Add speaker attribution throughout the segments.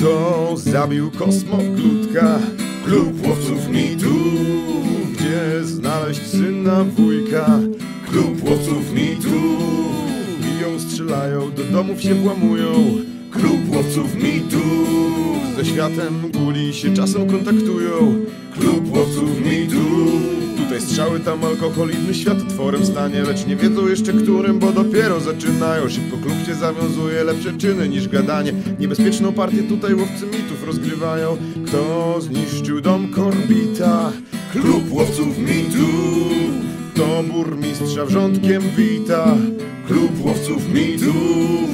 Speaker 1: mną zabił kosmoklutka Klub łowców mitu Gdzie znaleźć syna wujka Klub łowców mitu Biją, strzelają, do domów się włamują Klub łowców mitu Ze światem guli się czasem kontaktują Klub łowców mitu Tutaj strzały, tam alkohol, inny świat otworem stanie Lecz nie wiedzą jeszcze którym, bo dopiero zaczynają Szybko klub się zawiązuje, lepsze czyny niż gadanie Niebezpieczną partię tutaj łowcy mitów rozgrywają Kto zniszczył dom Korbita? Klub łowców mitów To burmistrza wrzątkiem wita Klub łowców mitów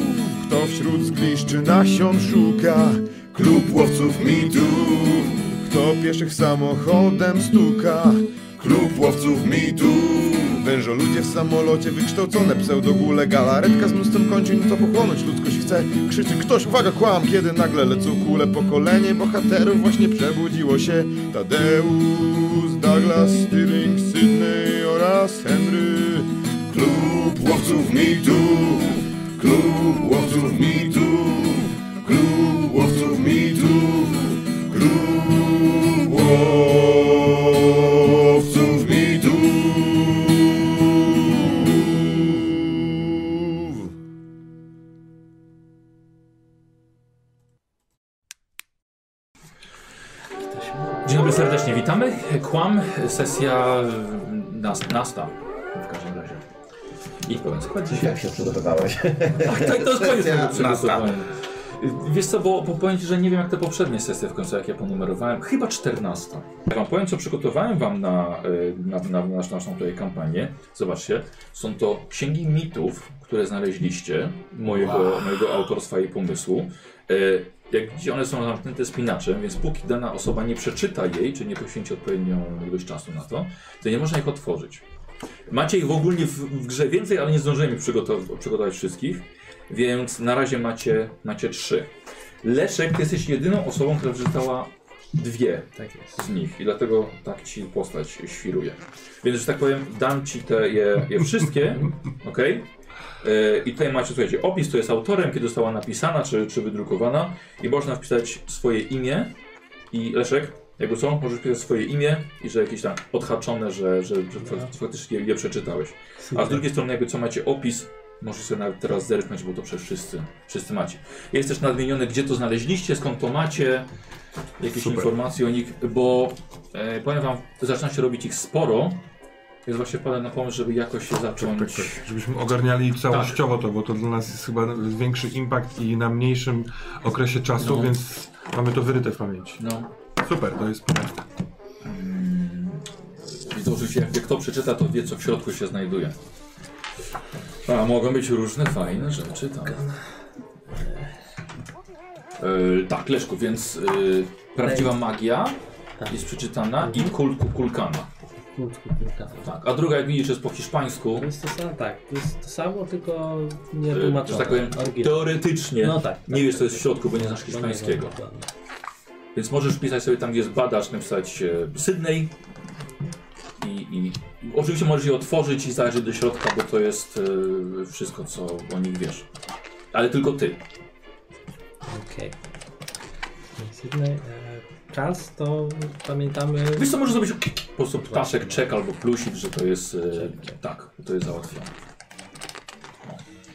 Speaker 1: Kto wśród zgliszczy nasion szuka? Klub łowców mitów kto pieszych samochodem stuka? Klub łowców mitu Wężoludzie w samolocie, wykształcone pseudogule Galaretka z mnóstwem kończyn, co pochłonąć ludzkość chce Krzyczy ktoś, uwaga, kłam, kiedy nagle lecą kule Pokolenie bohaterów właśnie przebudziło się Tadeusz, Douglas, Stirling, Sydney oraz Henry Klub łowców mitu Klub łowców mitu Klub łowców mitu Klub łowców mitów.
Speaker 2: Dzień dobry, serdecznie witamy. Kłam, sesja y, nas, nasta w każdym razie. I pełen skład dzisiaj.
Speaker 3: Jak się przygotowałeś?
Speaker 2: Tak, tak, to jest koniec tego
Speaker 3: nasta.
Speaker 2: przygotowania. Y, Wiesz co, bo bo powiem Ci, że nie wiem jak te poprzednie sesje w końcu, jak ja ponumerowałem. Chyba 14. Ja Wam powiem, co przygotowałem Wam na, y, na, na, na naszą tutaj kampanię. Zobaczcie, są to księgi mitów, które znaleźliście, mojego, mojego autorstwa i pomysłu. Y, Jak widzicie, one są zamknięte spinaczem, więc póki dana osoba nie przeczyta jej, czy nie poświęci odpowiednią ilość czasu na to, to nie można ich otworzyć. Macie ich w ogólnie w, w grze więcej, ale nie zdążyłem ich przygotow- przygotować wszystkich, więc na razie macie, macie trzy. Leszek, ty jesteś jedyną osobą, która przeczytała dwie z nich i dlatego tak ci postać świruje. Więc, że tak powiem, dam ci te, je, je wszystkie, ok? I tutaj macie, słuchajcie, opis, to jest autorem, kiedy została napisana czy, czy wydrukowana i można wpisać swoje imię i Leszek, jakby co, możesz wpisać swoje imię i że jakieś tam odhaczone, że, że, że fak- faktycznie je przeczytałeś. A z drugiej strony, jakby co macie opis, możesz sobie nawet teraz zerknąć, bo to przecież wszyscy, wszyscy macie. Jest też nadmienione, gdzie to znaleźliście, skąd to macie, jakieś informacje o nich, bo e, powiem wam, zaczyna się robić ich sporo, więc właśnie wpadłem na pomysł, żeby jakoś się zacząć...
Speaker 4: Tak, tak. Żebyśmy ogarniali całościowo to, bo to dla nas jest chyba większy impact i na mniejszym okresie czasu,
Speaker 2: No.
Speaker 4: więc mamy to wyryte w pamięci.
Speaker 2: No,
Speaker 4: Super, to jest pytanie.
Speaker 2: I to oczywiście, jak kto przeczyta, to wie, co w środku się znajduje. A mogą być różne fajne rzeczy, tak. E, tak, Leszku, więc e, prawdziwa magia jest przeczytana i kul, kulkana.
Speaker 5: Krótko, kilka.
Speaker 2: Tak. A druga, jak widzisz, jest po hiszpańsku.
Speaker 5: To jest to samo, tak, to jest to samo, tylko nie
Speaker 2: E, że
Speaker 5: tłumaczone.
Speaker 2: tak powiem,
Speaker 5: oryginalnie.
Speaker 2: teoretycznie
Speaker 5: No tak,
Speaker 2: nie
Speaker 5: tak,
Speaker 2: wiesz, co
Speaker 5: tak,
Speaker 2: jest w
Speaker 5: tak.
Speaker 2: środku, bo nie znasz
Speaker 5: No nie,
Speaker 2: hiszpańskiego.
Speaker 5: no, dokładnie.
Speaker 2: Więc możesz pisać sobie tam, gdzie jest badacz, napisać e, Sydney. I, i, i oczywiście możesz je otworzyć i zajrzeć do środka, bo to jest e, wszystko, co o nich wiesz. Ale tylko ty.
Speaker 5: no, Okej. Sydney, e, Czas to pamiętamy.
Speaker 2: Wiesz co, możesz zrobić po prostu ptaszek, czek albo plusik, że to jest... E, tak, to jest załatwione.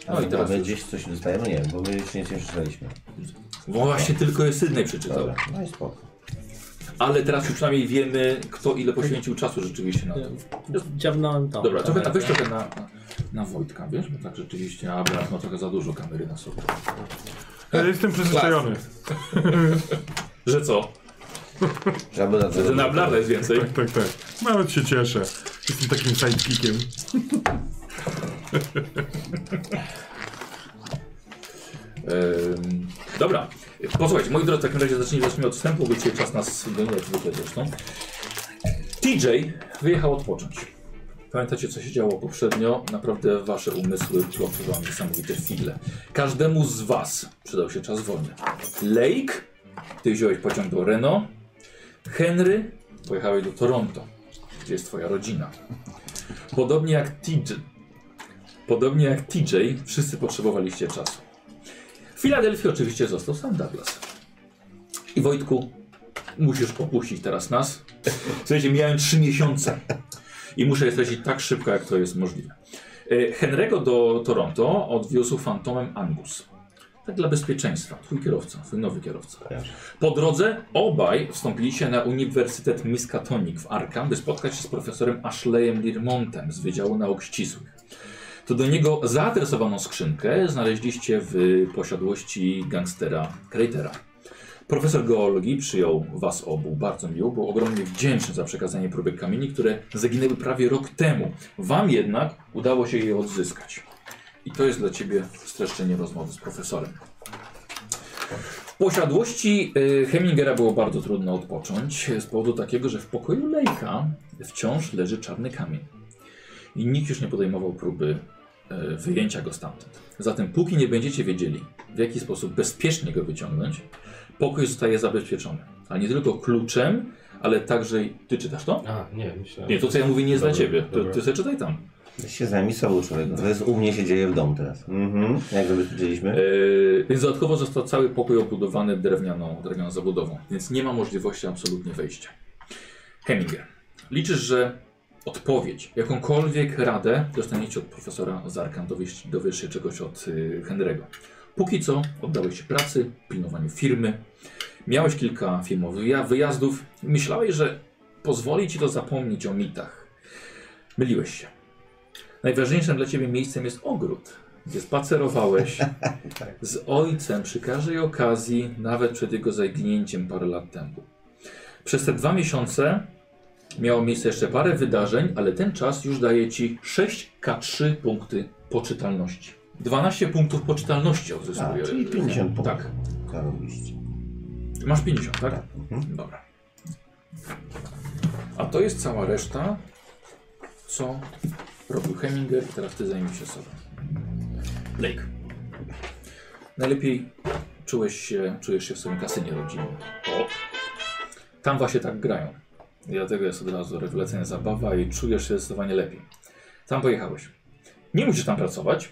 Speaker 3: A
Speaker 2: No i teraz
Speaker 3: my
Speaker 2: już.
Speaker 3: gdzieś coś dostajemy? Nie wiem, bo my jeszcze nic nie przeczytaliśmy.
Speaker 2: Bo właśnie tylko jest Sydney przeczytał.
Speaker 3: Dobra, no i spoko.
Speaker 2: Ale teraz już przynajmniej wiemy, kto ile poświęcił czasu rzeczywiście na to.
Speaker 5: Dziawnąłem to.
Speaker 2: Dobra, trochę, tak na- weź trochę na, na, na Wojtka, wiesz? Bo tak rzeczywiście, a brat ma trochę za dużo kamery na sobie.
Speaker 4: Ja E, jestem przyzwyczajony.
Speaker 2: Że co?
Speaker 3: Trzeba by na to
Speaker 2: Że na blada jest więcej?
Speaker 4: Tak, tak, tak. Nawet się cieszę. Jestem takim sidekickiem.
Speaker 2: Ehm, dobra. Posłuchajcie, moi drodzy, w takim razie zacznijmy, zacznijmy od wstępu, bo dzisiaj czas nas goni jak zwykle zresztą. TJ wyjechał odpocząć. Pamiętacie, co się działo poprzednio? Naprawdę wasze umysły plotły wam niesamowite figle. Każdemu z was przydał się czas wolny. Lake, ty wziąłeś pociąg do Reno. Henry, pojechałeś do Toronto, gdzie jest twoja rodzina. Podobnie jak TJ, podobnie jak TJ, wszyscy potrzebowaliście czasu. W Filadelfii oczywiście został sam Douglas. I Wojtku, musisz opuścić teraz nas. Słuchajcie, miałem trzy miesiące i muszę je stracić tak szybko, jak to jest możliwe. E, Henry'ego do Toronto odwiózł fantomem Angus. Tak dla bezpieczeństwa. Twój kierowca, twój nowy kierowca.
Speaker 3: Kojarzę.
Speaker 2: Po drodze obaj wstąpiliście na Uniwersytet Miskatonic w Arkham, by spotkać się z profesorem Ashleyem Lirmontem z Wydziału Nauk Ścisłych. To do niego zaadresowaną skrzynkę znaleźliście w posiadłości gangstera Kreitera. Profesor geologii przyjął was obu bardzo miło, był ogromnie wdzięczny za przekazanie próbek kamieni, które zaginęły prawie rok temu. Wam jednak udało się je odzyskać. I to jest dla ciebie streszczenie rozmowy z profesorem. W posiadłości y, Hemingera było bardzo trudno odpocząć y, z powodu takiego, że w pokoju Lejka wciąż leży czarny kamień. I nikt już nie podejmował próby y, wyjęcia go stamtąd. Zatem póki nie będziecie wiedzieli, w jaki sposób bezpiecznie go wyciągnąć, pokój zostaje zabezpieczony. Ale nie tylko kluczem, ale także... i- Ty czytasz to?
Speaker 6: A, nie, myślałem.
Speaker 2: Nie, to co ja mówię nie jest dla
Speaker 6: Dobra,
Speaker 2: ciebie. Ty,
Speaker 6: dobra.
Speaker 2: ty sobie czytaj tam.
Speaker 3: Weź się zajmij sobą człowiek. To jest u mnie się dzieje w domu teraz. Mhm. Jak zabezpieczyliśmy?
Speaker 2: Yy, Więc dodatkowo został cały pokój obudowany drewnianą, drewnianą zabudową, więc nie ma możliwości absolutnie wejścia. Heminger, liczysz, że odpowiedź, jakąkolwiek radę dostaniecie od profesora Zarkan, dowiesz, dowiesz się czegoś od yy, Henry'ego. Póki co oddałeś się pracy, pilnowaniu firmy, miałeś kilka firmowych wyja- wyjazdów, myślałeś, że pozwoli ci to zapomnieć o mitach. Myliłeś się. Najważniejszym dla ciebie miejscem jest ogród, gdzie spacerowałeś,
Speaker 3: Tak.
Speaker 2: z ojcem przy każdej okazji, nawet przed jego zaginięciem parę lat temu. Przez te dwa miesiące miało miejsce jeszcze parę wydarzeń, ale ten czas już daje ci 6K3 punkty poczytalności. 12 punktów poczytalności
Speaker 3: A,
Speaker 2: odzyskuje.
Speaker 3: czyli 50 punktów.
Speaker 2: E, Tak.
Speaker 3: Zarobiliście.
Speaker 2: Masz 50, tak?
Speaker 3: Tak. Mhm.
Speaker 2: Dobra. A to jest cała reszta, co robił Heminger. Teraz ty zajmij się sobą. Blake. Najlepiej czułeś się, czujesz się w swoim kasynie rodzinnym. Tam właśnie tak grają. I dlatego jest od razu rewelacyjna zabawa i czujesz się zdecydowanie lepiej. Tam pojechałeś. Nie musisz tam pracować,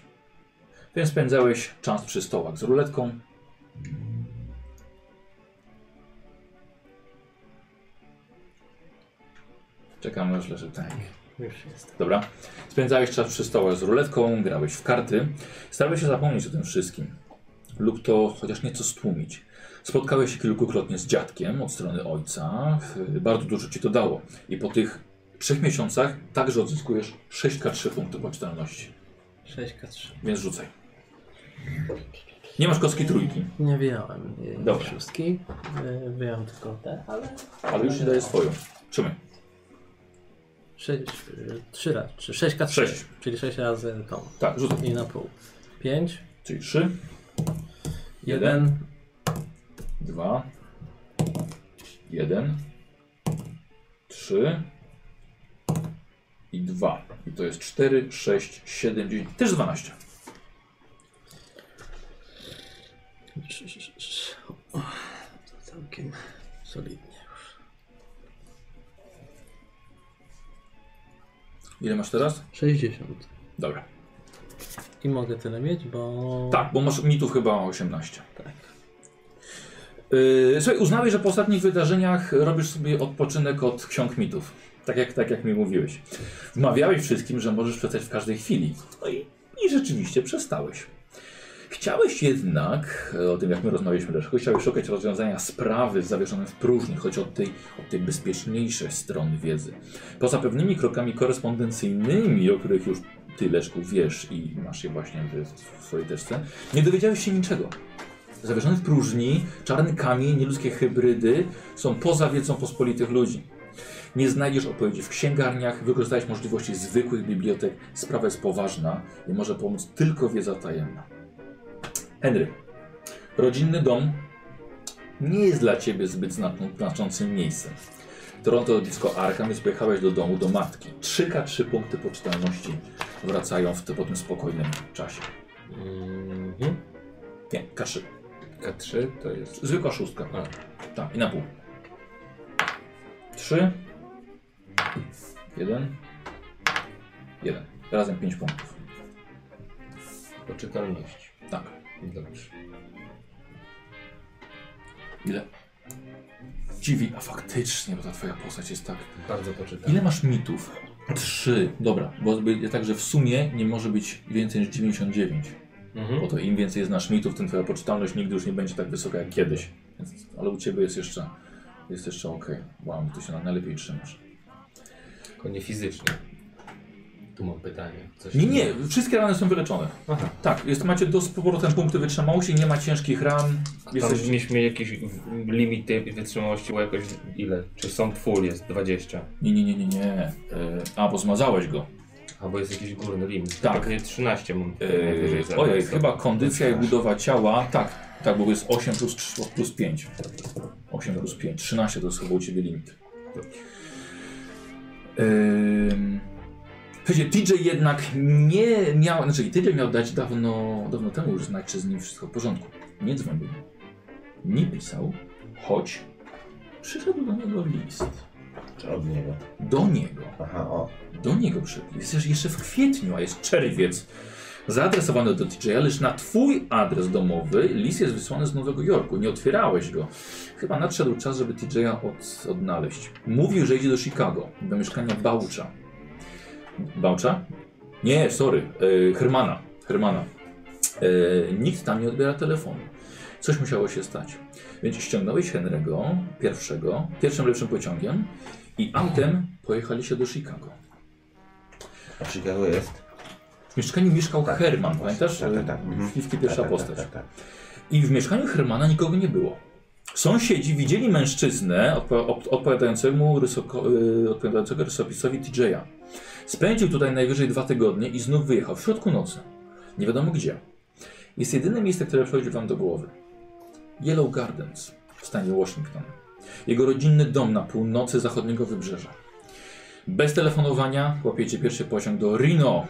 Speaker 2: więc spędzałeś czas przy stołach z ruletką, Czekam aż leży tak.
Speaker 5: Już jest.
Speaker 2: Dobra. Spędzałeś czas przy stołach z ruletką, grałeś w karty. Starałeś się zapomnieć o tym wszystkim. Lub to chociaż nieco stłumić. Spotkałeś się kilkukrotnie z dziadkiem od strony ojca. Yy, Bardzo dużo ci to dało. I po tych trzech miesiącach także odzyskujesz 6K3 punkty poczytalności.
Speaker 5: 6K3.
Speaker 2: Więc rzucaj. Nie masz kostki trójki,
Speaker 5: Nie wyjąłem jej
Speaker 2: Dobra.
Speaker 5: szóstki. Y, Wyjąłem tylko te, ale...
Speaker 2: ale już ci daję swoją. Trzymaj.
Speaker 5: 3 e, razy, 6K3.
Speaker 2: Sześć.
Speaker 5: Czyli 6 razy tą.
Speaker 2: Tak, rzucaj.
Speaker 5: I na pół. 5,
Speaker 2: Czyli 3,
Speaker 5: 1,
Speaker 2: 2, 1, 3 i 2. I to jest 4, 6, 7, 9, też 12.
Speaker 5: 3, 3, 3. Całkiem solidnie.
Speaker 2: Ile masz teraz?
Speaker 5: 60.
Speaker 2: Dobra.
Speaker 5: I mogę tyle mieć, bo...
Speaker 2: Tak, bo masz mitów chyba 18. Tak. Yy, słuchaj, uznałeś, że po ostatnich wydarzeniach robisz sobie odpoczynek od ksiąg mitów. Tak jak, tak jak mi mówiłeś. Wmawiałeś wszystkim, że możesz przestać w każdej chwili. No i, i rzeczywiście przestałeś. Chciałeś jednak, e, o tym jak my rozmawialiśmy dlaczego, chciałeś szukać rozwiązania sprawy zawieszonej w próżni, choć od tej, od tej bezpieczniejszej strony wiedzy. Poza pewnymi krokami korespondencyjnymi, o których już ty Leszku wiesz i masz je właśnie w, w swojej teczce, nie dowiedziałeś się niczego. Zawieszony w próżni, czarny kamień, nieludzkie hybrydy są poza wiedzą pospolitych ludzi. Nie znajdziesz odpowiedzi w księgarniach, wykorzystałeś możliwości zwykłych bibliotek. Sprawa jest poważna i może pomóc tylko wiedza tajemna. Henry, rodzinny dom nie jest dla ciebie zbyt znaczą- znaczącym miejscem. Toronto blisko Arkham, więc pojechałeś do domu do matki. 3K3 punkty poczytalności wracają w te, po tym spokojnym czasie.
Speaker 6: Mhm.
Speaker 2: Nie, K3.
Speaker 6: K3 to jest.
Speaker 2: Zwykła szóstka.
Speaker 6: A.
Speaker 2: Tak, i na pół. Trzy. Jeden. Jeden. Razem pięć punktów.
Speaker 6: Poczytalność.
Speaker 2: Tak.
Speaker 6: Dobrze.
Speaker 2: Ile? dziwi, a faktycznie, bo ta twoja postać jest tak...
Speaker 6: Bardzo poczytam.
Speaker 2: Ile masz mitów? Trzy. Dobra, bo by- także w sumie nie może być więcej niż 99.
Speaker 6: Mhm.
Speaker 2: Bo to im więcej znasz mitów, tym twoja poczytalność nigdy już nie będzie tak wysoka jak kiedyś. Więc, ale u ciebie jest jeszcze, jest jeszcze okej. Wow, ty się na- najlepiej trzymasz.
Speaker 6: Tylko nie fizycznie. Tu mam pytanie. Coś
Speaker 2: Nie, nie, wszystkie rany są wyleczone.
Speaker 6: Aha.
Speaker 2: Tak, jest, macie do z powrotem punkty wytrzymałości, nie ma ciężkich ran.
Speaker 6: A
Speaker 2: Jesteś,
Speaker 6: Tam mieliśmy jakieś w- limity wytrzymałości, bo jakoś ile? Czy są full jest 20?
Speaker 2: nie, nie, nie, nie, nie. Yy, a, bo zmazałeś go.
Speaker 6: Albo jest jakiś górny limit.
Speaker 2: Tak.
Speaker 6: Pewnie 13 mam. najwyżej
Speaker 2: Yy,
Speaker 6: zaraz.
Speaker 2: ojej, chyba kondycja i budowa ciała. Tak, tak, bo jest 8 plus, 3, plus 5. 8 plus 5, 13 to jest chyba u ciebie limit. Ym, Yy, Słuchajcie, TJ jednak nie miał, znaczy TJ miał dać dawno, dawno temu już znać, czy z nim wszystko w porządku. Nie dzwonił, nie pisał, choć przyszedł do niego list.
Speaker 3: Czy od niego?
Speaker 2: Do niego.
Speaker 3: Aha, o.
Speaker 2: Do niego przyszedł. Jest też jeszcze w kwietniu, a jest czerwiec. Zaadresowany do TJ, lecz na twój adres domowy list jest wysłany z Nowego Jorku. Nie otwierałeś go. Chyba nadszedł czas, żeby TJ od, odnaleźć. Mówił, że idzie do Chicago, do mieszkania Baucza. Baucza? Nie, sorry, yy, Hermana. Hermana. E, nikt tam nie odbiera telefonu. Coś musiało się stać. Więc ściągnąłeś Henry'ego pierwszego, pierwszym lepszym pociągiem i autem pojechaliście do Chicago.
Speaker 3: A w Chicago jest?
Speaker 2: W mieszkaniu mieszkał Herman,
Speaker 3: Właśnie,
Speaker 2: pamiętasz?
Speaker 3: Tak, tak, tak. Mhm.
Speaker 2: Śliwki pierwsza
Speaker 3: tak, tak,
Speaker 2: postać.
Speaker 3: Tak, tak,
Speaker 2: I w mieszkaniu Hermana nikogo nie było. Sąsiedzi widzieli mężczyznę odpo- op- odpowiadającemu rysoko- y, odpowiadającego rysopisowi TJ'a. Spędził tutaj najwyżej dwa tygodnie i znów wyjechał w środku nocy. Nie wiadomo gdzie. Jest jedyne miejsce, które przychodzi wam do głowy. Yellow Gardens w stanie Washington. Jego rodzinny dom na północy zachodniego wybrzeża. Bez telefonowania łapiecie pierwszy pociąg do Reno,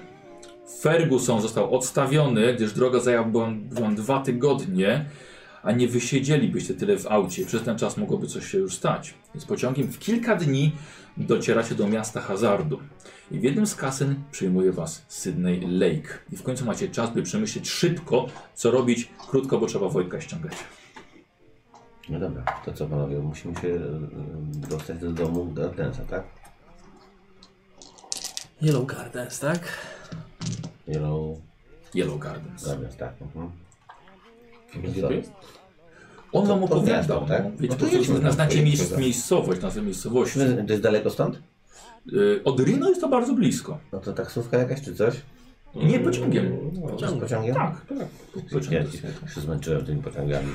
Speaker 2: Ferguson został odstawiony, gdyż droga zajęła wam wam dwa tygodnie, a nie wysiedzielibyście tyle w aucie. Przez ten czas mogłoby coś się już stać. Więc pociągiem w kilka dni docieracie do miasta hazardu. I w jednym z kasyn przyjmuje was Sydney Lake. I w końcu macie czas, by przemyśleć szybko, co robić, krótko, bo trzeba Wojtka ściągać.
Speaker 3: No dobra, to co panowie, musimy się mm, dostać do domu Gardensa, tak?
Speaker 5: Yellow Gardens, tak?
Speaker 3: Yellow
Speaker 2: Yellow Gardens.
Speaker 3: Gardens, tak. Mhm.
Speaker 6: Gdzie to jest?
Speaker 2: On
Speaker 3: To-
Speaker 2: wam
Speaker 3: to
Speaker 2: opowiadał.
Speaker 3: miasto, tak?
Speaker 2: no. Wiecie,
Speaker 3: No to
Speaker 2: po prostu
Speaker 3: jedźmy tam,
Speaker 2: znacie
Speaker 3: pojedźmy
Speaker 2: miejsc,
Speaker 3: tam.
Speaker 2: miejscowość, nazwę miejscowości.
Speaker 3: To jest daleko stąd?
Speaker 2: Y, Od Rino jest to bardzo blisko.
Speaker 3: No to taksówka jakaś czy coś? Mm.
Speaker 2: Nie pociągiem.
Speaker 3: Z pociągiem?
Speaker 2: Tak, tak.
Speaker 3: Ja się- tak. się zmęczyłem tymi pociągami.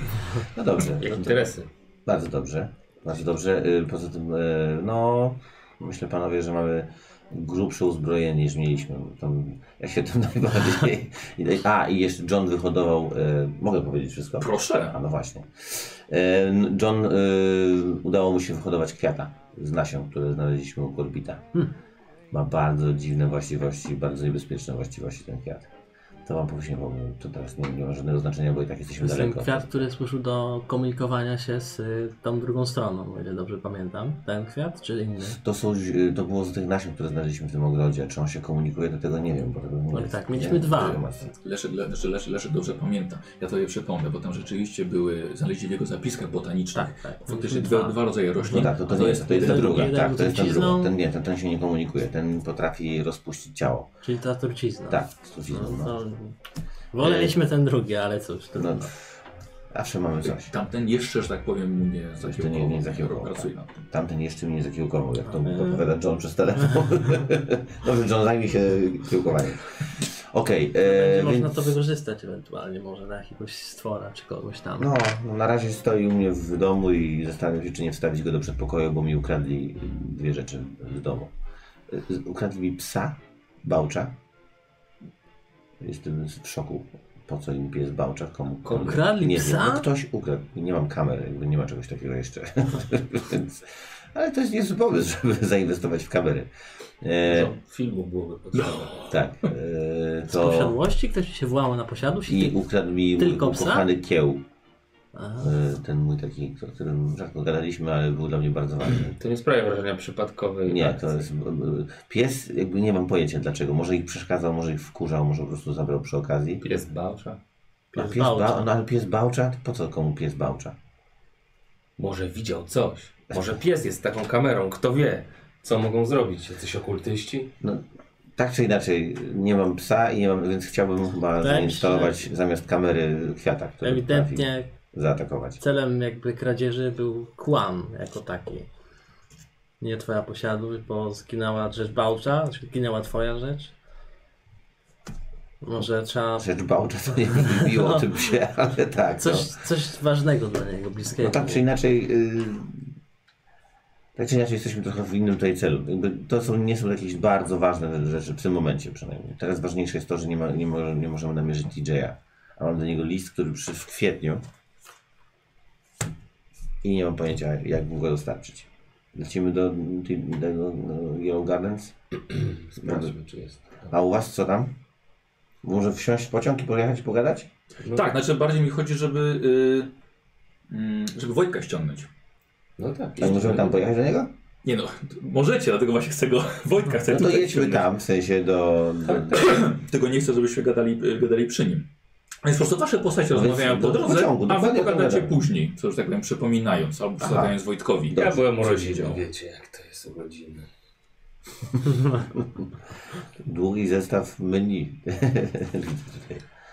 Speaker 3: No dobrze.
Speaker 6: Jak
Speaker 3: no to-
Speaker 6: interesy.
Speaker 3: Bardzo dobrze. Bardzo dobrze. Y, Poza tym, y, no, myślę panowie, że mamy grubsze uzbrojenie niż mieliśmy. Tam, ja się tym najbardziej. A, i jeszcze John wyhodował. y, Mogę powiedzieć wszystko?
Speaker 2: Proszę.
Speaker 3: A no właśnie. Y, John y, udało mu się wyhodować kwiata z nasion, które znaleźliśmy u korbita.
Speaker 5: Hmm.
Speaker 3: Ma bardzo dziwne właściwości, bardzo niebezpieczne właściwości ten kwiat. To wam powiem, bo to teraz nie, nie ma żadnego znaczenia, bo i tak jesteśmy
Speaker 5: Jest ten
Speaker 3: daleko.
Speaker 5: kwiat, który służył do komunikowania się z y, tą drugą stroną, o ile dobrze pamiętam. Ten kwiat, czy inny?
Speaker 3: To, są, ź- to było z tych nasion, które znaleźliśmy w tym ogrodzie. Czy on się komunikuje, to tego nie wiem, bo tego nie
Speaker 5: No i
Speaker 3: jest.
Speaker 5: tak,
Speaker 3: nie
Speaker 5: mieliśmy
Speaker 3: wiem,
Speaker 5: dwa.
Speaker 3: informacji.
Speaker 2: Leszek, Le- znaczy Leszek, Leszek dobrze pamięta. Ja to je przypomnę, bo tam rzeczywiście były, znaleźli w jego zapiskach botanicznych
Speaker 5: Tak, tak.
Speaker 2: faktycznie dwa, dwa rodzaje
Speaker 3: No
Speaker 2: roślin.
Speaker 3: tak, to, to,
Speaker 2: A
Speaker 3: nie jest, to jest ta
Speaker 5: jeden-
Speaker 3: druga.
Speaker 5: jeden
Speaker 3: Tak, to jest ta
Speaker 5: trucizną.
Speaker 3: druga. Ten nie, ten, ten się nie komunikuje. Ten potrafi rozpuścić ciało.
Speaker 5: Czyli ta trucizna.
Speaker 3: Tak, z trucizną. No.
Speaker 5: No, woleliśmy ten drugi, ale cóż, trudno.
Speaker 3: No, zawsze mamy coś.
Speaker 2: Tamten jeszcze, że tak powiem, mu nie
Speaker 3: Jeszcze nie, nie zakiełkował.
Speaker 2: Ro- Pracuje nad
Speaker 3: tak.
Speaker 2: tym.
Speaker 3: Tamten jeszcze mnie nie zakiełkował,
Speaker 5: Tak.
Speaker 3: jak to mu odpowiada John przez telefon. Dobrze, John, zajmij się kiełkowaniem. Okej, e,
Speaker 5: Będzie można
Speaker 3: więc...
Speaker 5: to wykorzystać ewentualnie, może na jakiegoś stwora czy kogoś tam.
Speaker 3: No, no, na razie stoi u mnie w domu i zastanawiam się, czy nie wstawić go do przedpokoju, bo mi ukradli dwie rzeczy z domu. Y, z- Ukradli mi psa, bałcza. Jestem w szoku. Po co im pies bałcza? Komu? komu?
Speaker 5: Ukradli
Speaker 3: nie
Speaker 5: psa?
Speaker 3: Wiem. No, ktoś ukradł. Nie mam kamery, jakby nie ma czegoś takiego jeszcze. Więc, ale to jest niezły pomysł, żeby zainwestować w kamery. E,
Speaker 6: Dużo Filmu
Speaker 2: No.
Speaker 6: byłoby potrzebne.
Speaker 3: tak. E,
Speaker 5: Z
Speaker 3: to...
Speaker 5: posiadłości? Ktoś No. się włamał na posiadłość?
Speaker 3: I ukradł mi mój
Speaker 5: Tylko psa?
Speaker 3: ukochany kieł.
Speaker 5: Aha.
Speaker 3: E, Ten mój taki, o którym rzadko gadaliśmy, ale był dla mnie bardzo ważny.
Speaker 6: To nie sprawia wrażenia przypadkowej.
Speaker 3: Nie,
Speaker 6: akcji.
Speaker 3: to jest. b- b- Pies, jakby nie mam pojęcia dlaczego. Może ich przeszkadzał, może ich wkurzał, może po prostu zabrał przy okazji.
Speaker 6: Pies bałcza.
Speaker 3: A
Speaker 5: pies
Speaker 3: pies bał,
Speaker 5: bałcza.
Speaker 3: no, ale pies bałcza? To Po co komu pies bałcza?
Speaker 6: Może widział coś. Może pies jest taką kamerą, kto wie. Co mogą zrobić? Jacyś okultyści?
Speaker 3: No, tak czy inaczej, nie mam psa i nie mam, więc chciałbym chyba
Speaker 5: mi się-
Speaker 3: zainstalować zamiast kamery kwiata, który potrafi
Speaker 5: Ewidentnie
Speaker 3: zaatakować.
Speaker 5: celem jakby kradzieży był kłam jako taki. Nie twoja posiadłość, bo zginęła rzecz Bałcza, znaczy zginęła twoja rzecz. Może trzeba
Speaker 3: Rzecz bałcza to nie mówiło o tym psie, ale tak.
Speaker 5: coś,
Speaker 3: no.
Speaker 5: coś ważnego dla niego, bliskiego.
Speaker 3: No tak czy inaczej. y, Tak czy inaczej jesteśmy trochę w innym tutaj celu. Jakby to są, nie są jakieś bardzo ważne rzeczy w tym momencie przynajmniej. Teraz ważniejsze jest to, że nie, ma, nie, może, nie możemy namierzyć DJ-a. A mam do niego list, który przy w kwietniu i nie mam pojęcia jak mu go dostarczyć. Lecimy do, do, do, do Yellow Gardens.
Speaker 6: Sprawdźmy, czy jest.
Speaker 3: A u was co tam? Może wsiąść w pociąg i pojechać pogadać?
Speaker 6: No,
Speaker 2: Tak, znaczy bardziej mi chodzi, żeby, y, mm, żeby Wojtka ściągnąć.
Speaker 6: No tak.
Speaker 3: Tak możemy tam pojechać do niego?
Speaker 2: Nie no, możecie, dlatego właśnie chcę go, Wojtka chcę
Speaker 3: No to
Speaker 2: tutaj
Speaker 3: jedźmy
Speaker 2: ściągnąć.
Speaker 3: tam, w sensie do, do,
Speaker 2: Tego nie chcę, żebyście gadali, y, gadali przy nim. Więc po prostu wasze postacie
Speaker 3: No więc
Speaker 2: rozmawiają po
Speaker 3: do- do
Speaker 2: drodze,
Speaker 3: pociągu,
Speaker 2: a wy
Speaker 3: dokładnie o tym
Speaker 2: pogadacie
Speaker 3: gadamy.
Speaker 2: później, co że tak powiem, przypominając, albo przedstawiając Wojtkowi.
Speaker 6: Ja
Speaker 3: Dobrze,
Speaker 6: byłem u
Speaker 2: co się
Speaker 6: rodziny,
Speaker 2: działo.
Speaker 6: wiecie jak to jest u rodziny.
Speaker 3: Długi zestaw menu.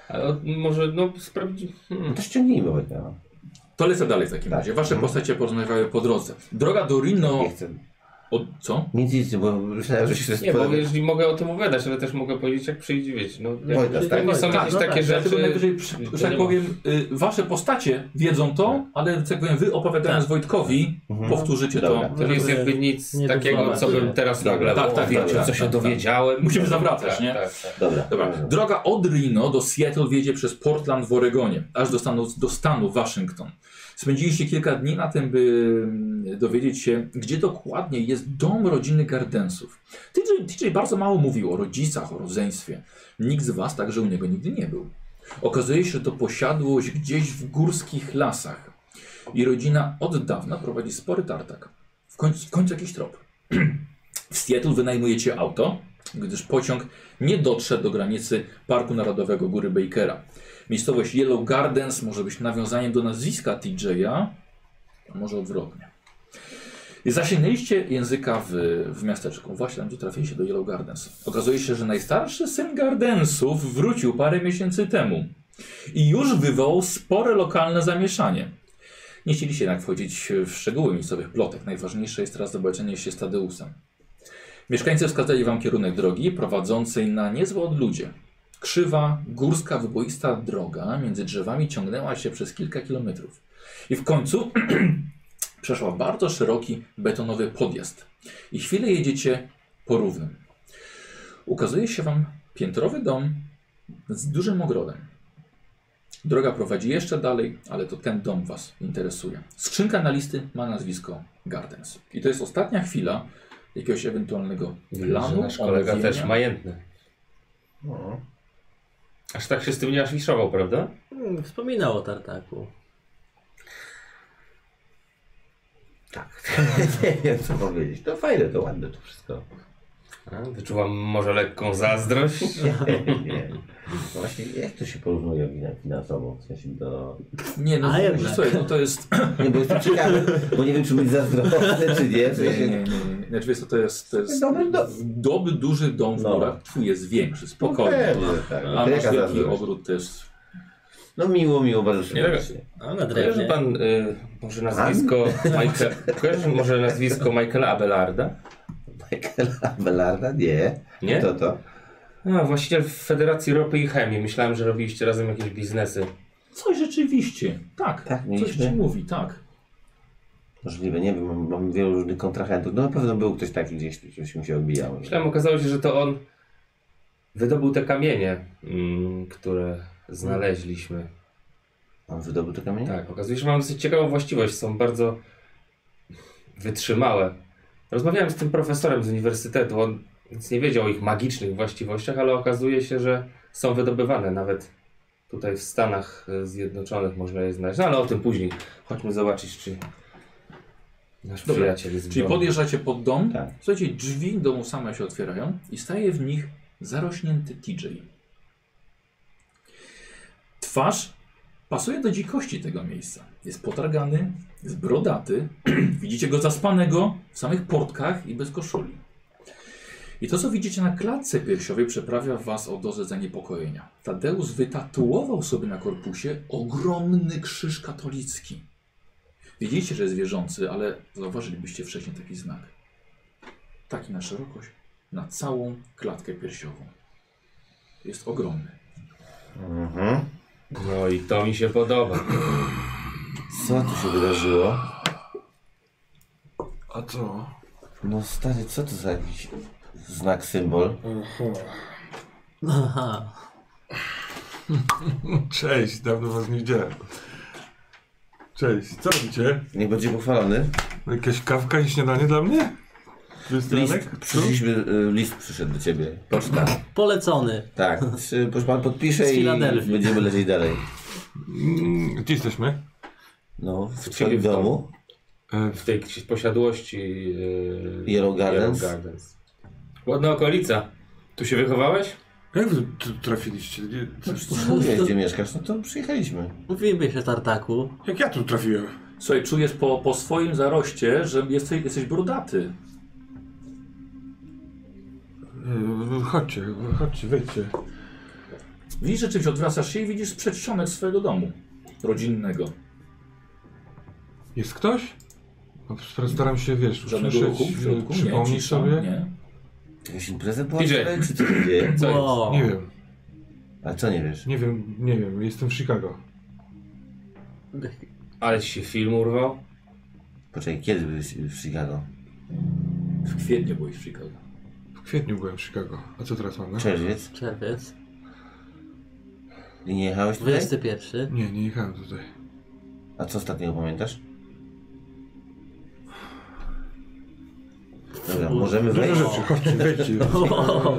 Speaker 6: Ale od- może, no, sprawdzi...
Speaker 3: No
Speaker 6: Hmm.
Speaker 3: to ściągnijmy Wojtka. no.
Speaker 2: To lecę dalej w takim
Speaker 3: Tak.
Speaker 2: razie. Wasze
Speaker 3: Mhm. Tak
Speaker 2: postacie porozmawiały po drodze. Droga do Rino...
Speaker 3: Nie chcę.
Speaker 2: Od co?
Speaker 3: Nic, nic, bo myślałem, że się
Speaker 6: Nie, bo jeżeli mogę o tym opowiadać, ale też mogę powiedzieć jak przyjdzie, wiecie, no... jak-
Speaker 3: Wojtas, tak?
Speaker 6: Pewnie są
Speaker 5: Tak,
Speaker 6: jakieś
Speaker 5: no
Speaker 6: takie
Speaker 5: tak,
Speaker 2: Ja tylko
Speaker 6: rzeczy...
Speaker 2: najwyżej, przy-
Speaker 6: to
Speaker 2: że tak
Speaker 6: nie ma.
Speaker 2: powiem, y, wasze postacie wiedzą to, ale tak powiem, wy opowiadając Wojtkowi,
Speaker 3: Mhm.
Speaker 2: powtórzycie
Speaker 3: Dobra.
Speaker 2: to.
Speaker 6: To nie jest jakby nic
Speaker 5: Nie
Speaker 6: takiego,
Speaker 5: dozwolę.
Speaker 6: co bym teraz
Speaker 3: Dobra,
Speaker 6: nagle
Speaker 2: tak,
Speaker 6: o,
Speaker 2: tak,
Speaker 6: wiecie,
Speaker 2: tak,
Speaker 6: co
Speaker 2: tak,
Speaker 6: się
Speaker 2: tak.
Speaker 6: dowiedziałem.
Speaker 2: Musimy zawracać, nie?
Speaker 6: Tak, tak, tak.
Speaker 3: Dobra.
Speaker 2: Dobra. Droga od Reno do Seattle wiedzie przez Portland w Oregonie, aż do stanu, do stanu Waszyngton. Spędziliście kilka dni na tym, by mm, dowiedzieć się, gdzie dokładnie jest dom rodziny Gardensów. TJ, TJ bardzo mało mówił o rodzicach, o rodzeństwie. Nikt z Was także u niego nigdy nie był. Okazuje się, że to posiadłość gdzieś w górskich lasach. I rodzina od dawna prowadzi spory tartak. W końcu, w końcu jakiś trop. W Seattle wynajmujecie auto, gdyż pociąg nie dotrze do granicy Parku Narodowego Góry Bakera. Miejscowość Yellow Gardens może być nawiązaniem do nazwiska TJ'a, a może odwrotnie. I Zasięgnęliście języka w, w miasteczku, właśnie tam, gdzie trafiliście do Yellow Gardens. Okazuje się, że najstarszy syn Gardensów wrócił parę miesięcy temu i już wywołał spore lokalne zamieszanie. Nie chcieliście jednak wchodzić w szczegóły miejscowych plotek. Najważniejsze jest teraz zobaczenie się z Tadeusem. Mieszkańcy wskazali wam kierunek drogi prowadzącej na niezłe odludzie. Krzywa, górska, wyboista droga między drzewami ciągnęła się przez kilka kilometrów. I w końcu przeszła bardzo szeroki betonowy podjazd. I chwilę jedziecie po równym. Ukazuje się wam piętrowy dom z dużym ogrodem. Droga prowadzi jeszcze dalej, ale to ten dom was interesuje. Skrzynka na listy ma nazwisko Gardens. I to jest ostatnia chwila jakiegoś ewentualnego
Speaker 6: Że
Speaker 2: planu.
Speaker 6: Nasz kolega
Speaker 2: omówienia.
Speaker 6: też majętny. Aż tak się z tym nie aż wiszował, prawda?
Speaker 5: Hmm, Wspominał o tartaku.
Speaker 3: Tak. nie wiem co powiedzieć. To fajne, to ładne to wszystko.
Speaker 6: A, Wyczuwam może lekką zazdrość.
Speaker 3: nie. No Właśnie jak to się porównuje finan- finansowo? W sensie do...
Speaker 2: Nie, no,
Speaker 5: A
Speaker 2: wiesz
Speaker 5: jednak.
Speaker 2: co, no to jest.
Speaker 3: Nie, bo jestem ciekawy, bo nie wiem czy być zazdrosny, czy nie. W
Speaker 2: Nie, nie, nie.
Speaker 3: sensie...
Speaker 2: nie. Znaczy, wiesz co, to jest. To jest
Speaker 3: Dobry dom.
Speaker 2: dobry, duży dom w
Speaker 3: No.
Speaker 2: górach. Twój jest większy, spokojnie.
Speaker 3: Pewnie, że tak.
Speaker 2: A
Speaker 3: No,
Speaker 2: nasz
Speaker 3: to jaka
Speaker 2: wielki
Speaker 3: zazdrość?
Speaker 2: ogród też.
Speaker 3: No miło, miło, bardzo
Speaker 6: Nie, tak.
Speaker 3: serdecznie.
Speaker 5: A na
Speaker 6: Kojarzy
Speaker 5: drewnie.
Speaker 6: pan y, może nazwisko Michael, kojarzy może nazwisko Michaela Abelarda?
Speaker 3: Michaela Belarda? Nie.
Speaker 6: Nie?
Speaker 3: To to.
Speaker 6: A, właściciel Federacji Ropy i Chemii. Myślałem, że robiliście razem jakieś biznesy.
Speaker 2: Coś rzeczywiście. Tak,
Speaker 3: Tak,
Speaker 2: coś
Speaker 3: mieliśmy.
Speaker 2: ci mówi, tak.
Speaker 3: Możliwe, nie wiem, mam, mam wielu różnych kontrahentów. No na pewno był ktoś taki gdzieś, ktoś mi się odbijał.
Speaker 6: Myślałem, okazało się, że to on wydobył te kamienie, mm, które znaleźliśmy.
Speaker 3: On wydobył te kamienie?
Speaker 6: Tak, okazuje się, że mam dosyć ciekawą właściwość. Są bardzo wytrzymałe. Rozmawiałem z tym profesorem z uniwersytetu. On nic nie wiedział o ich magicznych właściwościach, ale okazuje się, że są wydobywane nawet tutaj w Stanach y, Zjednoczonych można je znaleźć. No ale o tym później. Chodźmy zobaczyć, czy nasz
Speaker 2: Dobra,
Speaker 6: przyjaciel jest w
Speaker 2: Czyli
Speaker 6: domu.
Speaker 2: podjeżdżacie pod dom.
Speaker 3: Tak.
Speaker 2: Słuchajcie, drzwi domu same się otwierają i staje w nich zarośnięty TJ. Twarz Pasuje do dzikości tego miejsca. Jest potargany, jest brodaty. Widzicie go zaspanego w samych portkach i bez koszuli. I to, co widzicie na klatce piersiowej, przeprawia was o dozę zaniepokojenia. Tadeusz wytatuował sobie na korpusie ogromny krzyż katolicki. Widzicie, że jest wierzący, ale zauważylibyście wcześniej taki znak. Taki na szerokość, na całą klatkę piersiową. Jest ogromny.
Speaker 3: Mhm.
Speaker 6: No i to mi się podoba.
Speaker 3: Co tu się wydarzyło?
Speaker 4: A co?
Speaker 3: No stary, co to za jakiś znak, symbol?
Speaker 5: Aha.
Speaker 4: Cześć, dawno was nie widziałem. Cześć, co robicie?
Speaker 3: Niech będzie pochwalony.
Speaker 4: Jakaś kawka i śniadanie dla mnie?
Speaker 3: List,
Speaker 4: Krystianek?
Speaker 3: przyszliśmy, y, list przyszedł do ciebie. Poczta.
Speaker 5: Polecony.
Speaker 3: Tak, Czy- proszę pan podpisze
Speaker 5: Z
Speaker 3: i
Speaker 5: Filadelfii.
Speaker 3: będziemy lecieć dalej.
Speaker 4: Mm, Gdzie jesteśmy?
Speaker 3: No, w
Speaker 6: ciebie
Speaker 3: twoim
Speaker 6: w domu.
Speaker 3: domu?
Speaker 4: E,
Speaker 6: W tej ksi- posiadłości yy,
Speaker 3: Yellow Gardens?
Speaker 6: Gardens. Ładna okolica. Tu się wychowałeś?
Speaker 4: Jak wy tu trafiliście? Nie, co-
Speaker 3: Mówię, gdzie mieszkasz, no to przyjechaliśmy.
Speaker 5: Mówimy się tartaku.
Speaker 4: Jak ja tu trafiłem?
Speaker 2: Słuchaj, czujesz po, po swoim zaroście, że jesteś, jesteś brudaty.
Speaker 4: E, Chodźcie, chodźcie, wejdźcie.
Speaker 2: Widzisz rzeczywiście, odwracasz się i widzisz przedsionek swojego domu rodzinnego.
Speaker 4: Jest ktoś? No, Staram się, wiesz,
Speaker 2: Żadnego
Speaker 4: usłyszeć,
Speaker 2: ruchu w środku,
Speaker 4: e,
Speaker 2: nie,
Speaker 4: przypomnieć
Speaker 2: cisza,
Speaker 4: sobie.
Speaker 2: nie.
Speaker 3: Jakaś impreza była?
Speaker 6: DJ.
Speaker 3: wczoraj, Czy co się dzieje?
Speaker 6: Co jest?
Speaker 5: Wow.
Speaker 4: Nie wiem,
Speaker 3: A co nie wiesz?
Speaker 4: nie wiem, nie wiem, jestem w Chicago.
Speaker 6: Ale ci się film urwał?
Speaker 3: Poczekaj, kiedy byłeś w Chicago?
Speaker 2: W kwietniu byłeś w Chicago.
Speaker 4: W kwietniu byłem w Chicago. A co teraz mamy?
Speaker 3: Czerwiec?
Speaker 5: Czerwiec.
Speaker 3: I nie jechałeś tutaj?
Speaker 5: 21.
Speaker 4: Nie, nie jechałem tutaj.
Speaker 3: A co ostatniego pamiętasz? Dobra, możemy
Speaker 4: Dużo
Speaker 3: wejść?
Speaker 4: rzeczy, chodźcie, wejdźcie.
Speaker 2: No.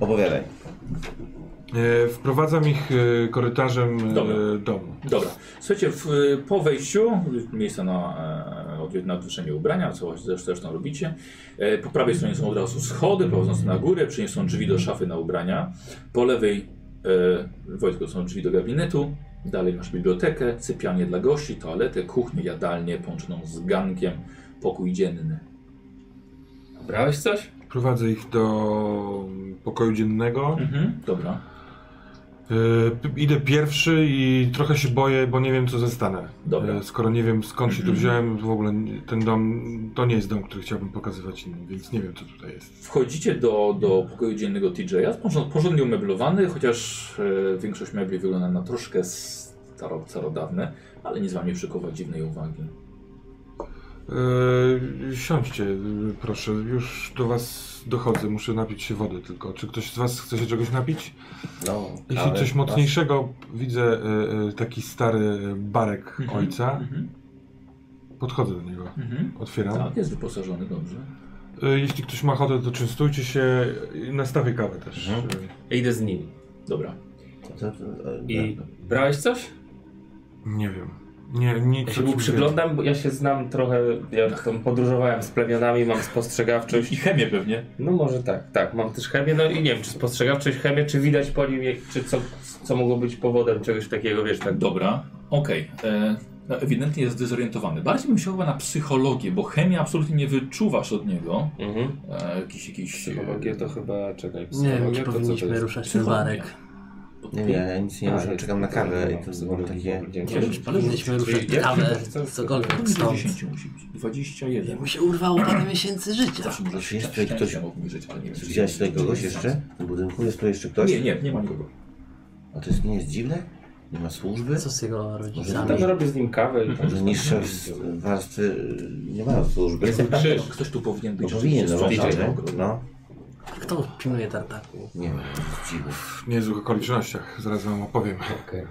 Speaker 3: Opowiadaj.
Speaker 4: E, wprowadzam ich e, korytarzem
Speaker 2: Dobra.
Speaker 4: e, domu.
Speaker 2: Dobra. Słuchajcie, w, po wejściu, miejsce na, e, odwie- na odwieszenie ubrania, co właśnie zresztą, zresztą robicie. E, po prawej stronie są od razu schody prowadzące na górę, przy niej są drzwi do szafy na ubrania. Po lewej, e, Wojtku, są drzwi do gabinetu. Dalej masz bibliotekę, sypialnię dla gości, toaletę, kuchnię, jadalnię połączoną z gankiem, pokój dzienny.
Speaker 6: Brałeś coś?
Speaker 4: Prowadzę ich do pokoju dziennego.
Speaker 2: Mhm. Dobra.
Speaker 4: E, p- idę pierwszy i trochę się boję, bo nie wiem co zostanę.
Speaker 2: Dobra. Mhm.
Speaker 4: E, skoro nie wiem skąd się tu wziąłem, w ogóle nie- ten dom to nie jest dom, który chciałbym pokazywać innym, więc nie wiem co tutaj jest.
Speaker 2: Wchodzicie do, do pokoju dziennego TJ'a, porząd- porządnie umeblowany, chociaż e, większość mebli wygląda na troszkę staro, starodawne, ale nic wam nie przykuwa dziwnej uwagi.
Speaker 4: E, siądźcie, e, proszę, już do was dochodzę, muszę napić się wody tylko. Czy ktoś z was chce się czegoś napić?
Speaker 3: No,
Speaker 4: Jeśli
Speaker 3: ale-
Speaker 4: coś mocniejszego, widzę e, e, taki stary barek
Speaker 2: Mhm,
Speaker 4: ojca,
Speaker 2: Mhm,
Speaker 4: podchodzę do niego,
Speaker 2: mhm.
Speaker 4: otwieram.
Speaker 2: Tak, jest wyposażony dobrze.
Speaker 4: E, Jeśli ktoś ma ochotę, to częstujcie się i nastawię kawę też.
Speaker 2: No.
Speaker 3: Mhm.
Speaker 4: E,
Speaker 6: Ja idę z nimi.
Speaker 2: Dobra.
Speaker 3: To- to- to-
Speaker 6: I brałeś coś?
Speaker 4: Nie wiem. Nie, nie
Speaker 6: Ja się mu przyglądam, bo ja się znam trochę, ja tam podróżowałem z plemionami, mam spostrzegawczość.
Speaker 2: chemię pewnie.
Speaker 6: No może tak, tak, mam też chemię, no i nie wiem, czy spostrzegawczość, chemię, czy widać po nim, jak- czy co, co mogło być powodem czegoś takiego, wiesz, tak.
Speaker 2: Dobra, okej. E, no, Ewidentnie jest dezorientowany. Bardziej bym się chyba na psychologię, bo chemia absolutnie nie wyczuwasz od niego.
Speaker 6: Mhm.
Speaker 2: E, jakiś, jakiś... e,
Speaker 6: Psychologia to chyba, czekaj,
Speaker 5: Nie
Speaker 6: psychologia
Speaker 5: wiem, czy
Speaker 6: to co to
Speaker 5: powinniśmy
Speaker 6: jest?
Speaker 5: ruszać ten barek.
Speaker 3: Nie, nie, ja nic nie
Speaker 6: A,
Speaker 3: muszę,
Speaker 6: jest-
Speaker 3: czekam na kawę i
Speaker 6: mam
Speaker 3: to było
Speaker 6: psychologię,
Speaker 3: takie...
Speaker 6: dzięki.
Speaker 2: Nie, ale
Speaker 5: Powinniśmy
Speaker 2: rzuć.
Speaker 5: ruszać
Speaker 6: Ja-
Speaker 5: kawę,
Speaker 6: co-
Speaker 5: cokolwiek stąd.
Speaker 2: 10 musi być. 21.
Speaker 5: Mu się urwało parę miesięcy życia.
Speaker 2: Zawsze może się
Speaker 3: Jest
Speaker 2: szczęście
Speaker 3: ktoś-
Speaker 2: obniżyć, ale nie wiem.
Speaker 3: Czy
Speaker 2: czy-
Speaker 3: widziałeś tutaj
Speaker 2: czy
Speaker 3: kogoś
Speaker 2: nie jest
Speaker 3: jeszcze
Speaker 2: szans.
Speaker 3: w budynku? Jest tu jeszcze ktoś?
Speaker 2: Nie, nie, nie ma nikogo.
Speaker 3: A to jest, nie jest dziwne? Nie ma służby?
Speaker 5: Co z jego
Speaker 3: Może
Speaker 5: rodzicami?
Speaker 6: Tam robię z nim kawę i tak.
Speaker 3: Może
Speaker 6: tam
Speaker 3: niższe w- warstwy y, nie mają służby?
Speaker 6: krzyż.
Speaker 2: Ktoś tu powinien
Speaker 3: No
Speaker 2: być.
Speaker 3: powinien, no
Speaker 2: rzeczywiście
Speaker 3: właśnie,
Speaker 2: z-
Speaker 3: no. no.
Speaker 5: Kto pilnuje tartaku?
Speaker 3: Nie wiem, to jest dziwne.
Speaker 4: W niezłych okolicznościach, zaraz wam opowiem.
Speaker 6: Okej.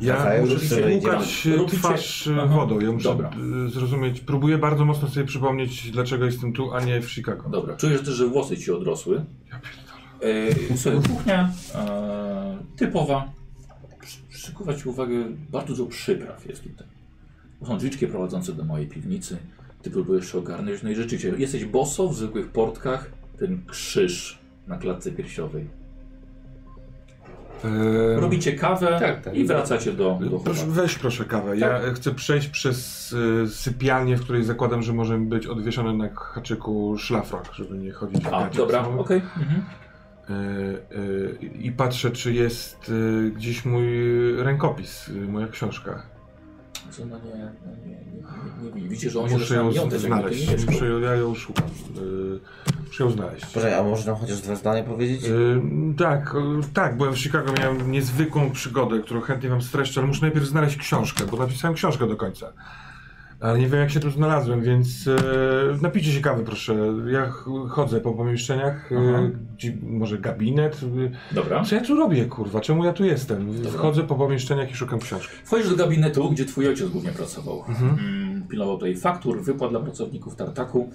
Speaker 4: Ja
Speaker 3: Rafael,
Speaker 4: muszę
Speaker 3: już sobie
Speaker 4: spłukać
Speaker 2: idziemy.
Speaker 4: e,
Speaker 2: Robicie-
Speaker 4: twarz e,
Speaker 2: Aha.
Speaker 4: wodą, ja muszę
Speaker 2: Dobra.
Speaker 4: e, zrozumieć, próbuję bardzo mocno sobie przypomnieć, dlaczego jestem tu, a nie w
Speaker 3: no.
Speaker 4: Chicago.
Speaker 2: Dobra, czujesz też, że włosy ci odrosły.
Speaker 4: Ja pierdolę.
Speaker 2: Yy, Słuchaj, kuchnia e, typowa. Przy- Przykuwać uwagę, bardzo dużo przypraw jest tutaj. To Są drzwiczki prowadzące do mojej piwnicy. Ty próbujesz się ogarnąć, no i rzeczywiście, jesteś boso w zwykłych portkach. Ten krzyż na klatce piersiowej.
Speaker 3: No.
Speaker 4: Ehm,
Speaker 2: Robicie kawę
Speaker 6: Tak, tak.
Speaker 2: i wracacie do, do
Speaker 4: Proszę,
Speaker 2: chłopaków.
Speaker 4: weź proszę kawę. Ja
Speaker 2: Tak.
Speaker 4: chcę przejść przez y, sypialnię, w której zakładam, że może być odwieszony na haczyku szlafrok, żeby nie chodzić w
Speaker 2: A,
Speaker 4: gaciach
Speaker 2: dobra,
Speaker 4: samych.
Speaker 2: okej. Mhm.
Speaker 4: Y, y, I patrzę, czy jest y, gdzieś mój rękopis, y, moja książka.
Speaker 2: Co, No nie, no nie, nie, nie, nie, widzisz, że on się
Speaker 4: Muszę
Speaker 2: zaczyna
Speaker 4: ją
Speaker 2: miotać, jakby to nie
Speaker 4: znaleźć.
Speaker 2: mieszkał.
Speaker 4: Muszę, ją- ja ją szukam. Y, Muszę ją znaleźć.
Speaker 3: Proszę, a może nam chociaż dwa zdania
Speaker 4: Y,
Speaker 3: powiedzieć?
Speaker 4: Ym, tak, y, tak, byłem w Chicago, miałem niezwykłą przygodę, którą chętnie wam streszczę, ale muszę najpierw znaleźć książkę, bo napisałem książkę do końca. Ale nie wiem, jak się tu znalazłem, więc e, napijcie się kawy, proszę. Ja ch- chodzę po pomieszczeniach, e,
Speaker 2: Aha.
Speaker 4: gdzie, może gabinet.
Speaker 2: Dobra.
Speaker 4: e, Co ja tu robię, kurwa? Czemu ja tu jestem? Chodzę po pomieszczeniach i szukam książki.
Speaker 2: Wchodzisz do gabinetu, gdzie twój ojciec głównie pracował.
Speaker 4: Mhm.
Speaker 2: Mm, Pilnował tutaj faktur, wypłat dla pracowników tartaku.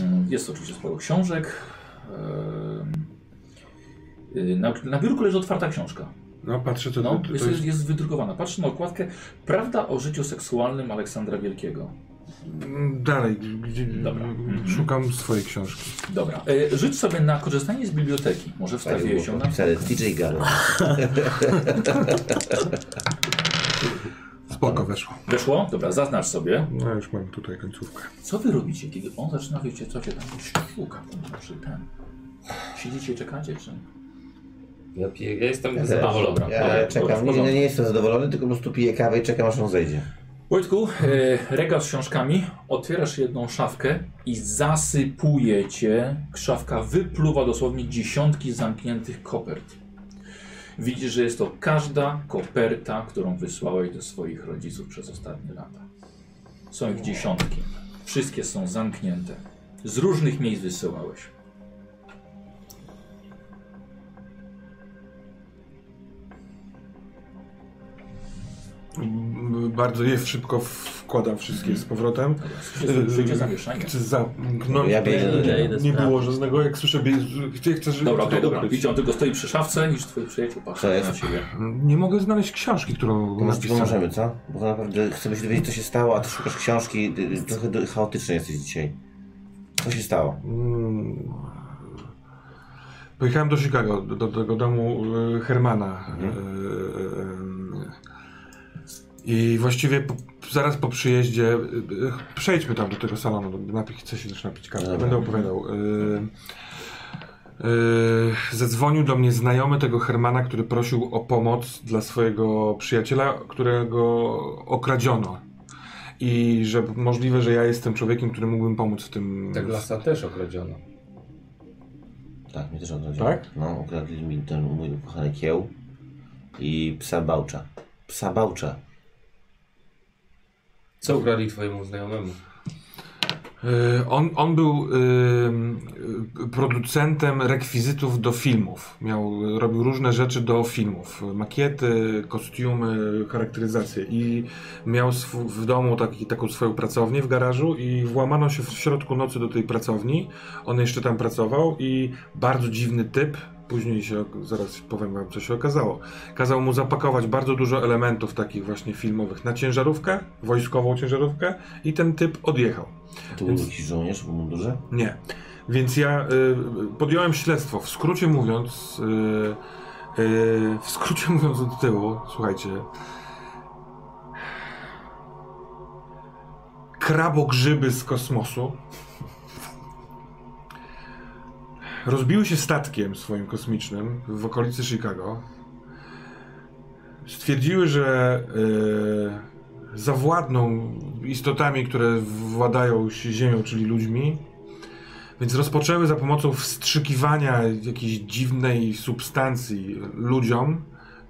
Speaker 2: Mm, Jest oczywiście sporo książek. Ehm, y, Na, na biurku leży otwarta książka.
Speaker 4: No, patrzę, to,
Speaker 2: No,
Speaker 4: to,
Speaker 2: jest,
Speaker 4: to jest...
Speaker 2: jest, jest wydrukowana. Patrzę na okładkę. Prawda o życiu seksualnym Aleksandra Wielkiego.
Speaker 4: mm, Dalej, gdzie...
Speaker 2: Dobra.
Speaker 4: mm, Szukam swojej książki.
Speaker 2: Dobra. E, Rzuć sobie na korzystanie z biblioteki. Może wstawiłeś ją na...
Speaker 3: Napisane TJ Garo.
Speaker 4: Spoko, weszło.
Speaker 2: Weszło? Dobra, zaznacz sobie.
Speaker 4: No, już mam tutaj końcówkę.
Speaker 2: Co wy robicie, kiedy on zaczyna, wiecie, co się tam szuka, kurwa, przy ten. Siedzicie i czekacie, czy...
Speaker 6: Ja, piję, ja jestem zadowolony.
Speaker 3: Ja, ja
Speaker 2: dobra, w
Speaker 3: czekam, nie,
Speaker 2: porządku.
Speaker 3: nie jestem zadowolony, tylko po prostu piję kawę i czekam aż on zejdzie.
Speaker 2: Wojtku, e, regał z książkami, otwierasz jedną szafkę i zasypuje cię. Szafka wypluwa dosłownie dziesiątki zamkniętych kopert. Widzisz, że jest to każda koperta, którą wysłałeś do swoich rodziców przez ostatnie lata. Są ich dziesiątki. Wszystkie są zamknięte. Z różnych miejsc wysyłałeś.
Speaker 4: M, Bardzo je szybko wkładam wszystkie z powrotem.
Speaker 2: Wszystkie- Życie zamieszanie.
Speaker 4: Chcę zamknąć.
Speaker 3: Ja biegnę do
Speaker 5: idę,
Speaker 3: niego.
Speaker 5: idę
Speaker 4: Nie
Speaker 5: sprawdzić.
Speaker 4: było żadnego, jak słyszę, bie... chcę, chcę, żeby
Speaker 2: Dobra,
Speaker 4: to
Speaker 2: okej, dobra.
Speaker 4: odkryć.
Speaker 2: Widzicie, on tylko stoi przy szafce, niż twój przyjaciel
Speaker 3: Co
Speaker 2: patrzy
Speaker 3: jest?
Speaker 2: na ciebie.
Speaker 4: Nie mogę znaleźć książki, którą
Speaker 3: To może ci
Speaker 4: napisałem.
Speaker 3: pomożemy, co? Bo naprawdę chcemy się dowiedzieć, co się stało, a ty szukasz książki. y, y, Trochę do- chaotyczny jesteś dzisiaj. Co się stało?
Speaker 4: Mm. Pojechałem do Chicago, do, do tego domu y, Hermana. Y, y, y, I właściwie po, zaraz po przyjeździe, y, y, przejdźmy tam do tego salonu, do- napi- chcę się też napić kawy,
Speaker 3: Dobra.
Speaker 4: będę opowiadał. Y, y, zadzwonił do mnie znajomy tego Hermana, który prosił o pomoc dla swojego przyjaciela, którego okradziono. I że możliwe, że ja jestem człowiekiem, który mógłbym pomóc w tym.
Speaker 6: Tak lasa też okradziono.
Speaker 3: Tak, mnie też odrodził.
Speaker 4: Tak?
Speaker 3: No, ukradli mi ten mój ukochany kieł i psa bałcza. Psa bałcza.
Speaker 6: Co ukradli twojemu znajomemu?
Speaker 4: Y, On, on był y, y, producentem rekwizytów do filmów. Miał, robił różne rzeczy do filmów. Makiety, kostiumy, charakteryzacje. I miał sw- w domu taki, taką swoją pracownię w garażu i włamano się w środku nocy do tej pracowni. On jeszcze tam pracował i bardzo dziwny typ, później się, ok- zaraz powiem wam co się okazało, kazał mu zapakować bardzo dużo elementów takich właśnie filmowych na ciężarówkę, wojskową ciężarówkę i ten typ odjechał.
Speaker 3: To był jakiś żołnierz w mundurze?
Speaker 4: Nie. Więc ja y, podjąłem śledztwo. W skrócie mówiąc, y, y, w skrócie mówiąc od tyłu, słuchajcie. Krabogrzyby z kosmosu rozbiły się statkiem swoim kosmicznym w okolicy Chicago. Stwierdziły, że y, zawładną istotami, które władają się Ziemią, czyli ludźmi. Więc rozpoczęły za pomocą wstrzykiwania jakiejś dziwnej substancji ludziom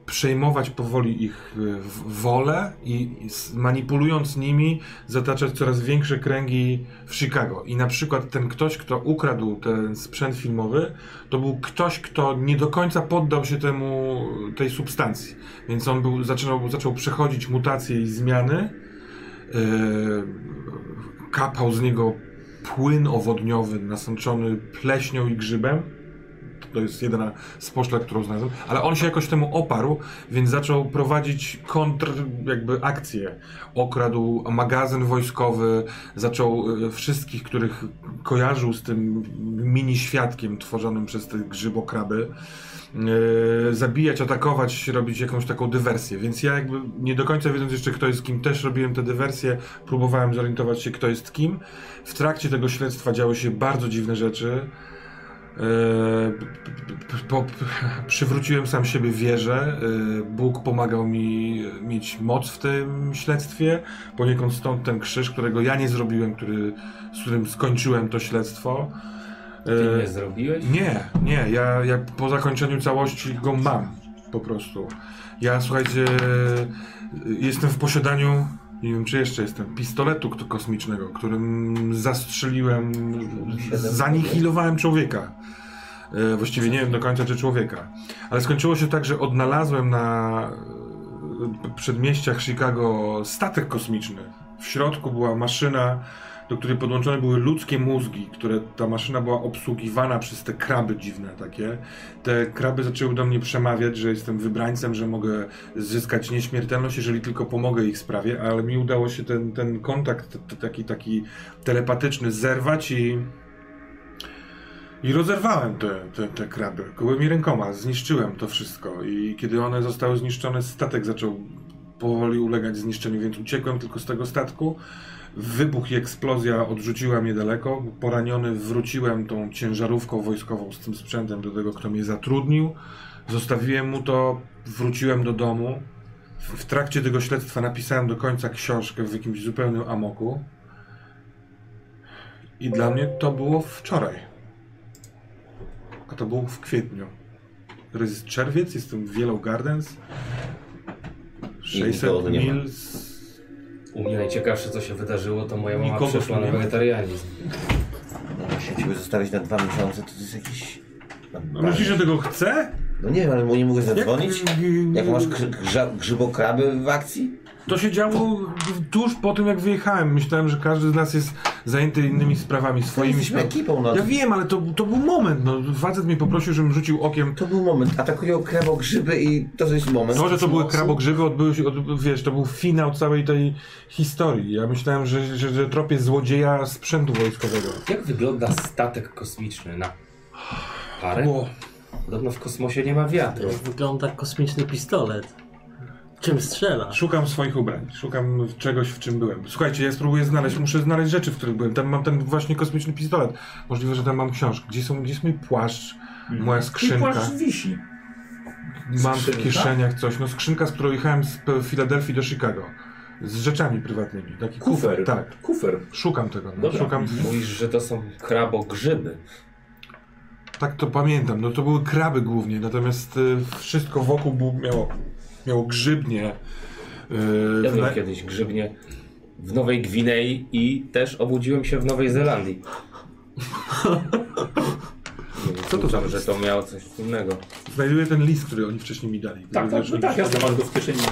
Speaker 4: przejmować powoli ich y, w- wolę i i s- manipulując nimi zataczać coraz większe kręgi w Chicago. I na przykład ten ktoś, kto ukradł ten sprzęt filmowy, to był ktoś, kto nie do końca poddał się temu tej substancji. Więc on był, zaczynał, zaczął przechodzić mutacje i zmiany. Yy, kapał z niego płyn owodniowy nasączony pleśnią i grzybem. to jest jedyna z poszlak, którą znalazłem, ale on się jakoś temu oparł, więc zaczął prowadzić kontr, jakby akcje. Okradł magazyn wojskowy, zaczął e, wszystkich, których kojarzył z tym mini świadkiem tworzonym przez te grzybokraby, e, zabijać, atakować, robić jakąś taką dywersję. Więc ja jakby nie do końca wiedząc jeszcze kto jest kim, też robiłem te dywersje, próbowałem zorientować się kto jest kim. W trakcie tego śledztwa działy się bardzo dziwne rzeczy. E, p- p- po, p- przywróciłem sam siebie wierze. E, Bóg pomagał mi mieć moc w tym śledztwie. Poniekąd stąd ten krzyż, którego ja nie zrobiłem, który, z którym skończyłem to śledztwo.
Speaker 6: Ty
Speaker 4: E,
Speaker 6: nie zrobiłeś?
Speaker 4: nie, nie, ja, ja po zakończeniu całości go mam po prostu. Ja słuchajcie, jestem w posiadaniu, nie wiem czy jeszcze jestem, pistoletu k- kosmicznego, którym zastrzeliłem, zanihilowałem człowieka. E, Właściwie nie wiem do końca czy człowieka. Ale skończyło się tak, że odnalazłem na e, przedmieściach Chicago statek kosmiczny. W środku była maszyna do której podłączone były ludzkie mózgi, które ta maszyna była obsługiwana przez te kraby dziwne takie. Te kraby zaczęły do mnie przemawiać, że jestem wybrańcem, że mogę zyskać nieśmiertelność, jeżeli tylko pomogę ich sprawie, ale mi udało się ten, ten kontakt t- t- taki, taki telepatyczny zerwać i... I rozerwałem te, te, te kraby gołymi rękoma, zniszczyłem to wszystko i kiedy one zostały zniszczone, statek zaczął powoli ulegać zniszczeniu, więc uciekłem tylko z tego statku. Wybuch i eksplozja odrzuciła mnie daleko. Poraniony wróciłem tą ciężarówką wojskową z tym sprzętem do tego, kto mnie zatrudnił. Zostawiłem mu to, wróciłem do domu. W w trakcie tego śledztwa napisałem do końca książkę w jakimś zupełnym amoku. I dla mnie to było wczoraj. A to było w kwietniu. To jest czerwiec, jestem w Yellow Gardens.
Speaker 3: nikogo
Speaker 4: 600
Speaker 3: tu nie ma.
Speaker 4: mil z
Speaker 6: U mnie najciekawsze co się wydarzyło, to moja mama
Speaker 4: Nikogo
Speaker 6: przeszła
Speaker 4: tu
Speaker 6: na
Speaker 4: nie ma.
Speaker 6: wegetarianizm.
Speaker 3: No właśnie, ciebie zostawić na dwa miesiące, to jest jakiś...
Speaker 4: A No, myślisz, że tego chce?
Speaker 3: No nie wiem, ale mu nie mogę zadzwonić?
Speaker 4: Jak, y,
Speaker 3: Jak masz grzy- grza- grzybokraby w akcji?
Speaker 4: To się działo tuż po tym, jak wyjechałem. Myślałem, że każdy z nas jest zajęty innymi sprawami swoimi.
Speaker 3: Jesteśmy
Speaker 4: sprawami.
Speaker 3: ekipą, no.
Speaker 4: Ja wiem, ale to, to był moment. No, facet mnie poprosił, żebym rzucił okiem.
Speaker 3: To był moment. Atakują krabogrzyby i to jest moment.
Speaker 4: To, że to były krabogrzywy, odbyły się, od, wiesz, to był finał całej tej historii. Ja myślałem, że, że, że tropię złodzieja sprzętu wojskowego.
Speaker 6: Jak wygląda statek kosmiczny na parę?
Speaker 4: Było.
Speaker 6: Podobno w kosmosie nie ma wiatru.
Speaker 5: Jak wygląda kosmiczny pistolet. Czym strzela?
Speaker 4: Szukam swoich ubrań, szukam czegoś, w czym byłem. Słuchajcie, ja spróbuję znaleźć, muszę znaleźć rzeczy, w których byłem. Tam mam ten właśnie kosmiczny pistolet. Możliwe, że tam mam książkę. Gdzie, są, gdzie jest mój płaszcz, moja
Speaker 2: I
Speaker 4: skrzynka?
Speaker 2: płaszcz wisi.
Speaker 4: Mam w
Speaker 2: Skrzynka?
Speaker 4: kieszeniach coś. No skrzynka, z którą jechałem z P- Filadelfii do Chicago. Z rzeczami prywatnymi. Taki
Speaker 2: Kufer.
Speaker 4: Tak.
Speaker 2: Kufer.
Speaker 4: Szukam tego. No.
Speaker 2: Dobra.
Speaker 4: Szukam.
Speaker 6: Mówisz, że to są krabogrzyby.
Speaker 4: Tak to pamiętam. No to były kraby głównie, natomiast y, wszystko wokół było, miało, miało grzybnie. Y,
Speaker 6: Ja byłem
Speaker 4: na-
Speaker 6: kiedyś grzybnie w Nowej Gwinei i też obudziłem się w Nowej Zelandii. Co to tam, że to miało coś wspólnego?
Speaker 4: znajduję ten list, który oni wcześniej mi dali.
Speaker 2: Tak, tak, no
Speaker 4: Który-
Speaker 2: tak, jasne, masz go w kieszeni. Na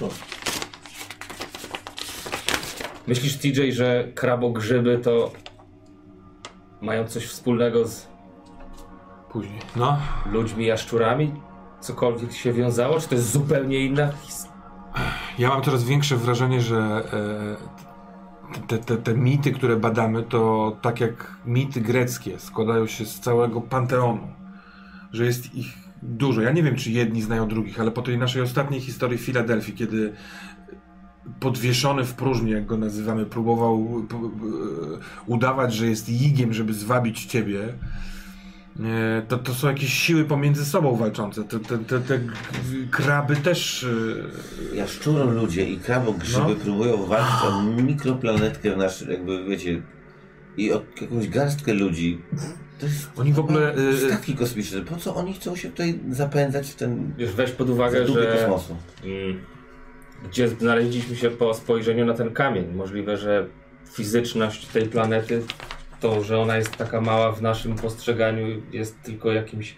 Speaker 2: to.
Speaker 6: Myślisz, TJ, że krabogrzyby to mają coś wspólnego z
Speaker 4: Później. No.
Speaker 6: ludźmi, jaszczurami? Cokolwiek się wiązało? Czy to jest zupełnie inna his-
Speaker 4: Ja mam coraz większe wrażenie, że e, te, te, te mity, które badamy, to tak jak mity greckie, składają się z całego panteonu, że jest ich dużo. Ja nie wiem, czy jedni znają drugich, ale po tej naszej ostatniej historii w Filadelfii, kiedy podwieszony w próżni, jak go nazywamy, próbował p- p- udawać, że jest jigiem, żeby zwabić ciebie, nie, to, to są jakieś siły pomiędzy sobą walczące. Te, te, te, te g- kraby też. e,
Speaker 3: Jaszczurą ludzie i krabogrzyby
Speaker 4: No.
Speaker 3: próbują walczyć o mikroplanetkę w nasz, jakby wiecie, i o jakąś garstkę ludzi. To jest
Speaker 4: Oni w ogóle.
Speaker 3: to jest
Speaker 4: y,
Speaker 3: taki kosmiczny. Po co oni chcą się tutaj zapędzać w ten
Speaker 6: Wiesz, weź pod
Speaker 3: za
Speaker 6: uwagę,
Speaker 3: dupy
Speaker 6: że...
Speaker 3: kosmosu?
Speaker 6: Mm, gdzie znaleźliśmy się po spojrzeniu na ten kamień. Możliwe, że fizyczność tej planety, to, że ona jest taka mała w naszym postrzeganiu, jest tylko jakimś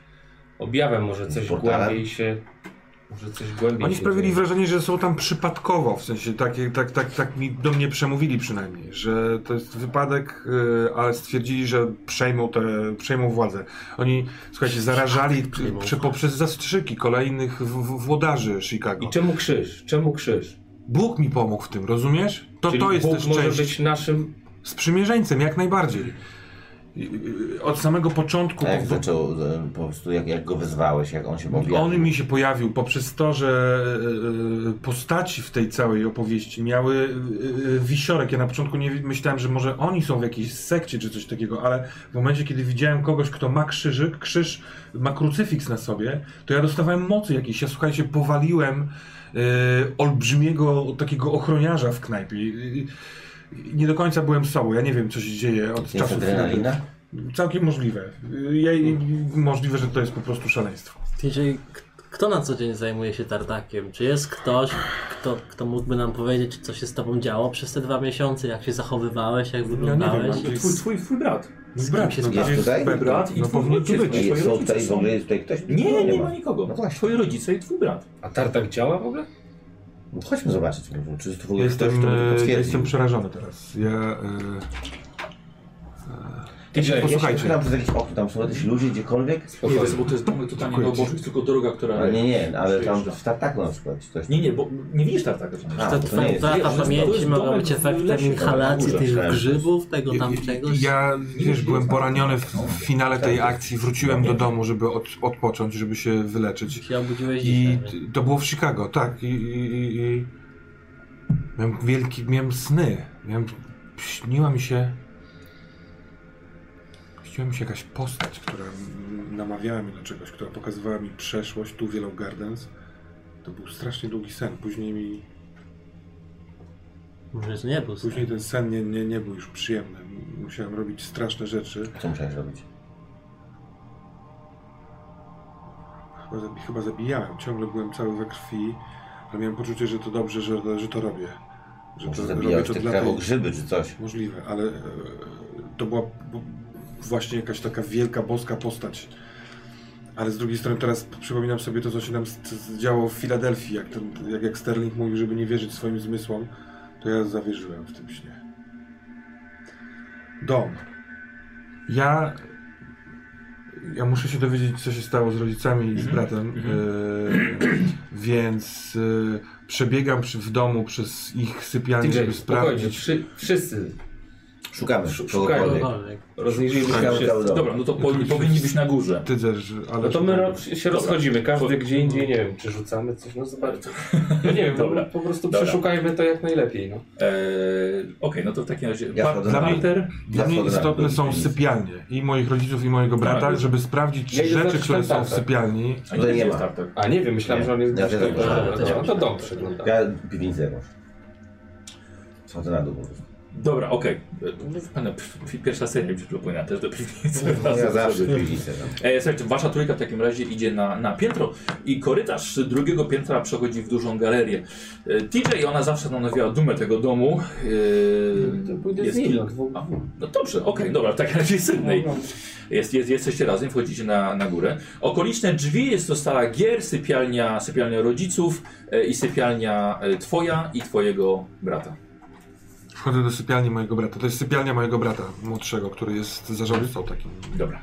Speaker 6: objawem. Może coś
Speaker 3: Portalem?
Speaker 6: głębiej się Może coś głębiej.
Speaker 4: Oni
Speaker 6: się
Speaker 4: sprawili
Speaker 6: dzieje.
Speaker 4: wrażenie, że są tam przypadkowo, w sensie takie, tak, tak, tak mi, do mnie przemówili przynajmniej, że to jest wypadek, y, ale stwierdzili, że przejmą, te, przejmą władzę. Oni, słuchajcie, zarażali p- przy, poprzez zastrzyki kolejnych w, w, włodarzy Chicago.
Speaker 6: I czemu krzyż? Czemu krzyż?
Speaker 4: Bóg mi pomógł w tym, rozumiesz? To
Speaker 6: Czyli
Speaker 4: No to jest
Speaker 6: Bóg
Speaker 4: też
Speaker 6: może
Speaker 4: część
Speaker 6: być naszym...
Speaker 4: sprzymierzeńcem, jak najbardziej. I- i- Od samego początku
Speaker 3: A jak
Speaker 4: po,
Speaker 3: zaczął, e, po prostu jak, jak go wezwałeś, jak on się objawił.
Speaker 4: On mi się pojawił poprzez to, że e, e, postaci w tej całej opowieści miały e, e, wisiorek. Ja na początku nie wi- myślałem, że może oni są w jakiejś sekcie czy coś takiego, ale w momencie, kiedy widziałem kogoś, kto ma krzyżyk, krzyż, ma krucyfiks na sobie, to ja dostawałem mocy jakiejś. Ja słuchajcie, powaliłem e, olbrzymiego takiego ochroniarza w knajpie. I- i- Nie do końca byłem sobą. Ja nie wiem, co się dzieje od
Speaker 3: Jest
Speaker 4: czasu.
Speaker 3: adrenalina?
Speaker 4: Całkiem możliwe. Y, Ja, i- możliwe, że to jest po prostu szaleństwo.
Speaker 5: Jeżeli k- kto na co dzień zajmuje się tartakiem? Czy jest ktoś, kto, kto mógłby nam powiedzieć, co się z tobą działo przez te dwa miesiące? Jak się zachowywałeś, jak wyglądałeś?
Speaker 4: mam-
Speaker 2: Twój, twój, twój brat.
Speaker 5: Z
Speaker 4: Brat,
Speaker 5: kim się
Speaker 4: no
Speaker 5: spotkasz?
Speaker 4: tak.
Speaker 3: tutaj?
Speaker 4: Pewnie.
Speaker 2: Brat i
Speaker 4: no,
Speaker 2: twój
Speaker 4: powinien tu
Speaker 2: ojciec.
Speaker 4: być.
Speaker 3: Jest, są
Speaker 2: rodzice
Speaker 3: tutaj w
Speaker 2: są-
Speaker 3: ogóle jest tutaj ktoś?
Speaker 2: Nie, nie, nie
Speaker 3: ma.
Speaker 2: ma nikogo.
Speaker 3: No właśnie.
Speaker 2: Twoi rodzice i twój brat.
Speaker 6: A tartak działa w ogóle?
Speaker 3: No to chodźmy zobaczyć, czy jest tu w ogóle ktoś,
Speaker 4: Jestem,
Speaker 3: kto by to
Speaker 4: e,
Speaker 3: potwierdził.
Speaker 4: jestem przerażony teraz. Ja, e,
Speaker 3: Gdzie,
Speaker 4: posłuchajcie.
Speaker 3: Ja się tam przez jakieś okno, tam są jacyś ludzie gdziekolwiek?
Speaker 2: Nie, bo to jest domy totalnie
Speaker 4: Dziękuję
Speaker 2: na
Speaker 4: ci.
Speaker 2: oboczu, jest tylko droga, która...
Speaker 3: Ale nie, nie, ale tam
Speaker 2: Przyjeżdża.
Speaker 3: w Tartaku na przykład. czy Coś.
Speaker 2: Nie, nie, bo nie widzisz tak? tartaka.
Speaker 3: A,
Speaker 5: Ta
Speaker 3: to nie
Speaker 5: twoja
Speaker 3: jest.
Speaker 5: utrata
Speaker 2: Wiesz, to
Speaker 5: pamięci
Speaker 2: jest
Speaker 5: mogła
Speaker 2: domek
Speaker 5: być
Speaker 2: w
Speaker 5: efektem
Speaker 2: lesie,
Speaker 5: inhalacji
Speaker 3: na górze.
Speaker 5: tych grzybów, tego tam
Speaker 4: ja-
Speaker 5: czegoś.
Speaker 4: ja wiesz, byłem poraniony w, w finale tej akcji. Wróciłem do domu, żeby od, odpocząć, żeby się wyleczyć.
Speaker 5: się obudziłeś
Speaker 4: I
Speaker 5: dzisiaj.
Speaker 4: t- to było w Chicago, tak. I, i, i, i miałem wielki, miałem sny. Miałem, śniła mi się. Śniła mi się jakaś postać, która mm, namawiała mnie do czegoś, która pokazywała mi przeszłość, tu Willow Gardens. To był strasznie długi sen. Później mi
Speaker 5: Może to nie był sen.
Speaker 4: Później ten sen nie, nie, nie był już przyjemny. Musiałem robić straszne rzeczy.
Speaker 3: Co musiałeś robić?
Speaker 4: Chyba, zabi- chyba zabijałem. Ciągle byłem cały we krwi, ale miałem poczucie, że to dobrze, że, że to robię. Że
Speaker 3: Może
Speaker 4: No to robię
Speaker 3: zabijałeś
Speaker 4: to
Speaker 3: tych
Speaker 4: dla tej...
Speaker 3: krawo grzyby czy coś?
Speaker 4: Możliwe, ale e, to była b- właśnie jakaś taka wielka, boska postać. Ale z drugiej strony teraz przypominam sobie to, co się nam s- s- działo w Filadelfii, jak, ten, jak, jak Sterling mówił, żeby nie wierzyć swoim zmysłom, to ja zawierzyłem w tym śnie. Dom. Ja... Ja muszę się dowiedzieć, co się stało z rodzicami i z bratem, e, więc e, przebiegam przy, w domu przez ich sypialnię,
Speaker 6: TJ,
Speaker 4: żeby
Speaker 6: spokojnie,
Speaker 4: sprawdzić,
Speaker 6: wszy, wszyscy
Speaker 3: Szukamy
Speaker 6: Szu-
Speaker 3: kogokolwiek.
Speaker 6: no,
Speaker 5: Cokolwiek.
Speaker 6: rozniżyliśmy
Speaker 3: Szukamy
Speaker 6: się.
Speaker 3: całego domu.
Speaker 2: Dobra, no to powinni, powinni być na górze.
Speaker 4: Ty też, ale...
Speaker 6: No to my ro- się rozchodzimy, każdy
Speaker 2: Dobra.
Speaker 6: gdzie indziej, nie wiem, czy rzucamy coś, no zobaczmy. No nie wiem,
Speaker 2: Dobra.
Speaker 6: no, po prostu
Speaker 2: Dobra.
Speaker 6: przeszukajmy to jak najlepiej, no.
Speaker 2: Eee, Okej, no to w takim razie
Speaker 3: Ja
Speaker 2: pa-
Speaker 3: wchodzę
Speaker 4: na
Speaker 2: parter,
Speaker 4: Dla mnie
Speaker 3: Ja wchodzę na
Speaker 4: istotne
Speaker 3: dół.
Speaker 4: są sypialnie i moich rodziców, i mojego brata,
Speaker 2: Tak.
Speaker 4: żeby sprawdzić, czy
Speaker 6: Ja idę
Speaker 4: rzeczy,
Speaker 6: zobaczyć
Speaker 4: które
Speaker 6: ten
Speaker 4: są w
Speaker 6: tartak.
Speaker 4: sypialni...
Speaker 2: a
Speaker 3: Tutaj
Speaker 2: nie
Speaker 3: nie
Speaker 2: jest
Speaker 3: ma.
Speaker 2: tartak.
Speaker 6: A nie wiem, myślałem,
Speaker 3: Nie.
Speaker 6: że on jest
Speaker 3: Ja
Speaker 6: gdzieś
Speaker 3: też
Speaker 6: tam.
Speaker 3: tak
Speaker 6: Dobra,
Speaker 5: myślałem.
Speaker 6: dobra, to dom przegląda.
Speaker 3: Ja piwnicę może. Schodzę na dół po prostu.
Speaker 2: Dobra, okej. E, no, p- Pierwsza seria mi się przypomina też do piwnicy.
Speaker 3: No, Ja zawsze piwnicę. no.
Speaker 2: E, słuchajcie, wasza trójka w takim razie idzie na, na piętro i korytarz drugiego piętra przechodzi w dużą galerię. E, TJ, ona zawsze stanowiła dumę tego domu. E,
Speaker 6: To pójdę z
Speaker 2: jest
Speaker 6: nim.
Speaker 2: kilk- A, No dobrze, okej, dobra, w takim razie Sydney.
Speaker 6: No,
Speaker 2: Jest, jest, jesteście razem, wchodzicie na, na górę. Okoliczne drzwi jest to sala gier, sypialnia, sypialnia rodziców e, i sypialnia e, twoja i twojego brata.
Speaker 4: Wchodzę do sypialni mojego brata. To jest sypialnia mojego brata młodszego, który jest zarządcą takim.
Speaker 2: Dobra,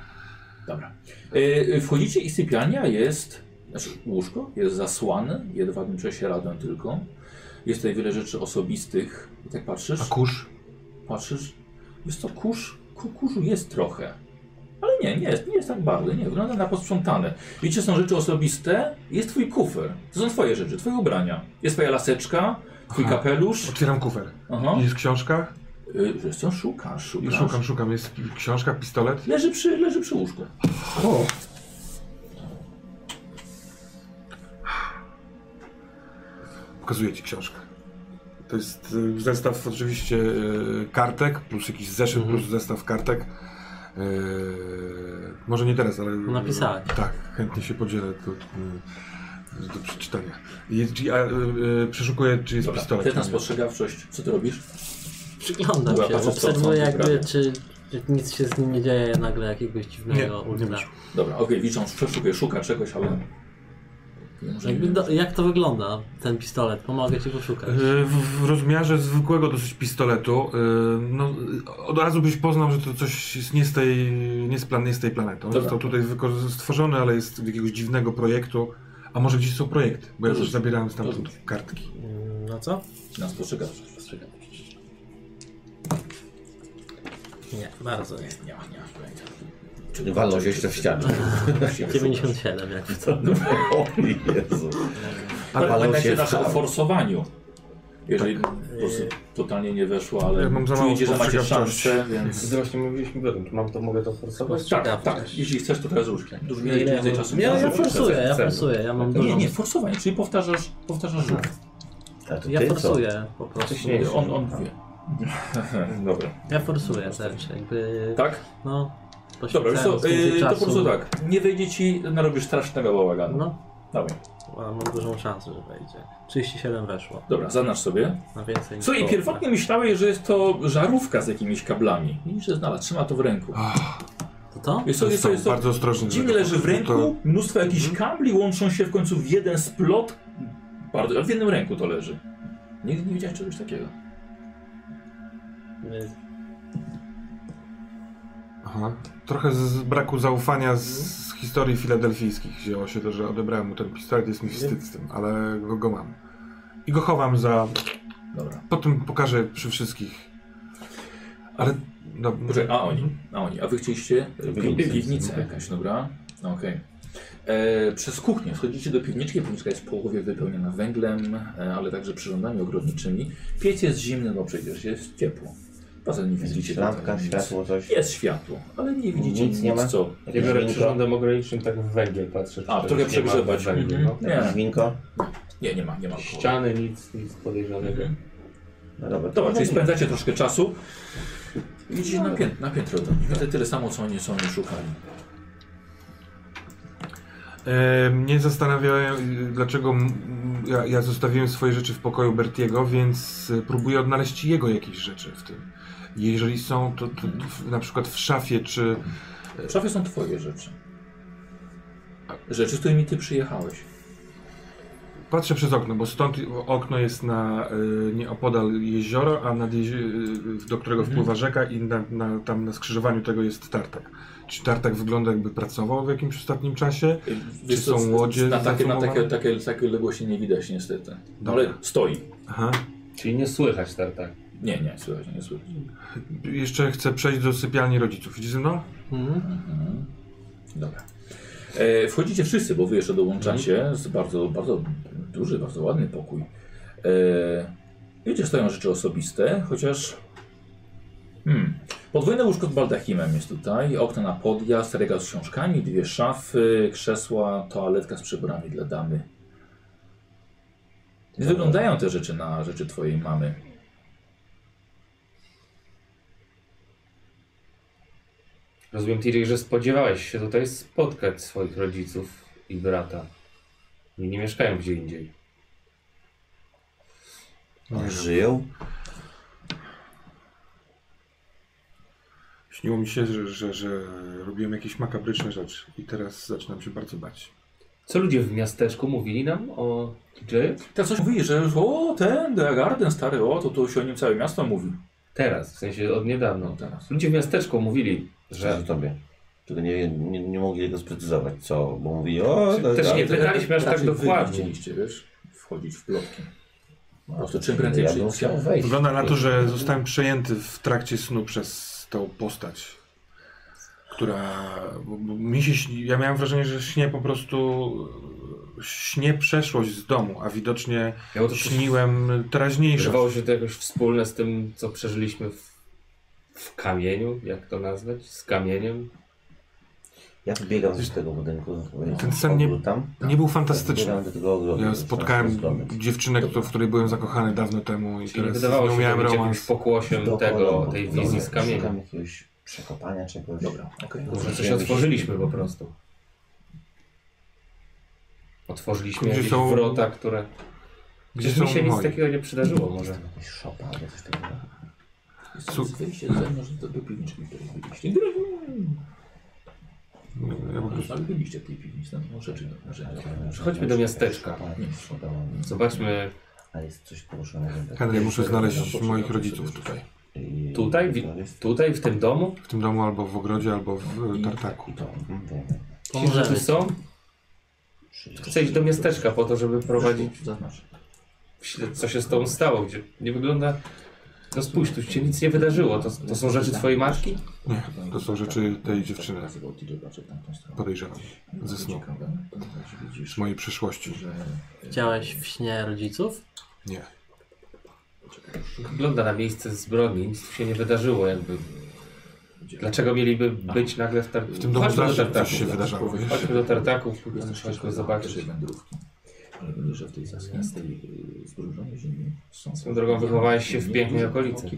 Speaker 2: dobra. E, E, wchodzicie i sypialnia jest, znaczy łóżko jest zasłane, jedwabnym prześladem tylko. Jest tutaj wiele rzeczy osobistych. I tak patrzysz,
Speaker 4: A kurz?
Speaker 2: patrzysz, jest to kurz, ku, kurzu jest trochę. Ale nie, nie jest, nie jest tak bardzo, nie, wygląda na posprzątane. Wiecie, są rzeczy osobiste, jest twój kufer, to są twoje rzeczy, twoje ubrania. Jest twoja laseczka, twój
Speaker 4: Aha.
Speaker 2: kapelusz.
Speaker 4: Otwieram kufer. No.
Speaker 2: Aha.
Speaker 6: No.
Speaker 4: Jest książka?
Speaker 2: Y, wiesz co, szukasz,
Speaker 4: I
Speaker 2: szukasz.
Speaker 4: szukam, szukam. Jest książka, pistolet?
Speaker 2: Leży przy, leży przy łóżku.
Speaker 4: O! Pokazuję ci książkę. To jest y, zestaw oczywiście y, kartek, plus jakiś zeszyt,
Speaker 2: Mhm.
Speaker 4: plus zestaw kartek. Y, Może nie teraz, ale...
Speaker 2: No,
Speaker 5: Napisałeś.
Speaker 4: Tak, chętnie się podzielę to, y, do przeczytania. Jest, a, y, y, przeszukuję, czy jest
Speaker 2: Dobra,
Speaker 4: pistolet.
Speaker 2: to jest na spostrzegawczość. Co ty robisz?
Speaker 5: Przyglądam
Speaker 2: Dobra,
Speaker 5: się,
Speaker 2: patrzę, co- co
Speaker 5: obserwuję
Speaker 2: on tu
Speaker 5: jakby,
Speaker 2: sprawia.
Speaker 5: czy, czy nic się z nim nie dzieje nagle jakiegoś
Speaker 4: Nie,
Speaker 5: dziwnego
Speaker 4: nie
Speaker 5: ultra.
Speaker 4: masz.
Speaker 2: Dobra, okej, licząc, przeszukuje, szuka czegoś, ale Może
Speaker 5: Jakby
Speaker 2: nie.
Speaker 5: do, jak to wygląda, ten pistolet? Pomogę ci poszukać.
Speaker 2: Mhm.
Speaker 4: E, W, w rozmiarze zwykłego dosyć pistoletu, e, no, e, od razu byś poznał, że to coś jest nie z tej, nie z plan, nie z tej planety. On
Speaker 2: Dobra.
Speaker 4: został tutaj wykorzy- stworzony, ale jest z jakiegoś dziwnego projektu. A może gdzieś są projekty, bo ja
Speaker 2: To
Speaker 4: już
Speaker 2: rzuć.
Speaker 4: zabierałem
Speaker 2: To
Speaker 4: stamtąd
Speaker 2: rzuć.
Speaker 4: kartki.
Speaker 5: Mm, No co?
Speaker 2: Na spostrzegawczość. Tak,
Speaker 5: Nie, bardzo nie.
Speaker 2: Nie ma, nie ma pojęcia.
Speaker 3: Walną się jeszcze w ścianę.
Speaker 5: 97 jak w to.
Speaker 3: O Jezu.
Speaker 2: Ale
Speaker 3: walą
Speaker 2: pamiętajcie
Speaker 3: się w
Speaker 2: też o
Speaker 3: ścianę.
Speaker 2: forsowaniu. Jeżeli po prostu totalnie nie weszło, ale
Speaker 4: Tak. Y- Ja mam za mało
Speaker 2: czujecie, że macie
Speaker 4: spostrzegawczości.
Speaker 2: szansę, więc...
Speaker 6: Wtedy właśnie mówiliśmy, Gordon, czy mam to, mogę to forsować?
Speaker 2: Tak, tak. Jeśli chcesz, to teraz rzuć. Dużo
Speaker 5: Ile ja
Speaker 2: więcej
Speaker 5: mam?
Speaker 2: czasu.
Speaker 5: Ja,
Speaker 2: na
Speaker 5: ja
Speaker 2: rzucie.
Speaker 5: forsuję, ja
Speaker 6: chcę.
Speaker 5: forsuję, ja mam dużo.
Speaker 2: Nie, nie, forsowanie, czyli powtarzasz, powtarzasz rzut.
Speaker 3: A to
Speaker 5: Ja
Speaker 3: ty co?
Speaker 5: forsuję po prostu.
Speaker 6: Wcześniejszy.
Speaker 2: On, on wie. Dobra.
Speaker 5: Ja forsuję też, jakby...
Speaker 2: Tak?
Speaker 5: No,
Speaker 2: Dobra,
Speaker 5: poświęcałem
Speaker 2: wiesz co,
Speaker 5: więcej
Speaker 2: yy, to po
Speaker 5: czasu.
Speaker 2: prostu tak. Nie wyjdzie ci, narobisz strasznego bałaganu. No.
Speaker 5: No,
Speaker 2: Dobra,
Speaker 5: a mam dużą szansę, że wejdzie. 37 weszło.
Speaker 2: dobra, zaznacz sobie.
Speaker 5: Na więcej niż
Speaker 2: Co i
Speaker 5: połowę.
Speaker 2: pierwotnie myślałeś, że jest to żarówka z jakimiś kablami. Widzisz, że znalazł, trzyma to w ręku.
Speaker 5: To to?
Speaker 2: Jest to, jest to, jest to.
Speaker 4: Bardzo ostrożnie.
Speaker 2: Dziwnie
Speaker 4: żeby-
Speaker 2: leży w
Speaker 4: żeby
Speaker 2: ręku, mnóstwo jakichś kabli łączą się w końcu w jeden splot. Bardzo, w jednym ręku to leży. Nigdy nie widziałem czegoś takiego.
Speaker 5: Yy,
Speaker 4: Aha. Trochę z- z braku zaufania z, z historii filadelfijskich wzięło się to, że odebrałem mu ten pistolet, jest mi wstyd z tym, ale go, go mam. I go chowam za...
Speaker 2: Dobra.
Speaker 4: Potem pokażę przy wszystkich. Ale... No,
Speaker 2: Poczekaj, a oni, a oni, a wy chcieliście e,
Speaker 3: Piwnica.
Speaker 2: pi- piwnicę jakaś, dobra? No, Okej. E, Przez kuchnię wchodzicie do piwniczki, piwniczka jest w połowie wypełniona węglem, e, ale także przyrządami ogrodniczymi. Piec jest zimny, bo przecież jest ciepło. Poza tym nie widzicie
Speaker 3: Jakaś
Speaker 2: tutaj
Speaker 3: lampka,
Speaker 2: nic.
Speaker 3: światło, coś.
Speaker 2: Jest światło, ale nie widzicie nic,
Speaker 3: Nic nie ma?
Speaker 2: co.
Speaker 6: Ja
Speaker 3: Jakieś
Speaker 6: biorę
Speaker 3: winko?
Speaker 6: przyrządem ogranicznym tak w węgiel patrzę. czy
Speaker 2: A,
Speaker 6: czegoś
Speaker 2: trochę
Speaker 6: nie ma
Speaker 2: przegrzebać.
Speaker 6: w węglu, no.
Speaker 2: Nie,
Speaker 3: Jakieś winko?
Speaker 2: nie, nie ma, nie ma. alkoholu.
Speaker 6: Ściany, nic, nic podejrzanego.
Speaker 3: No dobra, to
Speaker 2: Dobra, czyli spędzacie troszkę czasu.
Speaker 3: No.
Speaker 2: Widzicie na, pię- na piętro do nich. Tyle, tyle samo, co oni, co oni szukali.
Speaker 4: E, mnie zastanawia, y, dlaczego m- m- ja, ja zostawiłem swoje rzeczy w pokoju Bertiego, więc y, próbuję odnaleźć jego jakieś rzeczy w tym. Jeżeli są, to, to, to w, na przykład w szafie, czy...
Speaker 2: W szafie są twoje rzeczy. Rzeczy, z którymi ty przyjechałeś. Y,
Speaker 4: Patrzę przez okno, bo stąd okno jest na y, nie opodal jezioro, a nad jezi- y, do
Speaker 2: Mhm.
Speaker 4: którego wpływa rzeka i na, na, tam na skrzyżowaniu tego jest tartak. Czy tartak wygląda jakby pracował w jakimś ostatnim czasie?
Speaker 2: Y,
Speaker 4: Czy
Speaker 2: wiesz co,
Speaker 4: są łodzie
Speaker 2: Na takie, na takie,
Speaker 4: zatrzymowane?
Speaker 2: takie, takie odległości nie widać niestety. No,
Speaker 4: Dobra.
Speaker 2: ale stoi.
Speaker 4: Aha.
Speaker 6: Czyli nie słychać tartak.
Speaker 2: Nie, nie, słychać, nie słychać.
Speaker 4: Jeszcze chcę przejść do sypialni rodziców. Idziesz ze mną?
Speaker 5: mhm.
Speaker 2: Dobra. E, wchodzicie wszyscy, bo wy jeszcze dołączacie. Jest bardzo, bardzo duży, bardzo ładny pokój. E, wiecie, stoją rzeczy osobiste, chociaż... Hmm. Podwójne łóżko z baldachimem jest tutaj, okno na podjazd, regał z książkami, dwie szafy, krzesła, toaletka z przeborami dla damy. Więc wyglądają te rzeczy na rzeczy twojej mamy.
Speaker 6: Rozumiem, Tiry, że spodziewałeś się tutaj spotkać swoich rodziców i brata. Oni nie mieszkają gdzie indziej.
Speaker 3: On żyją?
Speaker 4: Śniło mi się, że, że, że robiłem jakieś makabryczne rzeczy i teraz zaczynam się bardzo bać.
Speaker 6: Co ludzie w miasteczku mówili nam o DJ?
Speaker 2: Tak coś mówi, że o ten Garden stary, o to tu się o nim całe miasto mówi.
Speaker 6: Teraz, w sensie od niedawno.
Speaker 2: No teraz.
Speaker 6: Ludzie w miasteczku mówili,
Speaker 3: Że
Speaker 6: że...
Speaker 3: o tobie. Tylko nie, nie, nie mogli tego sprecyzować, co, bo mówili o...
Speaker 6: Też nie pytaliśmy aż tak
Speaker 2: Raczej Znaczy, wy
Speaker 6: dokładnie.
Speaker 2: Widzieliście, wiesz, wchodzić w plotki. Po prostu czym prędzej przyjdzie.
Speaker 3: wejść.
Speaker 4: Wygląda na to, że zostałem przejęty w trakcie snu przez tą postać, która... Bo, bo mi się śni, ja miałem wrażenie, że śnie po prostu... Śnie przeszłość z domu, a widocznie
Speaker 6: Miało to
Speaker 4: śniłem
Speaker 6: Wydawało
Speaker 4: teraźniejszość.
Speaker 6: się to jakoś wspólne z tym, co przeżyliśmy w, w kamieniu, jak to nazwać? Z kamieniem.
Speaker 3: Ja wybiegam z tego budynku.
Speaker 4: Ten sen nie-
Speaker 3: Tam.
Speaker 4: Nie był fantastyczny.
Speaker 6: tak,
Speaker 3: Wybiegam do tego ogrodu.
Speaker 4: Ja
Speaker 3: Tam są
Speaker 4: spotkałem
Speaker 3: schody.
Speaker 4: dziewczynę, któ- w której byłem zakochany dawno temu i
Speaker 6: Czyli
Speaker 4: teraz z
Speaker 6: wydawało
Speaker 4: nią
Speaker 6: się
Speaker 4: miałem
Speaker 6: to być jakimś
Speaker 4: romans.
Speaker 6: pokłosiem tego,
Speaker 3: Dookoła.
Speaker 6: tej
Speaker 3: Dobra,
Speaker 6: wizji z kamienia.
Speaker 3: Szukam jakiegoś przekopania czegoś.
Speaker 2: Dobra, okej.
Speaker 6: Może coś otworzyliśmy po prostu. Otworzyliśmy
Speaker 4: Gdzie
Speaker 6: jakieś
Speaker 4: są-
Speaker 6: wrota, które...
Speaker 4: Gdzie
Speaker 6: Gdzie mi się
Speaker 4: są
Speaker 6: nic
Speaker 4: moi?
Speaker 6: takiego nie przydarzyło może.
Speaker 3: Jakiś szopa albo coś takiego.
Speaker 2: Jest wyjście z zewnątrz do do piwniczki, której byliście.
Speaker 4: Ja po prostu...
Speaker 2: Ale byliście w tej piwnicy, tam są rzeczy do narzędzia.
Speaker 6: Chodźmy do miasteczka.
Speaker 2: Nie.
Speaker 6: Zobaczmy
Speaker 3: A jest coś poruszonego.
Speaker 4: Henry, muszę znaleźć moich rodziców tutaj.
Speaker 3: I-
Speaker 6: Tutaj? Wi-
Speaker 3: to jest-
Speaker 6: tutaj, w tym domu.
Speaker 4: W tym domu albo w ogrodzie, albo w e, tartaku.
Speaker 3: I to. mhm, Wiemy.
Speaker 6: Może tu
Speaker 5: Pomożemy.
Speaker 6: są? Chcę iść do miasteczka po to, żeby prowadzić
Speaker 2: Zaznacz.
Speaker 6: śled, co się z tobą stało, gdzie nie wygląda... No spójrz, tu się nic nie wydarzyło. To, to są rzeczy twojej matki?
Speaker 4: Nie, to są rzeczy tej dziewczyny.
Speaker 2: Tak,
Speaker 4: Podejrzewam. Ze snu. Z mojej przeszłości.
Speaker 5: Widziałeś w śnie rodziców?
Speaker 4: Nie.
Speaker 6: Wygląda na miejsce zbrodni, nic tu się nie wydarzyło jakby. Dlaczego mieliby być nagle w tartaku?
Speaker 4: W tym domu zawsze coś się wydarzało, wiesz?
Speaker 6: tak. Chodźmy do tartaku, chodźmy
Speaker 2: Chodźmy
Speaker 6: zobaczyć.
Speaker 2: zobaczyć wędrówki. Ale widzę, że w tej zaschniastej, y, zbrudzonej ziemi są...
Speaker 6: Swoją drogą wychowałeś się w pięknej okolicy.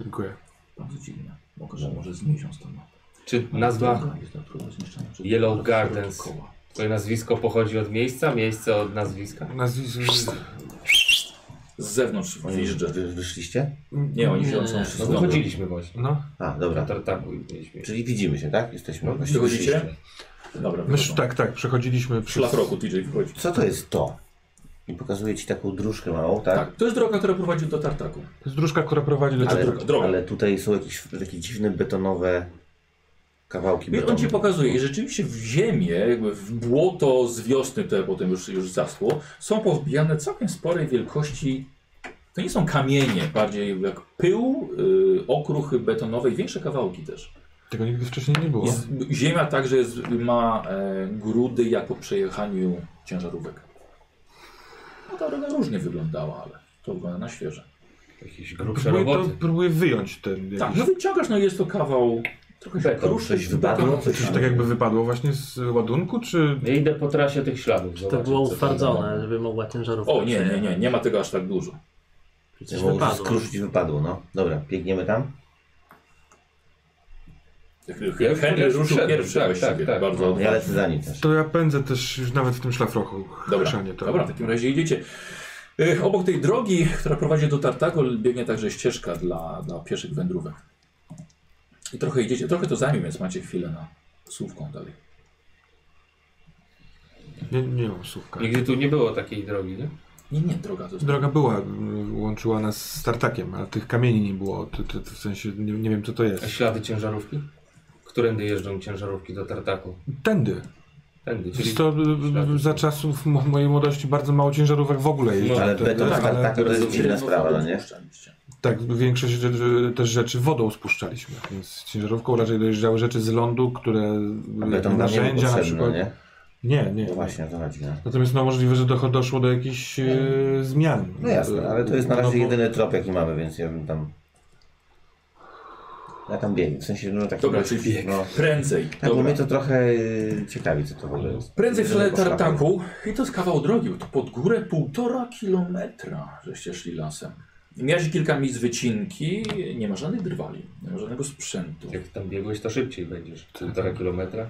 Speaker 4: Dziękuję.
Speaker 2: Bardzo dziwne. Okaże może z miesiąc to ma.
Speaker 6: Czy nazwa,
Speaker 2: Tak.
Speaker 6: Yellow Gardens.
Speaker 2: Koła.
Speaker 6: twoje nazwisko pochodzi od miejsca, miejsce od nazwiska?
Speaker 4: Nazwisko...
Speaker 2: Z zewnątrz
Speaker 3: Oni
Speaker 2: wjeżdża.
Speaker 3: wy- wyszliście?
Speaker 2: Nie, oni
Speaker 5: Nie,
Speaker 2: się
Speaker 5: nie,
Speaker 2: są
Speaker 5: nie.
Speaker 6: No
Speaker 2: wszyscy
Speaker 6: to
Speaker 2: do-
Speaker 6: chodziliśmy właśnie.
Speaker 4: No.
Speaker 3: A,
Speaker 6: Do
Speaker 3: dobra.
Speaker 6: tartaku i mieliśmy.
Speaker 3: Czyli widzimy się, tak? Jesteśmy.
Speaker 2: No,
Speaker 3: Właściwie
Speaker 2: wychodzicie?
Speaker 3: wyszliśmy.
Speaker 2: Dobra,
Speaker 4: Mysz, tak, tak, przechodziliśmy
Speaker 2: Szlak
Speaker 4: przez...
Speaker 2: roku TJ wchodzi.
Speaker 3: Co to jest to? I pokazuje ci taką dróżkę małą, tak?
Speaker 2: Tak, to jest droga, która prowadzi do tartaku.
Speaker 4: To jest dróżka, która prowadzi do
Speaker 3: Ale,
Speaker 4: tartaku.
Speaker 2: droga, droga.
Speaker 3: ale tutaj są jakieś takie dziwne betonowe kawałki
Speaker 2: I
Speaker 3: betonu.
Speaker 2: on ci pokazuje, i rzeczywiście w ziemię, jakby w błoto z wiosny, które potem już, już zaschło, są powbijane całkiem sporej wielkości. To nie są kamienie, bardziej jak pył, y, okruchy betonowe i większe kawałki też.
Speaker 4: Tego nigdy wcześniej nie było.
Speaker 2: Jest, ziemia także jest, ma e, grudy jak po przejechaniu ciężarówek. No ta droga różnie wyglądała, ale to wygląda na świeże.
Speaker 6: Jakieś grubsze
Speaker 4: Próbuję, to,
Speaker 6: roboty.
Speaker 4: próbuję wyjąć ten
Speaker 2: Tak,
Speaker 4: jakiś...
Speaker 2: no wyciągasz, no jest to kawał trochę się
Speaker 6: Beton,
Speaker 2: kruszy,
Speaker 3: coś wypadło,
Speaker 2: beton.
Speaker 3: coś
Speaker 4: Coś tak jakby wypadło właśnie z ładunku, czy...
Speaker 6: Ja idę po trasie tych śladów.
Speaker 5: To
Speaker 6: zobaczyć,
Speaker 5: było
Speaker 6: co tam
Speaker 5: utwardzone,
Speaker 6: dalej.
Speaker 5: żeby mogła ciężarówka
Speaker 2: O nie, nie, nie,
Speaker 5: przejechać.
Speaker 2: nie ma tego aż tak dużo.
Speaker 5: Przecież
Speaker 3: Mogło się
Speaker 5: wypadło.
Speaker 3: skruszyć i wypadło, no. Dobra, biegniemy tam.
Speaker 6: Ja
Speaker 2: Henry,
Speaker 6: już powiem, że
Speaker 2: ruszył
Speaker 6: wszedłem,
Speaker 2: pierwszy
Speaker 6: tak,
Speaker 2: właściwie,
Speaker 6: tak, tak.
Speaker 2: bardzo
Speaker 3: No, ja
Speaker 2: odważnie.
Speaker 3: lecę za nim też.
Speaker 4: To ja pędzę też już nawet w tym szlafroku.
Speaker 2: Dobra,
Speaker 4: Chrzanie to.
Speaker 2: dobra, w takim razie idziecie. Y, Obok tej drogi, która prowadzi do Tartago, biegnie także ścieżka dla, dla pieszych wędrówek. I trochę idziecie, trochę to zajmie, więc macie chwilę na słówką dalej.
Speaker 4: Nie, nie mam słówka.
Speaker 6: Nigdy tu nie było takiej drogi, nie?
Speaker 2: Nie, nie, droga to jest.
Speaker 4: Droga była, m, łączyła nas z tartakiem, ale tych kamieni nie było. To, to, to w sensie nie, nie wiem co to
Speaker 6: A
Speaker 4: jest.
Speaker 6: ślady ciężarówki? Którędy jeżdżą ciężarówki do tartaku?
Speaker 4: Tędy.
Speaker 6: Tędy, czyli
Speaker 4: Jest to m, m, za czasów mo- mojej młodości bardzo mało ciężarówek w ogóle jeździ.
Speaker 6: No,
Speaker 3: Ale
Speaker 4: Tędy,
Speaker 3: beton z
Speaker 4: tak, ale-
Speaker 3: tartaku to jest
Speaker 2: Rozumiem,
Speaker 3: dziwna
Speaker 2: no,
Speaker 3: sprawa, no nie?
Speaker 2: odpuszczaliście.
Speaker 4: Tak, większość rzeczy, też rzeczy wodą spuszczaliśmy, więc ciężarówką raczej dojeżdżały rzeczy z lądu, które
Speaker 3: A beton nam nie był
Speaker 4: narzędzia na
Speaker 3: potrzebny, no
Speaker 4: przykład.
Speaker 3: nie?
Speaker 4: Nie, nie.
Speaker 3: No właśnie, to na dziwne.
Speaker 4: Natomiast no możliwe, że docho- doszło do jakichś e, zmian.
Speaker 3: No jasne, ale to jest na
Speaker 4: No
Speaker 3: razie
Speaker 4: bo-
Speaker 3: jedyny trop jaki mamy, więc ja bym tam... Ja tam biegł, w sensie no taki...
Speaker 2: Dobra,
Speaker 3: gość,
Speaker 2: czyli bieg.
Speaker 3: No,
Speaker 2: Prędzej.
Speaker 3: tak, bo
Speaker 2: dobra.
Speaker 3: mnie to trochę y, ciekawi, co to w ogóle jest.
Speaker 2: Prędzej w stronę
Speaker 3: Jedyny poszlak.
Speaker 2: tartaku i to jest kawał drogi, bo to pod górę półtora kilometra, żeście szli lasem. Miałeś kilka miejsc wycinki, nie ma żadnych drwali, nie ma żadnego sprzętu.
Speaker 6: jak tam biegłeś, to szybciej będziesz. Półtora kilometra.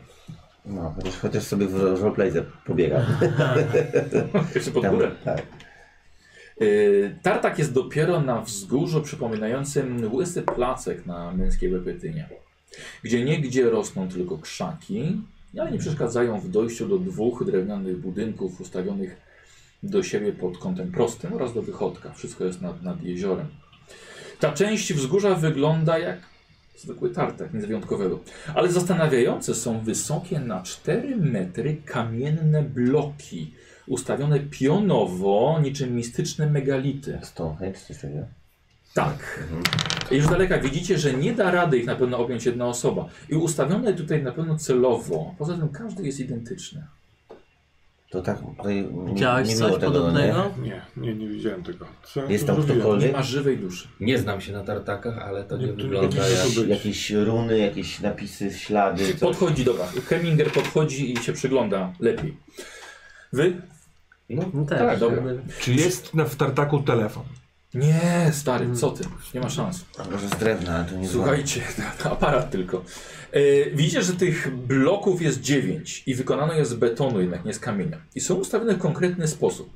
Speaker 3: No, chociaż, chociaż sobie w roleplayze pobiegam.
Speaker 2: Jeszcze pod
Speaker 3: Tam-
Speaker 2: górę.
Speaker 3: Tak.
Speaker 2: Yy, tartak jest dopiero na wzgórzu przypominającym łysy placek na męskiej łepytynie, gdzie niegdzie rosną tylko krzaki, ale nie przeszkadzają w dojściu do dwóch drewnianych budynków ustawionych do siebie pod kątem prostym oraz do wychodka. Wszystko jest nad, nad jeziorem. Ta część wzgórza wygląda jak zwykły tartak, nic wyjątkowego. Ale zastanawiające są wysokie na 4 metry kamienne bloki, ustawione pionowo, niczym mistyczne megality.
Speaker 3: Stonehenge, coś takiego?
Speaker 2: Tak. I Już z daleka widzicie, że nie da rady ich na pewno objąć jedna osoba. I ustawione tutaj na pewno celowo. Poza tym każdy jest identyczny.
Speaker 3: To tak, tutaj n-
Speaker 5: Widziałeś
Speaker 3: nie
Speaker 5: coś
Speaker 3: było tego, No,
Speaker 5: podobnego?
Speaker 4: Nie, nie, nie widziałem tego. Co ja
Speaker 3: Jest
Speaker 4: tu
Speaker 3: tam
Speaker 4: zrobiłem?
Speaker 2: No, Nie
Speaker 3: ktokolwiek?
Speaker 2: ma żywej duszy.
Speaker 6: Nie znam się na tartakach, ale to nie,
Speaker 4: Nie, tu nie
Speaker 6: wygląda
Speaker 4: będzie
Speaker 6: jak...
Speaker 4: tu
Speaker 3: Jakieś,
Speaker 4: być.
Speaker 3: jakieś runy, jakieś napisy, ślady, coś.
Speaker 2: Podchodzi, dobra. Heminger podchodzi i się przygląda lepiej. Wy?
Speaker 5: No też.
Speaker 6: tak,
Speaker 2: dobra.
Speaker 6: jakby-
Speaker 4: Czy jest na, w tartaku telefon?
Speaker 2: Nie, stary, co ty? Nie ma szans.
Speaker 3: A Może z drewna, ale to nie
Speaker 2: Słuchajcie, aparat tylko. E, widzicie, że tych bloków jest dziewięć i wykonano je z betonu jednak, nie z kamienia. I są ustawione w konkretny sposób.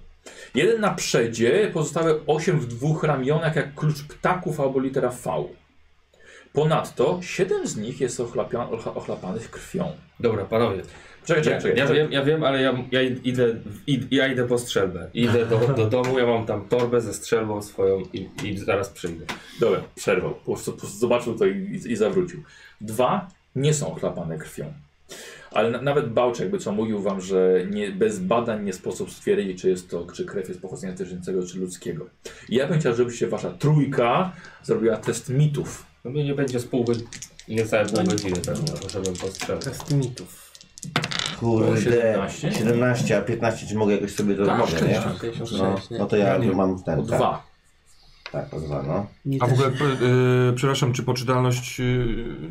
Speaker 2: Jeden na przedzie, pozostałe osiem w dwóch ramionach jak klucz ptaków albo litera V. Ponadto siedem z nich jest ochlapia, ochla- ochlapanych krwią.
Speaker 6: Dobra, panowie.
Speaker 2: Czekaj,
Speaker 6: Ja,
Speaker 2: czekaj, czekaj.
Speaker 6: ja, wiem, ja wiem, ale ja, ja, idę, id, ja idę po strzelbę. Idę do, do domu, ja mam tam torbę ze strzelbą swoją i, i zaraz przyjdę.
Speaker 2: Dobra, przerwał. Po prostu, po prostu zobaczył to i, i, i zawrócił. Dwa nie są ochlapane krwią. Ale na, nawet Bałczek by co mówił wam, że nie, bez badań nie sposób stwierdzić, czy jest to, czy krew jest pochodzenia zwierzęcego, czy ludzkiego. I ja bym chciał, żeby się wasza trójka zrobiła test mitów.
Speaker 6: No mnie nie będzie z pół godziny, niecałe pół godziny pewnie, żebym postrzelał.
Speaker 5: Test mitów.
Speaker 3: Kurde,
Speaker 2: 17?
Speaker 3: 17? a 15 czy mogę jakoś sobie to
Speaker 2: Tak,
Speaker 3: mogę, nie?
Speaker 5: 56,
Speaker 3: No,
Speaker 5: nie?
Speaker 3: no to ja
Speaker 4: nie.
Speaker 3: mam ten,
Speaker 2: O
Speaker 3: tak,
Speaker 2: dwa.
Speaker 3: tak, o dwa, no.
Speaker 5: Mi
Speaker 4: A w
Speaker 5: też.
Speaker 4: ogóle, p- y, przepraszam, czy poczytalność y,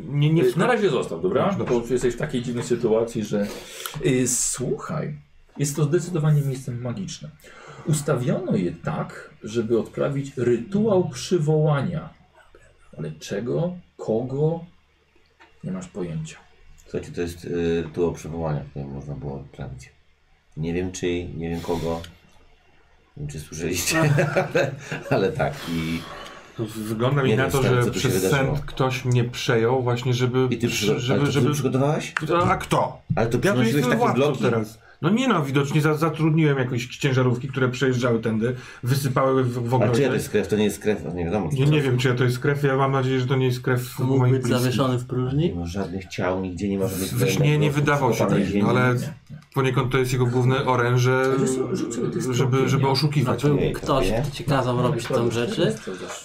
Speaker 4: nie, nie
Speaker 2: Yy, Na razie zostaw, dobra?
Speaker 4: Dobrze.
Speaker 2: Bo jesteś w takiej dziwnej sytuacji, że y, słuchaj, jest to zdecydowanie miejscem magicznym. Ustawiono je tak, żeby odprawić rytuał przywołania. Ale czego, kogo, nie masz pojęcia.
Speaker 3: Słuchajcie, to jest y, rytuał przywołania, które można było odprawić. Nie wiem czyj, nie wiem kogo. Nie wiem, czy słyszeliście, ale, ale tak. I,
Speaker 4: Wygląda mi
Speaker 3: Nie
Speaker 4: na
Speaker 3: wiem,
Speaker 4: to,
Speaker 3: stary,
Speaker 4: że
Speaker 3: co tu się
Speaker 4: przez sen
Speaker 3: wydarzyło.
Speaker 4: ktoś mnie przejął właśnie, żeby...
Speaker 3: i ty, przygo- ale
Speaker 4: żeby,
Speaker 3: to
Speaker 4: żeby...
Speaker 3: ty przygotowałeś?
Speaker 4: A kto?
Speaker 3: Ale to
Speaker 4: Ja tu
Speaker 3: przynosiłeś
Speaker 4: jestem
Speaker 3: takie
Speaker 4: władcą
Speaker 3: bloki.
Speaker 4: teraz. No nie no, widocznie za, zatrudniłem jakieś ciężarówki, które przejeżdżały tędy, wysypały w, w
Speaker 3: Ale
Speaker 4: ogrodzie.
Speaker 3: czyja to jest krew? To nie jest krew, no nie wiadomo.
Speaker 4: Ja nie wiem, czy ja to jest krew, ja mam nadzieję, że to nie jest krew
Speaker 5: To mógł
Speaker 4: moich
Speaker 5: być
Speaker 4: bliskich.
Speaker 5: zawieszony w próżni.
Speaker 3: Nie ma żadnych ciał, nigdzie nie ma żadnych
Speaker 4: Wiesz, nie, nie wydawał się
Speaker 3: Pokopanej
Speaker 4: tak,
Speaker 3: ziemi.
Speaker 4: no ale poniekąd to jest jego główne oręże, żeby, żeby
Speaker 5: A
Speaker 4: oszukiwać.
Speaker 5: był
Speaker 3: nie,
Speaker 5: ktoś,
Speaker 3: nie.
Speaker 5: kto ci kazał robić tam rzeczy.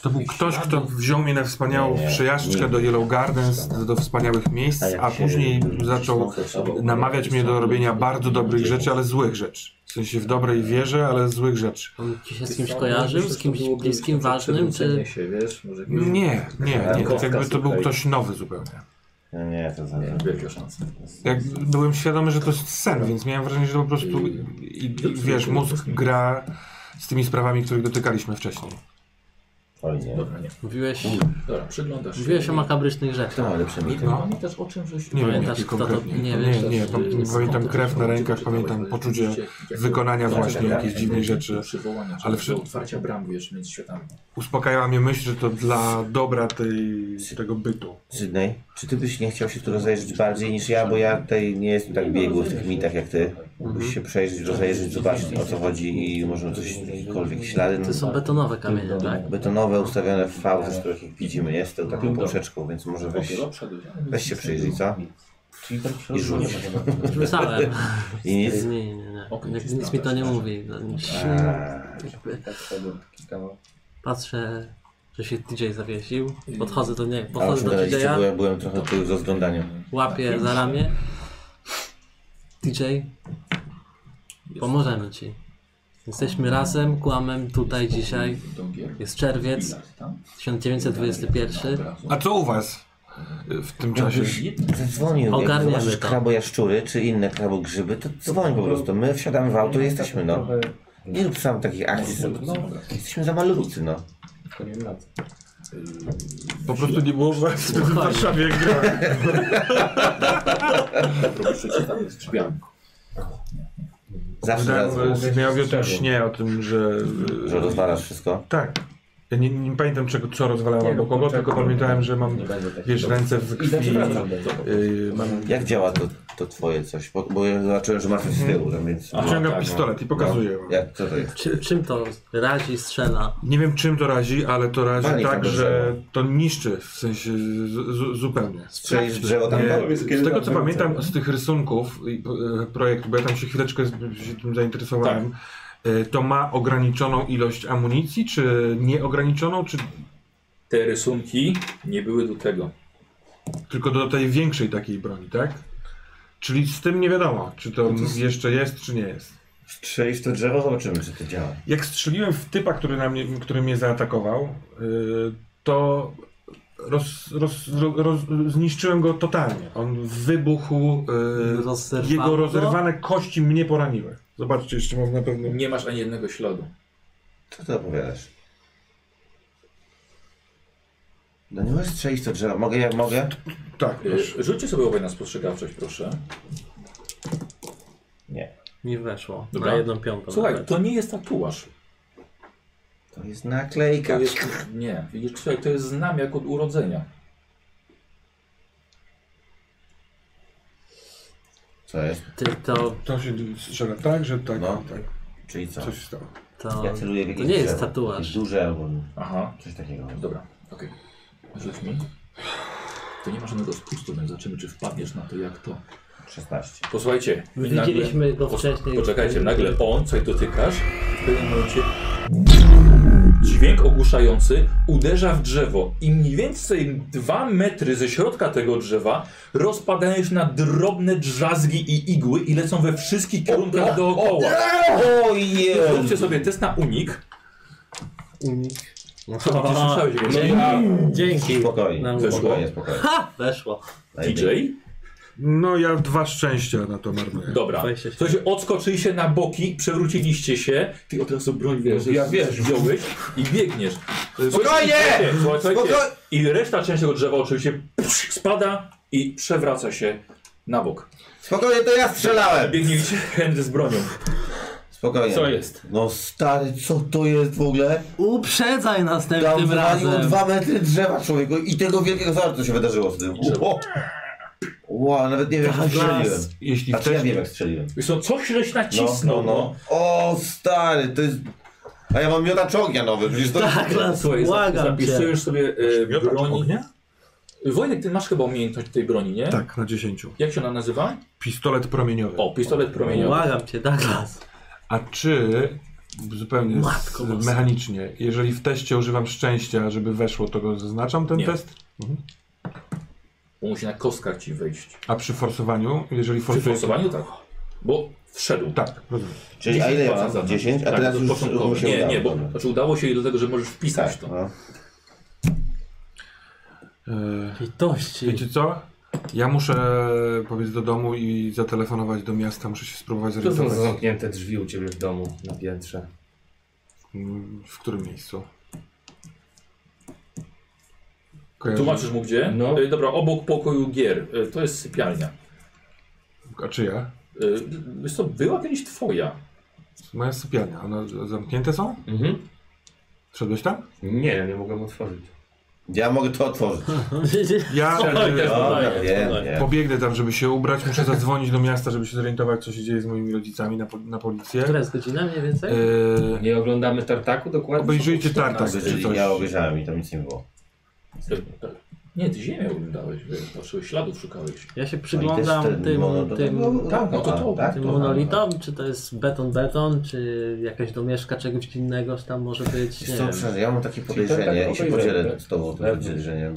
Speaker 4: To był ktoś, kto wziął mnie na wspaniałą
Speaker 3: Nie, nie,
Speaker 4: przejażdżkę
Speaker 3: nie.
Speaker 4: do Yellow Gardens, do wspaniałych miejsc,
Speaker 3: jak
Speaker 4: a
Speaker 3: się
Speaker 4: później zaczął
Speaker 3: wcisnął ze sobą,
Speaker 4: namawiać mnie do robienia bardzo dobrych rzeczy, ale złych rzeczy. W sensie w dobrej wierze, ale złych rzeczy.
Speaker 5: On ci się z kimś kojarzył, z kimś bliskim, ważnym, czy...
Speaker 2: Przewrócenie Się, wiesz, może jakieś-
Speaker 4: Nie, nie, nie. To
Speaker 2: Kostka,
Speaker 4: jakby to był
Speaker 2: słuchaj.
Speaker 4: ktoś nowy zupełnie.
Speaker 3: No nie, to za
Speaker 2: Nie, Wielkie szanse.
Speaker 4: Jak byłem świadomy, że to jest sen, więc miałem wrażenie, że to po prostu, i, i, wiesz, mózg gra z tymi sprawami, których dotykaliśmy wcześniej.
Speaker 3: Oj nie.
Speaker 2: Dobra, nie.
Speaker 5: Mówiłeś,
Speaker 2: Dobra, przyglądasz się.
Speaker 5: mówiłeś o makabrycznych rzeczach.
Speaker 3: To lepsze mi
Speaker 2: I
Speaker 4: No.
Speaker 3: to.
Speaker 2: pamiętasz o czym, żeś...
Speaker 4: Nie wiem,
Speaker 5: Pamiętasz,
Speaker 4: jaki
Speaker 5: kto to-
Speaker 4: konkretnie.
Speaker 5: nie
Speaker 4: Nie,
Speaker 5: wiesz,
Speaker 4: nie,
Speaker 5: to-
Speaker 4: pam-
Speaker 5: y,
Speaker 4: pamiętam
Speaker 2: skąd
Speaker 4: krew
Speaker 2: to
Speaker 4: na
Speaker 2: się
Speaker 4: rękach,
Speaker 2: czytałeś,
Speaker 4: pamiętam
Speaker 2: to
Speaker 4: poczucie
Speaker 2: rzeczywiście jak-
Speaker 4: wykonania
Speaker 2: jak-
Speaker 4: właśnie
Speaker 2: jak-
Speaker 4: jakiejś
Speaker 2: jak-
Speaker 4: dziwnej
Speaker 2: jak-
Speaker 4: rzeczy.
Speaker 2: Przywołania,
Speaker 4: Ale
Speaker 2: ale
Speaker 4: przy-
Speaker 2: przy... otwarcia bram, wiesz, między światami.
Speaker 4: Uspokajała mnie myśl, że to dla dobra tej, tego bytu.
Speaker 3: Sydney, czy ty byś nie chciał się tu rozejrzeć bardziej niż ja, bo ja tutaj nie jestem tak biegły w tych mitach jak ty.
Speaker 4: Mhm.
Speaker 3: Mógłbyś się przejrzeć, rozejrzeć, zobaczyć o co chodzi i może coś, jakiekolwiek ślady. no.
Speaker 5: To są betonowe kamienie, tak?
Speaker 3: Tak. betonowe ustawione w fałdy, z których ich widzimy. Jest tą taką poprzeczką, więc może weź, weź się przyjrzyj, co? I rzuć.
Speaker 5: Rzucałem.
Speaker 3: I nic?
Speaker 5: Nie, nie, nie. nie. Nic, nic mi to nie mówi. No,
Speaker 3: Eee,
Speaker 5: jakby Patrzę, że się DJ zawiesił. Podchodzę do niego,
Speaker 3: A o
Speaker 5: podchodzę
Speaker 3: czym
Speaker 5: do
Speaker 3: gadaliście, bo
Speaker 5: DJ-a,
Speaker 3: ja byłem trochę tu z rozglądaniem.
Speaker 5: łapię za ramię. DJ, pomożemy ci. Jesteśmy razem, kłamem tutaj dzisiaj. Jest czerwiec 1921.
Speaker 4: A co u was y, w tym czasie?
Speaker 3: Zadzwonił, jak
Speaker 5: Ogarniamy
Speaker 3: zobaczysz
Speaker 5: to.
Speaker 3: krabo jaszczury, czy inne krabo grzyby, to dzwoń po prostu. My wsiadamy w auto i jesteśmy, no. Nie rób sam takich akcji, że
Speaker 7: No,
Speaker 3: jesteśmy za malutcy, no.
Speaker 6: To nie wiem na co.
Speaker 4: Po prostu nie było was w Warszawie jak grałem.
Speaker 2: No,
Speaker 3: Zawsze raz,
Speaker 4: Miałem o tym śnie, o tym, że... y,
Speaker 3: że rozwalasz wszystko.
Speaker 4: Tak. Ja nie, nie pamiętam czego, co rozwalałem albo kogo, tylko pamiętałem, że mam, wiesz, ręce w krwi. Yy, mam,
Speaker 3: Jak działa to, to twoje coś? Bo, bo ja zobaczyłem, że masz coś z tyłu, no, więc...
Speaker 4: wyciągam pistolet i pokazuję wam.
Speaker 3: Jak, co to jest?
Speaker 5: Czy, czym to razi, strzela?
Speaker 4: Nie wiem czym to razi, ale to razi
Speaker 3: Panie
Speaker 4: tak,
Speaker 3: Faberze.
Speaker 4: że to niszczy w sensie z, z, zupełnie.
Speaker 3: Strzelisz w drzewo tam?
Speaker 4: Nie, z tego co pamiętam z tych rysunków i, e, projektu, bo ja tam się chwileczkę z- się tym zainteresowałem, e, to ma ograniczoną ilość amunicji, czy nieograniczoną, czy
Speaker 2: Te rysunki nie były do tego.
Speaker 4: tylko do tej większej takiej broni, tak? Czyli z tym nie wiadomo, czy to jeszcze jest, czy nie jest.
Speaker 3: Strzelisz w to drzewo, zobaczymy, czy to działa.
Speaker 4: Jak strzeliłem w typa, który, na mnie, który mnie zaatakował, yy, to roz, roz, roz, roz, zniszczyłem go totalnie. On wybuchł, yy,
Speaker 5: Rozerwało?
Speaker 4: jego rozerwane kości mnie poraniły. Zobaczcie, jeszcze mam na pewno...
Speaker 2: Nie masz ani jednego śladu.
Speaker 3: Co ty opowiadasz? No nie możesz strzelić w to drzewo. Mogę, ja mogę?
Speaker 4: Tak,
Speaker 2: Y,
Speaker 4: proszę.
Speaker 2: Rzućcie sobie obaj na spostrzegawczość, proszę.
Speaker 3: Nie.
Speaker 5: Mi weszło.
Speaker 2: Dobra.
Speaker 5: Na jedną piątą.
Speaker 2: Słuchaj,
Speaker 5: nawet.
Speaker 2: to nie jest tatuaż.
Speaker 3: To jest naklejka.
Speaker 2: To jest, nie, widzisz, słuchaj, to jest znamia jak od urodzenia.
Speaker 3: Co jest?
Speaker 5: Ty to,
Speaker 4: To się strzela tak, że tak,
Speaker 3: No.
Speaker 4: tak.
Speaker 3: Czyli co?
Speaker 4: Co się stało?
Speaker 5: to,
Speaker 3: Ja celuję w
Speaker 5: to
Speaker 3: jakieś
Speaker 5: nie jest
Speaker 3: drzewo.
Speaker 5: tatuaż.
Speaker 3: Jakieś Duże albo
Speaker 2: Aha,
Speaker 3: coś takiego.
Speaker 2: dobra, okej. Rzuć mi. To nie ma żadnego spustu, więc zobaczymy, czy wpadniesz na to, jak to.
Speaker 3: 16.
Speaker 2: Posłuchajcie. i nagle-
Speaker 5: Widzieliśmy go
Speaker 2: pos-
Speaker 5: wcześniej.
Speaker 2: Poczekajcie, nagle on, co jej dotykasz, w pewnym momencie dźwięk ogłuszający uderza w drzewo i mniej więcej dwa metry ze środka tego drzewa rozpadają się na drobne drzazgi i igły i lecą we wszystkich kierunkach dookoła. Zróbcie sobie test na unik.
Speaker 5: No.
Speaker 2: Co ty słyszałeś? jak
Speaker 5: Dzięki. Dzięki.
Speaker 3: Spokojnie,
Speaker 5: Nam-
Speaker 3: spokojnie, spokojnie.
Speaker 5: Ha! Weszło.
Speaker 2: DJ?
Speaker 4: No ja dwa szczęścia na to marnuję.
Speaker 2: Dobra.
Speaker 5: 26.
Speaker 2: Słuchajcie, odskoczyliście na boki, przewróciliście się. Ty od razu broń wiesz,
Speaker 6: Ja
Speaker 2: z-
Speaker 6: wiesz.
Speaker 2: wziąłeś i biegniesz. Słuchajcie,
Speaker 3: Spokojnie!
Speaker 2: słuchajcie, Słuchajcie,
Speaker 3: Spoko-
Speaker 2: I reszta części tego drzewa oczywiście psz, spada i przewraca się na bok.
Speaker 3: Spokojnie, to ja strzelałem!
Speaker 2: Biegniecie Henry z bronią.
Speaker 3: Spokojnie.
Speaker 6: Co jest?
Speaker 3: No stary, co to jest w ogóle?
Speaker 5: Uprzedzaj
Speaker 3: Tam
Speaker 5: następnym
Speaker 3: waliło
Speaker 5: razem.
Speaker 3: dwa metry drzewa człowieku i tego wielkiego zarzu co się wydarzyło z tym. Ło, wow, nawet nie wiem, jak
Speaker 5: Tak,
Speaker 3: strzeliłem.
Speaker 5: las.
Speaker 4: Jeśli
Speaker 3: Znaczy ja
Speaker 4: chcesz,
Speaker 3: wiem, jak strzeliłem.
Speaker 2: Wiesz co, coś żeś
Speaker 3: No,
Speaker 2: nacisnął, no.
Speaker 3: O stary, to jest... A ja mam miotacz ognia nowy, przecież to...
Speaker 5: Tak, las,
Speaker 2: no. Słuchaj, za-
Speaker 5: błagam cię.
Speaker 2: zapisujesz sobie e,
Speaker 4: Miotacz
Speaker 2: broni.
Speaker 4: ognia?
Speaker 2: Wojtek, ty masz chyba umiejętność tej broni, nie?
Speaker 4: tak, na 10.
Speaker 2: Jak się ona nazywa?
Speaker 4: Pistolet promieniowy.
Speaker 2: O, pistolet promieniowy.
Speaker 5: Błagam cię, Douglas.
Speaker 4: A czy zupełnie z-
Speaker 5: Matko Boska.
Speaker 4: mechanicznie, jeżeli w teście używam szczęścia, żeby weszło, to go zaznaczam ten
Speaker 2: Nie.
Speaker 4: test? Mhm.
Speaker 2: Bo musi na kostkach ci wyjść.
Speaker 4: A przy forsowaniu, jeżeli
Speaker 2: Przy
Speaker 4: forsuję...
Speaker 2: forsowaniu tak. Bo wszedł.
Speaker 4: Tak, rozumiem.
Speaker 3: Czyli a ile ja mam?
Speaker 2: Zatem.
Speaker 3: 10? A
Speaker 2: Tak,
Speaker 3: teraz
Speaker 2: to
Speaker 3: już
Speaker 2: początkowe.
Speaker 3: mu się
Speaker 2: Nie,
Speaker 3: udało.
Speaker 2: nie, bo
Speaker 3: Dobra.
Speaker 2: znaczy udało się i do tego, że możesz wpisać
Speaker 3: Tak,
Speaker 2: to.
Speaker 3: no.
Speaker 4: E,
Speaker 5: Litości.
Speaker 4: wiecie co? Ja muszę powiedzieć do domu i zatelefonować do miasta, muszę się spróbować
Speaker 6: To są
Speaker 4: zorientować,
Speaker 6: zamknięte drzwi u ciebie w domu na piętrze.
Speaker 4: mm, w którym miejscu.
Speaker 2: Tłumaczysz mu gdzie?
Speaker 6: No.
Speaker 2: Y, Dobra, obok pokoju gier. Y, To jest sypialnia.
Speaker 4: A czy ja?
Speaker 2: Y, Wiesz co, była kiedyś twoja.
Speaker 4: Moja sypialnia, one zamknięte są?
Speaker 6: Mhm.
Speaker 4: Wszedłeś tam?
Speaker 6: Nie, nie mogłem otworzyć.
Speaker 3: Ja mogę to otworzyć.
Speaker 5: no.
Speaker 4: Ja e,
Speaker 3: Dobra,
Speaker 5: Spokojnie,
Speaker 3: wiem,
Speaker 5: spokojnie.
Speaker 3: wiem.
Speaker 4: pobiegnę tam, żeby się ubrać, muszę zadzwonić do miasta, żeby się zorientować, co się dzieje z moimi rodzicami na, po- na policję.
Speaker 5: Która jest godzina mniej więcej?
Speaker 4: E,
Speaker 6: Nie oglądamy tartaku dokładnie?
Speaker 4: Obejrzyjcie tartak czy
Speaker 3: Czyli
Speaker 4: coś.
Speaker 3: Ja obejrzałem i tam nic nie było.
Speaker 2: Y, Nie, ty ziemię oglądałeś, wiesz, patrzyłeś, śladów szukałeś.
Speaker 5: Ja
Speaker 3: No i
Speaker 5: się
Speaker 3: też
Speaker 5: przyglądam
Speaker 3: ten
Speaker 5: tym,
Speaker 3: mono-
Speaker 5: tym,
Speaker 3: tak,
Speaker 2: no to to,
Speaker 3: tak,
Speaker 5: tym
Speaker 3: to-
Speaker 5: monolitom, czy to jest beton-beton, czy jakaś domieszka czegoś innego, czy tam może być, nie
Speaker 3: Wiesz co,
Speaker 5: wiem.
Speaker 3: przepraszam, ja mam takie podejrzenie,
Speaker 6: tak
Speaker 3: ja się
Speaker 6: obejrzałem,
Speaker 3: podzielę
Speaker 6: tak?
Speaker 3: z tobą tym
Speaker 6: Pewnie.
Speaker 3: podejrzeniem.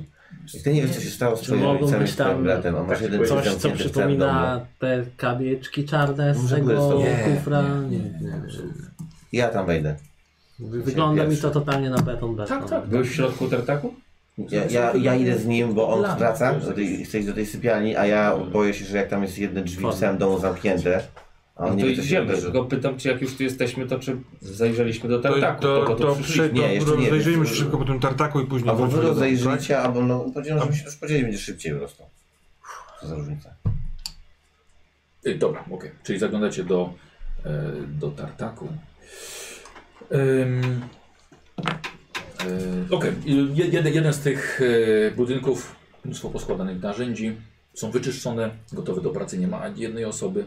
Speaker 3: I ty nie wiesz, co się stało z
Speaker 5: Czy
Speaker 3: twoimi
Speaker 5: mogą
Speaker 3: rodzicami,
Speaker 5: być
Speaker 3: z twoim
Speaker 5: tam
Speaker 3: bratem, a masz jeden
Speaker 5: Tak, Coś,
Speaker 3: zamknięty
Speaker 5: co
Speaker 3: w całym domu.
Speaker 5: przypomina te kawieczki czarne z
Speaker 3: Może byłeś z
Speaker 5: tego
Speaker 3: tobą?
Speaker 5: kufra. Nie, nie.
Speaker 3: Ja tam wejdę.
Speaker 5: Wygląda mi
Speaker 3: Pierwszy.
Speaker 5: to totalnie na beton-beton.
Speaker 2: Tak, tak.
Speaker 6: Byłeś w środku tartaku?
Speaker 3: Ja, ja, ja idę z nim, bo on
Speaker 2: Dla-
Speaker 3: wraca, do tej, chce iść do tej sypialni, a ja boję się, że jak tam jest jedne drzwi w całym domu zamknięte, a on
Speaker 6: No
Speaker 3: nie
Speaker 6: to
Speaker 3: wie, co się
Speaker 6: idziemy,
Speaker 3: wydarzy.
Speaker 6: tylko pytam cię, jak już tu jesteśmy, to czy zajrzeliśmy do
Speaker 4: To,
Speaker 6: tartaku?
Speaker 4: to,
Speaker 6: po
Speaker 4: to, to, przy,
Speaker 6: przyszliśmy.
Speaker 4: to
Speaker 3: Nie, jeszcze nie wiem.
Speaker 4: rozejrzyjmy się szybko po tym tartaku i później
Speaker 3: Albo wy
Speaker 4: wróćmy do domu,
Speaker 3: rozejrzyjcie, albo no, powiedziałem, żebyśmy się już podzielili, będzie szybciej po prostu. Co za różnica.
Speaker 2: Y, Dobra, okej. Czyli zaglądacie do, e, do tartaku. Ym, e, Okej, y, jed- jeden, jeden z tych e, budynków, mnóstwo poskładanych narzędzi, są wyczyszczone, gotowe do pracy, nie ma ani jednej osoby.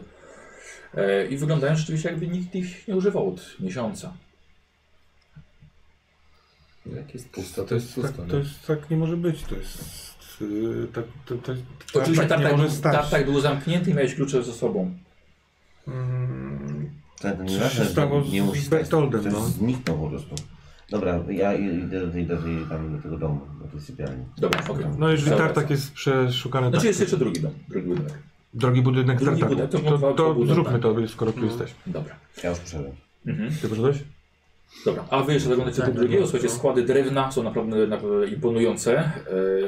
Speaker 2: E, I wyglądają rzeczywiście jakby nikt ich nie używał od miesiąca.
Speaker 6: Jak jest pusto,
Speaker 4: tak? To jest, tak,
Speaker 6: pusto.
Speaker 4: to
Speaker 6: no.
Speaker 4: jest, tak nie może być, to jest... y, Tak, to, to, to,
Speaker 2: Oczywiście
Speaker 4: tak nie może
Speaker 2: tartak,
Speaker 4: stać.
Speaker 2: tartak był zamknięty i miałeś klucze ze sobą.
Speaker 4: Mm,
Speaker 3: Ten,
Speaker 4: się
Speaker 3: ten nasz
Speaker 4: stało z
Speaker 3: nie musi stać,
Speaker 4: Bertoldem,
Speaker 3: ktoś
Speaker 4: no?
Speaker 3: zniknął po prostu. Dobra, ja idę do tej, do tej, tam, do tego domu, do tej sypialni.
Speaker 2: Dobra, okej.
Speaker 4: No jeżeli
Speaker 2: Dobra.
Speaker 4: tartak jest przeszukany, tak.
Speaker 2: Znaczy jest jeszcze drugi dom, drugi budynek.
Speaker 4: drogi budynek
Speaker 2: Drugi
Speaker 4: tartaku,
Speaker 2: budynek, to tak.
Speaker 4: to,
Speaker 2: dwa-
Speaker 4: to,
Speaker 2: dwa budynki.
Speaker 4: zróbmy to, skoro
Speaker 2: No.
Speaker 4: tu jesteśmy.
Speaker 2: Dobra.
Speaker 3: Ja już przeszedłem.
Speaker 2: Mhm.
Speaker 4: Ty poszedłeś?
Speaker 2: Dobra, a wy jeszcze zaglądacie do
Speaker 5: Tak,
Speaker 2: drugiego.
Speaker 5: tak,
Speaker 2: Słuchajcie,
Speaker 5: tak.
Speaker 2: składy drewna są naprawdę, naprawdę imponujące, e,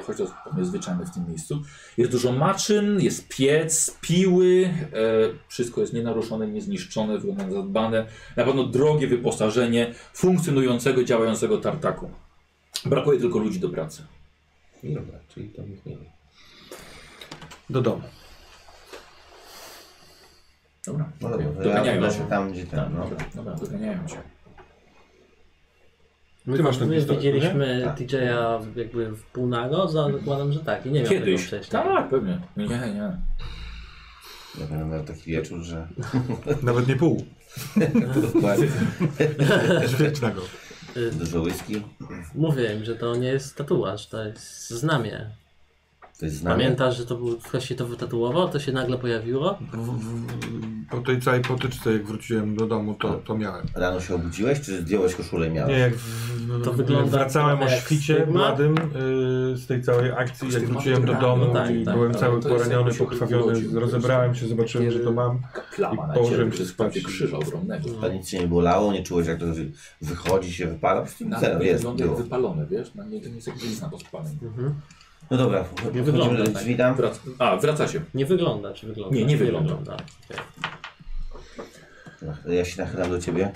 Speaker 2: choć to jest niezwyczajne w tym miejscu. Jest dużo maszyn, jest piec, piły, e, wszystko jest nienaruszone, niezniszczone, wygląda na zadbane. Na pewno drogie wyposażenie funkcjonującego, działającego tartaku. Brakuje tylko ludzi do pracy.
Speaker 6: Dobra, czyli tam ich nie ma.
Speaker 4: Do domu.
Speaker 2: Dobra,
Speaker 3: No
Speaker 2: okej.
Speaker 3: dobra, ja
Speaker 2: doganiają
Speaker 3: udam
Speaker 2: cię.
Speaker 3: się tam, gdzie ten, no.
Speaker 2: Dobra, dobra, doganiają cię.
Speaker 4: Ty masz ten
Speaker 5: My
Speaker 4: pistolet,
Speaker 5: widzieliśmy
Speaker 3: Tak.
Speaker 5: DJ-a jakby w pół nago, zakładam, że tak. I nie miał tego
Speaker 2: Kiedyś.
Speaker 5: wcześniej.
Speaker 2: Tak, pewnie. Nie, nie.
Speaker 3: Ja pamiętam miał taki wieczór, że...
Speaker 4: Nawet nie pół.
Speaker 3: Dokładnie.
Speaker 4: Świetnego.
Speaker 3: Dużo whisky.
Speaker 5: Mówię im, że to nie jest tatuaż, to jest znamie.
Speaker 3: To jest znamie.
Speaker 5: Pamiętasz, że to był, ktoś się to wytatuował, to się nagle pojawiło?
Speaker 4: W, w, po tej całej potyczce, jak wróciłem do domu, to, to miałem.
Speaker 3: Rano się obudziłeś, czy zdjąłeś koszulę i miałeś?
Speaker 4: Nie, jak w,
Speaker 5: To wygląda
Speaker 4: No, wracałem o
Speaker 5: trochę jak
Speaker 4: świcie
Speaker 5: stygma.
Speaker 4: młodym y, z tej całej akcji, jak
Speaker 2: Stygma
Speaker 4: wróciłem do
Speaker 2: wybrano,
Speaker 4: domu
Speaker 5: tak,
Speaker 4: i
Speaker 5: tak,
Speaker 4: byłem
Speaker 2: tak.
Speaker 4: cały
Speaker 2: To jest
Speaker 4: poraniony,
Speaker 2: jakby się urodził,
Speaker 4: pokrwawiony,
Speaker 2: to jest-
Speaker 4: rozebrałem się, zobaczyłem, że to mam.
Speaker 2: Plama
Speaker 4: I
Speaker 2: na
Speaker 4: położyłem
Speaker 2: ciebie,
Speaker 4: się
Speaker 2: to jest
Speaker 4: spać.
Speaker 2: prawie krzyża ogromnego.
Speaker 3: A nic cię nie bolało, nie czułeś jak to że wychodzi, się wypala? Po prostu
Speaker 2: Nawet
Speaker 3: zero,
Speaker 2: nie
Speaker 3: jest,
Speaker 2: Tak, wygląda jak
Speaker 3: było.
Speaker 2: wypalone, wiesz? Na mnie to nie jest jak blizna pod spanem.
Speaker 5: Mhm.
Speaker 3: No dobra, wchodzimy
Speaker 5: wygląda
Speaker 3: do
Speaker 5: tak.
Speaker 3: drzwi tam.
Speaker 2: Wrac A, wracacie.
Speaker 5: Nie wygląda, czy wygląda?
Speaker 2: Nie, nie wygląda.
Speaker 5: Okej.
Speaker 3: Ja się nachylam do ciebie.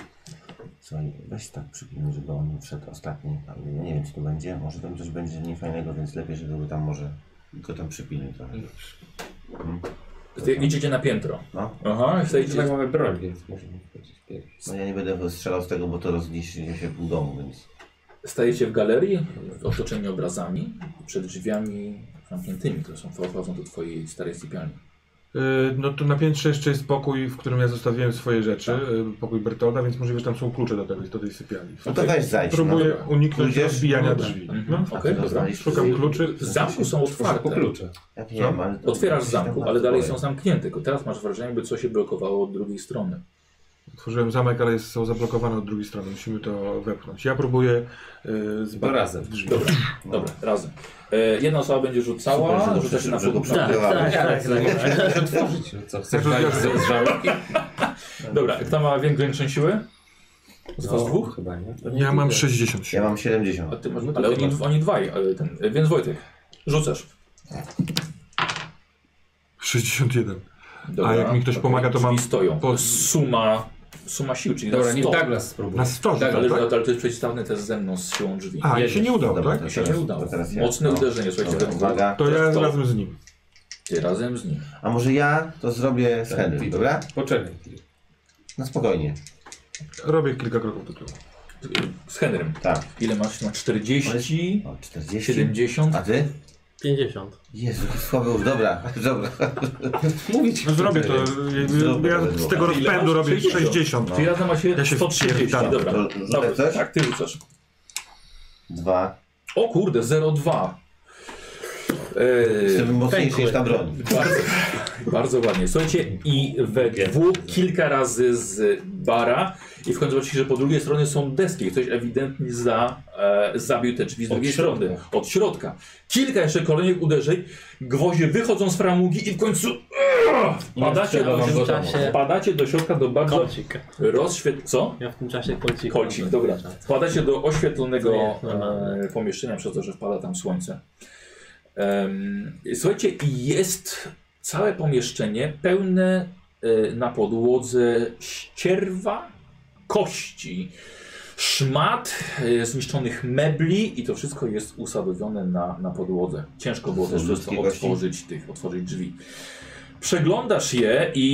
Speaker 3: Słuchaj, weź tak przypomnij, żeby on wszedł ostatni. Ale ja nie wiem, czy to będzie. Może tam coś będzie niefajnego, więc lepiej, żeby go tam może... Go tam przypilnuj trochę.
Speaker 2: Ty idziecie na piętro.
Speaker 3: No.
Speaker 2: Aha,
Speaker 6: Tutaj
Speaker 2: chcecie...
Speaker 6: Tak, mamy broń, więc możemy wchodzić pierwszy.
Speaker 3: No ja nie będę strzelał z tego, bo to rozniszczy się pół domu, więc...
Speaker 2: Stajecie w galerii, otoczeni obrazami, przed drzwiami zamkniętymi, które są wchodzą do twojej starej sypialni.
Speaker 4: Y, no to na piętrze jeszcze jest pokój, w którym ja zostawiłem swoje rzeczy, y, pokój Bertolda, więc możliwe, że tam są klucze do, tego, do tej sypialni.
Speaker 3: No to weź zajdź.
Speaker 4: Próbuję
Speaker 3: no.
Speaker 4: uniknąć
Speaker 3: Pójdziesz?
Speaker 4: rozbijania
Speaker 3: Dobra.
Speaker 4: drzwi.
Speaker 2: Mhm.
Speaker 4: No.
Speaker 2: Okej,
Speaker 3: A ty
Speaker 2: dobra.
Speaker 3: rozwalisz
Speaker 4: Szukam
Speaker 3: drzwi?
Speaker 4: kluczy.
Speaker 2: W zamku są
Speaker 6: Może po
Speaker 4: tak.
Speaker 2: otwarte.
Speaker 6: klucze.
Speaker 3: Ja wiem, ale... to-
Speaker 2: Otwierasz
Speaker 3: to się
Speaker 2: zamku,
Speaker 3: tam
Speaker 2: ale dalej
Speaker 3: boję.
Speaker 2: są zamknięte. tylko Teraz masz wrażenie, jakby coś się blokowało od drugiej strony.
Speaker 4: Otworzyłem zamek, ale jest, są zablokowane od drugiej strony. Musimy to wepchnąć. Ja próbuję y,
Speaker 6: To
Speaker 4: zbadać
Speaker 6: razem.
Speaker 4: drzwi.
Speaker 2: Dobra, dobra, razem. E, jedna osoba będzie rzucała,
Speaker 3: No. Super, że go
Speaker 2: rzuca się na
Speaker 3: przy- że go
Speaker 2: podróż.
Speaker 3: przy-
Speaker 5: Tak, tak, tak. tak.
Speaker 6: Możesz otworzyć. No Co, chcesz
Speaker 4: Ja
Speaker 6: walić
Speaker 4: rozwiążę.
Speaker 6: z z żarówki?
Speaker 2: Dobra, kto ma większą siłę? Z
Speaker 4: No.
Speaker 2: was dwóch?
Speaker 6: chyba, nie?
Speaker 4: Ja mam 60.
Speaker 3: Ja mam 70.
Speaker 2: A ty masz, ale oni, oni dwaj, e, ten, e, więc Wojtek, rzucasz.
Speaker 4: 61.
Speaker 2: Dobra,
Speaker 4: A jak mi ktoś
Speaker 2: okej,
Speaker 4: pomaga, to mam
Speaker 2: drzwi stoją.
Speaker 4: po-
Speaker 2: Suma, suma sił, czyli
Speaker 6: Dobra,
Speaker 2: Dobra,
Speaker 6: nie
Speaker 2: 100.
Speaker 6: Douglas spróbuj.
Speaker 4: Na 100
Speaker 6: Tak,
Speaker 2: Ale,
Speaker 4: rzucam,
Speaker 2: ale
Speaker 4: tak?
Speaker 2: to jest przeciwstawny test ze mną z siłą drzwi.
Speaker 4: A, i
Speaker 6: jedziesz.
Speaker 4: się nie udało,
Speaker 3: Dobra,
Speaker 4: tak?
Speaker 3: to
Speaker 2: się
Speaker 3: teraz-
Speaker 2: nie udało.
Speaker 3: to teraz ja.
Speaker 2: Mocne
Speaker 3: No.
Speaker 2: uderzenie, słuchajcie.
Speaker 3: Dobra,
Speaker 2: we dwóch.
Speaker 3: Uwaga.
Speaker 4: To ja
Speaker 2: To-
Speaker 4: razem z nim.
Speaker 2: Ty razem z nim.
Speaker 3: A może ja to zrobię z Henry, dobra?
Speaker 6: Poczekaj. chwilę.
Speaker 3: No spokojnie.
Speaker 4: Robię kilka kroków do tyłu.
Speaker 2: Z Henrym.
Speaker 3: Tak.
Speaker 2: Ile masz? Na 40,
Speaker 3: O, 40.
Speaker 2: 70.
Speaker 3: A ty?
Speaker 5: 50.
Speaker 3: Jezu, jaki słaby już. Dobra, dobra.
Speaker 6: Mówię ci.
Speaker 4: No zrobię to.
Speaker 6: chcę.
Speaker 3: Dobra,
Speaker 4: Ja z
Speaker 3: dobra.
Speaker 4: tego
Speaker 2: Ile masz?
Speaker 4: rozpędu
Speaker 2: No.
Speaker 4: robię
Speaker 2: 60.
Speaker 4: 60.
Speaker 2: Czyli razem macie
Speaker 4: Ja się
Speaker 2: 130.
Speaker 4: wpierdalam.
Speaker 2: Dobra.
Speaker 3: To rzucę
Speaker 2: Dobra,
Speaker 3: coś?
Speaker 2: Tak, ty rzucasz.
Speaker 3: Dwa.
Speaker 2: O kurde, 0,2.
Speaker 3: Jestem
Speaker 2: Eee,
Speaker 3: mocniejszy niż ta broń.
Speaker 2: bardzo, bardzo ładnie. Słuchajcie, i we dwóch kilka razy z bara i w końcu zobaczycie, że po drugiej stronie są deski. Ktoś ewidentnie za, e, zabił te drzwi z
Speaker 6: Od
Speaker 2: drugiej
Speaker 6: środka.
Speaker 2: strony. Od środka. Kilka jeszcze kolejnych uderzeń. Gwoździe wychodzą z framugi i w końcu Uuu! wpadacie
Speaker 6: strzela
Speaker 2: do,
Speaker 6: wam do
Speaker 2: środka,
Speaker 5: domu.
Speaker 2: wpadacie do środka do bardzo
Speaker 5: Kolcik.
Speaker 2: rozświetlonego... Co?
Speaker 5: Ja w tym czasie kolcik.
Speaker 2: Kolcik, dobra. Wpadacie do oświetlonego
Speaker 5: Nie, normalne.
Speaker 2: e, pomieszczenia przez to, że wpada tam słońce. Em, słuchajcie, i jest całe pomieszczenie pełne e, na podłodze ścierwa, kości, szmat, e, zniszczonych mebli i to wszystko jest usadowione na, na podłodze. Ciężko było
Speaker 3: Są
Speaker 2: też
Speaker 3: ludzkie
Speaker 2: to
Speaker 3: kości?
Speaker 2: otworzyć, tych, otworzyć drzwi. Przeglądasz je i,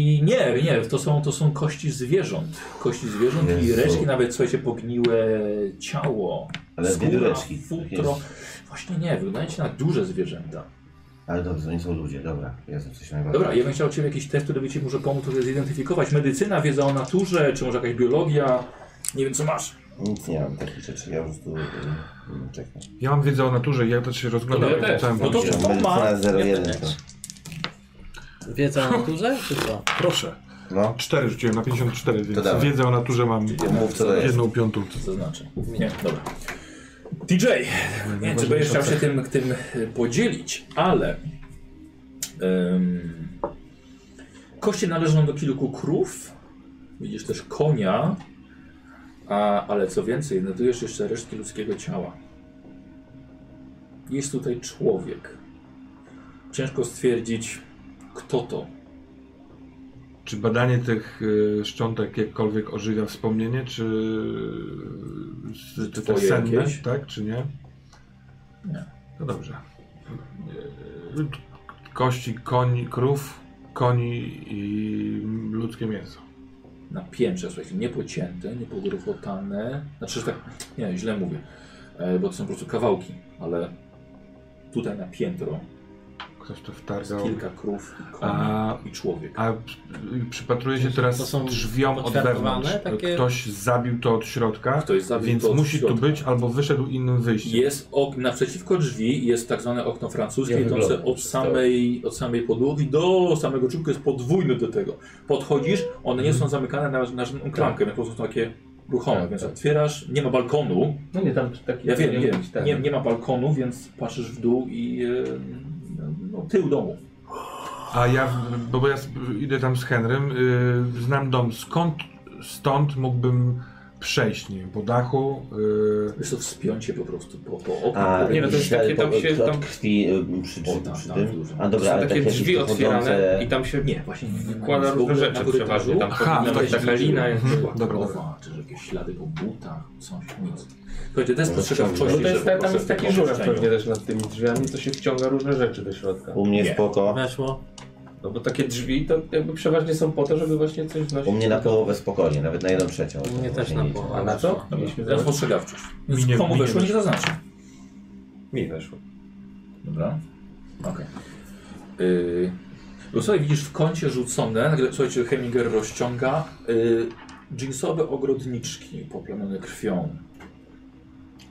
Speaker 2: i nie, nie, to są, to są kości zwierząt. Kości zwierząt i
Speaker 3: Jezu.
Speaker 2: reszki, nawet słuchajcie, pogniłe ciało,
Speaker 3: Ale dwie tak
Speaker 2: skóra,
Speaker 3: rureczki.
Speaker 2: futro. Właśnie nie, wyglądacie na duże zwierzęta.
Speaker 3: Ale dobrze, to nie są ludzie. Dobra, jestem coś najbardziej.
Speaker 2: Dobra, ja bym chciał od Ciebie jakiś test, który by Ci może pomóc to zidentyfikować. Medycyna, wiedza o naturze, czy może jakaś biologia. Nie wiem, co masz.
Speaker 3: Nic nie mam takich rzeczy. Ja po prostu y, y, czekam.
Speaker 4: Ja mam wiedzę o naturze i ja też się rozglądam
Speaker 6: No
Speaker 4: po
Speaker 6: ja też.
Speaker 4: całym
Speaker 2: No to-
Speaker 4: pomieszczeniu.
Speaker 2: ma?
Speaker 3: Medycyna
Speaker 5: Ja
Speaker 3: 01.
Speaker 5: też.
Speaker 3: to-
Speaker 5: Wiedza o naturze, czy co?
Speaker 4: Proszę.
Speaker 3: No.
Speaker 4: 4 rzuciłem na 54,
Speaker 3: To
Speaker 4: więc
Speaker 3: dawaj.
Speaker 4: wiedzę o naturze mam
Speaker 3: Mów co to jest.
Speaker 4: jedną piątą.
Speaker 2: Co to znaczy? Nie, dobra. TJ, nie wiem, czy będziesz chciał się tym, tym y, podzielić, ale ym, kości należą do kilku krów, widzisz też konia, a, ale co więcej, notujesz jeszcze resztki ludzkiego ciała. Jest tutaj człowiek. Ciężko stwierdzić, kto to.
Speaker 4: Czy badanie tych y, szczątek jakkolwiek ożywia wspomnienie, czy y, te, te
Speaker 2: Twoje
Speaker 4: senne,
Speaker 2: jakieś?
Speaker 4: tak, czy nie?
Speaker 2: Nie.
Speaker 4: No dobrze. Y, Kości koni, krów, koni i ludzkie mięso.
Speaker 2: na piętrze, słuchajcie, niepocięte, niepodrówotane, znaczy, że tak, nie, źle mówię, e, bo to są po prostu kawałki, ale tutaj na piętro
Speaker 4: Ktoś to
Speaker 7: Jest
Speaker 4: wtargał.
Speaker 7: kilka krów i koni
Speaker 4: A-
Speaker 7: i człowiek.
Speaker 4: A p- przypatruję się teraz
Speaker 5: To są
Speaker 4: drzwiom od
Speaker 5: poćwiartowane
Speaker 4: wewnątrz.
Speaker 5: takie?
Speaker 4: Ktoś zabił to od środka,
Speaker 7: Ktoś zabił
Speaker 4: więc
Speaker 7: to od
Speaker 4: musi tu
Speaker 7: środka.
Speaker 4: być albo wyszedł innym wyjściem.
Speaker 7: Jest ok naprzeciwko drzwi jest tak zwane okno francuskie
Speaker 6: Jak
Speaker 7: idące
Speaker 6: wygląda?
Speaker 7: od
Speaker 6: tak.
Speaker 7: samej, od samej podłogi do samego czubka, jest podwójne do tego. Podchodzisz, one nie są zamykane na, na żadną klamkę, więc po prostu są takie ruchome,
Speaker 6: Mhm. Tak,
Speaker 7: więc
Speaker 6: tak.
Speaker 7: otwierasz, nie ma balkonu,
Speaker 6: No nie, tam taki...
Speaker 7: ja wiem, wiem,
Speaker 6: tak.
Speaker 7: nie, nie ma balkonu, więc patrzysz w dół i e, no, tył domu.
Speaker 4: A ja, bo bo ja s- idę tam z Henrym, y, znam dom. Skąd stąd mógłbym przejść? Nie wiem, po dachu? y,
Speaker 7: Wiesz co, wspiąć się po prostu po, po oknie.
Speaker 3: A,
Speaker 6: Nie, no to jest
Speaker 3: ślady
Speaker 6: takie, tam
Speaker 3: po-
Speaker 6: się- tam-
Speaker 3: od krwi y, przy, przy,
Speaker 7: O, tam,
Speaker 3: przy
Speaker 7: tam
Speaker 3: tym.
Speaker 7: dużo.
Speaker 3: A
Speaker 6: To
Speaker 3: dobra,
Speaker 6: są
Speaker 3: ale
Speaker 6: takie drzwi
Speaker 3: jakieś
Speaker 6: otwierane
Speaker 3: pochodzące-
Speaker 6: i tam się
Speaker 7: Nie, właśnie nie. nie
Speaker 6: wkłada
Speaker 7: nie,
Speaker 6: różne
Speaker 7: na
Speaker 6: rzeczy
Speaker 7: korytarzu.
Speaker 6: przeważnie. Tam
Speaker 7: Aha,
Speaker 4: to
Speaker 6: powinna być
Speaker 4: się
Speaker 6: taka lina jak
Speaker 4: Mhm.
Speaker 6: szkła.
Speaker 4: Dobra,
Speaker 7: Kowa,
Speaker 4: dobra.
Speaker 7: czy jakieś ślady po butach, coś, nic. Słuchajcie, to jest
Speaker 3: No,
Speaker 7: postrzegawczość.
Speaker 6: No to jest,
Speaker 7: że po
Speaker 6: tam jest
Speaker 7: prostu
Speaker 6: taki
Speaker 7: po
Speaker 6: żuraw
Speaker 7: opuszczeniu.
Speaker 6: pewnie też nad tymi drzwiami, co się wciąga różne rzeczy do środka.
Speaker 3: U mnie
Speaker 7: Nie.
Speaker 3: spoko.
Speaker 5: Weszło.
Speaker 6: No bo takie drzwi to jakby przeważnie są po to, żeby właśnie coś wnosić.
Speaker 3: U mnie na połowę spokojnie, nawet na jedną trzecią.
Speaker 5: U mnie
Speaker 3: To
Speaker 5: też
Speaker 3: się
Speaker 5: na
Speaker 3: liczy.
Speaker 5: połowę.
Speaker 6: A na co? Mieliśmy
Speaker 7: Teraz
Speaker 6: zaraz.
Speaker 7: postrzegawczość. Więc
Speaker 4: Minie-
Speaker 7: komu
Speaker 4: minie
Speaker 7: weszło, nie
Speaker 4: weszło.
Speaker 7: zaznaczy.
Speaker 6: Mi weszło.
Speaker 7: Dobra. Okej. Yy, bo Słuchaj, widzisz w kącie rzucone, nagle, słuchajcie, Heminger rozciąga yy, jeansowe ogrodniczki poplamione krwią.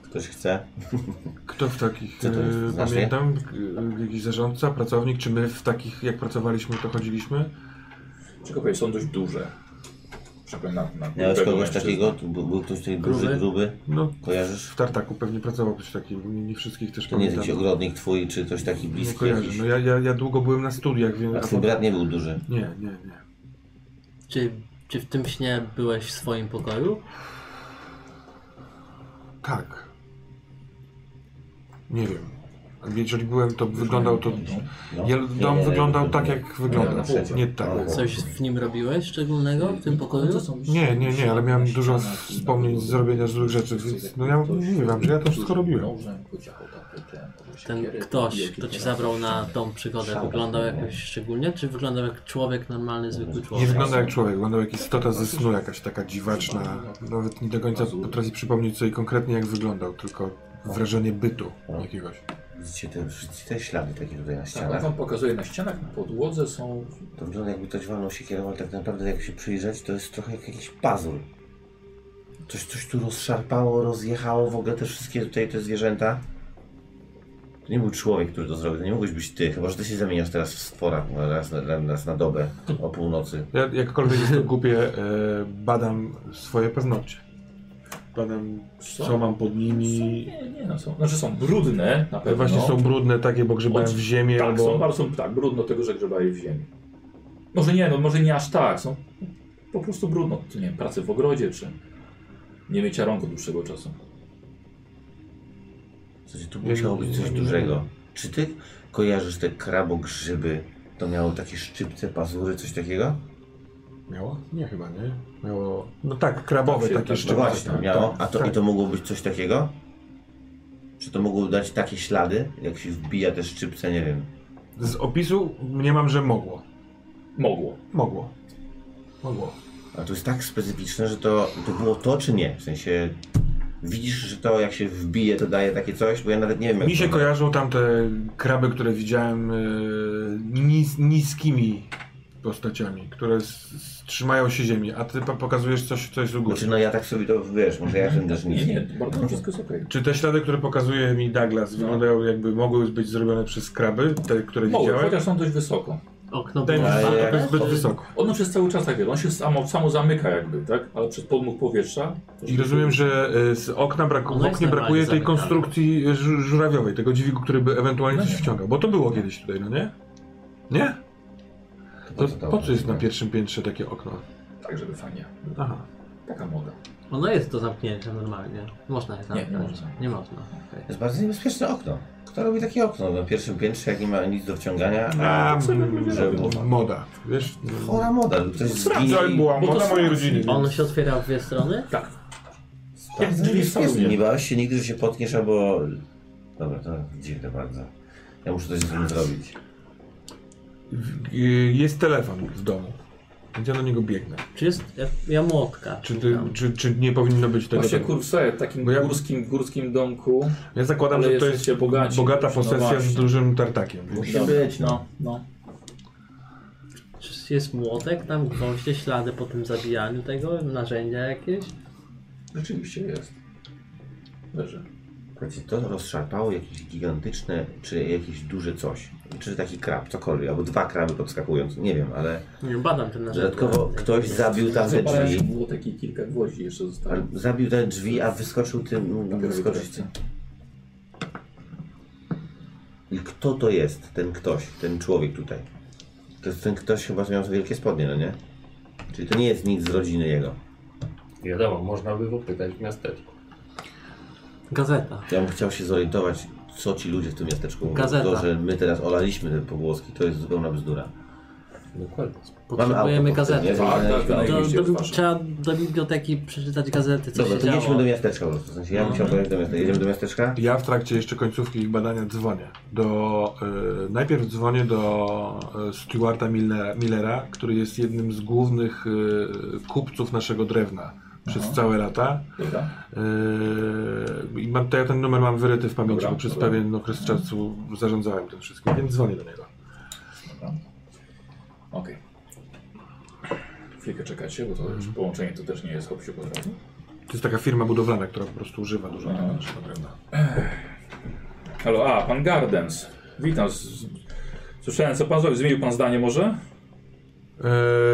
Speaker 3: Ktoś chce?
Speaker 4: Kto w takich,
Speaker 3: Co to jest?
Speaker 4: e,
Speaker 3: Znasz je?
Speaker 4: pamiętam, e, jakiś zarządca, pracownik, czy my w takich, jak pracowaliśmy, to chodziliśmy?
Speaker 7: Czego powiedzieć, są dość duże. Przepłyn na, na
Speaker 3: Miałeś
Speaker 7: grubego
Speaker 3: kogoś
Speaker 7: mężczyznę.
Speaker 3: takiego? Tu Był, był ktoś tutaj duży,
Speaker 5: Gruby?
Speaker 3: gruby?
Speaker 4: No,
Speaker 3: Kojarzysz?
Speaker 4: w tartaku pewnie pracował ktoś taki, nie, nie wszystkich też
Speaker 3: To nie jest
Speaker 4: pamiętam.
Speaker 3: jakiś ogrodnik twój, czy ktoś taki
Speaker 4: nie
Speaker 3: bliski
Speaker 4: kojarzę,
Speaker 3: jakiś?
Speaker 4: no ja, ja, ja długo byłem na studiach, więc...
Speaker 3: A twój brat nie był duży.
Speaker 4: Nie, nie, nie.
Speaker 5: Czy, czy w tym śnie byłeś w swoim pokoju?
Speaker 4: Tak. Nie wiem. Jeżeli byłem, to wyglądał to...
Speaker 3: No.
Speaker 4: Ja,
Speaker 3: Nie,
Speaker 4: dom
Speaker 3: nie, nie,
Speaker 4: wyglądał
Speaker 3: nie,
Speaker 4: tak,
Speaker 3: nie.
Speaker 4: jak wyglądał.
Speaker 3: trzecią.
Speaker 4: Nie tak.
Speaker 3: No,
Speaker 5: Coś w nim robiłeś szczególnego w tym pokoju?
Speaker 4: Nie, nie, nie, ale miałem dużo wspomnień z zrobienia złych rzeczy, więc no ja mówię wam, że ja to wszystko robiłem.
Speaker 5: Ten ktoś, kto ci zabrał na tą przygodę, wyglądał jakoś szczególnie? Czy wyglądał jak człowiek normalny, zwykły
Speaker 4: Nie
Speaker 5: człowiek?
Speaker 4: wygląda jak człowiek, wyglądał jak istota ze snu, jakaś taka dziwaczna. Nawet nie do końca potrafię przypomnieć sobie konkretnie jak wyglądał, tylko wrażenie bytu jakiegoś.
Speaker 3: Widzicie te, wszystkie te ślady takie tutaj na
Speaker 7: Tak, on
Speaker 3: ścianach?
Speaker 7: wam pokazuje na ścianach, na podłodze są...
Speaker 3: To wygląda jakby ktoś walnął się kierował, tak naprawdę jak się przyjrzeć, to jest trochę jak jakiś pazur. Coś, coś tu rozszarpało, rozjechało w ogóle te wszystkie tutaj te zwierzęta. To nie był człowiek, który to zrobił, to nie mogłeś być ty, chyba że ty się zamieniasz teraz w stwora no, raz na, raz, raz na dobę o północy.
Speaker 4: Ja jakkolwiek jest to głupie, e, badam swoje paznokcie. Badam co mam pod nimi. E,
Speaker 7: Nie, nie, no są, znaczy są brudne na pewno.
Speaker 4: Właśnie są brudne takie, bo grzebałem w ziemię
Speaker 7: No. tak, są
Speaker 4: albo...
Speaker 7: bardzo są, tak, brudno tego, że grzebali w ziemi. Może nie, no może nie aż tak, są po prostu brudno. Czy nie wiem, pracy w ogrodzie, czy nie mycia rąk od dłuższego czasu.
Speaker 3: Coś, tu musiało być coś dużego. Czy ty kojarzysz te krabogrzyby? To miało takie szczypce, pazury, coś takiego?
Speaker 4: Miało? Nie chyba, nie? Miało... No tak, krabowe
Speaker 7: Tak się-
Speaker 4: takie
Speaker 7: tak,
Speaker 3: No
Speaker 4: szczypce.
Speaker 3: właśnie,
Speaker 4: Tak,
Speaker 3: miało.
Speaker 4: tak,
Speaker 3: A to i
Speaker 4: tak.
Speaker 3: to mogło być coś takiego? Czy to mogło dać takie ślady, jak się wbija te szczypce, nie wiem.
Speaker 4: Z opisu mniemam, że mogło.
Speaker 7: Mogło.
Speaker 4: Mogło. Mogło.
Speaker 3: A to jest tak specyficzne, że to, to było to czy nie? W sensie widzisz, że to jak się wbije, to daje takie coś, bo ja nawet nie wiem. jak
Speaker 4: Mi się
Speaker 3: to-
Speaker 4: kojarzą tamte kraby, które widziałem y, nis, niskimi postaciami, które s- s- trzymają się ziemi, a ty pa- pokazujesz coś, coś z góry.
Speaker 3: Znaczy, no ja tak sobie to wiesz, może ja jestem też
Speaker 7: Nie,
Speaker 3: nic.
Speaker 7: nie, bardzo wszystko jest okej.
Speaker 4: Czy te ślady, które pokazuje mi Douglas,
Speaker 7: No.
Speaker 4: wyglądają jakby mogły być zrobione przez kraby, te, które
Speaker 7: Mogły,
Speaker 4: widziałem?
Speaker 7: chociaż są dość wysoko.
Speaker 5: Okno
Speaker 4: Wydaje
Speaker 5: było
Speaker 4: mi się, że
Speaker 3: Ale-
Speaker 4: to jest zbyt
Speaker 5: otwarte?
Speaker 4: wysoko.
Speaker 7: Ono przez cały czas tak jest, on się samo, samo zamyka jakby, tak? Ale przez podmuch powietrza...
Speaker 4: I rozumiem, że y, z okna braku,
Speaker 5: Ono
Speaker 4: w
Speaker 5: jest
Speaker 4: oknie
Speaker 5: normalnie
Speaker 4: brakuje tej
Speaker 5: zamykane.
Speaker 4: konstrukcji y, żu- żurawiowej, tego dźwigu, który by ewentualnie
Speaker 7: No
Speaker 4: coś
Speaker 7: nie.
Speaker 4: wciągał, bo to było kiedyś tutaj, no nie? Nie? To,
Speaker 3: to-
Speaker 4: po co jest na pierwszym piętrze takie okno?
Speaker 7: Tak, żeby fajnie.
Speaker 4: Aha.
Speaker 7: Taka moda.
Speaker 5: Ono jest do zamknięcia normalnie. Można je zamknąć.
Speaker 7: nie można.
Speaker 5: Nie można.
Speaker 3: To jest bardzo niebezpieczne okno. Kto robi takie okno na pierwszym piętrze, jak nie ma nic do wciągania? A,
Speaker 4: A,
Speaker 7: co ja bym
Speaker 4: że
Speaker 3: robił?
Speaker 4: moda. Wiesz,
Speaker 3: chora moda, że ktoś zginie
Speaker 4: to
Speaker 3: i...
Speaker 4: była
Speaker 7: bo to
Speaker 4: moda
Speaker 7: są-
Speaker 4: mojej rodziny.
Speaker 5: On się otwiera w dwie strony?
Speaker 7: Tak.
Speaker 3: Tak,
Speaker 7: Jak
Speaker 3: no
Speaker 7: drzwi
Speaker 3: nie,
Speaker 7: w salonie.
Speaker 3: nie, nie bałeś się nigdy, że się potkniesz albo... Dobra, to dziwne bardzo. Ja muszę coś z tym zrobić.
Speaker 4: Y, Jest telefon w domu. Więc ja do niego biegnę.
Speaker 5: Czy jest jamłotka?
Speaker 4: Czy, ty, czy, czy nie powinno być tego?
Speaker 2: Właśnie
Speaker 4: tego?
Speaker 2: kursajer w takim
Speaker 4: Bo ja-
Speaker 2: górskim, górskim domku.
Speaker 4: Ja zakładam,
Speaker 2: Ale
Speaker 4: że to jest
Speaker 2: jesteście bogaci.
Speaker 4: bogata
Speaker 2: No
Speaker 4: posesja z
Speaker 2: właśnie.
Speaker 4: dużym tartakiem. Więc...
Speaker 2: Musi
Speaker 3: być,
Speaker 2: No, no.
Speaker 5: Czy jest młotek tam, gwoździe, ślady po tym zabijaniu tego, narzędzia jakieś?
Speaker 2: Rzeczywiście jest. Leży.
Speaker 3: Słuchajcie, to rozszarpało jakieś gigantyczne, czy jakieś duże coś. Czy taki krab, cokolwiek, albo dwa kraby podskakując, nie wiem, ale
Speaker 5: Nie wiem, badam ten narzędzia.
Speaker 3: dodatkowo ktoś zabił tam te
Speaker 2: Zapalają się
Speaker 3: drzwi.
Speaker 2: młotek i kilka gwoździ jeszcze zostało.
Speaker 3: ale Zabił te drzwi, a wyskoczył tym, wyskoczyć tym. I kto to jest, ten ktoś, ten człowiek tutaj? To jest ten ktoś chyba, co miał za wielkie spodnie, no nie? Czyli to nie jest nikt z rodziny jego.
Speaker 6: Wiadomo, można by go pytać w miasteczku.
Speaker 5: Gazeta.
Speaker 3: Ja bym chciał się zorientować, co ci ludzie w tym miasteczku mówią.
Speaker 5: Gazeta.
Speaker 3: To, że my teraz olaliśmy te pogłoski, to jest zupełna bzdura.
Speaker 6: Dokładnie.
Speaker 5: Potrzebujemy
Speaker 3: auto,
Speaker 5: gazetę.
Speaker 3: nie?
Speaker 2: Tak, tak,
Speaker 5: Do,
Speaker 2: tak.
Speaker 5: do,
Speaker 2: Najbliżej twarzy.
Speaker 5: trzeba do biblioteki przeczytać gazety, co
Speaker 3: Dobra,
Speaker 5: się
Speaker 3: to jedźmy
Speaker 5: działo.
Speaker 3: do miasteczka po prostu. W sensie ja
Speaker 5: No.
Speaker 3: bym chciał pojechać do miasteczka. Jedziemy do miasteczka?
Speaker 4: Ja w trakcie jeszcze końcówki ich badania dzwonię. Do, y, najpierw dzwonię do y, Stewarta Millera, Millera, który jest jednym z głównych y, kupców naszego drewna przez całe lata.
Speaker 2: Mhm. Dobra.
Speaker 4: Yy, i mam, to ja ten numer mam wyryty w pamięci,
Speaker 2: Dobra,
Speaker 4: bo przez
Speaker 2: dobra.
Speaker 4: pewien okres czasu zarządzałem tym wszystkim, więc dzwonię do niego.
Speaker 2: Okej. Chwilkę czekacie, bo to już połączenie to też nie jest hop się potrafi.
Speaker 4: To jest taka firma budowlana, która po prostu używa dużo tego
Speaker 2: Aha.
Speaker 4: naszego drewna.
Speaker 2: Halo, a, pan Gardens. Witam. Z... Słyszałem, co pan zrobił. Zmienił pan zdanie może?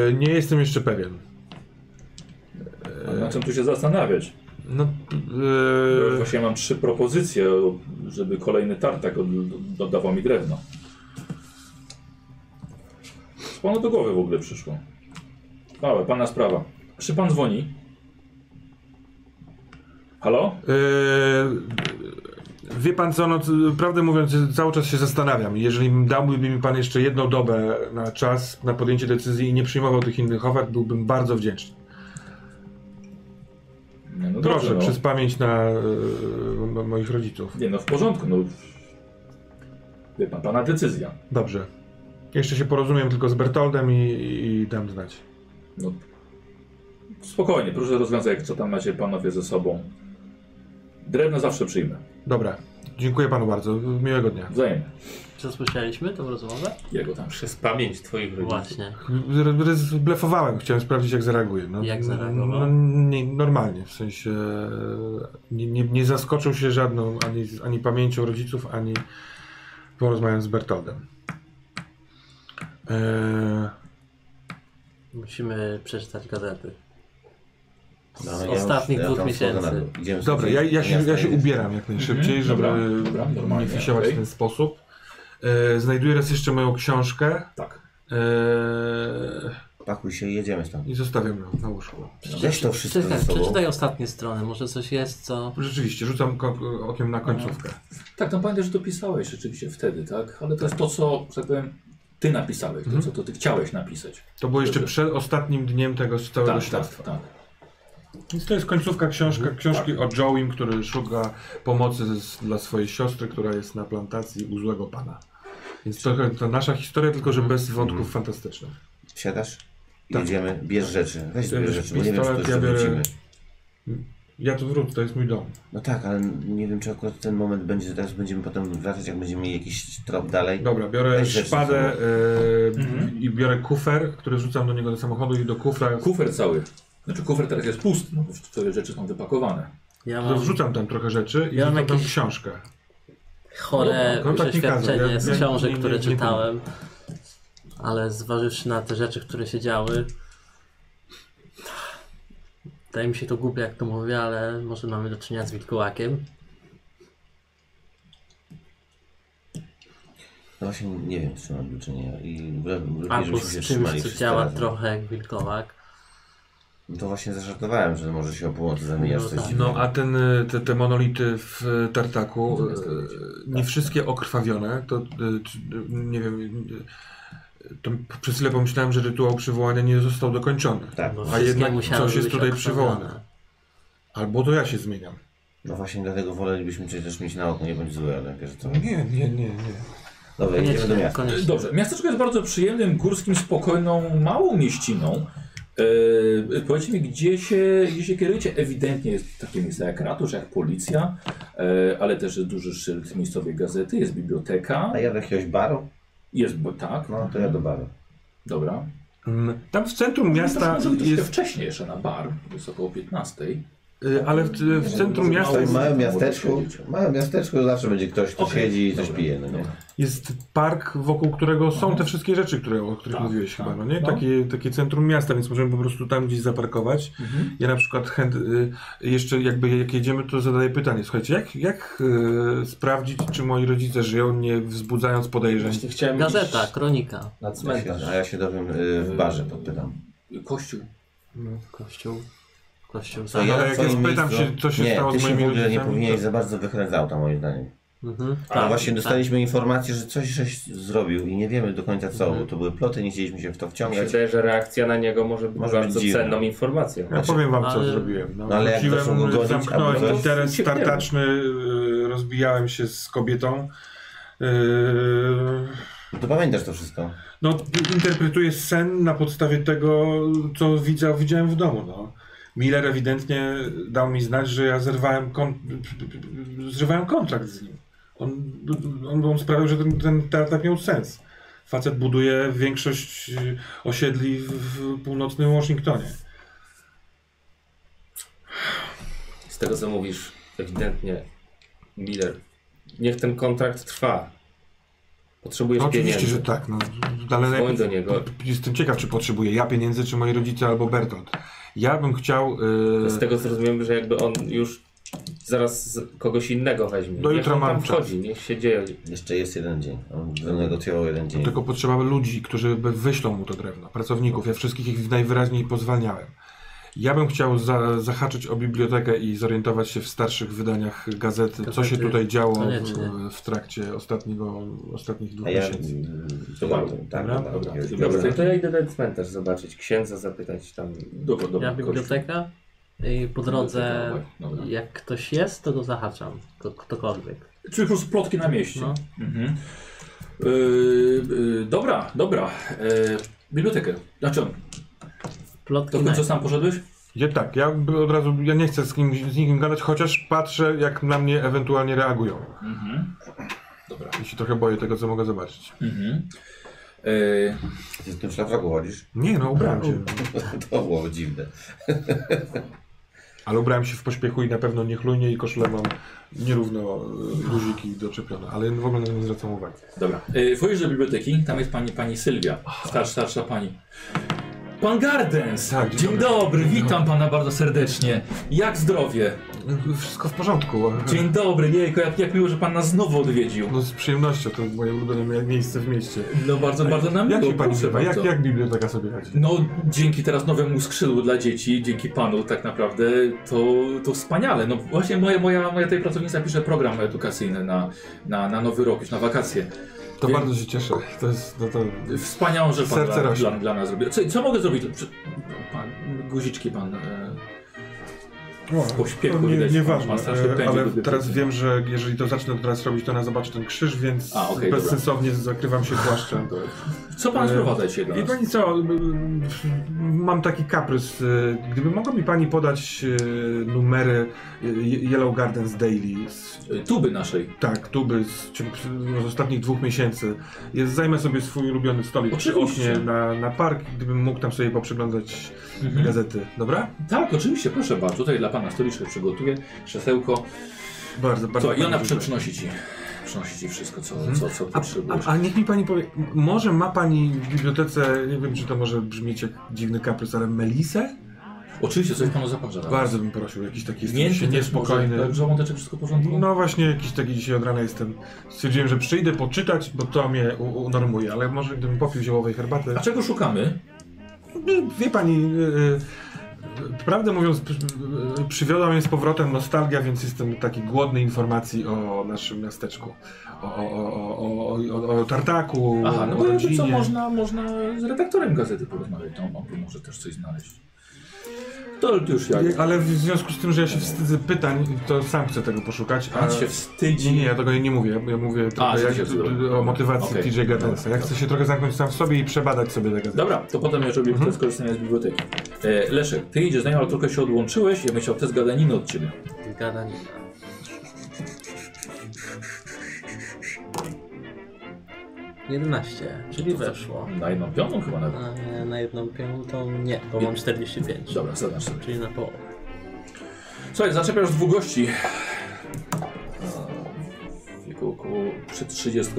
Speaker 4: Yy, nie jestem jeszcze pewien.
Speaker 2: A na czym tu się zastanawiać?
Speaker 4: No,
Speaker 2: Bo
Speaker 4: yy,
Speaker 2: Właśnie mam trzy propozycje, żeby kolejny tartak od- dodawał mi drewno. Z panu do głowy w ogóle przyszło. Małe, pana sprawa. Czy pan dzwoni? Halo?
Speaker 4: yy, wie pan co, no, c- prawdę mówiąc, cały czas się zastanawiam. Jeżeli dałby mi pan jeszcze jedną dobę na czas, na podjęcie decyzji i nie przyjmował tych innych ofert, byłbym bardzo wdzięczny.
Speaker 2: Nie, no
Speaker 4: Proszę,
Speaker 2: dobrze, no.
Speaker 4: przez pamięć na yy, mo- moich rodziców.
Speaker 2: Nie no, w porządku, no. Wie pan, pana decyzja.
Speaker 4: Dobrze. Jeszcze się porozumiem tylko z Bertoldem i, i dam znać.
Speaker 2: No. Spokojnie, proszę rozwiązać, co tam macie panowie ze sobą. Drewno zawsze przyjmę.
Speaker 4: Dobra. Dziękuję panu bardzo. Miłego dnia.
Speaker 2: Wzajemnie.
Speaker 5: Czy słyszeliśmy tą
Speaker 3: Tak,
Speaker 5: rozmowę?
Speaker 2: Jego tam.
Speaker 6: Przez pamięć twoich rodziców.
Speaker 5: Właśnie.
Speaker 4: R- r- Zblefowałem, chciałem sprawdzić jak zareaguje. No,
Speaker 5: Jak zareagował?
Speaker 4: No, nie, normalnie, w sensie nie, nie, nie zaskoczył się żadną ani, ani pamięcią rodziców, ani porozmawiając z Bertoldem. Eee,
Speaker 5: Musimy przeczytać gazety. Z
Speaker 3: No, ja już-
Speaker 5: ostatnich
Speaker 3: ja
Speaker 5: dwóch
Speaker 3: tam schodzę na
Speaker 5: miesięcy.
Speaker 3: dół. Idziemy
Speaker 4: Dobra,
Speaker 3: sobie
Speaker 4: ja, ja, się,
Speaker 3: miasta
Speaker 4: ja się
Speaker 3: jedziemy.
Speaker 4: ubieram jak najszybciej,
Speaker 2: Mhm,
Speaker 4: żeby
Speaker 2: dobra, dobra, normalnie,
Speaker 4: nie fisiować
Speaker 2: okej.
Speaker 4: w ten sposób. E, znajduję raz jeszcze moją książkę
Speaker 2: Tak.
Speaker 4: e,
Speaker 3: Pakuj się i jedziemy stąd.
Speaker 4: i zostawiam ją na łóżku.
Speaker 3: Weź to wszystko ze
Speaker 5: Przeczytaj,
Speaker 3: sobą.
Speaker 5: przeczytaj ostatnie strony, może coś jest, co...
Speaker 4: Rzeczywiście, rzucam ko- okiem na końcówkę.
Speaker 2: Tak, no pamiętaj, że to pisałeś rzeczywiście wtedy, tak? Ale to jest to, co, że tak powiem, ty napisałeś,
Speaker 4: Mhm.
Speaker 2: to, co to ty chciałeś napisać.
Speaker 4: To było jeszcze
Speaker 2: Dobrze.
Speaker 4: przed ostatnim dniem tego całego
Speaker 2: Tak, tak, Mhm.
Speaker 4: śledztwa.
Speaker 2: tak.
Speaker 4: Więc to jest końcówka książka, książki o Joeym, który szuka pomocy z, dla swojej siostry, która jest na plantacji u złego pana. Więc trochę to nasza historia, tylko że bez
Speaker 2: Mhm.
Speaker 4: wątków fantastycznych.
Speaker 3: Wsiadasz?
Speaker 4: Tak.
Speaker 3: Jedziemy, bierz rzeczy. Weź
Speaker 4: Ja
Speaker 3: bierz
Speaker 4: bierz
Speaker 3: rzeczy, bo nie wiem, czy to
Speaker 4: pistolet,
Speaker 3: już
Speaker 4: ja biorę-
Speaker 3: wrócimy.
Speaker 4: Ja tu wrócę, to jest mój dom.
Speaker 3: No tak, ale nie wiem, czy akurat ten moment będzie, że teraz będziemy potem wracać, jak będziemy mieli jakiś trop dalej.
Speaker 4: Dobra, biorę
Speaker 3: Weź rzeczy
Speaker 4: szpadę y,
Speaker 5: Mhm.
Speaker 4: i biorę kufer, który rzucam do niego do samochodu i do kufra.
Speaker 2: Kufer cały. Znaczy kufer teraz jest pusty, no bo wtedy rzeczy są wypakowane.
Speaker 5: Ja mam
Speaker 4: Rozrzucam tam trochę rzeczy i
Speaker 5: Ja mam
Speaker 4: rzucam tam
Speaker 5: jakieś-
Speaker 4: książkę.
Speaker 5: chore
Speaker 4: No, tak nie
Speaker 5: przeświadczenie
Speaker 4: kazał, ja-
Speaker 5: z
Speaker 4: ja
Speaker 5: książek,
Speaker 4: nie- nie-
Speaker 5: które
Speaker 4: nie
Speaker 5: czytałem, ale zważywszy na te rzeczy, które się działy, wydaje mi się to głupie, jak to mówię, ale może mamy do czynienia z wilkołakiem.
Speaker 3: No właśnie nie wiem, czy mam do czynienia. I
Speaker 5: Albo
Speaker 3: żebyśmy się
Speaker 5: z
Speaker 3: trzymali
Speaker 5: czymś, co
Speaker 3: wszyscy
Speaker 5: działa
Speaker 3: razem.
Speaker 5: trochę jak wilkołak.
Speaker 3: No to właśnie zażartowałem, że może się o pomocy zamieniasz
Speaker 5: No
Speaker 3: coś
Speaker 5: tak.
Speaker 3: dziwnego.
Speaker 4: No a ten, y, te, te monolity w y, tartaku, y, nie wszystkie okrwawione, to y, czy- y, nie wiem, y, y, to przez chwilę pomyślałem, że rytuał przywołania nie został dokończony.
Speaker 3: Tak.
Speaker 5: Bo
Speaker 3: No,
Speaker 4: A
Speaker 5: wszystkie
Speaker 4: jednak
Speaker 5: musiały
Speaker 4: coś jest
Speaker 5: być
Speaker 4: tutaj
Speaker 5: obstawione.
Speaker 4: przywołane. Albo to ja się zmieniam.
Speaker 3: No właśnie dlatego wolelibyśmy cię też mieć na oku, nie bądź zły, ale wiesz co.
Speaker 4: Nie, nie, nie, nie.
Speaker 3: Dobra, idziemy do
Speaker 5: Koniecznie,
Speaker 3: miasta.
Speaker 2: E,
Speaker 5: koniecznie.
Speaker 2: Dobrze, miasteczko jest bardzo przyjemnym, górskim, spokojną, małą mieściną. E, powiedzcie mi, gdzie się, gdzie się kierujecie? Ewidentnie jest takie miejsce jak ratusz, jak policja, e, ale też jest duży szyld miejscowej gazety, jest biblioteka,
Speaker 3: A ja do jakiegoś baru?
Speaker 2: jest, bo tak,
Speaker 3: No to ja do baru.
Speaker 2: dobra.
Speaker 4: Mm, Tam w centrum miasta
Speaker 2: Może być
Speaker 4: jest,
Speaker 2: wcześniej jeszcze na bar, jest około 15.
Speaker 4: y, ale w, w centrum
Speaker 2: Może
Speaker 4: miasta
Speaker 3: W
Speaker 4: jest,
Speaker 2: mało-
Speaker 3: małym miasteczku, w małym miasteczku zawsze będzie ktoś, kto
Speaker 2: Okej,
Speaker 3: siedzi i coś
Speaker 2: dobra,
Speaker 3: pije. No nie?
Speaker 2: dobra.
Speaker 4: jest park, wokół którego są
Speaker 2: No.
Speaker 4: te wszystkie rzeczy, które, o których
Speaker 2: Tak,
Speaker 4: mówiłeś
Speaker 2: tak.
Speaker 4: chyba, no nie?
Speaker 2: No.
Speaker 4: Takie, takie centrum miasta, więc możemy po prostu tam gdzieś zaparkować.
Speaker 2: Mhm.
Speaker 4: Ja na przykład chęt, y, jeszcze jakby jak jedziemy, to zadaję pytanie, słuchajcie, jak, jak y, sprawdzić, czy moi rodzice żyją, nie wzbudzając podejrzeń?
Speaker 6: Właśnie chciałem
Speaker 5: Gazeta,
Speaker 6: iść
Speaker 5: kronika.
Speaker 6: na
Speaker 3: Ja się,
Speaker 6: cmentarz.
Speaker 3: a ja się dowiem y, w barze, podpytam.
Speaker 2: Kościół
Speaker 5: Kościół. Kościół.
Speaker 3: Co
Speaker 5: tak.
Speaker 4: ale
Speaker 3: na
Speaker 4: jak
Speaker 3: twoim
Speaker 4: ja spytam się, co się
Speaker 3: nie,
Speaker 4: stało
Speaker 3: ty
Speaker 4: z
Speaker 3: się
Speaker 4: moimi
Speaker 3: w ogóle nie
Speaker 4: rodzicami,
Speaker 3: powinieneś
Speaker 4: to-
Speaker 3: za bardzo wychylać z auta, moim zdaniem.
Speaker 5: Mhm.
Speaker 3: Ale
Speaker 5: Tak,
Speaker 3: właśnie
Speaker 5: tak.
Speaker 3: dostaliśmy informację, że coś żeś zrobił i nie wiemy do końca co, bo to były ploty, nie chcieliśmy się w to
Speaker 6: Mi się
Speaker 3: wciągać.
Speaker 6: wydaje, że reakcja na niego może być
Speaker 3: Może
Speaker 6: bardzo
Speaker 3: być dziwna.
Speaker 6: cenną informacją.
Speaker 4: Ja powiem wam, co
Speaker 5: ale-
Speaker 4: zrobiłem. No,
Speaker 3: No, Znaczy, ale jak
Speaker 4: wróciłem,
Speaker 3: zaczął go godzić,
Speaker 4: zamknąłem
Speaker 3: albo coś?
Speaker 4: interes
Speaker 2: Cieknęło.
Speaker 4: tartaczny, y, rozbijałem się z kobietą. Y,
Speaker 3: To pamiętasz to wszystko.
Speaker 4: No, interpretuję sen na podstawie tego, co widzę, widziałem w domu. No. Miller ewidentnie dał mi znać, że ja zerwałem, kon... zrywałem kontrakt z nim. On, on, on sprawił, że ten, ten tartak miał sens. Facet buduje większość y, osiedli w, w północnym Waszyngtonie.
Speaker 6: Z tego co mówisz, ewidentnie Miller, niech ten kontrakt trwa. Potrzebujesz
Speaker 4: Oczywiście,
Speaker 6: pieniędzy.
Speaker 4: że tak. No, ale
Speaker 6: Dzwoń
Speaker 4: najpierw-
Speaker 6: do niego.
Speaker 4: Jestem ciekaw, czy potrzebuję ja pieniędzy, czy moi rodzice, albo Bertolt. Ja bym chciał. y,
Speaker 6: Z tego co rozumiem, że jakby on już zaraz z- kogoś innego weźmie.
Speaker 4: Do
Speaker 6: Niech
Speaker 4: jutra
Speaker 6: on tam
Speaker 4: mam czas.
Speaker 6: wchodzi, niech się dzieje.
Speaker 3: Jeszcze jest jeden dzień. On wynegocjował jeden dzień.
Speaker 4: Tylko potrzeba ludzi, którzy by wyślą mu to drewno. Pracowników. Ja wszystkich ich najwyraźniej pozwalniałem. Ja bym chciał za, zahaczyć o bibliotekę i zorientować się w starszych wydaniach gazety, No co się
Speaker 5: Gazety,
Speaker 4: tutaj działo
Speaker 5: koniecznie.
Speaker 4: w, w trakcie ostatniego, ostatnich dwóch
Speaker 3: A ja...
Speaker 4: miesięcy.
Speaker 3: Dobra, tak,
Speaker 4: Dobra,
Speaker 3: dobra,
Speaker 2: dobra.
Speaker 3: już
Speaker 2: Dobra,
Speaker 3: biorę.
Speaker 6: Dobrze, to ja idę na cmentarz zobaczyć, księdza zapytać tam.
Speaker 2: Dobra, dobra.
Speaker 5: Ja biblioteka i po drodze,
Speaker 4: tak,
Speaker 5: jak ktoś jest, to go zahaczam. Kto- Ktokolwiek.
Speaker 2: Czyli po prostu plotki na mieście.
Speaker 5: No.
Speaker 2: Mhm. Yy, yy, dobra, dobra. Yy, bibliotekę. Znaczy, to
Speaker 5: Plotki
Speaker 2: w końcu
Speaker 5: najpierw.
Speaker 2: sam poszedłeś?
Speaker 4: Ja tak, ja by od razu, ja nie chcę z, kim, z nikim gadać, chociaż patrzę, jak na mnie ewentualnie reagują.
Speaker 2: Mhm. Dobra.
Speaker 4: I się trochę boję tego, co mogę zobaczyć.
Speaker 2: Mhm. Yy,
Speaker 3: Ty z tym szlafroku chodzisz?
Speaker 4: Nie no, ubrałem się.
Speaker 3: To było dziwne.
Speaker 4: Ale ubrałem się w pośpiechu i na pewno niechlujnie i koszulę mam nierówno e, guziki doczepione, ale w ogóle na to nie zwracam uwagi.
Speaker 2: dobra. Yy, wchodzisz do biblioteki, tam jest pani, pani Sylwia. Starsza, starsza pani. Pan Gardens!
Speaker 4: Tak, dzień
Speaker 2: dzień dobry. witam pana bardzo serdecznie. Jak zdrowie?
Speaker 4: E, Wszystko w porządku.
Speaker 2: Dzień dobry, jejku, jak, jak miło, że pan nas znowu odwiedził.
Speaker 4: No z przyjemnością, to moje ulubione mie- miejsce w mieście.
Speaker 2: No bardzo, bardzo nam
Speaker 4: Jak
Speaker 2: miło,
Speaker 4: się pani
Speaker 2: proszę
Speaker 4: chyba?
Speaker 2: bardzo.
Speaker 4: Jak, jak biblioteka sobie radzi?
Speaker 2: No, dzięki teraz nowemu skrzydłu dla dzieci, dzięki panu tak naprawdę, to, to wspaniale. No właśnie moja, moja, moja tej pracownica pisze program edukacyjny na, na, na nowy rok, już na wakacje.
Speaker 4: To
Speaker 2: Wiem.
Speaker 4: bardzo się cieszę. To jest, no to...
Speaker 2: Wspaniałą rzecz pan
Speaker 4: Serce
Speaker 2: dla,
Speaker 4: rośnie.
Speaker 2: dla, dla nas zrobił. Co, co mogę zrobić? Prze- Pan, guziczki pan... E,
Speaker 4: O,
Speaker 2: pośpiechu
Speaker 4: to nie,
Speaker 2: widać,
Speaker 4: nieważne,
Speaker 2: pan strasznie
Speaker 4: e,
Speaker 2: pędzi
Speaker 4: ale
Speaker 2: do biblioteki.
Speaker 4: teraz wiem, że jeżeli to zacznę teraz robić, to ona zobaczy ten krzyż, więc
Speaker 2: A, okej,
Speaker 4: bezsensownie zakrywam się płaszczem.
Speaker 2: co pan
Speaker 4: E,
Speaker 2: sprowadza się do
Speaker 4: Wie
Speaker 2: nas?
Speaker 4: pani co, m- m- mam taki kaprys. y, Gdyby mogła mi pani podać y, numery y, Yellow Gardens Daily, z,
Speaker 2: E, Tuby naszej.
Speaker 4: tak, tuby z, ciąg- z ostatnich dwóch miesięcy, jest, zajmę sobie swój ulubiony stolik przy
Speaker 2: Oczywiście.
Speaker 4: oknie na, na park, gdybym mógł tam sobie poprzeglądać
Speaker 2: Mhm.
Speaker 4: gazety, dobra?
Speaker 2: Tak, oczywiście, proszę bardzo. Tutaj dla pana stoliczkę przygotuję, krzesełko.
Speaker 4: Bardzo, bardzo.
Speaker 2: Co, i ona
Speaker 4: pani
Speaker 2: przy,
Speaker 4: dziękuję.
Speaker 2: przynosi ci, przynosi ci wszystko, co,
Speaker 4: Mhm.
Speaker 2: co, co
Speaker 4: A,
Speaker 2: potrzebujesz.
Speaker 4: a, a niech mi pani powie, m- może ma pani w bibliotece, nie wiem czy to może brzmieć jak dziwny kaprys, ale melisę?
Speaker 2: Oczywiście, coś panu zaparza. na
Speaker 4: Bardzo bym prosił, jakiś taki jestem
Speaker 2: Tak. Mięty
Speaker 4: dzisiaj
Speaker 2: też
Speaker 4: niespokojny.
Speaker 2: może, tak, żołądeczek wszystko w porządku?
Speaker 4: No właśnie, jakiś taki dzisiaj od rana jestem. Stwierdziłem, że przyjdę poczytać, bo to mnie u- unormuje, ale może gdybym popił ziołowej herbaty. No,
Speaker 2: A czego szukamy?
Speaker 4: Wie pani, yy, prawdę mówiąc, p- yy, przywiodła mnie z powrotem nostalgia, więc jestem taki głodny informacji o naszym miasteczku. O, o, o, o, o, o tartaku,
Speaker 2: Aha, no
Speaker 4: o
Speaker 2: bo jakby
Speaker 4: rodzinie.
Speaker 2: co, można, można z redaktorem gazety porozmawiać, to on tu może też coś znaleźć. To już jak.
Speaker 4: Ale w związku z tym, że ja się wstydzę pytań, to sam chcę tego poszukać.
Speaker 2: Pan
Speaker 4: a-
Speaker 2: się wstydzi.
Speaker 4: Nie, nie, ja tego nie mówię. Ja- Ja mówię tylko
Speaker 2: A,
Speaker 4: ja,
Speaker 2: że się
Speaker 4: tu-
Speaker 2: wstydzę.
Speaker 4: tu- o motywacji
Speaker 2: Okej.
Speaker 4: TJ Gardensa. Ja chcę się trochę zamknąć sam w sobie i przebadać sobie te gazety.
Speaker 2: Dobra, to potem już
Speaker 4: Mhm.
Speaker 2: robimy test skorzystania z biblioteki. E, Leszek, ty idziesz z nami, ale trochę się odłączyłeś. Ja bym chciał test gadaniny od ciebie.
Speaker 5: Gadanina. Jedenaście, czyli weszło.
Speaker 2: Na jedną piątą chyba nawet.
Speaker 5: Na, na jedną piątą nie, bo
Speaker 2: Nie.
Speaker 5: mam 45.
Speaker 2: Dobra, zaznacz sobie.
Speaker 5: Czyli na połowę.
Speaker 2: Słuchaj, zaczepiasz dwóch gości. W wieku około przed 30.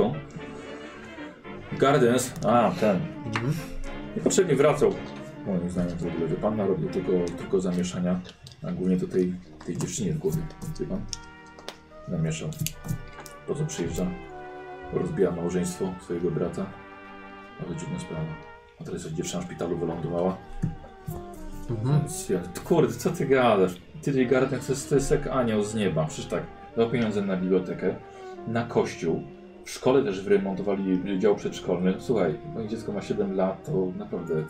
Speaker 2: Gardens. A, ten. Niepotrzebnie wracał. Moim zdaniem to w ogóle wie pan narobił tylko, tylko zamieszania. A głównie to tej, tej dziewczynie w głowie. Wie pan? Namieszał. Po co przyjeżdża? Rozbija małżeństwo swojego brata. Ale dziwna sprawa. A teraz jak dziewczyna w szpitalu wylądowała. Więc ja, kurde, co ty gadasz? Ty Garden to jest, to jest jak anioł z nieba. Przecież tak, dał pieniądze na bibliotekę, na kościół. W szkole też wyremontowali dział przedszkolny. Słuchaj, moje dziecko ma 7 lat, to naprawdę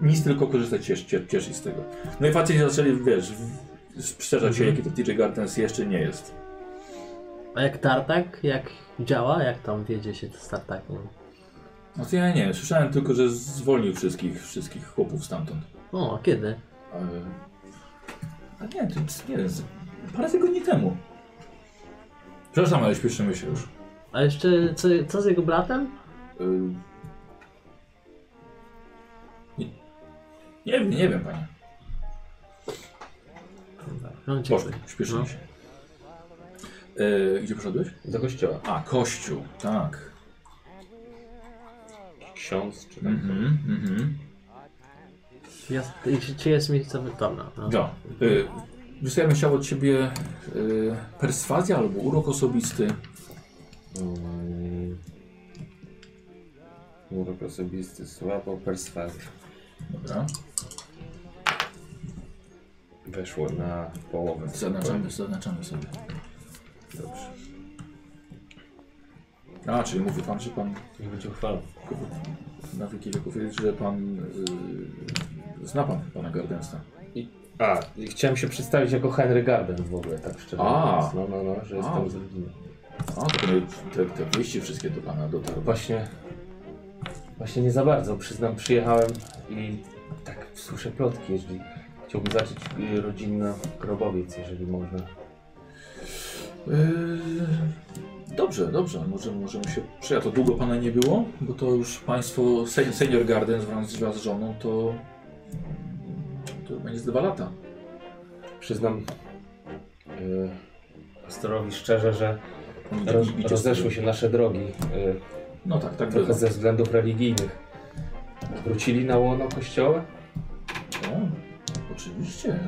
Speaker 2: nic tylko korzystać ciesz, ciesz, cieszyć z tego. No i facet zaczęli, wiesz, w- sprzeczać się, jaki to TJ Gardens jeszcze nie jest.
Speaker 5: A jak tartak, jak działa, jak tam wiedzie się z tartakiem?
Speaker 2: No to ja nie, słyszałem tylko, że zwolnił wszystkich, wszystkich chłopów stamtąd.
Speaker 5: O, a kiedy?
Speaker 2: Ale... A nie, to jest, nie wiem, z- parę tygodni temu. Przepraszam, ale śpieszymy się już.
Speaker 5: A jeszcze co, co z jego bratem?
Speaker 2: Y, Nie, nie, wiem, nie wiem, panie.
Speaker 5: No,
Speaker 2: Poszli,
Speaker 5: dziękuję.
Speaker 2: śpieszymy
Speaker 5: No.
Speaker 2: się. Y, gdzie poszedłeś?
Speaker 6: Do kościoła.
Speaker 2: A, kościół, tak.
Speaker 6: Ksiądz czy tak.
Speaker 2: Mhm, mhm.
Speaker 5: Ja, czy, czy jest miejsce? Dobra. No.
Speaker 2: No. Y, wiesz co, ja bym chciał od ciebie y, perswazja albo urok osobisty.
Speaker 6: Mm. Urok osobisty, słabo, perswazja.
Speaker 2: Dobra.
Speaker 6: Weszło na połowę.
Speaker 2: Zaznaczamy, zaznaczamy sobie.
Speaker 6: Dobrze.
Speaker 2: A, czyli mówi pan, że pan
Speaker 6: Niech będzie uchwała.
Speaker 2: na wiki wieków jest, że pan y, zna pan pana Gardensta.
Speaker 6: A, i chciałem się przedstawić jako Henry Garden w ogóle, tak szczerze
Speaker 2: A.
Speaker 6: mówiąc. No, no, no, że jestem z rodziny.
Speaker 2: A, to te, te wieści wszystkie do pana dotarły.
Speaker 6: Właśnie, właśnie nie za bardzo, przyznam, przyjechałem i tak słyszę plotki, jeżeli chciałbym zacząć y, rodzinny grobowiec, jeżeli można.
Speaker 2: Eee, Dobrze, dobrze, może, możemy się przyjechać. To długo pana nie było, bo to już państwo, sen- senior garden wraz, wraz z żoną, to, to będzie z dwa lata.
Speaker 6: Przyznam y, pastorowi szczerze, że
Speaker 2: Oni
Speaker 6: roz,
Speaker 2: tak-
Speaker 6: rozeszły się nasze drogi, y,
Speaker 2: No tak, tak
Speaker 6: trochę
Speaker 2: było.
Speaker 6: ze względów religijnych. Wrócili na łono kościoła?
Speaker 2: O, Oczywiście.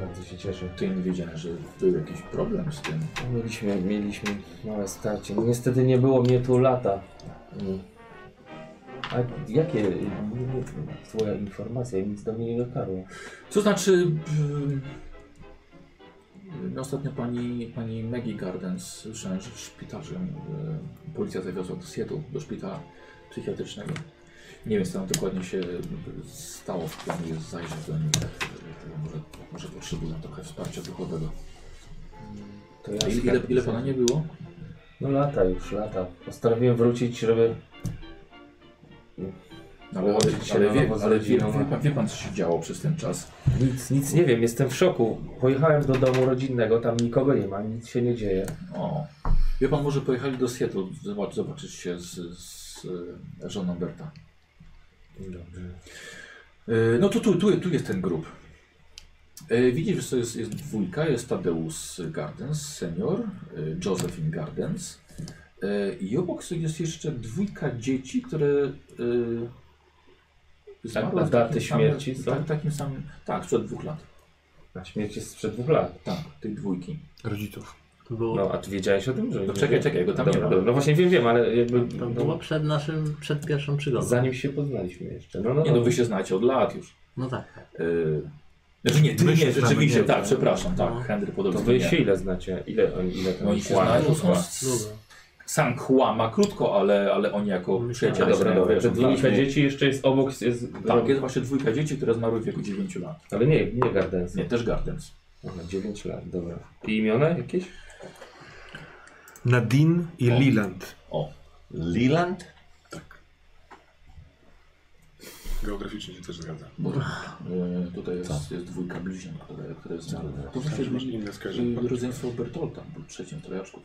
Speaker 6: Bardzo się cieszę.
Speaker 2: Ty nie wiedziałem, że był jakiś problem z tym.
Speaker 6: Mieliśmy, mieliśmy małe starcie. Niestety nie było mnie tu lata. Mm. A jakie y, y, twoja informacja? Nic do mnie nie dotarło.
Speaker 2: Co znaczy. Yy, ostatnio pani, pani Maggie Gardens słyszałem, że w szpitalu yy, policja zawiozła do Seattle, do szpitala psychiatrycznego. Nie wiem, co tam dokładnie się e, stało, w planuję zajrzeć do nich. tak, yy, Może, może potrzebują trochę wsparcia duchowego.
Speaker 6: To
Speaker 2: A ile, ile, ile pana nie było?
Speaker 6: No lata już, lata. Postanowiłem wrócić, żeby...
Speaker 2: No Ale, ale,
Speaker 6: Położyć się
Speaker 2: ale,
Speaker 6: na
Speaker 2: wie,
Speaker 6: nowo z
Speaker 2: ale wie, wie,
Speaker 6: rodziną.
Speaker 2: pan, wie pan, co się działo przez ten czas.
Speaker 6: Nic, nic nie wiem, jestem w szoku. Pojechałem do domu rodzinnego, tam nikogo nie ma, nic się nie dzieje.
Speaker 2: O. Wie pan, może pojechali do Seattle zobacz, zobaczyć się z, z yy, żoną Berta.
Speaker 6: Dobrze.
Speaker 2: E, No to tu, tu, tu jest ten grup. E, Widzisz, że to jest, jest dwójka, jest Tadeusz Gardens, senior, e, Josephine Gardens e, i obok jest jeszcze dwójka dzieci, które e, zmarły
Speaker 6: na
Speaker 2: w
Speaker 6: Tak, daty
Speaker 2: takim
Speaker 6: śmierci są?
Speaker 2: samym, tak, takim samym, tak, sprzed dwóch lat,
Speaker 6: Na śmierć jest sprzed dwóch lat.
Speaker 2: tak, tej dwójki.
Speaker 4: Rodziców.
Speaker 5: To było,
Speaker 6: No, a ty wiedziałeś o tym, że...
Speaker 2: No czekaj, czekaj, bo tam
Speaker 6: Dobra,
Speaker 2: nie ma.
Speaker 6: dobra. No właśnie wiem, wiem, ale jakby...
Speaker 5: to było
Speaker 6: No,
Speaker 5: przed naszym, przed pierwszą przygodą.
Speaker 6: zanim się poznaliśmy jeszcze. No, no,
Speaker 2: Nie no, wy się znacie od lat już.
Speaker 5: No tak.
Speaker 2: E, Znaczy nie, ty
Speaker 4: My się
Speaker 2: nie,
Speaker 4: znamy,
Speaker 2: rzeczywiście,
Speaker 4: nie.
Speaker 2: tak, przepraszam,
Speaker 5: No.
Speaker 2: tak, Henry
Speaker 6: To
Speaker 2: podobno
Speaker 6: wy
Speaker 2: nie.
Speaker 6: No się ile znacie? Ile oni ile tam
Speaker 2: Oni się
Speaker 6: Ła,
Speaker 2: znają,
Speaker 6: ła.
Speaker 2: są
Speaker 5: Długo.
Speaker 2: Sam chła ma krótko, ale, ale oni jako przyjaciele
Speaker 6: Dobra,
Speaker 2: znają,
Speaker 6: dobra.
Speaker 2: wiesz,
Speaker 6: Te dwójka
Speaker 2: tak.
Speaker 6: dzieci jeszcze jest obok. Jest,
Speaker 2: Tak, jest właśnie dwójka dzieci, które zmarły w wieku 9 lat.
Speaker 6: Ale nie, nie Gardens.
Speaker 2: Nie, też Gardens.
Speaker 6: Aha, 9 lat, dobra. I imiona jakieś?
Speaker 4: Nadine i
Speaker 2: O.
Speaker 4: Liland.
Speaker 2: O,
Speaker 3: Liland?
Speaker 1: Geograficznie się też zgadza.
Speaker 2: bo e, tutaj jest, jest dwójka bliźniak, które, które zmarły. To
Speaker 1: Znaczy,
Speaker 2: właśnie
Speaker 1: masz inne skojarzenia.
Speaker 2: y, rodzeństwo Bertolta, był trzecim trojaczków.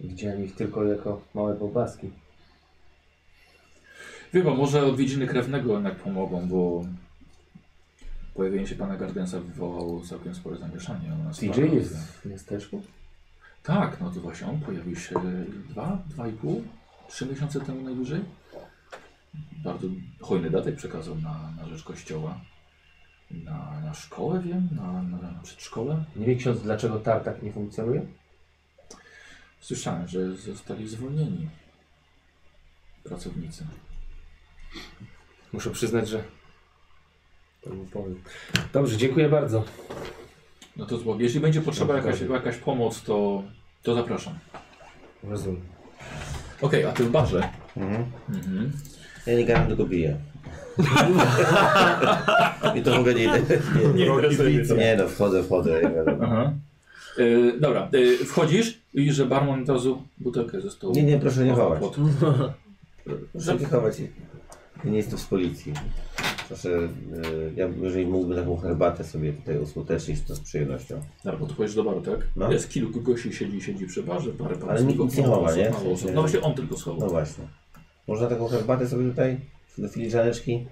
Speaker 6: Widziałem ich tylko jako małe bobaski.
Speaker 2: Wie pan, może odwiedziny krewnego jednak pomogą, bo pojawienie się pana Gardensa wywołało całkiem spore zamieszanie. u nas w
Speaker 6: CJ
Speaker 2: parku.
Speaker 6: jest w miasteczku?
Speaker 2: Tak, no to właśnie on pojawił się dwa, dwa i pół, trzy miesiące temu najdłużej. Bardzo hojny datek przekazał na, na rzecz kościoła. Na, na szkołę wiem, na, na, na przedszkole.
Speaker 6: Nie wie ksiądz, dlaczego tartak nie funkcjonuje?
Speaker 2: Słyszałem, że zostali zwolnieni pracownicy.
Speaker 6: Muszę przyznać, że. Panu powiem. Dobrze, dziękuję bardzo.
Speaker 2: No to zło. Jeśli będzie potrzeba jakaś,
Speaker 6: Dokładnie.
Speaker 2: jakaś pomoc, to, to zapraszam.
Speaker 6: Rozumiem.
Speaker 2: Okej, a ty w barze.
Speaker 3: Ja nie gadam, tylko piję. I to mogę nie... Nie, nie, nie no, wchodzę, wchodzę. nie wiadomo.
Speaker 2: Aha. Y, dobra, y, wchodzisz i widzisz, że barman od razu butelkę ze stołu.
Speaker 3: Nie, nie, proszę nie
Speaker 2: Pod-
Speaker 3: wołać.
Speaker 2: pod-
Speaker 3: Proszę nie chować. Ja nie jestem z policji. Proszę, e, ja, jeżeli mógłbym taką herbatę sobie tutaj usłutecznić, to z przyjemnością.
Speaker 2: Dobra, podchodzisz do baru, tak?
Speaker 3: No.
Speaker 2: Jest kilku gości, siedzi, siedzi przy barze, parę parę
Speaker 3: Ale nikt
Speaker 2: osób,
Speaker 3: nic nie chowa,
Speaker 2: osób,
Speaker 3: nie?
Speaker 2: mało osób. No właśnie on tylko schował.
Speaker 3: No właśnie. Można taką herbatę sobie tutaj? Do filiżaneczki?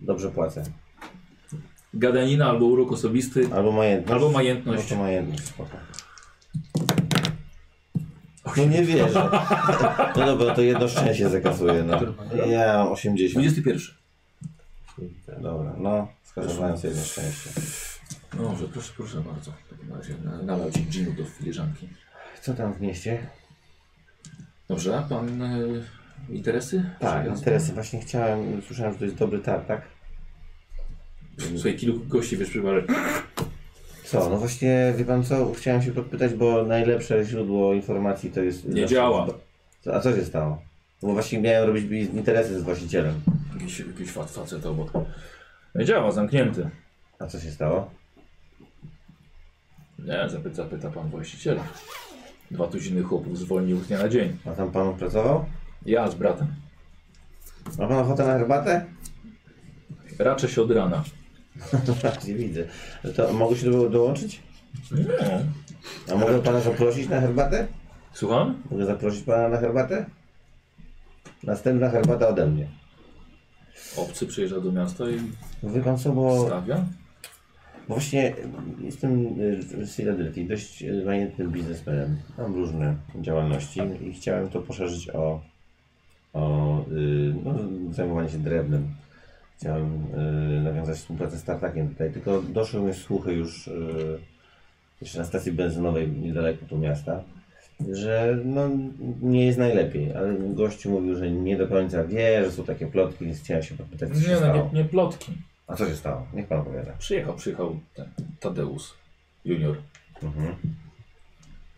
Speaker 3: Dobrze płacę.
Speaker 2: Gadanina albo urok osobisty.
Speaker 3: Albo majętność.
Speaker 2: Albo majętność.
Speaker 3: No to majętność, spoko. No nie wierzę. No dobra, to jedno szczęście zakasuje. No. Ja mam 80.
Speaker 2: 21.
Speaker 3: Dobra, no. Skazowałem sobie jedno szczęście.
Speaker 2: Dobrze, proszę, proszę bardzo. W takim razie na- nalał ci ginu do filiżanki.
Speaker 3: Co tam w mieście?
Speaker 2: Dobrze, a pan e, interesy?
Speaker 3: Tak,
Speaker 2: Przekaz?
Speaker 3: interesy. Właśnie chciałem, słyszałem, że to jest dobry tak? tartak.
Speaker 2: Słuchaj, kilku gości wiesz przy barze.
Speaker 3: Co? No właśnie, wie pan co? Chciałem się podpytać, bo najlepsze źródło informacji to jest...
Speaker 2: Nie działa.
Speaker 3: Co- A co się stało? No Bo właśnie miałem robić bi- interesy z właścicielem.
Speaker 2: Jakiś, jakiś fat, facet obok.
Speaker 3: No
Speaker 2: Nie działa, zamknięty.
Speaker 3: A co się stało?
Speaker 2: Nie, zapyta, zapyta pan właściciela. Dwa tuziny chłopów zwolnił z dnia na dzień.
Speaker 3: A tam pan pracował?
Speaker 2: Ja z bratem.
Speaker 3: Ma pan ochotę na herbatę?
Speaker 2: Raczę się od rana.
Speaker 3: Nie widzę. To mogę się do, dołączyć?
Speaker 2: Nie.
Speaker 3: A mogę pana zaprosić na herbatę?
Speaker 2: Słucham?
Speaker 3: Mogę zaprosić pana na herbatę? Następna herbata ode mnie.
Speaker 2: Obcy przyjeżdża do miasta i
Speaker 3: Wie pan co, bo,
Speaker 2: stawia.
Speaker 3: bo właśnie mm, jestem y, z Filadelfii dość y, majętnym biznesmenem. Mam różne działalności i chciałem to poszerzyć o, o y, no, zajmowanie się drewnem. Chciałem y, nawiązać współpracę z Tartakiem tutaj, tylko doszły mnie słuchy już y, jeszcze na stacji benzynowej niedaleko tu miasta, że no, nie jest najlepiej, ale gościu mówił, że nie do końca wie, że są takie plotki, więc chciałem się podpytać, co się
Speaker 2: Nie, no,
Speaker 3: stało.
Speaker 2: nie, nie plotki.
Speaker 3: A co się stało? Niech pan opowiada.
Speaker 2: Przyjechał, przyjechał ten Tadeusz junior.
Speaker 3: Mhm.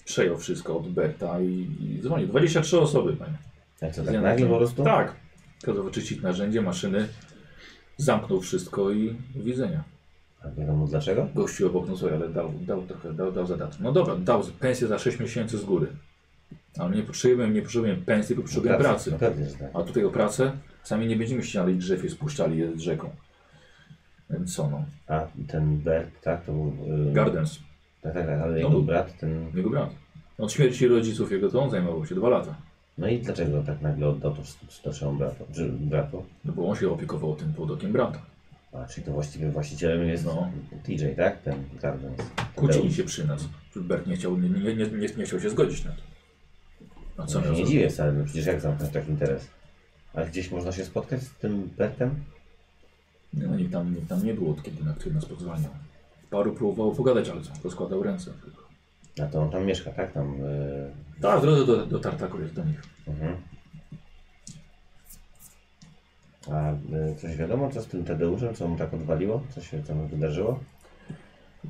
Speaker 2: Przejął wszystko od Berta i, i dzwonił. 23 osoby, panie.
Speaker 3: A co,
Speaker 2: Z
Speaker 3: tak
Speaker 2: dnia na
Speaker 3: nagle
Speaker 2: dzień.
Speaker 3: po prostu?
Speaker 2: Tak. Kazał wyczyścić narzędzie, maszyny. Zamknął wszystko i do widzenia.
Speaker 3: A wiadomo dlaczego?
Speaker 2: Gościu obok, no słuchaj, ale dał, dał trochę, dał, dał zadatki. No dobra, dał pensję za 6 miesięcy z góry. Ale nie potrzebujemy, nie potrzebujemy pensji, tylko potrzebujemy pracy.
Speaker 3: No pewnie, że tak.
Speaker 2: A tutaj o pracę sami nie będziemy ścinali drzew i spuszczali je z rzeką. Więc co no?
Speaker 3: A ten Bert, tak, to był... y,
Speaker 2: Gardens,
Speaker 3: Tak, tak, tak, ale
Speaker 2: No
Speaker 3: jego
Speaker 2: był.
Speaker 3: brat, ten...
Speaker 2: jego brat. Od śmierci rodziców jego to on zajmował się dwa lata.
Speaker 3: No i dlaczego tak nagle oddał to starszemu bratu? Czy bratu?
Speaker 2: No bo on się opiekował tym płodokiem brata.
Speaker 3: A, czyli to właściwie właścicielem jest
Speaker 2: No.
Speaker 3: TJ, tak? Ten Gardens.
Speaker 2: Kłócili się przy nas. Bert nie chciał, nie, nie, nie, nie, nie chciał się zgodzić na to. A co
Speaker 3: Co
Speaker 2: miał
Speaker 3: się nie
Speaker 2: zrobić?
Speaker 3: dziwię wcale, no przecież jak zamknąć taki interes? Ale gdzieś można się spotkać z tym Bertem?
Speaker 2: Nie, No, nikt, tam, nikt tam nie było od kiedy, na który nas pozwalniał. Paru próbowało pogadać, ale co? Rozkładał ręce.
Speaker 3: A to on tam mieszka, tak? Tam... y,
Speaker 2: Tak, w drodze do, do Tartaku jest do nich.
Speaker 3: Mhm. A y, coś wiadomo, co z tym Tadeuszem, co mu tak odwaliło? Co się tam wydarzyło?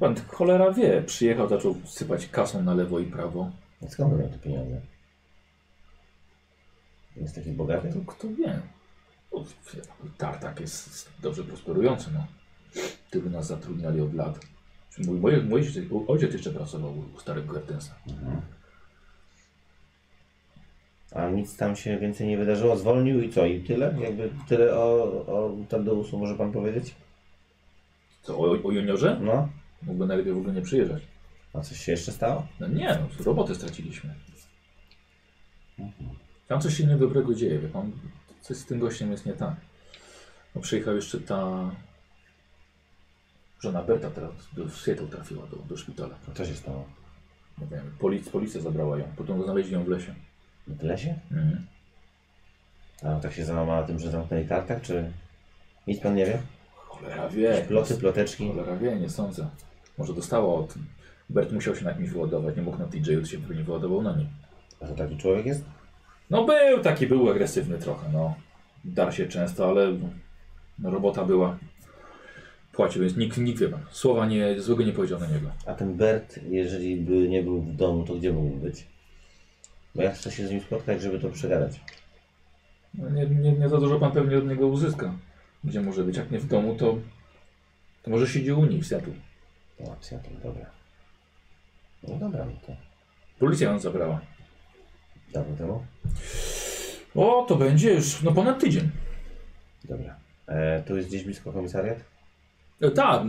Speaker 2: Pan cholera wie, przyjechał, zaczął sypać kasą na lewo i prawo.
Speaker 3: Skąd on miał te pieniądze? Jest taki bogaty?
Speaker 2: To kto wie? O, Tartak No, tak jest dobrze prosperujący, no. Tylu nas zatrudniali od lat. Mój, mój, mój ojciec jeszcze pracował u starego Gertensa.
Speaker 3: A nic tam się więcej nie wydarzyło. Zwolnił i co? I tyle? Jakby tyle o, o Tadeusu może pan powiedzieć?
Speaker 2: Co, o, o juniorze?
Speaker 3: No.
Speaker 2: Mógłby najlepiej w ogóle nie przyjeżdżać.
Speaker 3: A coś się jeszcze stało?
Speaker 2: No nie, no, robotę straciliśmy. Tam coś się niedobrego dzieje, wie pan. Coś z tym gościem jest nie tak. No, przyjechał jeszcze ta... Żona Berta teraz do Seattle trafiła do, do szpitala.
Speaker 3: A co się stało?
Speaker 2: Nie wiem, polic, policja zabrała ją. Potem znaleźli ją w lesie.
Speaker 3: W lesie?
Speaker 2: Mhm.
Speaker 3: A tak się załamała tym, że zamknęli tartak, czy... Nic pan nie wie?
Speaker 2: Cholera wie.
Speaker 3: Ploty, ploteczki?
Speaker 2: Cholera wie, nie sądzę. Może dostała o tym. Bert musiał się na kimś wyładować, nie mógł na TJ-u, się pewnie wyładował na nim.
Speaker 3: A to taki człowiek jest?
Speaker 2: No był taki, był agresywny trochę, no. Dar się często, ale no, robota była. Płacił, więc nikt, nikt wie pan. Słowa nie, złego nie powiedział na niego.
Speaker 3: A ten Bert, jeżeli by nie był w domu, to gdzie mógłby być? Bo ja chcę się z nim spotkać, żeby to przegadać.
Speaker 2: No, nie, nie, nie za dużo pan pewnie od niego uzyska. Gdzie może być? Jak nie w domu, to, to może siedzi u nich w Seattle.
Speaker 3: No, opcja, to dobra. No dobra, no to
Speaker 2: Policja ją zabrała.
Speaker 3: dawno temu?
Speaker 2: O, to będzie już, no ponad tydzień.
Speaker 3: Dobra. E, tu jest gdzieś blisko komisariat?
Speaker 2: E, Tak.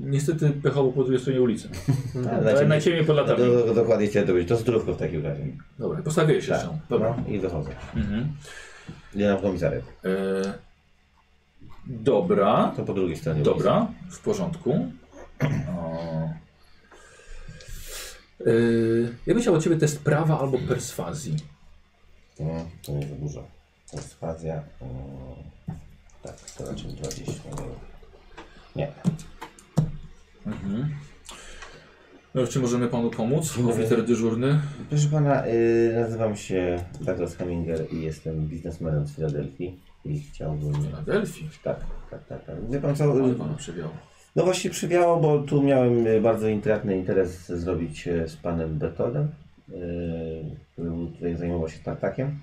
Speaker 2: Niestety pechowo po drugiej stronie ulicy.
Speaker 3: Tak,
Speaker 2: Ale najciemniej pod
Speaker 3: do,
Speaker 2: latami.
Speaker 3: do, do, dokładnie chciałem to powiedzieć. To zdrówko w takim razie.
Speaker 2: Dobra, postawię się jeszcze. Dobra.
Speaker 3: No, i wychodzę.
Speaker 2: Mhm.
Speaker 3: Idę na komisariat.
Speaker 2: E, dobra.
Speaker 3: To po drugiej stronie.
Speaker 2: Dobra, w porządku. O. E, ja bym chciał od Ciebie test prawa albo perswazji.
Speaker 3: ulicy. No, to nie za dużo. To jest fazja. mm, tak, to raczej 20. Nie.
Speaker 2: No, czy możemy Panu pomóc? Oficer dyżurny.
Speaker 3: Proszę pana, y, nazywam się Douglas Heminger i jestem biznesmenem z Filadelfii i chciałbym...
Speaker 2: Na Delphi.
Speaker 3: Tak, tak, tak. tak. Wie pan co,
Speaker 2: Ale
Speaker 3: y,
Speaker 2: Pana przewiał.
Speaker 3: no właśnie przywiało, bo tu miałem y, bardzo intratny interes zrobić y, z panem Bertodem, y, który był tutaj zajmował się tartakiem,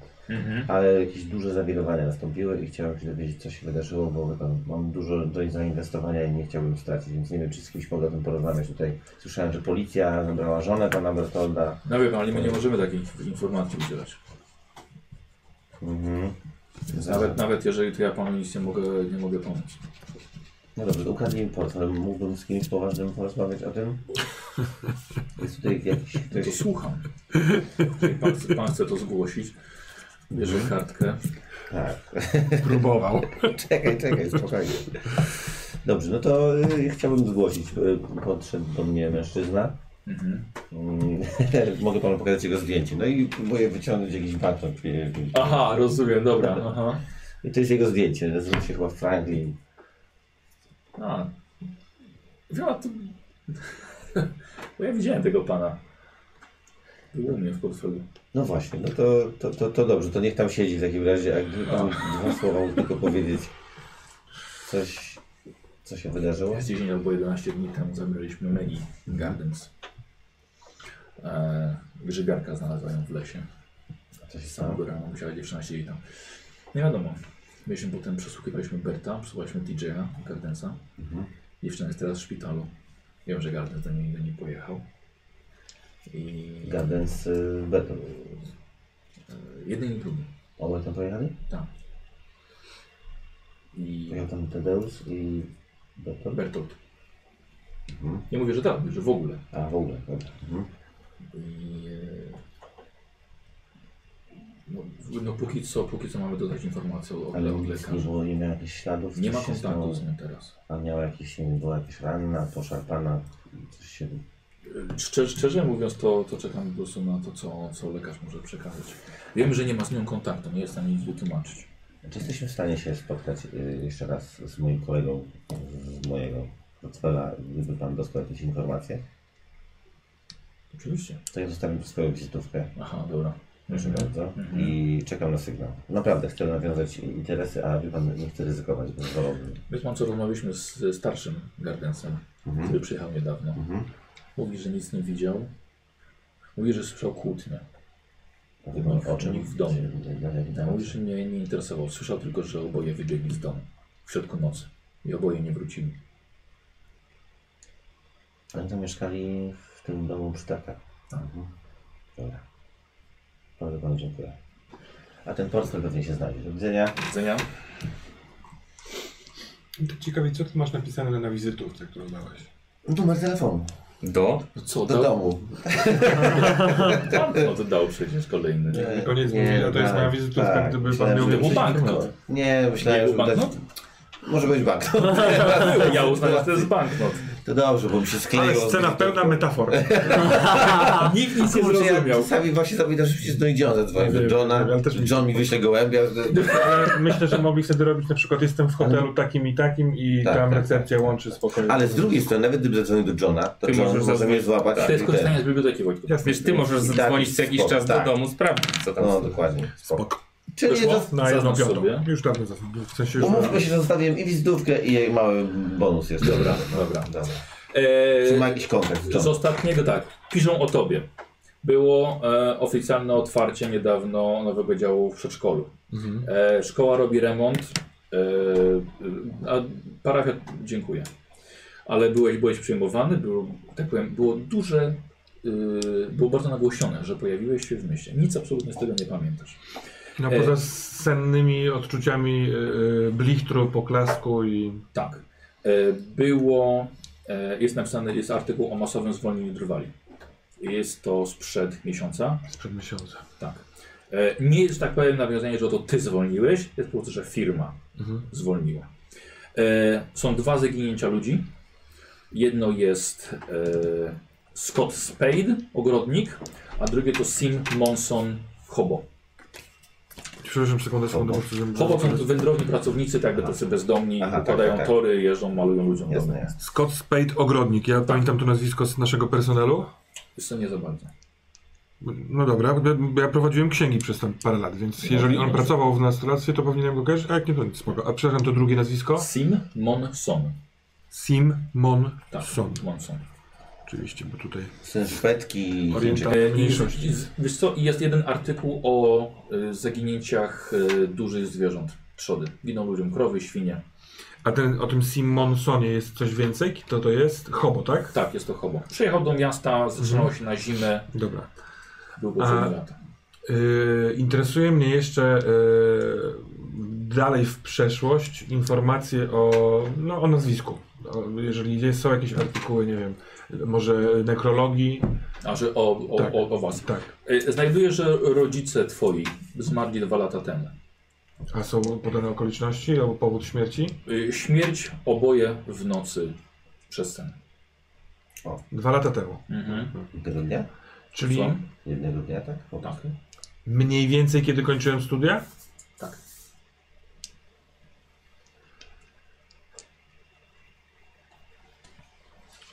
Speaker 3: ale jakieś duże zawirowania nastąpiły i chciałem się dowiedzieć co się wydarzyło, bo wie pan, mam dużo do zainwestowania i nie chciałbym stracić, więc nie wiem czy z kimś mogę o tym porozmawiać tutaj. Słyszałem, że policja zabrała żonę pana Bertolda.
Speaker 2: No wie Pan, ale my nie możemy takich informacji udzielać.
Speaker 3: Mhm.
Speaker 2: Nawet, nawet jeżeli to ja Panu nic nie mogę, nie mogę pomóc.
Speaker 3: No dobrze, ukradnij mi portfel. Mógłbym z kimś poważnym porozmawiać o tym? Jest tutaj jakiś
Speaker 2: To
Speaker 3: ktoś...
Speaker 2: słucham. Jeżeli pan, chce- pan chce to zgłosić, bierze kartkę.
Speaker 3: Tak,
Speaker 4: Próbował.
Speaker 3: czekaj, czekaj, spokojnie. Dobrze, no to y, chciałbym zgłosić. Y, Podszedł do mnie mężczyzna. Mm, Mogę panu pokazać jego zdjęcie. No i próbuję wyciągnąć jakiś baton.
Speaker 2: Aha, rozumiem, dobra. Aha.
Speaker 3: I to jest jego zdjęcie. Nazywa się chyba Franklin.
Speaker 2: A. Ja, to... Bo ja widziałem tego pana. Był u mnie w portfelu.
Speaker 3: No właśnie, no to, to, to, to dobrze, to niech tam siedzi w takim razie, a gdyby pan dwa słowa mógł tylko powiedzieć coś, co się wydarzyło.
Speaker 2: Ja z 10 albo 11 dni temu zamierzyliśmy Megi Gardens. E, grzybiarka znalazła ją w lesie.
Speaker 3: Co się stało?
Speaker 2: Samego rana musiała dziewczyna siedzieć tam. Nie wiadomo. Mieliśmy potem przesłuchiwaliśmy Berta, przesłuchaliśmy TJ'a, Gardensa. Dziewczyna jest teraz w szpitalu. Wiem, że Gardens do niej, do niej pojechał. I
Speaker 3: Gardens y, Beton.
Speaker 2: jeden i drugi.
Speaker 3: Obaj tam pojechali?
Speaker 2: Tak. I
Speaker 3: Pojechał tam Tadeusz i Beton.
Speaker 2: Bertolt.
Speaker 3: Mhm.
Speaker 2: Nie mówię, że tak, mówię, że w ogóle.
Speaker 3: A w ogóle, dobra. Mhm.
Speaker 2: I, e, no, no póki co, póki co mamy dodać informację o,
Speaker 3: Ale
Speaker 2: o
Speaker 3: nic nie
Speaker 2: lekarzu.
Speaker 3: było, nie miał jakichś śladów.
Speaker 2: Nie ma
Speaker 3: coś się
Speaker 2: kontaktu
Speaker 3: stało?
Speaker 2: z nią teraz.
Speaker 3: A miała jakieś, nie wiem, była jakaś ranna, poszarpana, coś się...
Speaker 2: Szczerze, szczerze mówiąc, to, to czekam po prostu na to, co, co lekarz może przekazać. Wiem, że nie ma z nią kontaktu, nie jest w stanie nic wytłumaczyć.
Speaker 3: Czy jesteśmy w stanie się spotkać y, jeszcze raz z moim kolegą, z mojego portfela, gdyby pan dostał jakieś informacje?
Speaker 2: Oczywiście.
Speaker 3: To ja zostawiam swoją wizytówkę,
Speaker 2: Aha,
Speaker 3: Mhm.
Speaker 2: dobra.
Speaker 3: proszę
Speaker 2: Mhm.
Speaker 3: bardzo, i czekam na sygnał. Naprawdę chcę nawiązać interesy, a wie pan, nie chcę ryzykować, bo wolałbym.
Speaker 2: Wiesz mam co rozmawialiśmy z ze starszym Gardensem,
Speaker 3: Mhm.
Speaker 2: który przyjechał niedawno. Mówi, że nic nie widział. Mówi, że słyszał kłótnie.
Speaker 3: Wygląd
Speaker 2: Nikt-
Speaker 3: oczy.
Speaker 2: nikt No w domu. Mąż
Speaker 3: Mówisz?
Speaker 2: mnie nie interesował. Słyszał tylko, że oboje wybiegli z domu w środku nocy i oboje nie wrócili.
Speaker 3: Oni tam mieszkali w tym domu przy tarkach. Mhm. Dobra. Bardzo panu dziękuję. A ten portfel pewnie się znajdzie. Do widzenia.
Speaker 2: Jedzenia?
Speaker 4: Tak ciekawie, co ty masz napisane na wizytówce, którą dałeś?
Speaker 3: Numer telefonu.
Speaker 6: Do?
Speaker 2: Co
Speaker 3: Do domu.
Speaker 2: No to dał przecież kolejny.
Speaker 3: Nie,
Speaker 4: Koniec
Speaker 3: E, nie,
Speaker 4: mówili, a to jest
Speaker 3: tak,
Speaker 4: moja wizytówka,
Speaker 3: tak,
Speaker 4: gdyby pan
Speaker 3: myślałem,
Speaker 4: miał
Speaker 3: że-
Speaker 2: Był banknot.
Speaker 3: Nie, myślałem,
Speaker 2: Nie
Speaker 3: że tak-
Speaker 2: był banknot?
Speaker 3: Może być banknot.
Speaker 2: Ja uznałem, że to jest banknot.
Speaker 3: To dobrze, bo mi się skleiło.
Speaker 4: Ale scena
Speaker 3: z-
Speaker 4: pełna metafor.
Speaker 2: Nikt nic nie
Speaker 3: Kurczę, ja
Speaker 2: zrozumiał.
Speaker 3: No, czasami właśnie zapominam, że przecież do Johna zadzwonię,
Speaker 4: Nie,
Speaker 3: do Johna,
Speaker 4: ale też mi-
Speaker 3: John mi wyśle gołębia,
Speaker 4: Ale myślę, że mogli wtedy robić na przykład jestem w hotelu takim i takim i
Speaker 3: Tak,
Speaker 4: tam
Speaker 3: tak,
Speaker 4: recepcja łączy z pokojem.
Speaker 3: ale z drugiej strony, nawet gdyby zadzwonił do Johna, to
Speaker 6: Ty
Speaker 3: John
Speaker 6: możesz
Speaker 3: może mnie
Speaker 6: zadzwonić.
Speaker 3: złapać.
Speaker 2: To jest
Speaker 3: i ten.
Speaker 2: korzystanie z biblioteki, Wojtku.
Speaker 4: Jasne.
Speaker 6: Wiesz, ty możesz
Speaker 3: I
Speaker 6: zadzwonić
Speaker 3: tak,
Speaker 6: co jakiś
Speaker 3: spoko,
Speaker 6: czas
Speaker 3: tak.
Speaker 6: do domu, sprawdzić co tam
Speaker 3: No,
Speaker 6: słychać.
Speaker 3: dokładnie.
Speaker 4: Spoko.
Speaker 3: Czyli
Speaker 2: Wyszło?
Speaker 3: zas-
Speaker 4: Na jedną
Speaker 2: Zaznacz
Speaker 4: piątą.
Speaker 2: sobie.
Speaker 4: Już dawno za W sensie już
Speaker 3: umówmy się, że zostawiłem i wizytówkę i jej mały bonus jeszcze. Dobra,
Speaker 2: dobra.
Speaker 3: dobra. Czy ma
Speaker 2: Eee,
Speaker 3: jakiś kontakt z
Speaker 2: z
Speaker 3: Johnem?
Speaker 2: ostatniego tak. Piszą o tobie. Było e, oficjalne otwarcie niedawno nowego działu w przedszkolu.
Speaker 4: Mhm.
Speaker 2: E, szkoła robi remont. E, a parafia, dziękuję. Ale byłeś, byłeś przyjmowany, był, tak powiem, było duże, y, było bardzo nagłośnione, że pojawiłeś się w mieście. Nic absolutnie z tego nie pamiętasz.
Speaker 4: No
Speaker 2: E.
Speaker 4: poza sennymi odczuciami yy, blichtru, poklasku i...
Speaker 2: Tak. E, Było, e, jest napisany, jest artykuł o masowym zwolnieniu drwali. Jest to sprzed miesiąca.
Speaker 4: Sprzed miesiąca.
Speaker 2: Tak. E, Nie jest, że tak powiem, nawiązanie, że to ty zwolniłeś, jest po prostu, że firma
Speaker 4: Mhm.
Speaker 2: zwolniła. E, Są dwa zaginięcia ludzi. Jedno jest e, Scott Spade, ogrodnik, a drugie to Sim Monson Hobo.
Speaker 4: Przepraszam, sekundę, sekundę. bo chcę, żeby-
Speaker 2: Hobo są wędrowni pracownicy, tak jakby tacy bezdomni,
Speaker 3: Aha, tak,
Speaker 2: układają
Speaker 3: tak, tak.
Speaker 2: tory, jeżdżą, malują ludziom
Speaker 3: Jasne,
Speaker 2: domy.
Speaker 3: jasne.
Speaker 4: Scott Spade Ogrodnik. Ja pamiętam to nazwisko z naszego personelu.
Speaker 2: Jest to nie za bardzo.
Speaker 4: No dobra, bo ja prowadziłem księgi przez tam parę lat, więc jeżeli on pracował w nastolactwie, to powinienem go kojarzyć, a jak nie, to nic, spoko. A przepraszam, to drugie nazwisko?
Speaker 2: Sim Monson.
Speaker 4: Sim Mon
Speaker 2: Tak,
Speaker 4: Son.
Speaker 2: Monson.
Speaker 4: Oczywiście, bo tutaj
Speaker 3: Syn Szwedki i Chińczyk.
Speaker 4: oriental
Speaker 2: E, i-
Speaker 4: mniejszości.
Speaker 2: i- z- Wiesz co, i jest jeden artykuł o y, zaginięciach y, dużych zwierząt, trzody. Giną ludziom krowy, świnie.
Speaker 4: A ten, o tym Simonsonie jest coś więcej? Kto to jest? Hobo, tak?
Speaker 2: Tak, jest to hobo. Przyjechał do miasta, zatrzymał
Speaker 7: Mhm.
Speaker 2: się na zimę,
Speaker 4: Dobra.
Speaker 2: był po siedmiu
Speaker 4: A-
Speaker 2: latach.
Speaker 4: Yy, interesuje mnie jeszcze yy, dalej w przeszłość informacje o, no, o nazwisku. O, jeżeli jest, są jakieś artykuły, nie wiem, może nekrologii.
Speaker 2: A że o, o,
Speaker 4: Tak.
Speaker 2: o, o was.
Speaker 4: Tak.
Speaker 2: Y, Znajduję, że rodzice twoi zmarli dwa lata temu.
Speaker 4: A są podane okoliczności albo powód śmierci?
Speaker 2: Y, Śmierć oboje w nocy przez sen.
Speaker 4: Dwa lata temu.
Speaker 3: Jednego dnia?
Speaker 4: Czyli
Speaker 2: Co?
Speaker 3: Jednego dnia, tak? O,
Speaker 2: Tak.
Speaker 4: mniej więcej kiedy kończyłem studia?
Speaker 2: Tak.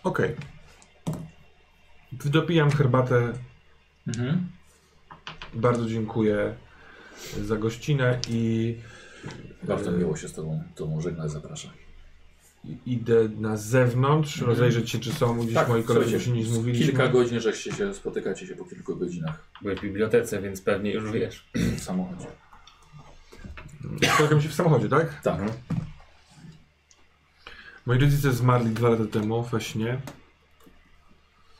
Speaker 4: Okej. Dopijam herbatę.
Speaker 2: Mhm.
Speaker 4: Bardzo dziękuję za gościnę i
Speaker 7: E.
Speaker 2: Bardzo miło się z tobą, tobą żegnać, zapraszam.
Speaker 4: idę na zewnątrz, rozejrzeć się, czy są gdzieś moi koledzy, bo się nie
Speaker 2: Mhm. Tak, słuchajcie,
Speaker 4: zmówili.
Speaker 3: Mhm.
Speaker 2: kilka godzin, że się, się spotykacie się po kilku godzinach
Speaker 6: Byłeś w bibliotece, więc pewnie już wiesz.
Speaker 2: w samochodzie.
Speaker 4: Spotkam się w samochodzie, tak?
Speaker 2: Tak.
Speaker 4: Moi rodzice zmarli dwa lata temu we śnie.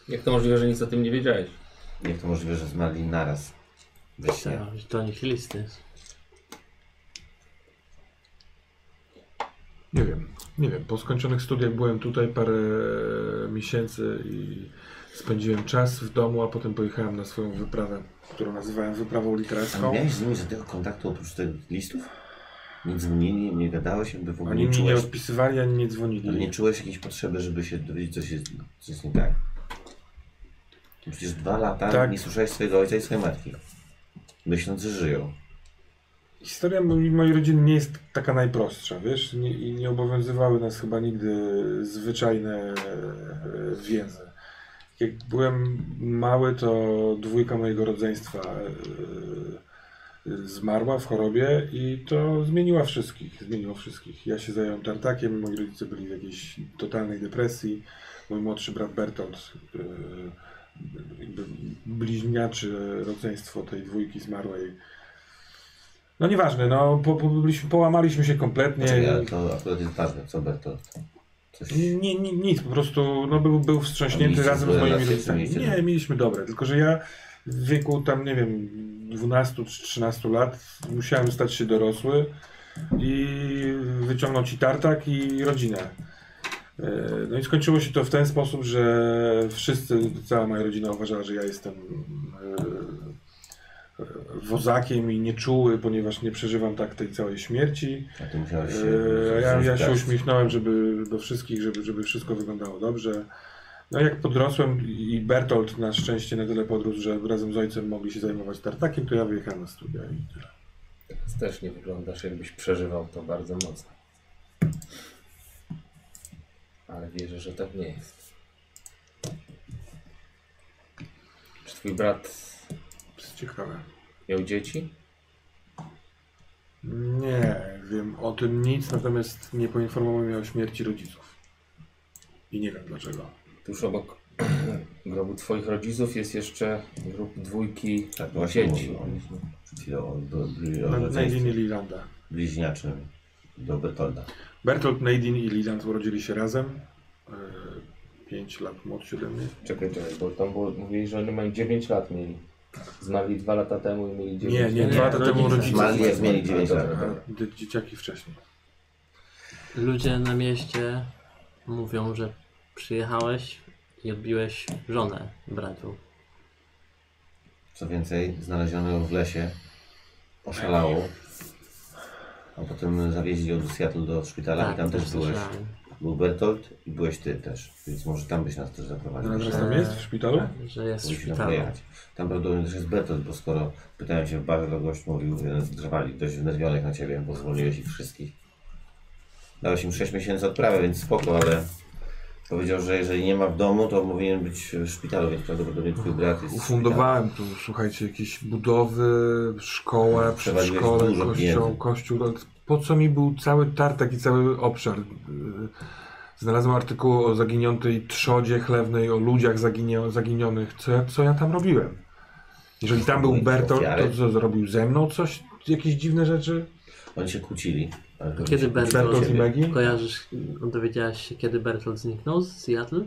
Speaker 6: Jak to możliwe, że nic o tym nie wiedziałeś?
Speaker 3: Jak to możliwe, że zmarli naraz? We śnie.
Speaker 5: Tak, do nich listy.
Speaker 4: Nie wiem, nie wiem. Po skończonych studiach byłem tutaj parę miesięcy i spędziłem czas w domu, a potem pojechałem na swoją wyprawę, którą nazywałem wyprawą
Speaker 3: A
Speaker 4: literacką.
Speaker 3: miałeś z nimi żadnego kontaktu oprócz tych listów? Nic z nimi nie, nie gadałeś, jakby w ogóle
Speaker 4: Oni
Speaker 3: nie
Speaker 4: mi nie
Speaker 3: czułeś,
Speaker 4: odpisywali ani nie dzwonili.
Speaker 3: ale nie czułeś jakiejś potrzeby, żeby się dowiedzieć, co, się, co jest nie tak? Przecież dwa lata
Speaker 4: Tak.
Speaker 3: nie słyszałeś swojego ojca i swojej matki. Myśląc, że żyją.
Speaker 4: Historia mo- mojej rodziny nie jest taka najprostsza, wiesz, nie, i nie obowiązywały nas chyba nigdy zwyczajne e, więzy. Jak byłem mały, to dwójka mojego rodzeństwa e, e, zmarła w chorobie i to zmieniła wszystkich, zmieniło wszystkich. Ja się zająłem tartakiem, moi rodzice byli w jakiejś totalnej depresji. Mój młodszy brat Bertolt e, jakby bliźniaczy, rodzeństwo tej dwójki zmarłej. No nieważne, no po, po, byliśmy, połamaliśmy się kompletnie.
Speaker 3: Czekaj, ale to akurat jest ważne, co Bertolt? Coś...
Speaker 4: Nie, nie, nic, po prostu no, był, był wstrząśnięty
Speaker 3: Mieliście
Speaker 4: razem z
Speaker 3: złe
Speaker 4: moimi
Speaker 3: relacje,
Speaker 4: rodzicami.
Speaker 3: mieliście
Speaker 4: Nie,
Speaker 3: dobre.
Speaker 4: mieliśmy dobre, tylko że ja w wieku tam, nie wiem, 12 czy 13 lat musiałem stać się dorosły i wyciągnąć i tartak i rodzinę. E, No i skończyło się to w ten sposób, że wszyscy, cała moja rodzina uważała, że ja jestem e, e, wozakiem i nieczuły, ponieważ nie przeżywam tak tej całej śmierci.
Speaker 3: A ty musiałeś się...
Speaker 4: Eee, Ja, ja się
Speaker 3: zgrać.
Speaker 4: uśmiechnąłem, żeby do wszystkich, żeby, żeby wszystko wyglądało dobrze. No jak podrosłem i Bertolt na szczęście na tyle podrósł, że razem z ojcem mogli się zajmować tartakiem, to ja wyjechałem na studia i tyle.
Speaker 6: Więc Też nie wyglądasz, jakbyś przeżywał to bardzo mocno. Ale wierzę, że tak nie jest. Czy twój brat
Speaker 4: To jest ciekawe.
Speaker 6: miał dzieci?
Speaker 4: Nie wiem o tym nic, natomiast nie poinformował mnie o śmierci rodziców. I nie wiem dlaczego.
Speaker 6: Tuż obok grobu twoich rodziców jest jeszcze grób dwójki
Speaker 3: Tak, właśnie
Speaker 6: dzieci.
Speaker 3: mówił on przed chwilą o, o, o,
Speaker 4: Na,
Speaker 3: o
Speaker 4: Nadine i
Speaker 3: rodzeństwie
Speaker 4: Lilanda.
Speaker 3: bliźniaczym do Bertolda.
Speaker 4: Bertolt, Nadine i Liland urodzili się razem. 5 lat młodsi ode mnie.
Speaker 6: Czekaj, czekaj, bo tam było, mówili, że oni mają 9 lat mieli. Zmarli 2 lata temu i mieli 9
Speaker 4: Nie,
Speaker 6: lat.
Speaker 4: nie, dwa lata temu
Speaker 5: rodzice.
Speaker 4: rodzice.
Speaker 3: Zmarli jak mieli 9 lat.
Speaker 4: Aha, dzie- Dzieciaki wcześniej.
Speaker 5: Ludzie na mieście mówią, że przyjechałeś i odbiłeś żonę bratu.
Speaker 3: Co więcej, znaleziono ją w lesie, oszalało, a potem zawieźli ją do Seattle do szpitala i tam też byłeś.
Speaker 5: Tak, słyszałem.
Speaker 3: Był Bertolt i byłeś ty też, więc może tam byś nas też zaprowadził.
Speaker 4: Ona teraz
Speaker 3: Myślę,
Speaker 4: tam jest w szpitalu?
Speaker 5: Że jest w
Speaker 3: Musimy tam
Speaker 5: szpitalu.
Speaker 3: pojechać. Tam prawdopodobnie też jest Bertolt, bo skoro pytałem się w barze, to gość mówił, że drwali dość wnerwionych na ciebie, bo zwolniłeś ich wszystkich. Dałeś im 6 miesięcy odprawy, więc spoko, ale powiedział, że jeżeli nie ma w domu, to powinien być w szpitalu, więc prawdopodobnie twój brat jest w
Speaker 4: Ufundowałem tu, słuchajcie, jakieś budowy, szkołę,
Speaker 3: Przewaliłeś
Speaker 4: przedszkole,
Speaker 3: dużo
Speaker 4: kościół,
Speaker 3: pieniędzy.
Speaker 4: kościół. No, Po co mi był cały tartak i cały obszar? Yy, Znalazłem artykuł o zaginiętej trzodzie chlewnej, o ludziach zaginie, zaginionych. Co ja, co ja tam robiłem? Jeżeli tam był
Speaker 3: Moje
Speaker 4: Bertolt,
Speaker 3: ofiary.
Speaker 4: to co, zrobił ze mną coś? Jakieś dziwne rzeczy?
Speaker 3: Oni się kłócili. ale to
Speaker 5: Kiedy
Speaker 3: się kłócili o
Speaker 5: Bertolt
Speaker 4: Bertolt i
Speaker 3: ciebie.
Speaker 4: Megi?
Speaker 5: Kojarzysz, dowiedziałaś się kiedy Bertolt zniknął z Seattle?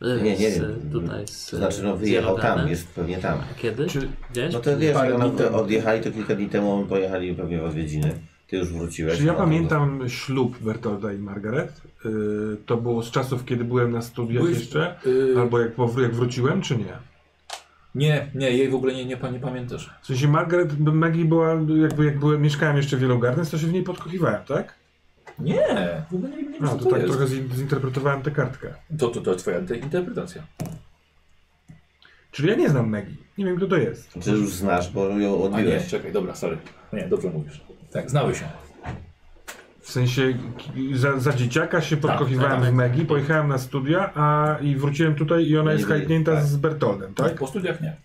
Speaker 5: E,
Speaker 3: Nie, nie
Speaker 5: z,
Speaker 3: wiem.
Speaker 5: Tutaj z,
Speaker 3: To znaczy, no wyjechał
Speaker 5: z
Speaker 3: tam,
Speaker 5: Jordanem.
Speaker 3: jest pewnie tam.
Speaker 2: tak?
Speaker 5: A kiedy?
Speaker 4: Czy-
Speaker 5: Gdzieś?
Speaker 3: No to wiesz,
Speaker 4: Parę
Speaker 3: oni
Speaker 4: dni
Speaker 3: te-
Speaker 4: temu.
Speaker 3: odjechali to kilka dni temu, oni pojechali pewnie w odwiedziny. Ty już wróciłeś.
Speaker 4: Czy ja
Speaker 3: no to-
Speaker 4: pamiętam ślub Bertolda i Margaret? Yy, To było z czasów, kiedy byłem na studiach
Speaker 2: Byłeś-
Speaker 4: jeszcze?
Speaker 2: Yy,
Speaker 4: Albo jak, powr- jak wróciłem, czy nie?
Speaker 2: Nie, nie, jej w ogóle nie, nie, pa- nie pamiętasz.
Speaker 4: W sensie Margaret Maggie była, jakby jak byłem, mieszkałem jeszcze w Yellow Gardens, to się w niej podkochiwałem, tak?
Speaker 2: Nie, w ogóle nie, nie wiem,
Speaker 4: No,
Speaker 2: co
Speaker 4: to tak
Speaker 2: jest.
Speaker 4: trochę zin- zinterpretowałem tę kartkę.
Speaker 2: To, to, to twoja te- interpretacja.
Speaker 4: Czyli ja nie znam Maggie. Nie wiem, kto to jest.
Speaker 3: Ty już znasz, bo ją
Speaker 2: A nie,
Speaker 3: odbiłeś.
Speaker 2: czekaj, dobra, sorry. Nie, dobrze mówisz. Tak, znały się.
Speaker 4: W sensie k- za, za dzieciaka się podkochiwałem
Speaker 5: tak.
Speaker 4: w Maggie, pojechałem na studia a i wróciłem tutaj i ona
Speaker 3: Nie
Speaker 4: jest
Speaker 3: wiem,
Speaker 4: hajtnięta
Speaker 3: tak.
Speaker 4: z Bertoldem, tak?
Speaker 2: Po studiach nie.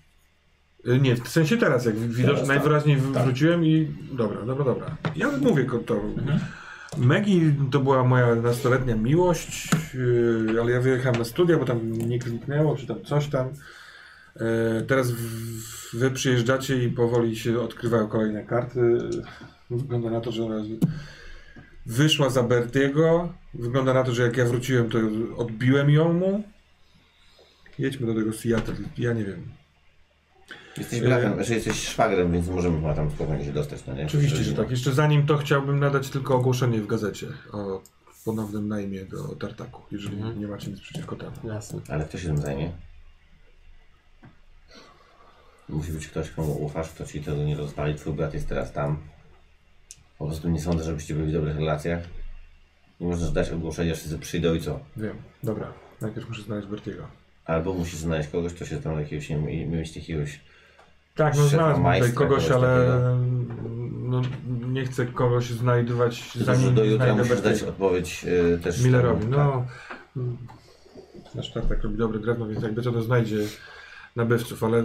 Speaker 4: Y, Nie, w sensie teraz, jak
Speaker 2: Teraz,
Speaker 4: widocznie
Speaker 2: tak.
Speaker 4: najwyraźniej w-
Speaker 2: Tak.
Speaker 4: wróciłem i dobra, dobra, dobra. Ja mówię ko- to.
Speaker 2: Mhm.
Speaker 4: Megi to była moja nastoletnia miłość, yy, ale ja wyjechałem na studia, bo tam nie kliknęło, czy tam coś tam. Yy, Teraz w- wy przyjeżdżacie i powoli się odkrywają kolejne karty. Wygląda na to, że ona wyszła za Bertiego. Wygląda na to, że jak ja wróciłem, to odbiłem ją mu. Jedźmy do tego Seattle, ja nie wiem.
Speaker 3: Jesteś bratem, znaczy jesteś szwagrem, więc możemy chyba tam spokojnie się dostać, no nie?
Speaker 4: Oczywiście, że
Speaker 3: nie-
Speaker 4: tak. Jeszcze zanim to chciałbym nadać tylko ogłoszenie w gazecie o ponownym najmie do tartaku, jeżeli nie macie nic przeciwko temu.
Speaker 5: Jasne.
Speaker 3: Ale kto się tym zajmie? Musi być ktoś, komu ufasz, kto ci tego nie rozpali. Twój brat jest teraz tam. Po prostu nie sądzę, żebyście byli w dobrych relacjach. Nie możesz dać ogłoszenia, wszyscy przyjdą i co?
Speaker 4: Wiem. Dobra. Najpierw muszę znaleźć Bertiego.
Speaker 3: Albo musisz znaleźć kogoś, kto się tam jakiegoś, nie wiem, mieć jakiegoś...
Speaker 4: Tak, no
Speaker 3: Szefa
Speaker 4: znalazłem tutaj
Speaker 3: majstra,
Speaker 4: kogoś,
Speaker 3: kogoś
Speaker 4: ale
Speaker 3: takiego.
Speaker 4: no, nie chcę kogoś znajdować
Speaker 3: Tylko, że
Speaker 4: zanim
Speaker 3: do jutra
Speaker 4: znajdę
Speaker 3: musisz dać
Speaker 4: Bertiego.
Speaker 3: odpowiedź y, też...
Speaker 4: Millerowi.
Speaker 3: temu,
Speaker 4: No, mm, nasz tartak robi dobre drewno, więc jakby co to znajdzie nabywców, ale e,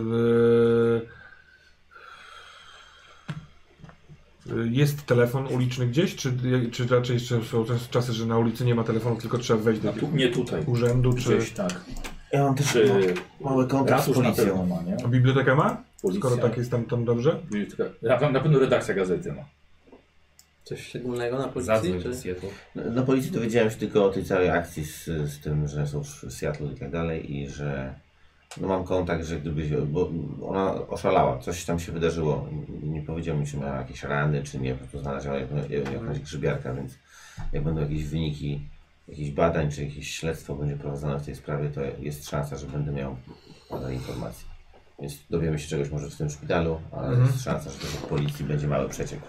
Speaker 4: e, jest telefon uliczny gdzieś, czy, czy raczej jeszcze są czas- czasy, że na ulicy nie ma telefonu, tylko trzeba wejść do
Speaker 2: A tu, nie tutaj.
Speaker 4: urzędu, czy
Speaker 2: Gdzieś tak.
Speaker 7: Ja mam też no,
Speaker 2: Czy
Speaker 7: mały kontakt z
Speaker 2: ratusz na pewno
Speaker 7: policją.
Speaker 2: ma, nie?
Speaker 4: A biblioteka ma?
Speaker 2: Policja.
Speaker 4: Skoro tak jest tam, tam dobrze?
Speaker 2: Na, na pewno redakcja gazety no. ma.
Speaker 5: Coś szczególnego na policji?
Speaker 6: Zadzwoń do
Speaker 5: Czy...
Speaker 6: Seattle.
Speaker 3: No, Na policji dowiedziałem się tylko o tej całej akcji z, z tym, że są w Seattle i tak dalej i że no mam kontakt, że gdyby się, bo ona oszalała, coś tam się wydarzyło, nie powiedział mi czy miała jakieś rany czy nie, po prostu znaleziono jak-
Speaker 4: Mhm.
Speaker 3: jakąś grzybiarka, więc jak będą jakieś wyniki jakichś badań czy jakieś śledztwo będzie prowadzone w tej sprawie, to jest szansa, że będę miał parę informacji. Więc dowiemy się czegoś może w tym szpitalu, ale
Speaker 4: Mhm.
Speaker 3: jest szansa, że też od policji będzie mały przeciek.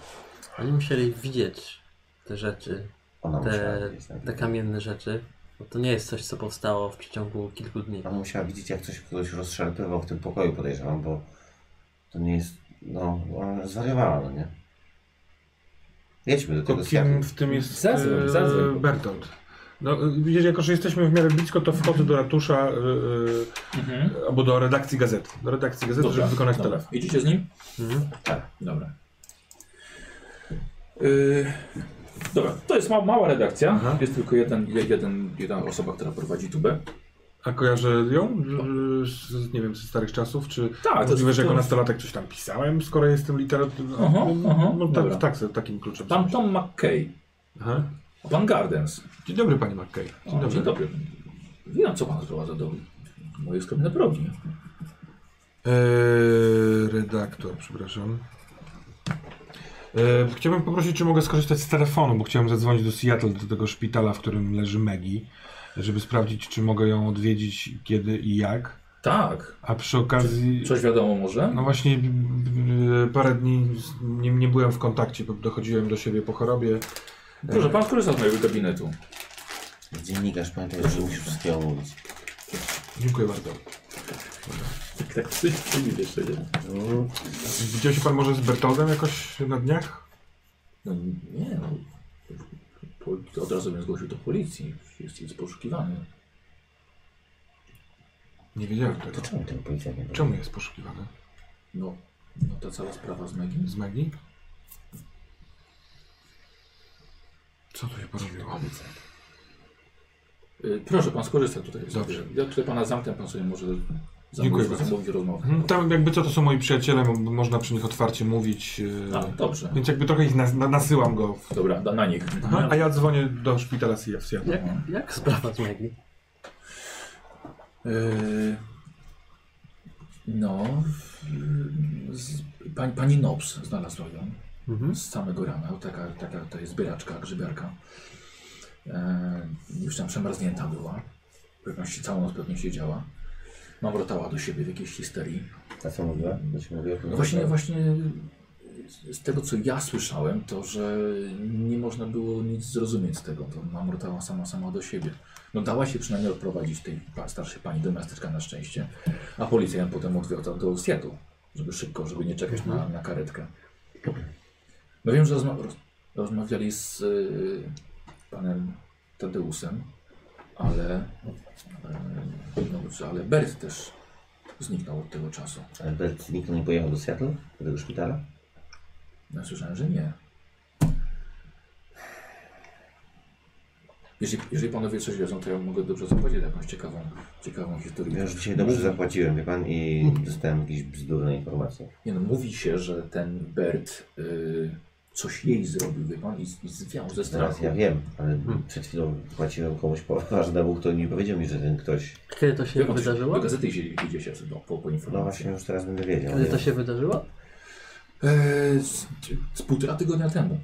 Speaker 5: Oni musieli widzieć te rzeczy,
Speaker 3: Ona musiała
Speaker 5: te,
Speaker 3: gdzieś tam-
Speaker 5: te kamienne rzeczy. Bo to nie jest coś, co powstało w przeciągu kilku dni.
Speaker 3: Ona musiała widzieć, jak ktoś kogoś rozszarpywał w tym pokoju, podejrzewam, bo to nie jest. No, ona zwariowała, no nie? Jedźmy do
Speaker 4: Tylko
Speaker 3: tego
Speaker 4: kim
Speaker 3: światu.
Speaker 4: w tym jest
Speaker 6: Zadzwoń,
Speaker 4: e,
Speaker 6: zadzwoń.
Speaker 4: Bertolt? No, e, widzisz, jako że jesteśmy w miarę blisko, to wchodzę do ratusza e,
Speaker 2: Mhm.
Speaker 4: e, albo do redakcji gazety. Do redakcji gazety, żeby wykonać
Speaker 2: dobra.
Speaker 4: telefon.
Speaker 2: Idziecie z nim?
Speaker 5: Mhm.
Speaker 2: Tak. Dobra. Dobra, to jest ma mała redakcja.
Speaker 4: Aha.
Speaker 2: Jest tylko jeden, jeden, jedna osoba, która prowadzi tubę.
Speaker 4: A kojarzę ją, e, z, nie wiem, ze starych czasów, czy
Speaker 2: Tak, to
Speaker 4: możliwe,
Speaker 2: jest-
Speaker 4: że
Speaker 2: to
Speaker 4: jako
Speaker 2: jest-
Speaker 4: nastolatek coś tam pisałem, skoro jestem literaturą.
Speaker 2: Aha, aha,
Speaker 4: no
Speaker 2: dobra.
Speaker 4: tak, tak, z takim kluczem.
Speaker 2: Pan Tom McKay,
Speaker 4: Aha.
Speaker 2: Van Gardens.
Speaker 4: Dzień dobry, panie McKay. Dzień
Speaker 2: O,
Speaker 4: dobry.
Speaker 2: Dzień dobry. Wiem, co pan sprowadza do mojej skromnej progi.
Speaker 4: Eee, redaktor, przepraszam. Eee, chciałbym poprosić, czy mogę skorzystać z telefonu, bo chciałem zadzwonić do Seattle, do tego szpitala, w którym leży Maggie, żeby sprawdzić, czy mogę ją odwiedzić, kiedy i jak.
Speaker 2: Tak.
Speaker 4: A przy okazji...
Speaker 2: Coś wiadomo może?
Speaker 4: No właśnie, b- b- parę dni z- nie, nie byłem w kontakcie, bo dochodziłem do siebie po chorobie.
Speaker 2: Proszę, pan korzysta z mojego gabinetu.
Speaker 3: Dziennikarz, pamiętaj, że musisz wszystkiego mówić.
Speaker 4: Dziękuję bardzo.
Speaker 2: Tak, coś nie jeszcze nie.
Speaker 4: Widział się pan może z Bertoldem jakoś na dniach?
Speaker 2: No nie, no. Po, od razu mnie zgłosił do policji. Jest, jest poszukiwany.
Speaker 4: Nie wiedziałem
Speaker 3: To
Speaker 4: tego.
Speaker 3: czemu ten policjant nie
Speaker 4: Czemu jest poszukiwany?
Speaker 2: No, no ta cała sprawa z Megim.
Speaker 4: Z Magii? Co tu się porobiło?
Speaker 2: Y, Proszę pan skorzystać tutaj.
Speaker 4: Dobrze.
Speaker 2: Ja tutaj pana zamknę, pan sobie może
Speaker 4: Dziękuję
Speaker 2: zamówić,
Speaker 4: bardzo.
Speaker 2: zamówić rozmowę.
Speaker 4: Mhm, Tam jakby co, to są moi przyjaciele, mo- można przy nich otwarcie mówić. yy,
Speaker 2: A, No, dobrze.
Speaker 4: Więc jakby trochę ich nas, na, nasyłam go. W...
Speaker 2: Dobra, da- na nich.
Speaker 4: Aha, a ja dzwonię do szpitala CFC.
Speaker 5: Jak, jak sprawa z Maggie?
Speaker 2: Y, No, y, z, pani, pani Nobs znalazła ją z samego rana. Taka, taka to jest zbieraczka, grzybiarka. E, już tam przemarznięta była. Pewności całą noc pewnie siedziała. Mamrotała do siebie w jakiejś histerii.
Speaker 3: A co mówiła? Co się mówiła?
Speaker 2: No Właśnie, właśnie z tego co ja słyszałem, to że nie można było nic zrozumieć z tego. To mamrotała sama sama do siebie. No dała się przynajmniej odprowadzić tej pa- starszej pani do miasteczka na szczęście, a policja ją potem odwiozła do Seattle, żeby szybko, żeby nie czekać na, na karetkę. No wiem, że rozma roz rozmawiali z y, panem Tadeusem, ale, y, no, że- ale Bert też zniknął od tego czasu.
Speaker 3: Albert Nikon nie pojechał do Seattle? Do tego szpitala?
Speaker 2: No słyszałem, że nie. Jeżeli, jeżeli panowie coś wiedzą, to ja mogę dobrze zapowiedzieć jakąś ciekawą, ciekawą historię.
Speaker 3: Ja już dzisiaj dobrze zapłaciłem, wie pan, i dostałem jakieś bzdurne informacje.
Speaker 2: Nie no, mówi się, że ten Bert y, coś jej zrobił, wie pan, i, i zwiał ze
Speaker 3: Teraz
Speaker 2: strachu.
Speaker 3: ja wiem, ale przed chwilą płaciłem komuś poważnemu, kto nie powiedział mi, że ten ktoś.
Speaker 5: Kiedy to się
Speaker 2: Wie pan,
Speaker 5: wydarzyło?
Speaker 2: Do gazety się, idzie się do, po, po
Speaker 3: No
Speaker 2: informacji.
Speaker 3: właśnie, już teraz będę wiedział.
Speaker 5: Kiedy
Speaker 3: nie?
Speaker 5: to się wydarzyło?
Speaker 2: E, z, z półtora tygodnia temu.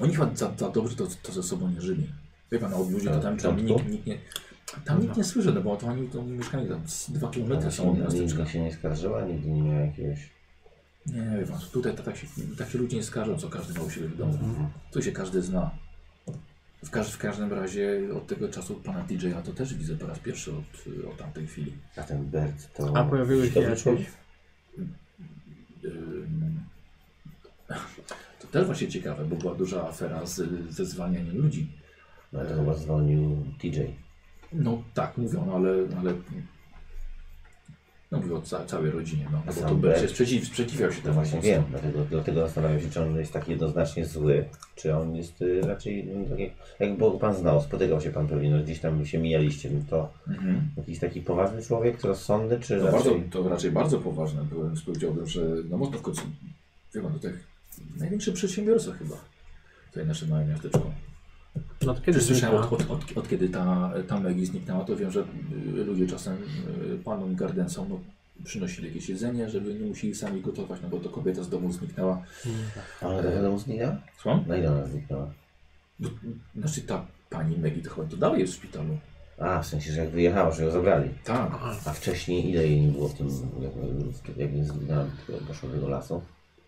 Speaker 2: Oni chyba za, za dobrze to, to ze sobą nie żyli. Wie pan, o ludzie to tam, tam
Speaker 3: Początku?
Speaker 2: nikt, nikt nie... Tam nikt nie słyszy, no bo to oni to mieszkali tam z dwa kilometry
Speaker 3: Ona
Speaker 2: są
Speaker 3: się
Speaker 2: od
Speaker 3: nigdy,
Speaker 2: miasteczka.
Speaker 3: nigdy się nie skarżyła, nigdy nie miała jakiegoś.
Speaker 2: Nie, wie pan, tutaj to tak się, tak się ludzie nie skarżą, co każdy ma u siebie w domu. Tu się każdy zna. W, każ, w każdym razie od tego czasu pana DJ-a to też widzę po raz pierwszy od, od tamtej chwili.
Speaker 3: A ten Bert to.
Speaker 5: A pojawiły się
Speaker 3: to wyczuł?
Speaker 5: jakieś...
Speaker 2: Ym, To też właśnie ciekawe, bo była duża afera z, ze zwalnianiem ludzi.
Speaker 3: No to chyba dzwonił DJ.
Speaker 2: No tak, mówiono, ale, ale No mówię o ca całej rodzinie, no, bo
Speaker 3: Sam
Speaker 2: to
Speaker 3: byłem.
Speaker 2: będzie sprzeciw, sprzeciwiał się
Speaker 3: No
Speaker 2: temu
Speaker 3: właśnie
Speaker 2: mocno.
Speaker 3: wiem, dlatego, dlatego zastanawiam się, czy on jest tak jednoznacznie zły, czy on jest y, raczej, mm, tak jak, jak bo pan znał, spotykał się pan pewnie, no gdzieś tam się mijaliście, no to
Speaker 2: Mhm.
Speaker 3: jakiś taki poważny człowiek, rozsądny, czy
Speaker 2: To, bardzo,
Speaker 3: raczej...
Speaker 2: to raczej bardzo poważne byłem, powiedziałbym, że no można w końcu, wie pan, to tak największy przedsiębiorca chyba, tutaj nasze małe miasteczko.
Speaker 5: No to kiedy
Speaker 2: Czy słyszałem
Speaker 5: znika?
Speaker 2: od, od, od, od kiedy ta, ta Megi zniknęła, to wiem, że y, ludzie czasem y, panom gardensom no, przynosili jakieś jedzenie, żeby nie musieli sami gotować, no bo to kobieta z domu zniknęła.
Speaker 3: A Ona do domu zniknęła?
Speaker 2: Słucham?
Speaker 3: Na ile ona zniknęła?
Speaker 2: No, Znaczy ta pani Megi to chyba to dalej jest w szpitalu.
Speaker 3: A, w sensie, że jak wyjechała, że ją zabrali.
Speaker 2: Tak.
Speaker 3: A wcześniej ile jej nie było w tym, jak, jak nie zniknęła do Goszowego Lasu?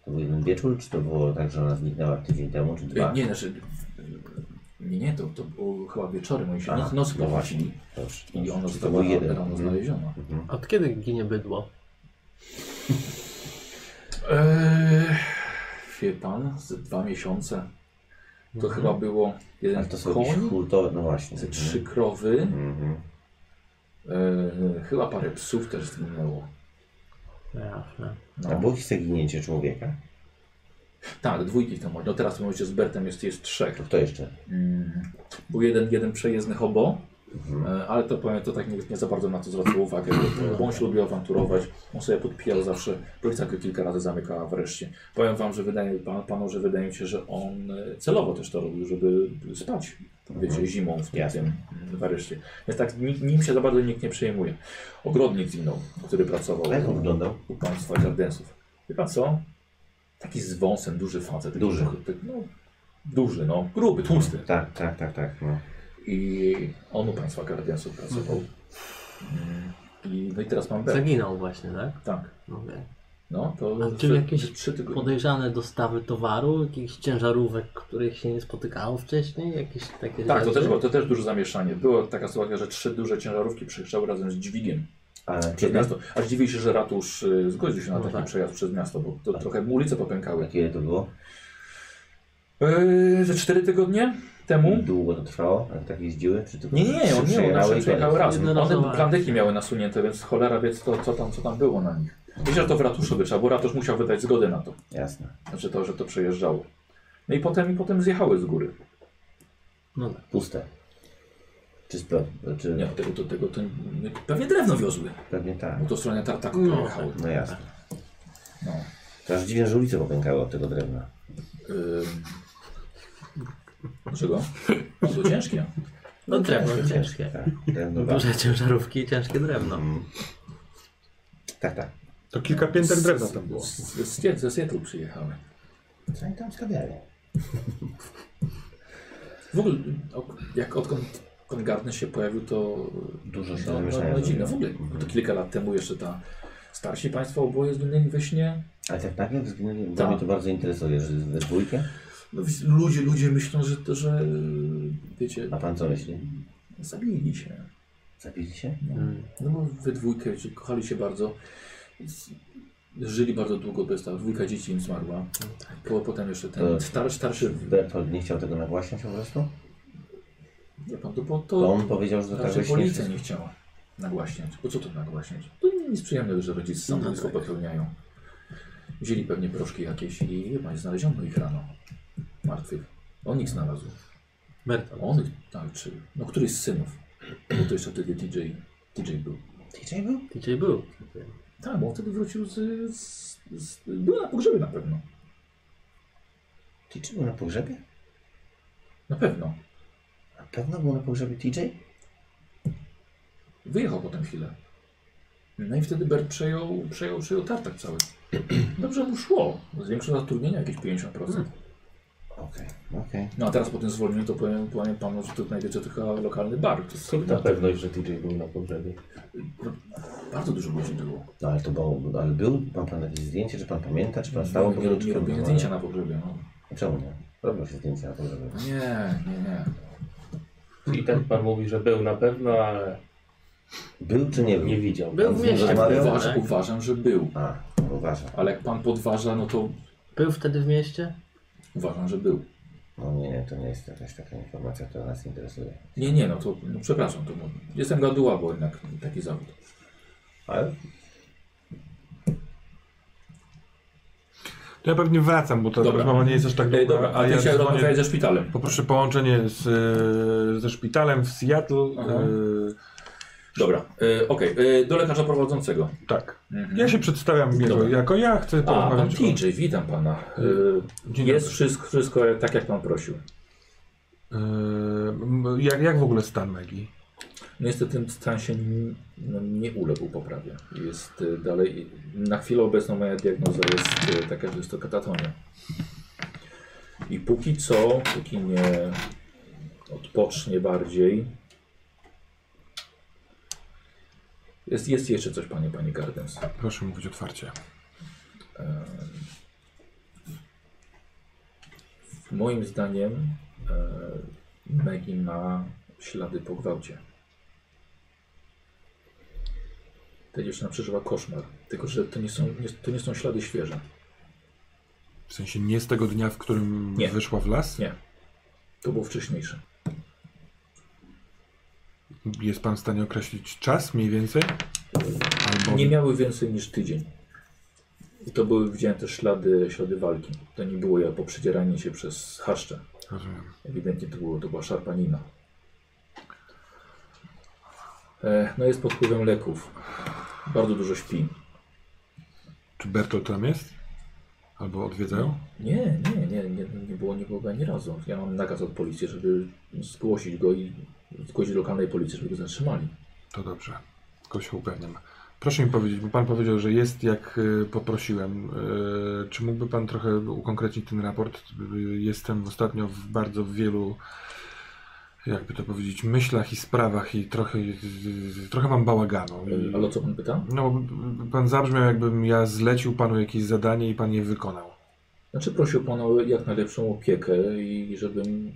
Speaker 3: To był jeden wieczór, czy to było tak, że ona zniknęła tydzień temu, czy dwa?
Speaker 2: Y, Nie, znaczy... y, Nie, nie, to, to było chyba wieczorem, oni się
Speaker 3: Aha,
Speaker 2: noc, noc
Speaker 3: no właśnie.
Speaker 2: płacili
Speaker 3: Dobrze,
Speaker 2: i
Speaker 3: dobrze.
Speaker 2: ona
Speaker 3: Czy to był
Speaker 2: została
Speaker 3: jeden.
Speaker 2: rano
Speaker 3: Mhm.
Speaker 2: znaleziona.
Speaker 3: Mhm.
Speaker 5: Od kiedy ginie bydło?
Speaker 2: Eee, wie pan, ze dwa miesiące to chyba było jeden
Speaker 3: Mhm. Ale to są
Speaker 2: koń,
Speaker 3: jakieś hurtowe, no właśnie.
Speaker 2: ze trzy krowy,
Speaker 3: Mhm.
Speaker 2: Eee, chyba parę psów też zginęło.
Speaker 5: Jasne.
Speaker 2: No.
Speaker 3: A było jakieś zaginięcie człowieka?
Speaker 2: Tak, dwójki tam może. No teraz w tym momencie z Bertem jest, jest trzech.
Speaker 3: To kto jeszcze?
Speaker 2: Mm. Był jeden, jeden przejezdny hobo, e, ale to powiem, to tak nie, nie za bardzo na to zwracało uwagę, bo, bo on się lubił awanturować, on sobie podpijał zawsze, policja go kilka razy zamykała wreszcie. Powiem wam, że wydaje pan, panu, że wydaje mi się, że on e, celowo też to robił, żeby spać, wiecie, zimą w tym,
Speaker 3: Jasne.
Speaker 2: tym w areszcie. Więc tak nim, nim się za bardzo nikt nie przejmuje. Ogrodnik zginął, który pracował
Speaker 3: Jak on wyglądał?
Speaker 2: u państwa gardensów. Wie pan co? Taki z wąsem, duży facet. taki
Speaker 3: Duży.
Speaker 2: trochę- tak, No, duży, no. Gruby, tłusty.
Speaker 3: Tak, tak, tak, tak. No.
Speaker 2: I on u państwa gardensów pracował. Mm, I, no i teraz mam Bert.
Speaker 5: Zaginął właśnie, tak?
Speaker 2: Tak.
Speaker 5: Okej.
Speaker 2: No, to...
Speaker 5: A czy
Speaker 2: że-
Speaker 5: jakieś
Speaker 2: że trzy tygodnie.
Speaker 5: Podejrzane dostawy towaru, jakichś ciężarówek, których się nie spotykało wcześniej, jakieś takie
Speaker 2: Tak, to
Speaker 5: rzeczy?
Speaker 2: też, było, to też duże zamieszanie. Była taka sytuacja, że trzy duże ciężarówki przyjeżdżały razem z dźwigiem
Speaker 3: Ale
Speaker 2: przez
Speaker 3: kiedy,
Speaker 2: miasto. Aż dziwię się, że ratusz y, zgodził się na
Speaker 5: No
Speaker 2: taki
Speaker 5: tak.
Speaker 2: przejazd przez miasto, bo to trochę mu ulice popękały.
Speaker 3: kiedy to było?
Speaker 2: Yy, ze cztery tygodnie temu
Speaker 3: Długo to trwało? Jak tak jeździły? Czy tylko
Speaker 2: Hmm? Nie, nie, nie, on nie,
Speaker 3: przyjechały
Speaker 2: one
Speaker 3: i
Speaker 2: przejechały
Speaker 3: koniec?
Speaker 2: razem.
Speaker 5: Jednorazowo.
Speaker 2: One plandeki miały nasunięte, więc cholera wie co, co, tam, co tam było na nich. Myślę, że to w ratuszu by trzeba, bo ratusz musiał wydać zgodę na to,
Speaker 3: Jasne.
Speaker 2: że to, że to przejeżdżało. No i potem, i potem zjechały z góry.
Speaker 5: No tak.
Speaker 3: Puste. Czy z pe- czy
Speaker 2: Nie, tego, to, tego, to, pewnie drewno wiozły,
Speaker 3: Pewnie tak.
Speaker 2: bo to w stronę tartaku
Speaker 5: No.
Speaker 2: pojechały.
Speaker 3: No jasne.
Speaker 2: No.
Speaker 3: To aż dziwne, że ulice popękały od tego drewna.
Speaker 2: Ym... Dlaczego? No to ciężkie.
Speaker 5: No drewno ciężkie.
Speaker 3: Tak, drewno bardzo.
Speaker 5: Duże ciężarówki i ciężkie drewno.
Speaker 3: Mm. Tak, tak.
Speaker 4: To kilka pięter drewna tam było.
Speaker 2: Z- z- z- Ze Seattle przyjechały.
Speaker 3: Co oni tam stawiali?
Speaker 2: W ogóle, o- jak odkąd ten garnet się pojawił, to
Speaker 3: Dużo się
Speaker 2: No, no,
Speaker 3: zamieszania
Speaker 2: no, dziwne,
Speaker 3: zrobiło.
Speaker 2: w ogóle.
Speaker 3: Mhm.
Speaker 2: To kilka lat temu jeszcze ta starsi państwo oboje zginęli we śnie.
Speaker 3: Ale tak nagle zginęli, bo
Speaker 2: Tak.
Speaker 3: mnie to bardzo interesuje, że we dwójkę.
Speaker 2: No, wi- ludzie, ludzie myślą, że, to, że wiecie,
Speaker 3: A pan co myśli?
Speaker 2: zabili się.
Speaker 3: Zabili się?
Speaker 2: No, no bo we dwójkę, wiecie, kochali się bardzo. Z- Żyli bardzo długo bez tego. Dwójka dzieci im zmarła.
Speaker 3: Tak.
Speaker 2: Po, potem jeszcze ten
Speaker 3: To-
Speaker 2: star, starszy,
Speaker 3: Bertold nie chciał tego nagłaśniać po prostu?
Speaker 2: nie pan, to, bo
Speaker 3: Bo
Speaker 2: to
Speaker 3: on powiedział, że tak
Speaker 2: raczej
Speaker 3: właśnie...
Speaker 2: policja nie chciała nagłaśniać. Po co to nagłaśniać? To nic przyjemnego, że
Speaker 3: No,
Speaker 2: rodzice samobójstwo
Speaker 3: tak.
Speaker 2: popełniają. Wzięli pewnie proszki jakieś i wie pan, znaleziono ich rano. Martwych. On ich znalazł.
Speaker 5: Bertolt.
Speaker 2: On ich, tak, czy, no któryś z synów. Bo to jeszcze wtedy DJ, DJ był.
Speaker 3: DJ był?
Speaker 5: DJ był.
Speaker 2: Tak, bo on wtedy wrócił z, z, z... Był na pogrzebie na pewno.
Speaker 3: DJ był na pogrzebie?
Speaker 2: Na pewno.
Speaker 3: Na pewno był na pogrzebie DJ?
Speaker 2: Wyjechał potem chwilę. No i wtedy Bert przejął, przejął, przejął tartak cały. Dobrze mu szło. Zwiększył zatrudnienie jakieś 50%.
Speaker 3: Okej, okej.
Speaker 2: No a teraz po tym zwolnieniu to powiem, powiem panu, że tu znajdziecie tylko lokalny bar. To jest
Speaker 6: Skąd ta pewność, że DJ był na pogrzebie?
Speaker 2: bardzo dużo ludzi było.
Speaker 3: No ale to było, ale był, ma pan jakieś zdjęcie, czy pan pamięta, czy pan stał
Speaker 2: nie, nie, nie robiłem zdjęcia na pogrzebie. No.
Speaker 3: Czemu nie? Robią się zdjęcia na pogrzebie.
Speaker 2: Nie, nie, nie.
Speaker 6: I tak pan mówi, że był na pewno, ale
Speaker 3: Był czy nie był?
Speaker 6: nie widział.
Speaker 5: Był
Speaker 3: Pan z
Speaker 5: w
Speaker 3: nim
Speaker 5: mieście.
Speaker 3: rozmawiał?
Speaker 5: Był,
Speaker 2: Uważam,
Speaker 5: tak?
Speaker 2: uważam, że był.
Speaker 3: A, uważam.
Speaker 2: Ale jak pan podważa, no to
Speaker 5: Był wtedy w mieście?
Speaker 2: uważam, że był.
Speaker 3: No nie, to nie jest jakaś taka informacja, która nas interesuje.
Speaker 2: Nie, nie, no to no, przepraszam. To, no, jestem gaduła, bo jednak taki zawód.
Speaker 3: Ale
Speaker 4: To ja pewnie wracam, bo ta
Speaker 7: Dobra.
Speaker 4: rozmowa nie jest aż tak długa.
Speaker 7: Ej, dobra,
Speaker 4: a
Speaker 7: a ty chciałeś
Speaker 4: dzwonię-
Speaker 7: rozmawiać ze szpitalem.
Speaker 4: Poproszę połączenie z, e, ze szpitalem w Seattle.
Speaker 7: Aha.
Speaker 4: E,
Speaker 7: Dobra, e, okej, e, do lekarza prowadzącego.
Speaker 4: tak.
Speaker 7: Mhm.
Speaker 4: Ja się przedstawiam jako,
Speaker 7: Dobra.
Speaker 4: jako ja, chcę
Speaker 7: A, pan
Speaker 4: porozmawiać
Speaker 7: TJ, witam pana. E,
Speaker 4: Dzień
Speaker 7: jest wszystko, wszystko tak, jak pan prosił.
Speaker 4: E, m, jak, jak w ogóle stan Megi?
Speaker 7: Niestety ten stan się n- no, nie uległ poprawie. Jest e, dalej, na chwilę obecną moja diagnoza jest e, taka, że jest to katatonia. I póki co, póki nie odpocznie bardziej, jest, jest jeszcze coś, panie, panie Gardens.
Speaker 4: Proszę mówić otwarcie.
Speaker 7: Moim zdaniem e, Maggie ma ślady po gwałcie. Ta dziewczyna przeżyła koszmar, tylko że to nie są, nie, to nie są ślady świeże.
Speaker 4: W sensie nie z tego dnia, w którym
Speaker 7: Nie.
Speaker 4: wyszła w las?
Speaker 7: Nie. To było wcześniejsze.
Speaker 4: Jest pan w stanie określić czas mniej więcej? Albo...
Speaker 7: Nie miały więcej niż tydzień. I to były widziałem też ślady, ślady walki. To nie było jak poprzedzieranie się przez haszcze.
Speaker 4: Rozumiem.
Speaker 7: Ewidentnie to, było, to była szarpanina. E, no jest pod wpływem leków. Bardzo dużo śpi.
Speaker 4: Czy Bertolt tam jest? Albo odwiedzają?
Speaker 7: Nie, nie, nie, nie, nie było nikogo ani razu. Ja mam nakaz od policji, żeby zgłosić go i zgłosić lokalnej policji, żeby go zatrzymali.
Speaker 4: To dobrze. Tylko się upewniam. Proszę mi powiedzieć, bo pan powiedział, że jest jak y, poprosiłem. Y, Czy mógłby pan trochę ukonkretnić ten raport? Y, Jestem ostatnio w bardzo wielu, jakby to powiedzieć, myślach i sprawach i trochę, y, trochę mam bałaganu.
Speaker 7: E, Ale o co pan pyta?
Speaker 4: No, pan zabrzmiał jakbym ja zlecił panu jakieś zadanie i pan je wykonał.
Speaker 7: Znaczy prosił pan o jak najlepszą opiekę i żebym...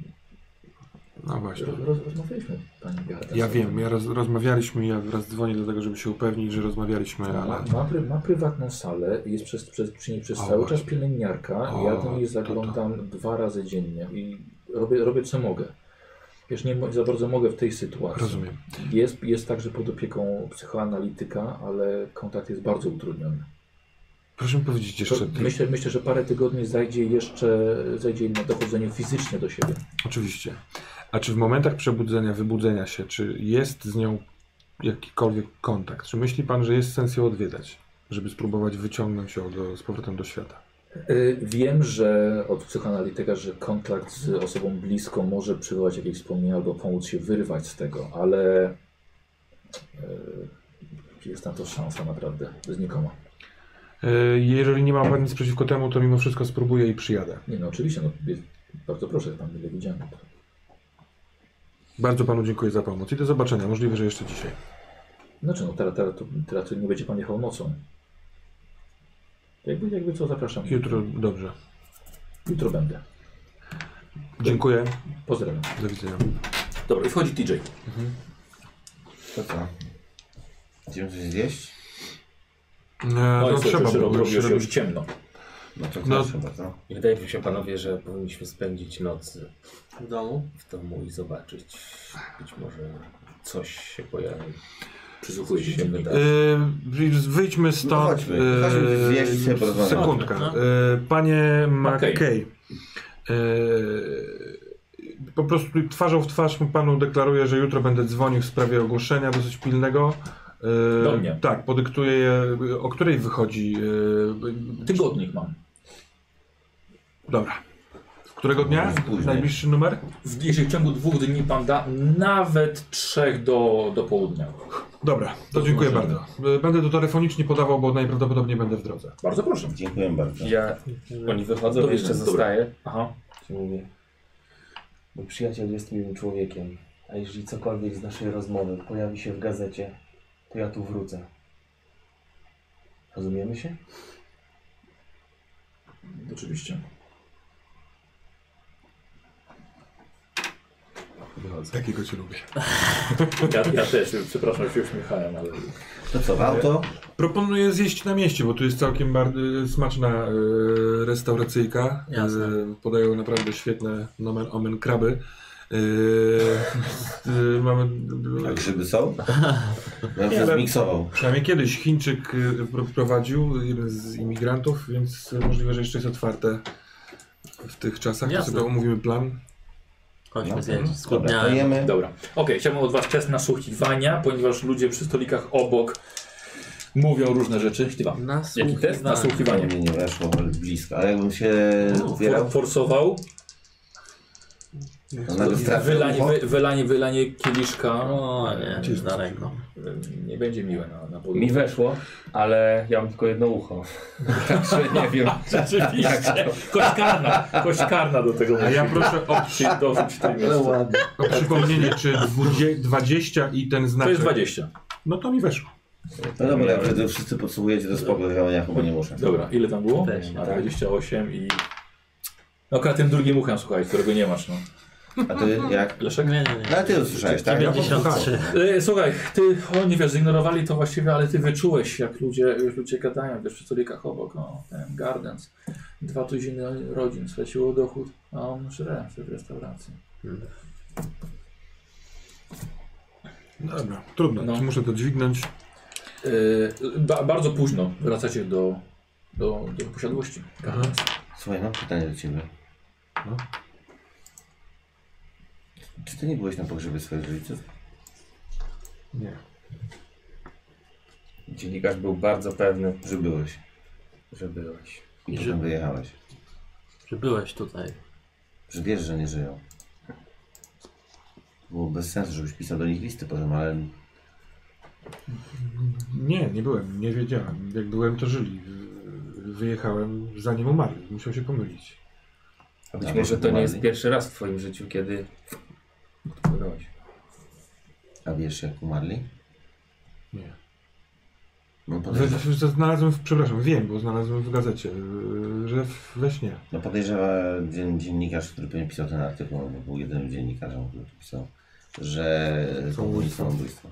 Speaker 4: No właśnie.
Speaker 7: Roz, rozmawialiśmy, pani Beata.
Speaker 4: Ja wiem, ja roz, rozmawialiśmy, ja raz dzwonię dlatego, żeby się upewnić, że rozmawialiśmy, ale...
Speaker 7: Ma, ma, pry, ma prywatną salę, jest przez, przez, przy niej przez
Speaker 4: O,
Speaker 7: cały
Speaker 4: właśnie.
Speaker 7: czas pielęgniarka.
Speaker 4: O,
Speaker 7: ja do
Speaker 4: to,
Speaker 7: niej
Speaker 4: to.
Speaker 7: zaglądam dwa razy dziennie i robię, robię co mogę. Wiesz, nie mo- za bardzo mogę w tej sytuacji.
Speaker 4: Rozumiem.
Speaker 7: Jest, jest także pod opieką psychoanalityka, ale kontakt jest bardzo utrudniony.
Speaker 4: Proszę mi powiedzieć
Speaker 7: To,
Speaker 4: jeszcze...
Speaker 7: myślę, myślę, że parę tygodni zajdzie jeszcze zajdzie na dochodzeniu fizycznie do siebie.
Speaker 4: Oczywiście. A czy w momentach przebudzenia, wybudzenia się, czy jest z nią jakikolwiek kontakt? Czy myśli pan, że jest sens ją odwiedzać, żeby spróbować wyciągnąć ją do, z powrotem do świata?
Speaker 7: Y, Wiem, że od psychoanalityka, że kontakt z osobą bliską może przywołać jakieś wspomnienia albo pomóc się wyrwać z tego, ale y, jest na to szansa naprawdę znikoma.
Speaker 4: E, Jeżeli nie ma pan nic przeciwko temu, to mimo wszystko spróbuję i przyjadę.
Speaker 7: Nie no, oczywiście, no, jest- bardzo proszę, pan mile widziany.
Speaker 4: Bardzo panu dziękuję za pomoc i do zobaczenia. Możliwe, że jeszcze dzisiaj.
Speaker 7: Znaczy, no teraz, teraz, to- teraz to nie będzie pan jechał nocą. Jakby, jakby co, zapraszam.
Speaker 4: Jutro dobrze.
Speaker 7: Jutro będę.
Speaker 4: Dziękuję.
Speaker 7: Pozdrawiam.
Speaker 4: Do widzenia.
Speaker 7: Dobra, i wchodzi TJ.
Speaker 3: To co? Idziemy coś zjeść?
Speaker 4: E,
Speaker 7: No,
Speaker 4: No,
Speaker 7: i trzeba
Speaker 4: trzeba
Speaker 7: już,
Speaker 4: było.
Speaker 7: robiło się
Speaker 4: Trzeba-
Speaker 7: już ciemno.
Speaker 3: No to
Speaker 4: No.
Speaker 3: no. chyba, co?
Speaker 6: Wydaje mi się, panowie, że powinniśmy spędzić noc
Speaker 5: w domu.
Speaker 6: w domu i zobaczyć. Być może coś się pojawi.
Speaker 7: Przysłuchuję się
Speaker 6: Się
Speaker 7: ciemno.
Speaker 6: wydarzy.
Speaker 4: Yy, wyjdźmy
Speaker 3: No
Speaker 4: stąd.
Speaker 3: chodźmy. Chodźmy zjeść
Speaker 4: yy,
Speaker 3: sobie porozmawiać.
Speaker 4: Sekundka.
Speaker 5: No.
Speaker 4: Yy, Panie
Speaker 7: Okej.
Speaker 4: McKay. Yy, po prostu twarzą w twarz panu deklaruję, że jutro będę dzwonił w sprawie ogłoszenia dosyć pilnego. Yy,
Speaker 7: Do mnie.
Speaker 4: Tak, podyktuję je, yy, o której wychodzi. Yy,
Speaker 7: Tygodnik mam.
Speaker 4: dobra. W którego dnia?
Speaker 3: Później.
Speaker 4: Najbliższy numer?
Speaker 7: W, jeżeli w ciągu dwóch dni pan da nawet trzech do, do południa.
Speaker 4: Dobra, to dziękuję
Speaker 7: możemy.
Speaker 4: bardzo. Yy, Będę to telefonicznie podawał, bo najprawdopodobniej będę w drodze.
Speaker 7: Bardzo proszę.
Speaker 3: Dziękuję bardzo.
Speaker 6: Ja, oni wychodzą,
Speaker 7: Dobra,
Speaker 6: jeszcze
Speaker 7: dobra.
Speaker 6: zostaję.
Speaker 7: Aha.
Speaker 6: Ci mówię. Mój przyjaciel jest miłym człowiekiem, a jeżeli cokolwiek z naszej rozmowy pojawi się w gazecie, to ja tu wrócę. Rozumiemy się?
Speaker 7: Oczywiście.
Speaker 6: Wychodzę.
Speaker 4: Takiego cię lubię.
Speaker 7: Ja, ja też, przepraszam, się uśmiechałem, ale...
Speaker 3: To co, w auto?
Speaker 4: Proponuję zjeść na mieście, bo tu jest całkiem bar- y, smaczna y, restauracyjka.
Speaker 5: Jasne.
Speaker 4: Y, Podają naprawdę świetne nomen omen kraby. Yy, yy, mamy,
Speaker 3: A grzyby są? Ja
Speaker 4: Nie,
Speaker 3: to
Speaker 4: ale-
Speaker 3: zmiksował.
Speaker 4: przynajmniej kiedyś Chińczyk yy, pro- prowadził, jeden z imigrantów, więc możliwe, że jeszcze jest otwarte w tych czasach. To
Speaker 5: Jasne.
Speaker 4: sobie omówimy plan.
Speaker 5: Chodźmy
Speaker 3: No,
Speaker 5: zjeść.
Speaker 3: Dobra, to
Speaker 5: Skłodniałem.
Speaker 3: jemy.
Speaker 2: Dobra. Okej, chciałbym od was czas nasłuchiwania, ponieważ ludzie przy stolikach obok mówią różne rzeczy. Śliwa. Jaki test?
Speaker 5: Nasłuchiwanie.
Speaker 3: To
Speaker 2: Nasłuchiwanie.
Speaker 3: mnie nie weszło, ale blisko. Ale jakbym się
Speaker 2: For,
Speaker 3: upierał,
Speaker 2: forsował
Speaker 3: to No, nagle
Speaker 2: wylanie,
Speaker 3: stracił
Speaker 2: wy, wylanie, wylanie kieliszka.
Speaker 5: O nie,
Speaker 2: Ym,
Speaker 5: daleko.
Speaker 2: ym, Nie będzie miłe na, na podłodze.
Speaker 6: Mi weszło, ale ja mam tylko jedno ucho. Także nie wiem.
Speaker 2: Rzeczywiście. Kość karna. Kość karna do tego
Speaker 4: A ja
Speaker 2: musi
Speaker 4: proszę o, przy,
Speaker 2: się dorzuć tej
Speaker 3: Ale
Speaker 2: miasta.
Speaker 3: ładnie.
Speaker 4: o przypomnienie, czy dwudzie- 20 i ten
Speaker 2: To
Speaker 4: znaczek.
Speaker 2: jest 20.
Speaker 4: No to mi weszło.
Speaker 3: No dobra, jak wtedy wszyscy podsumujecie to spoko, ja ja chyba nie muszę.
Speaker 2: Dobra, ile tam było?
Speaker 5: Też nie.
Speaker 2: 28 i... No akurat tym drugim uchem, słuchaj, którego nie masz, no.
Speaker 3: A ty jak?
Speaker 2: Leszek?
Speaker 5: Nie, nie, nie.
Speaker 3: No ale ty usłyszałeś, tak?
Speaker 5: 93.
Speaker 2: E, Słuchaj, ty, o nie wiesz, zignorowali to właściwie, ale ty wyczułeś, jak ludzie, jak ludzie gadają, wiesz, przy stolikach obok, no, ten Gardens, dwa tuziny rodzin straciło dochód, a on żre w restauracji.
Speaker 4: Dobra, trudno,
Speaker 2: No.
Speaker 4: muszę to dźwignąć.
Speaker 2: E, ba, bardzo późno wracacie do, do, do posiadłości Gardens.
Speaker 3: Słuchaj, mam pytanie do ciebie.
Speaker 4: No.
Speaker 3: Czy ty nie byłeś na pogrzebie swoich rodziców?
Speaker 4: Nie.
Speaker 6: Dziennikarz był bardzo pewny,
Speaker 3: Że byłeś
Speaker 6: że byłeś.
Speaker 3: i
Speaker 5: Nie,
Speaker 3: potem
Speaker 5: że-
Speaker 3: wyjechałeś.
Speaker 5: Czy byłeś tutaj?
Speaker 3: Że wiesz, że nie żyją. Było bez sensu, żebyś pisał do nich listy potem, ale
Speaker 4: Nie, nie byłem, nie wiedziałem. Jak byłem, to żyli. Wy- Wyjechałem zanim umarli, musiał się pomylić.
Speaker 6: A być
Speaker 3: Tak,
Speaker 6: może to nie jest
Speaker 3: ładnie.
Speaker 6: pierwszy raz w twoim życiu, kiedy odpłynąłeś.
Speaker 3: a wiesz jak umarli?
Speaker 4: Nie.
Speaker 3: No
Speaker 4: Że,
Speaker 3: podejrzewa,
Speaker 4: że, że znalazłem, w, przepraszam, wiem, bo znalazłem w gazecie, yy, że w, we śnie.
Speaker 3: no podejrzewa dzien, dziennikarz, który pewnie pisał ten artykuł, no bo był jedynym dziennikarzem, który to pisał, że
Speaker 4: Samobójstwo.
Speaker 3: popełnili samobójstwo.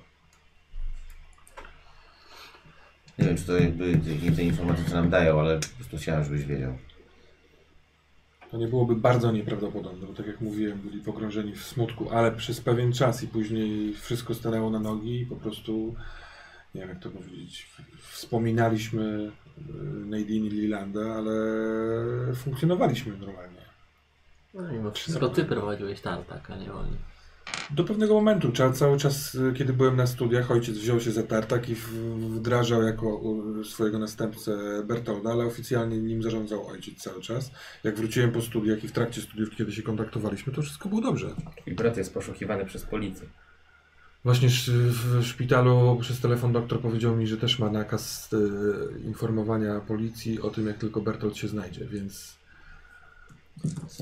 Speaker 3: Nie wiem, czy to jakby jakie te informacje co nam dają, ale po prostu chciałem, żebyś wiedział.
Speaker 4: To nie byłoby bardzo nieprawdopodobne, bo tak jak mówiłem, byli pogrążeni w smutku, ale przez pewien czas i później wszystko stanęło na nogi i po prostu, nie wiem jak to powiedzieć, w- wspominaliśmy yy, Nadine i Lilanda, ale funkcjonowaliśmy normalnie.
Speaker 5: No mimo wszystko ty prowadziłeś tartak, a nie oni.
Speaker 4: Do pewnego momentu, cza- cały czas, y, kiedy byłem na studiach, ojciec wziął się za tartak i w- wdrażał jako u- swojego następcę Bertolda, ale oficjalnie nim zarządzał ojciec cały czas. Jak wróciłem po studiach i w trakcie studiów, kiedy się kontaktowaliśmy, to wszystko było dobrze.
Speaker 6: Twój brat jest poszukiwany przez policję.
Speaker 4: Właśnie sz- w szpitalu przez telefon doktor powiedział mi, że też ma nakaz y, informowania policji o tym, jak tylko Bertold się znajdzie, więc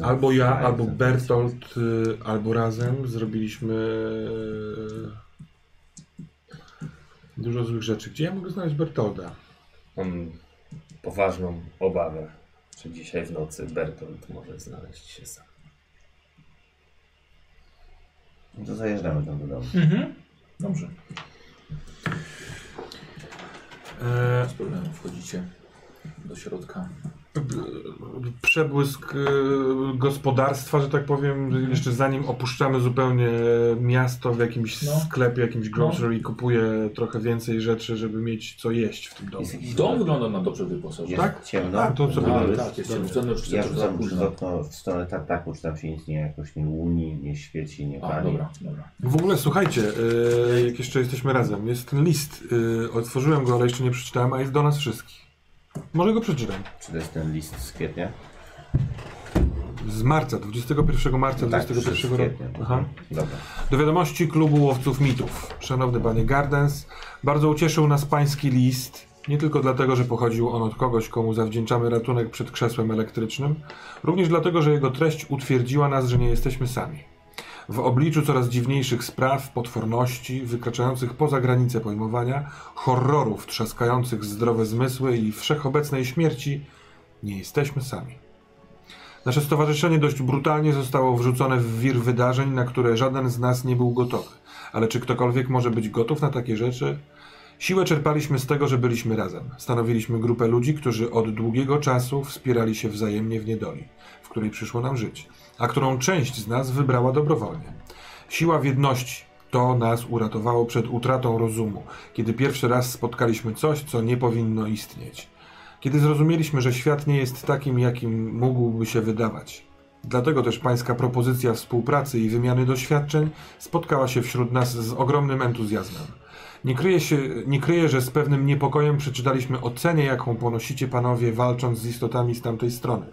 Speaker 4: albo ja, albo Bertold, y, albo razem zrobiliśmy y, dużo złych rzeczy. Gdzie ja mogę znaleźć Bertolda?
Speaker 6: Mam poważną obawę, czy dzisiaj w nocy Bertolt może znaleźć się sam.
Speaker 3: No to zajeżdżamy tam do domu.
Speaker 2: Mhm. Dobrze,
Speaker 4: E,
Speaker 2: bez problemu wchodzicie do środka.
Speaker 4: b- b- przebłysk y, gospodarstwa, że tak
Speaker 2: Mhm.
Speaker 4: powiem, jeszcze zanim opuszczamy zupełnie miasto w jakimś
Speaker 2: No.
Speaker 4: sklepie, jakimś grocery i kupuję trochę więcej rzeczy, żeby mieć co jeść w tym domu.
Speaker 3: Jest jakiś
Speaker 2: Dom wygląda nam dobrze wyposażony.
Speaker 3: Jest
Speaker 4: Tak?
Speaker 3: ciemno.
Speaker 4: A, to co
Speaker 3: Mały.
Speaker 4: było?
Speaker 2: Tak, tak, jest rzucony już
Speaker 3: Ja
Speaker 2: za
Speaker 3: rzucam przez
Speaker 2: późno.
Speaker 3: okno w stronę tartaku, czy tam się nic nie jakoś nie łuni, nie świeci, nie
Speaker 2: A,
Speaker 3: pali.
Speaker 2: dobra, dobra.
Speaker 4: W ogóle słuchajcie, y, jak jeszcze jesteśmy razem, jest ten list. y, Otworzyłem go, ale jeszcze nie przeczytałem, a jest do nas wszystkich. Może go przeczytam.
Speaker 3: Czy to jest ten list z kwietnia?
Speaker 4: Z marca, 21 marca
Speaker 3: tak, z
Speaker 4: 21 roku.
Speaker 3: kwietnia.
Speaker 4: Aha.
Speaker 3: Dobra.
Speaker 4: Do wiadomości klubu łowców mitów. Szanowny panie Gardens, bardzo ucieszył nas pański list. Nie tylko dlatego, że pochodził on od kogoś, komu zawdzięczamy ratunek przed krzesłem elektrycznym, również dlatego, że jego treść utwierdziła nas, że nie jesteśmy sami. W obliczu coraz dziwniejszych spraw, potworności, wykraczających poza granice pojmowania, horrorów trzaskających zdrowe zmysły i wszechobecnej śmierci, nie jesteśmy sami. Nasze stowarzyszenie dość brutalnie zostało wrzucone w wir wydarzeń, na które żaden z nas nie był gotowy. Ale czy ktokolwiek może być gotów na takie rzeczy? Siłę czerpaliśmy z tego, że byliśmy razem. Stanowiliśmy grupę ludzi, którzy od długiego czasu wspierali się wzajemnie w niedoli, w której przyszło nam żyć, a którą część z nas wybrała dobrowolnie. Siła w jedności to nas uratowało przed utratą rozumu, kiedy pierwszy raz spotkaliśmy coś, co nie powinno istnieć. Kiedy zrozumieliśmy, że świat nie jest takim, jakim mógłby się wydawać. Dlatego też pańska propozycja współpracy i wymiany doświadczeń spotkała się wśród nas z ogromnym entuzjazmem. Nie kryję, się, nie kryję, że z pewnym niepokojem przeczytaliśmy o cenie, jaką ponosicie panowie walcząc z istotami z tamtej strony.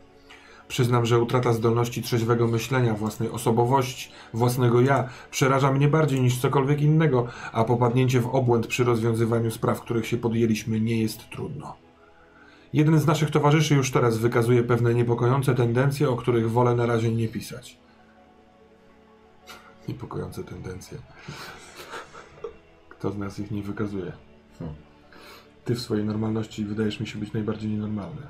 Speaker 4: Przyznam, że utrata zdolności trzeźwego myślenia, własnej osobowości, własnego ja przeraża mnie bardziej niż cokolwiek innego, a popadnięcie w obłęd przy rozwiązywaniu spraw, których się podjęliśmy, nie jest trudno. Jeden z naszych towarzyszy już teraz wykazuje pewne niepokojące tendencje, o których wolę na razie nie pisać. Niepokojące tendencje. Kto z nas ich nie wykazuje? Hmm. Ty w swojej normalności wydajesz mi się być najbardziej nienormalny.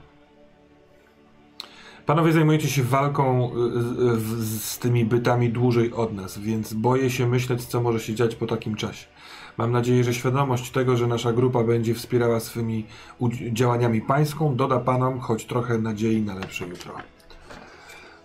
Speaker 4: Panowie zajmujecie się walką y, y, w- z tymi bytami dłużej od nas, więc boję się myśleć, co może się dziać po takim czasie. Mam nadzieję, że świadomość tego, że nasza grupa będzie wspierała swymi udź- działaniami pańską, doda panom choć trochę nadziei na lepsze jutro.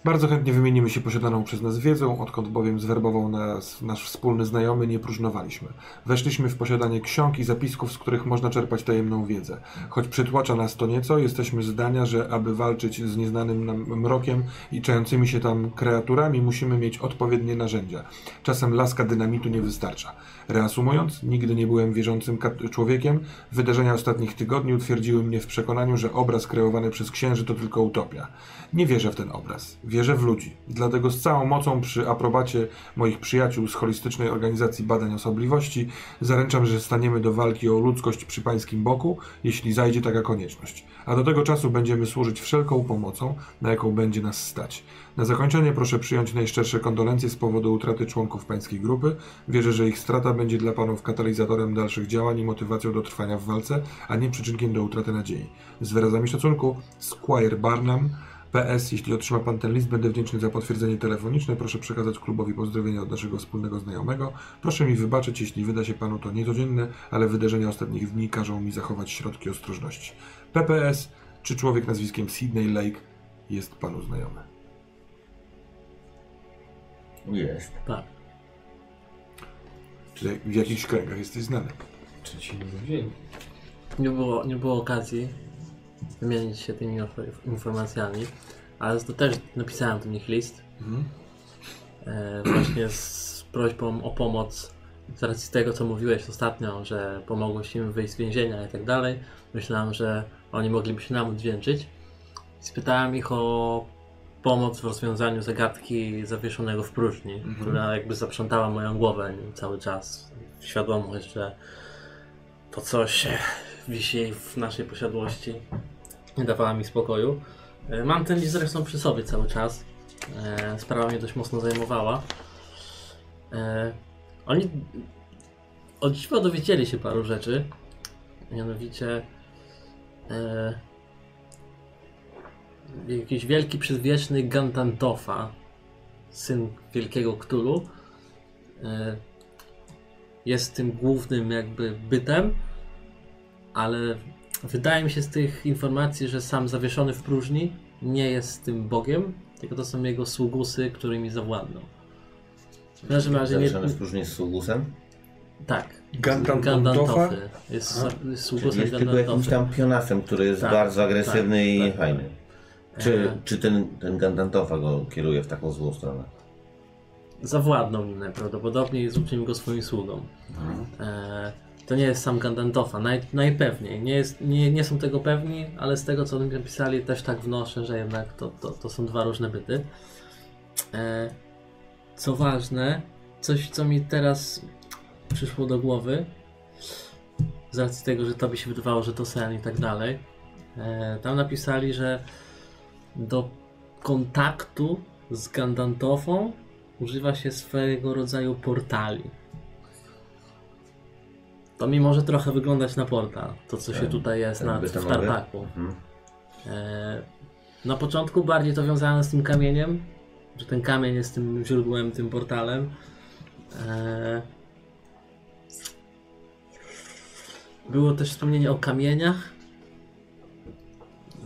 Speaker 4: Bardzo chętnie wymienimy się posiadaną przez nas wiedzą, odkąd bowiem zwerbował nas nasz wspólny znajomy, nie próżnowaliśmy. Weszliśmy w posiadanie ksiąg i zapisków, z których można czerpać tajemną wiedzę. Choć przytłacza nas to nieco, jesteśmy zdania, że aby walczyć z nieznanym nam mrokiem i czającymi się tam kreaturami, musimy mieć odpowiednie narzędzia. Czasem laska dynamitu nie wystarcza. Reasumując, nigdy nie byłem wierzącym kat- człowiekiem. Wydarzenia ostatnich tygodni utwierdziły mnie w przekonaniu, że obraz kreowany przez księży to tylko utopia. Nie wierzę w ten obraz. Wierzę w ludzi. Dlatego z całą mocą przy aprobacie moich przyjaciół z holistycznej organizacji badań osobliwości zaręczam, że staniemy do walki o ludzkość przy pańskim boku, jeśli zajdzie taka konieczność. A do tego czasu będziemy służyć wszelką pomocą, na jaką będzie nas stać. Na zakończenie proszę przyjąć najszczersze kondolencje z powodu utraty członków pańskiej grupy. Wierzę, że ich strata będzie dla panów katalizatorem dalszych działań i motywacją do trwania w walce, a nie przyczynkiem do utraty nadziei. Z wyrazami szacunku, Squire Barnum. PS, jeśli otrzyma pan ten list, będę wdzięczny za potwierdzenie telefoniczne. Proszę przekazać klubowi pozdrowienia od naszego wspólnego znajomego. Proszę mi wybaczyć, jeśli wyda się panu to niecodzienne, ale wydarzenia ostatnich dni każą mi zachować środki ostrożności. PPS, czy człowiek nazwiskiem Sydney Lake jest panu znajomy?
Speaker 3: Jest.
Speaker 5: Tak.
Speaker 4: Czy w jakichś kręgach jesteś znany?
Speaker 6: Trzeci dzień.
Speaker 5: Nie było, nie było okazji wymienić się tymi inf- informacjami, ale to też napisałem do nich list. E, właśnie z prośbą o pomoc z racji tego, co mówiłeś ostatnio, że pomogłeś im wyjść z więzienia i tak dalej. Myślałem, że oni mogliby się nam odwdzięczyć. Spytałem ich o pomoc w rozwiązaniu zagadki zawieszonego w próżni, która jakby zaprzątała moją głowę nim cały czas. Świadomość, że to coś wisi w naszej posiadłości. Nie dawała mi spokoju. E, Mam ten list zresztą przy sobie cały czas. E, Sprawa mnie dość mocno zajmowała. E, Oni od dziwa dowiedzieli się paru rzeczy. Mianowicie e, jakiś wielki przedwieczny Gantantofa, syn wielkiego Ktulu, e, jest tym głównym jakby bytem, ale wydaje mi się z tych informacji, że sam zawieszony w próżni nie jest tym Bogiem, tylko to są jego sługusy, którymi zawładną. W każdym razie nie...
Speaker 3: Zawieszony w próżni z Sugusem?
Speaker 5: Tak.
Speaker 4: Gantan Tofa?
Speaker 5: Gandantofy. Jest, jest
Speaker 3: Czyli
Speaker 5: sługusem
Speaker 3: jest tylko jakimś
Speaker 5: Gandantofy.
Speaker 3: tam pionasem, który jest
Speaker 5: Tak,
Speaker 3: bardzo agresywny
Speaker 5: tak,
Speaker 3: i
Speaker 5: tak.
Speaker 3: niefajny. Czy,
Speaker 5: E.
Speaker 3: czy ten, ten Gandantofa go kieruje w taką złą stronę?
Speaker 5: Zawładnął nim najprawdopodobniej i uczynił go swoim sługą. E, to nie jest sam Gandantofa, naj, najpewniej. Nie, jest, nie, nie są tego pewni, ale z tego co oni napisali też tak wnoszę, że jednak to, to, to są dwa różne byty. E, co ważne, coś co mi teraz przyszło do głowy, z racji tego, że to by się wydawało, że to sen i tak dalej. E, tam napisali, że do kontaktu z Gandantofą używa się swojego rodzaju portali. To mi może trochę wyglądać na portal, to co się
Speaker 3: Ten-
Speaker 5: tutaj jest
Speaker 3: ten
Speaker 5: na, w
Speaker 3: betonowy?
Speaker 5: Tartaku.
Speaker 3: Mhm.
Speaker 5: E, na początku bardziej to wiązałem z tym kamieniem, że ten kamień jest tym źródłem, tym portalem. E, Było też wspomnienie o kamieniach,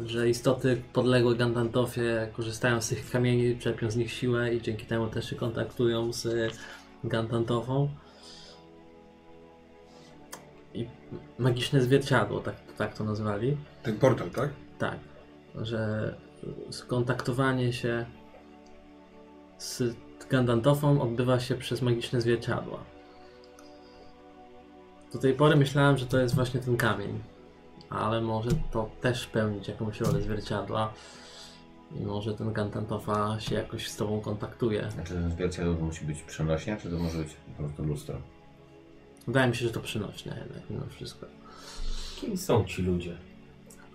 Speaker 5: że istoty podległe Gandalfie korzystają z tych kamieni, czerpią z nich siłę i dzięki temu też się kontaktują z e, Gandalfą. I magiczne zwierciadło, tak, tak to nazwali.
Speaker 4: Ten portal, tak?
Speaker 5: Tak, że skontaktowanie się z Gandantofą odbywa się przez magiczne zwierciadła. Do tej pory myślałem, że to jest właśnie ten kamień, ale może to też pełnić jakąś rolę zwierciadła i może ten Gantantofa się jakoś z tobą kontaktuje.
Speaker 3: Znaczy, to zwierciadło to musi być przenośnia, czy to może być po prostu lustro?
Speaker 5: Wydaje mi się, że to przynośne jednak mimo wszystko.
Speaker 6: Kim są ci ludzie?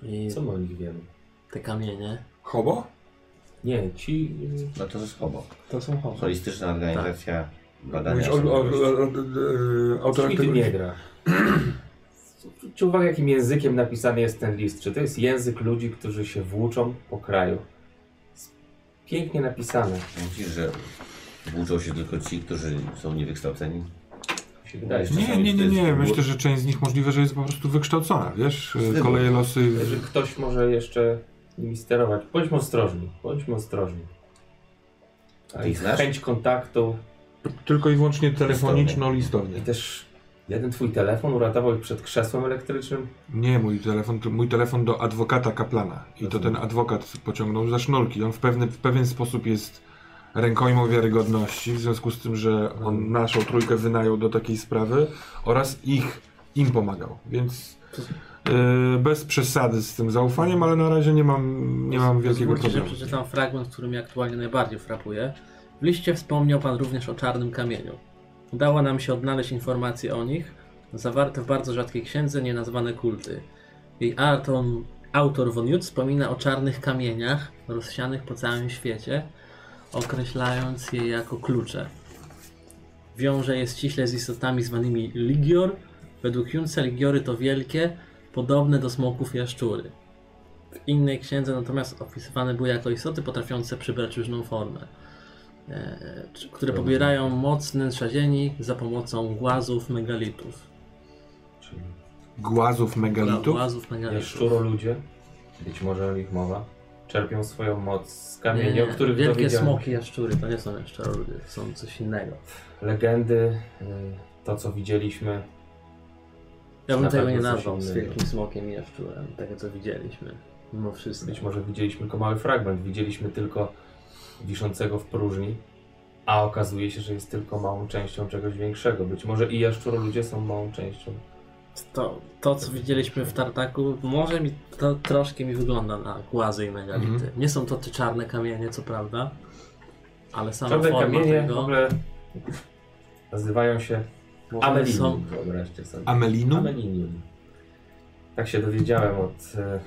Speaker 5: I
Speaker 6: Co my o nich wiemy?
Speaker 5: te kamienie,
Speaker 4: Hobo?
Speaker 6: Nie, ci y,
Speaker 3: No to jest hobo.
Speaker 6: to są chorzy.
Speaker 3: Holistyczna
Speaker 5: Tak.
Speaker 3: organizacja badania.
Speaker 4: Mówisz o, o, o, o, o, o, autorach
Speaker 6: Nikt
Speaker 4: tego
Speaker 6: nie gra. Zwróćcie uwagę, jakim językiem napisany jest ten list. Czy to jest język ludzi, którzy się włóczą po kraju? Jest Pięknie napisane.
Speaker 3: Myślisz, że włóczą się tylko ci, którzy są niewykształceni?
Speaker 6: Mi się wydaje.
Speaker 3: Jeszcze-
Speaker 4: Nie, nie, nie, nie. Myślę, że część z nich możliwe, że jest po prostu wykształcona, wiesz?
Speaker 3: Zdymu.
Speaker 4: Koleje losy...
Speaker 6: że ktoś może jeszcze nimi sterować. Bądźmy ostrożni, bądźmy ostrożni.
Speaker 3: A ich znasz?
Speaker 6: Chęć kontaktu
Speaker 4: Tylko i wyłącznie telefoniczno-listownie.
Speaker 6: i też jeden twój telefon uratował ich przed krzesłem elektrycznym.
Speaker 4: Nie, mój telefon, mój telefon do adwokata kaplana. I to ten adwokat pociągnął za sznurki. On w pewien, w pewien sposób jest rękojmą wiarygodności, w związku z tym, że on naszą trójkę wynajął do takiej sprawy oraz ich, im pomagał. Więc e, bez przesady z tym zaufaniem, ale na razie nie mam, nie mam wielkiego
Speaker 5: Pozwólcie, że
Speaker 4: problemu.
Speaker 5: przeczytam fragment, który mnie aktualnie najbardziej frapuje. W liście wspomniał Pan również o czarnym kamieniu. Udało nam się odnaleźć informacje o nich, zawarte w bardzo rzadkiej księdze nienazwane kulty. Jej autor, autor Von Jut wspomina o czarnych kamieniach rozsianych po całym świecie, określając je jako klucze. Wiąże je ściśle z istotami zwanymi Ligior. Według Junca Ligiory to wielkie, podobne do smoków jaszczury innej księdze natomiast opisywane były jako istoty potrafiące przybrać różną formę, e, czy- które pobierają moc wnętrza ziemi za pomocą głazów megalitów.
Speaker 6: Czyli
Speaker 4: Głazów megalitów?
Speaker 5: Głazów megalitów.
Speaker 6: szczuro ludzie, być może o nich mowa, czerpią swoją moc z
Speaker 5: Nie,
Speaker 6: kamieni,
Speaker 5: nie,
Speaker 6: o których
Speaker 5: wielkie
Speaker 6: dowiedziałem.
Speaker 5: smoki jaszczury to nie są jaszczury, to są coś innego.
Speaker 6: Legendy, y, to co widzieliśmy.
Speaker 5: Ja bym
Speaker 6: Na
Speaker 5: tego
Speaker 6: pewno no.
Speaker 5: nie
Speaker 6: coś
Speaker 5: nazwał z
Speaker 6: innego.
Speaker 5: wielkim smokiem i jaszczurem, tego co widzieliśmy. Mimo wszystko.
Speaker 6: Być może widzieliśmy tylko mały fragment, widzieliśmy tylko wiszącego w próżni, a okazuje się, że jest tylko małą częścią czegoś większego. Być może i jaszczuro ludzie są małą częścią.
Speaker 5: To, to co widzieliśmy w Tartaku, może mi to troszkę mi wygląda na głazy i megality.
Speaker 3: Mhm.
Speaker 5: Nie są to te czarne kamienie, co prawda, ale sama
Speaker 6: Czarne
Speaker 5: forma
Speaker 6: kamienie w
Speaker 5: tego...
Speaker 6: ogóle nazywają się
Speaker 5: Może one są-
Speaker 6: amelinium, wyobraźcie sobie.
Speaker 4: Amelinum?
Speaker 6: Amelinium. No. Tak się dowiedziałem od e,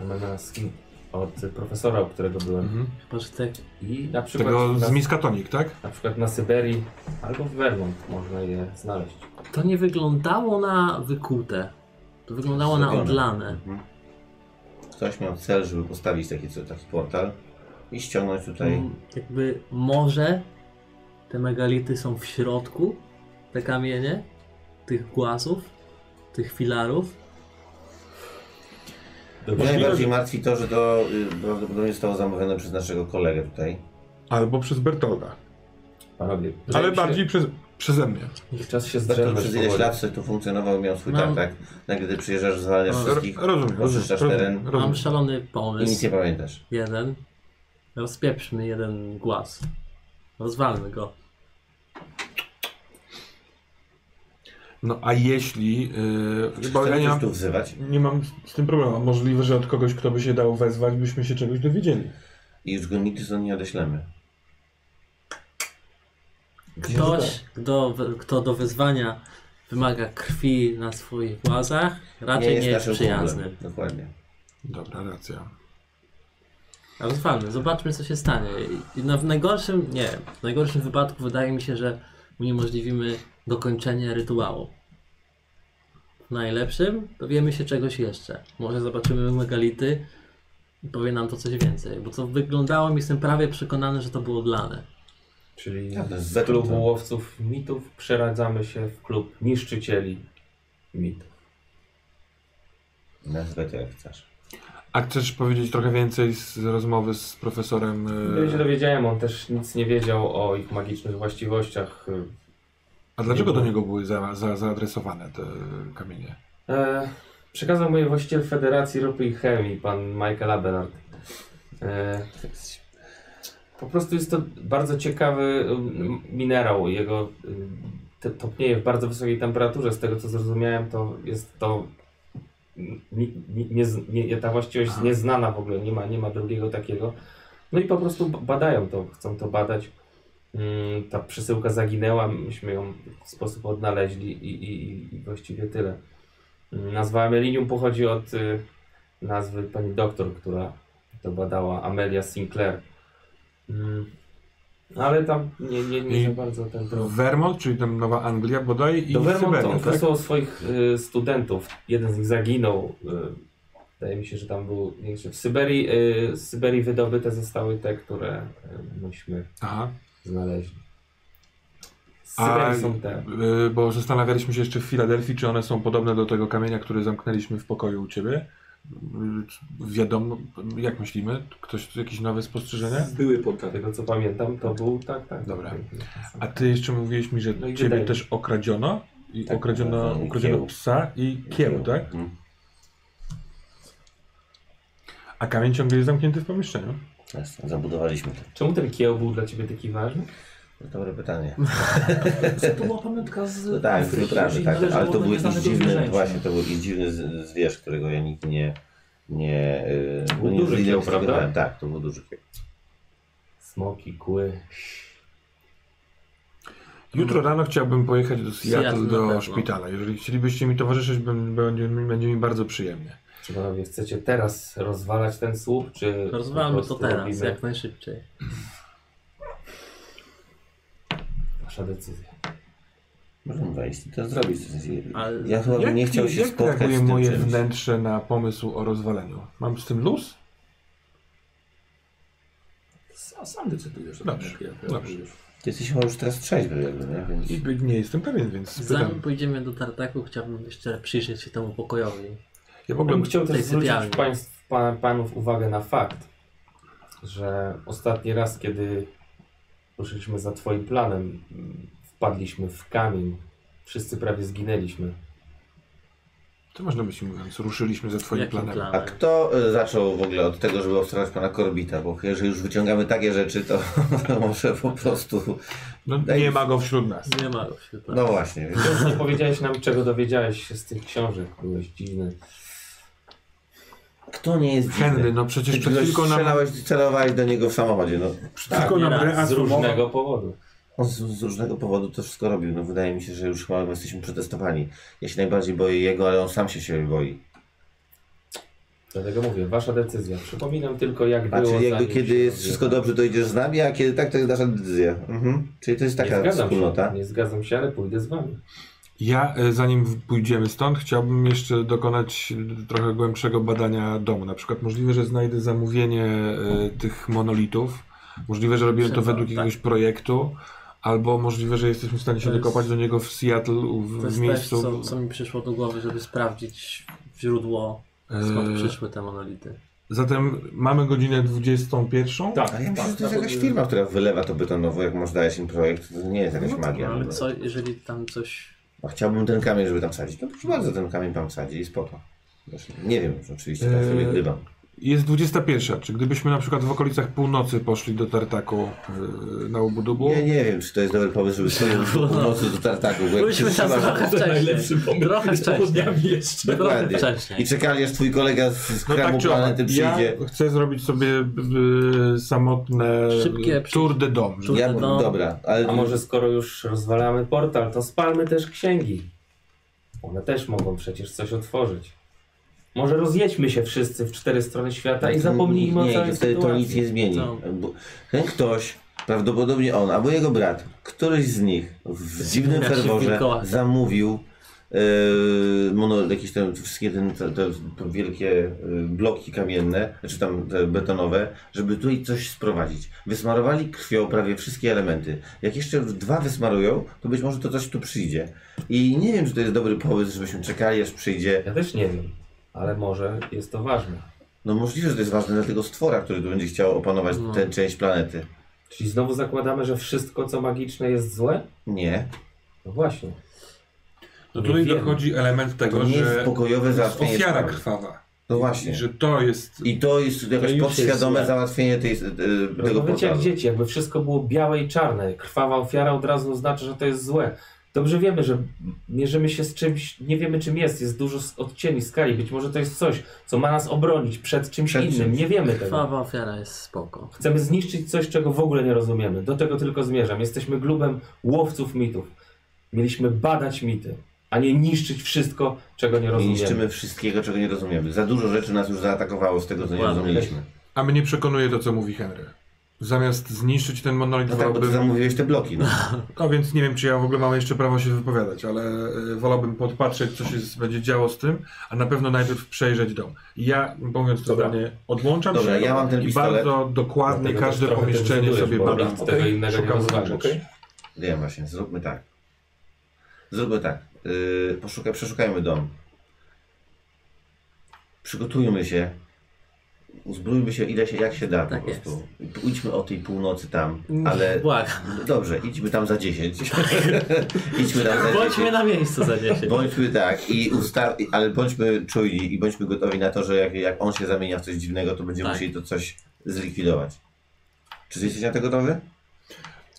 Speaker 6: Amenaski, od e, profesora, u którego byłem.
Speaker 4: Mhm.
Speaker 5: Chyba, że te
Speaker 6: I na przykład,
Speaker 4: Tego
Speaker 6: na,
Speaker 4: z Miskatonik, tak?
Speaker 6: na przykład na Syberii albo w Vermont można je znaleźć.
Speaker 5: To nie wyglądało na wykute. To wyglądało na
Speaker 3: Zrobione.
Speaker 5: odlane.
Speaker 3: Mhm. Ktoś miał cel, żeby postawić taki, co- taki portal i ściągnąć tutaj.
Speaker 5: Mm, Jakby może te megality są w środku, te kamienie, tych głazów, tych filarów.
Speaker 3: Mnie najbardziej martwi to, że to y, prawdopodobnie zostało zamówione przez naszego kolegę tutaj.
Speaker 4: Albo przez Bertolda.
Speaker 6: Panowie,
Speaker 4: Ale
Speaker 6: wydaje mi się-
Speaker 4: bardziej przez, przeze mnie.
Speaker 6: Czas się
Speaker 3: Zresztą
Speaker 6: zdrzemnąć
Speaker 3: przez ileś
Speaker 6: powoli.
Speaker 3: lat sobie tu funkcjonował, miał swój
Speaker 5: Mam-
Speaker 3: tartak. Nagle gdy przyjeżdżasz, zwalniasz
Speaker 5: No,
Speaker 3: wszystkich
Speaker 4: Ro- Rozumiem.
Speaker 3: Oczyszczasz
Speaker 4: rozumiem,
Speaker 3: teren.
Speaker 5: Mam
Speaker 4: rozumiem.
Speaker 5: szalony
Speaker 3: Mhm. i nic
Speaker 5: pomysł.
Speaker 3: nie pamiętasz.
Speaker 5: Jeden. Rozpieprzmy jeden głaz. Rozwalmy go.
Speaker 4: No a jeśli... Yy,
Speaker 3: Czy
Speaker 4: bo ja
Speaker 3: chcemy
Speaker 4: nie mam,
Speaker 3: coś tu wzywać?
Speaker 4: nie mam z tym problemu. a Możliwe, że od kogoś, kto by się dał wezwać, byśmy się czegoś dowiedzieli.
Speaker 3: I już go nigdy stąd nie odeślemy.
Speaker 5: Ktoś, kto, kto do wyzwania wymaga krwi na swoich głazach, raczej nie jest,
Speaker 3: naszym
Speaker 5: przyjazny.
Speaker 3: kumplem. Dokładnie.
Speaker 4: Dobra, racja.
Speaker 5: Rozwalmy, zobaczmy co się stanie. I na, w najgorszym, nie, w najgorszym wypadku wydaje mi się, że uniemożliwimy dokończenie rytuału. W najlepszym dowiemy się czegoś jeszcze. Może zobaczymy megality i powie nam to coś więcej. Bo to wyglądało mi, jestem prawie przekonany, że to było odlane.
Speaker 6: Czyli
Speaker 3: Ja też
Speaker 6: z
Speaker 3: zaczął
Speaker 6: klubu
Speaker 3: to.
Speaker 6: łowców mitów przeradzamy się w klub niszczycieli mitów.
Speaker 3: Nazwę to jak chcesz.
Speaker 4: A chcesz powiedzieć trochę więcej z, z rozmowy z profesorem?
Speaker 6: Ja się
Speaker 4: E,
Speaker 6: dowiedziałem, on też nic nie wiedział o ich magicznych właściwościach.
Speaker 4: a dlaczego do niego były za, za, zaadresowane te kamienie?
Speaker 6: E, przekazał moje właściciel Federacji Ropy i Chemii, pan Michael Abelard. E, po prostu jest to bardzo ciekawy mm, minerał. Jego mm, te, topnieje w bardzo wysokiej temperaturze. Z tego co zrozumiałem, to jest to. Ni, ni, nie, z- nie, ta właściwość jest nieznana w ogóle, nie ma, nie ma drugiego takiego. No i po prostu b- badają to, chcą to badać. Mm, Ta przesyłka zaginęła, myśmy ją w sposób odnaleźli i, i, i- i właściwie tyle. Nazwa Amelinium pochodzi od y, nazwy pani doktor, która to badała, Amelia Sinclair. Mm, ale tam nie, nie, nie
Speaker 4: I
Speaker 6: za bardzo ten drog.
Speaker 4: Vermont, czyli tam Nowa Anglia bodaj i
Speaker 6: Do Vermont
Speaker 4: Syberia,
Speaker 6: on
Speaker 4: tak?
Speaker 6: wysłał swoich y, studentów. Jeden z nich zaginął. Y, wydaje mi się, że tam był. nie wiem, czy W Syberii, y, z Syberii wydobyte zostały te, które y, myśmy
Speaker 4: Aha,
Speaker 6: znaleźli. Z
Speaker 4: A-
Speaker 6: Syberii są te.
Speaker 4: y, bo zastanawialiśmy się jeszcze w Filadelfii, czy one są podobne do tego kamienia, który zamknęliśmy w pokoju u Ciebie. Y, Wiadomo, jak myślimy? Ktoś, jakieś nowe spostrzeżenia?
Speaker 2: Były podkary.
Speaker 6: Z tego co pamiętam, to był tak, tak.
Speaker 4: Dobra.
Speaker 6: tak.
Speaker 4: A ty jeszcze mówiłeś mi, że
Speaker 6: No i
Speaker 4: ciebie
Speaker 6: wydaje.
Speaker 4: też okradziono i
Speaker 3: Tak,
Speaker 4: okradziono,
Speaker 3: okradziono i
Speaker 4: ukradziono
Speaker 3: kieł.
Speaker 4: psa i kieł, tak?
Speaker 3: Mhm.
Speaker 4: A kamień ciągle jest zamknięty w pomieszczeniu.
Speaker 3: Jasne, zabudowaliśmy to.
Speaker 6: Czemu ten kieł był dla ciebie taki ważny?
Speaker 3: Dobre pytanie.
Speaker 2: Co to była pamiątka z
Speaker 3: No tak, z wyprawy, tak, ale to był jakiś dziwny, właśnie, to był jakiś dziwny z- zwierz, którego ja nikt nie... nie y,
Speaker 6: Był
Speaker 3: no nie
Speaker 6: duży kieł,
Speaker 3: zidentyfikowałem.
Speaker 6: prawda?
Speaker 3: Tak, to był duży kieł.
Speaker 6: Smoki, kły.
Speaker 4: Jutro rano chciałbym pojechać do Seattle,
Speaker 5: Seattle na
Speaker 4: do
Speaker 5: pewno.
Speaker 4: szpitala. Jeżeli chcielibyście mi towarzyszyć, bym- będzie, mi- będzie mi bardzo przyjemnie.
Speaker 6: Czy panowie chcecie teraz rozwalać ten słup, czy. po
Speaker 5: Rozwalamy to
Speaker 6: prostu
Speaker 5: teraz,
Speaker 6: robimy-
Speaker 5: jak najszybciej.
Speaker 6: Wasza decyzja.
Speaker 3: Możemy wejść i to zrobić. z- z-
Speaker 5: Ale
Speaker 3: Ja chyba bym nie
Speaker 4: Jak-
Speaker 3: chciał się
Speaker 4: jak
Speaker 3: spotkać
Speaker 4: reaguje
Speaker 3: z tym
Speaker 4: moje
Speaker 3: czymś.
Speaker 4: wnętrze na pomysł o rozwaleniu? Mam z tym luz?
Speaker 2: Sam, sam decydujesz. tak
Speaker 4: Dobrze,
Speaker 2: Jak, jak
Speaker 4: dobrze.
Speaker 2: jak-
Speaker 3: Ty jesteś chyba już teraz trzeźwy jakby, nie? Więc...
Speaker 4: I Nie jestem pewien, więc
Speaker 5: Zanim
Speaker 4: spytam.
Speaker 5: pójdziemy do tartaku, chciałbym jeszcze przyjrzeć się temu pokojowi.
Speaker 4: Ja w
Speaker 6: Ja
Speaker 4: ogóle
Speaker 6: bym chciał też
Speaker 5: tej
Speaker 6: zwrócić
Speaker 5: sypialni.
Speaker 6: państw, pa, panów uwagę na fakt, że ostatni raz, kiedy ruszyliśmy za twoim planem, mm, wpadliśmy w kamień. Wszyscy prawie zginęliśmy.
Speaker 4: To można być mówiąc, ruszyliśmy za twoim
Speaker 5: Jakim
Speaker 4: planem.
Speaker 5: planem?
Speaker 3: A kto y, zaczął w ogóle od tego, żeby obserwować pana Korbita? Bo jeżeli już wyciągamy takie rzeczy, to, to może po prostu...
Speaker 4: No,
Speaker 3: Daj
Speaker 4: nie
Speaker 3: mi-
Speaker 4: ma go wśród nas.
Speaker 5: Nie ma go wśród nas.
Speaker 3: No właśnie. więc-
Speaker 6: Wciąż nie powiedziałeś nam, czego dowiedziałeś się z tych książek. Byłeś dziwny.
Speaker 3: Kto nie jest
Speaker 4: Henry,
Speaker 3: dziwny?
Speaker 4: no przecież
Speaker 3: Ty
Speaker 4: przed
Speaker 3: kogoś
Speaker 4: chwilką nam,
Speaker 3: strzelałeś, celowałeś do niego w samochodzie. No,
Speaker 4: przed chwilką nam
Speaker 5: nie raz,
Speaker 6: Z
Speaker 4: reasumurował-
Speaker 6: różnego powodu.
Speaker 3: on z, z różnego powodu to wszystko robił. No, wydaje mi się, że już chyba jesteśmy przetestowani. Ja się najbardziej boję jego, ale on sam się siebie boi.
Speaker 6: Dlatego mówię, wasza decyzja. Przypominam tylko, jak
Speaker 3: A
Speaker 6: było.
Speaker 3: czyli Znaczy, jakby
Speaker 6: zanim
Speaker 3: kiedy
Speaker 6: się
Speaker 3: jest wszystko
Speaker 6: rozwijało.
Speaker 3: dobrze, to idziesz z nami, a kiedy tak, to jest nasza decyzja. Mhm. Czyli to jest taka
Speaker 6: nie zgadzam
Speaker 3: wspólnota.
Speaker 6: Się, nie zgadzam się, ale pójdę z wami.
Speaker 4: Ja, e, zanim w- pójdziemy stąd, chciałbym jeszcze dokonać e, trochę głębszego badania domu. Na przykład możliwe, że znajdę zamówienie e, tych monolitów. Możliwe, że robiłem to
Speaker 5: Przed-
Speaker 4: według
Speaker 5: tak.
Speaker 4: jakiegoś projektu. Albo możliwe, że jesteśmy w stanie się
Speaker 5: To jest-
Speaker 4: dokopać do niego w Seattle, u- w,
Speaker 5: To
Speaker 4: No, w
Speaker 5: jest
Speaker 4: miejscu.
Speaker 5: też, co, co mi przyszło do głowy, żeby sprawdzić źródło,
Speaker 4: E,
Speaker 5: skąd przyszły te monolity.
Speaker 4: Zatem mamy godzinę 21.
Speaker 2: Tak,
Speaker 3: Ale ja myślę, że
Speaker 2: tak,
Speaker 3: to jest jakaś firma, która wylewa to betonowo, jak masz dajesz im projekt, to nie jest jakaś
Speaker 5: No,
Speaker 3: magia.
Speaker 5: ale
Speaker 3: No.
Speaker 5: co, jeżeli tam coś...
Speaker 3: A chciałbym ten kamień, żeby tam sadzić. No proszę bardzo, ten kamień tam sadzi i spoko. Zresztą, nie wiem, oczywiście, tak sobie
Speaker 4: Eee,
Speaker 3: gdybam.
Speaker 4: Jest 21. Czy gdybyśmy na przykład w okolicach północy poszli do tartaku e, na Ubudubu?
Speaker 3: Ja nie wiem, czy to jest dobry pomysł, żeby sobie
Speaker 4: No.
Speaker 3: w nocy do tartaku. bo jak
Speaker 5: Byliśmy
Speaker 3: się
Speaker 5: tam
Speaker 3: trzymasz-
Speaker 5: trochę
Speaker 2: To
Speaker 5: wcześniej.
Speaker 2: najlepszy pomysł.
Speaker 5: Trochę
Speaker 2: Z pochodniami
Speaker 5: wcześniej.
Speaker 2: jeszcze.
Speaker 5: Trochę
Speaker 3: Dokładnie. I
Speaker 5: wcześniej.
Speaker 3: czekali, aż twój kolega z, z
Speaker 4: No
Speaker 3: kramu
Speaker 4: tak czy owak,
Speaker 3: planety
Speaker 4: ja
Speaker 3: przyjdzie.
Speaker 4: chcę zrobić sobie b, b, samotne y,
Speaker 5: Szybkie przy-
Speaker 4: tour de dom.
Speaker 5: Tour-
Speaker 3: Ja,
Speaker 5: Kurde, no.
Speaker 3: Dobra, ale
Speaker 6: A może skoro już rozwalamy portal, to spalmy też księgi. One też mogą przecież coś otworzyć. Może rozjedźmy się wszyscy w cztery strony świata i zapomnijmy
Speaker 3: nie,
Speaker 6: o całej
Speaker 3: to wtedy to Tak, nic
Speaker 6: sytuacji.
Speaker 3: nie zmieni.
Speaker 5: No.
Speaker 3: Bo ten ktoś, prawdopodobnie on albo jego brat, któryś z nich w dziwnym
Speaker 5: Jak się
Speaker 3: ferworze
Speaker 5: wilkołak.
Speaker 3: zamówił yy, mono, jakieś te wszystkie ten, te, te wielkie yy, bloki kamienne, czy tam te betonowe, żeby tutaj coś sprowadzić. Wysmarowali krwią prawie wszystkie elementy. Jak jeszcze dwa wysmarują, to być może to coś tu przyjdzie. I nie wiem, czy to jest dobry pomysł, żebyśmy czekali, aż przyjdzie
Speaker 6: Ja też nie wiem. ale może jest to ważne.
Speaker 3: No możliwe, że to jest ważne dla tego stwora, który tu będzie chciał opanować
Speaker 5: No.
Speaker 3: tę część planety.
Speaker 6: Czyli znowu zakładamy, że wszystko co magiczne jest złe?
Speaker 3: Nie.
Speaker 6: No właśnie.
Speaker 4: No
Speaker 6: Nie
Speaker 4: tutaj
Speaker 6: wiem.
Speaker 4: dochodzi element
Speaker 3: To
Speaker 4: tego,
Speaker 3: nie
Speaker 4: że
Speaker 3: jest pokojowe
Speaker 4: jest
Speaker 3: załatwienie
Speaker 4: ofiara
Speaker 3: sprawy.
Speaker 4: krwawa.
Speaker 3: No
Speaker 4: I
Speaker 3: właśnie.
Speaker 4: że to jest...
Speaker 3: I to jest jakoś
Speaker 6: już jest
Speaker 3: podświadome
Speaker 6: złe.
Speaker 3: załatwienie tej, y, tego
Speaker 6: Wiecie jak
Speaker 3: portalu.
Speaker 6: dzieci, jakby wszystko było białe i czarne, krwawa ofiara od razu znaczy, że to jest złe. Dobrze wiemy, że mierzymy się z czymś, nie wiemy czym jest, jest dużo s- odcieni skali, być może to jest coś, co ma nas obronić przed czymś
Speaker 3: Przed
Speaker 6: innym,
Speaker 3: czymś.
Speaker 6: nie wiemy tego.
Speaker 5: Krwawa ofiara jest spoko.
Speaker 6: Chcemy zniszczyć coś, czego w ogóle nie rozumiemy. Do tego tylko zmierzam. Jesteśmy glubem łowców mitów. Mieliśmy badać mity, a nie niszczyć wszystko, czego nie
Speaker 3: Nie
Speaker 6: rozumiemy.
Speaker 3: niszczymy wszystkiego, czego nie rozumiemy. Za dużo rzeczy nas już zaatakowało z tego, co nie
Speaker 5: Ładnie.
Speaker 3: rozumieliśmy.
Speaker 4: A mnie przekonuje to, co mówi Henry. Zamiast zniszczyć ten monolit,
Speaker 3: No tak, bo ty
Speaker 4: wolałbym...
Speaker 3: zamówiłeś te bloki, no.
Speaker 4: No więc nie wiem, czy ja w ogóle mam jeszcze prawo się wypowiadać, ale y, wolałbym podpatrzeć, co się z- będzie działo z tym, a na pewno najpierw przejrzeć dom. Ja, mówiąc to
Speaker 2: Dobra.
Speaker 4: zdanie, odłączam
Speaker 3: Dobra,
Speaker 4: się
Speaker 3: ja mam ten
Speaker 4: i
Speaker 3: pistolet.
Speaker 4: bardzo dokładnie
Speaker 6: Dlatego
Speaker 4: każde
Speaker 6: też trochę
Speaker 4: pomieszczenie
Speaker 6: decydujesz,
Speaker 4: sobie
Speaker 6: bo
Speaker 4: badam.
Speaker 6: nic tego innego nie
Speaker 4: Szukam
Speaker 6: rozważysz.
Speaker 4: znaczy.
Speaker 3: Wiem właśnie, zróbmy tak. Zróbmy tak. Yy, poszukaj, przeszukajmy dom. Przygotujmy się. Uzbrójmy się ile się, jak się da
Speaker 5: Tak
Speaker 3: po prostu. Idźmy o tej północy tam, ale...
Speaker 5: Ale... Błagam.
Speaker 3: Dobrze, idźmy tam za 10. idźmy tam za 10.
Speaker 5: Bądźmy na miejscu za 10.
Speaker 3: Bądźmy tak, i usta- i- ale bądźmy czujni i bądźmy gotowi na to, że jak, jak on się zamienia w coś dziwnego, to będziemy
Speaker 5: Tak.
Speaker 3: musieli to coś zlikwidować. Czy jesteś na to gotowy?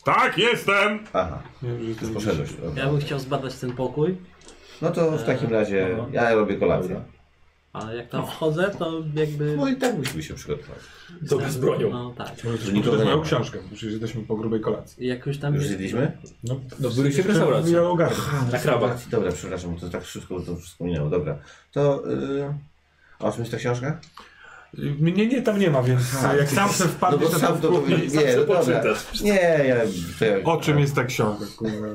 Speaker 4: Tak, jestem!
Speaker 3: Aha,
Speaker 4: Nie, że to
Speaker 3: już
Speaker 4: nie-
Speaker 3: poszedłeś.
Speaker 5: Ja bym chciał zbadać ten pokój,
Speaker 3: No to w
Speaker 5: E,
Speaker 3: takim razie
Speaker 5: no.
Speaker 2: Aha.
Speaker 3: ja robię kolację.
Speaker 2: Dobra.
Speaker 5: ale jak tam wchodzę, to jakby...
Speaker 3: No i tak musimy się przygotować.
Speaker 2: Dobrze z bronią.
Speaker 5: No tak.
Speaker 4: Może też
Speaker 3: Że nikogo
Speaker 4: poczytać
Speaker 3: nie
Speaker 4: moją
Speaker 3: ma.
Speaker 4: książkę, bo przecież jesteśmy po grubej kolacji.
Speaker 5: Jak już tam
Speaker 3: Już
Speaker 5: jest...
Speaker 3: zjedliśmy?
Speaker 4: No,
Speaker 2: No, byliście w restauracji.
Speaker 4: Ja ogarnę.
Speaker 2: Na krawat.
Speaker 3: Dobra, przepraszam, to tak szybko to wspomniało. Dobra, to... Yy... A o czym jest ta książka?
Speaker 4: Y, Mnie nie, tam nie ma, więc
Speaker 3: A,
Speaker 4: jak tak. sam se
Speaker 3: No
Speaker 4: wpadniesz,
Speaker 3: bo
Speaker 4: to tam
Speaker 3: sam to powiedzieć. Nie, no dobra.
Speaker 2: poczytasz.
Speaker 3: Nie, ja... To ja...
Speaker 4: O czym jest ta książka, kurwa?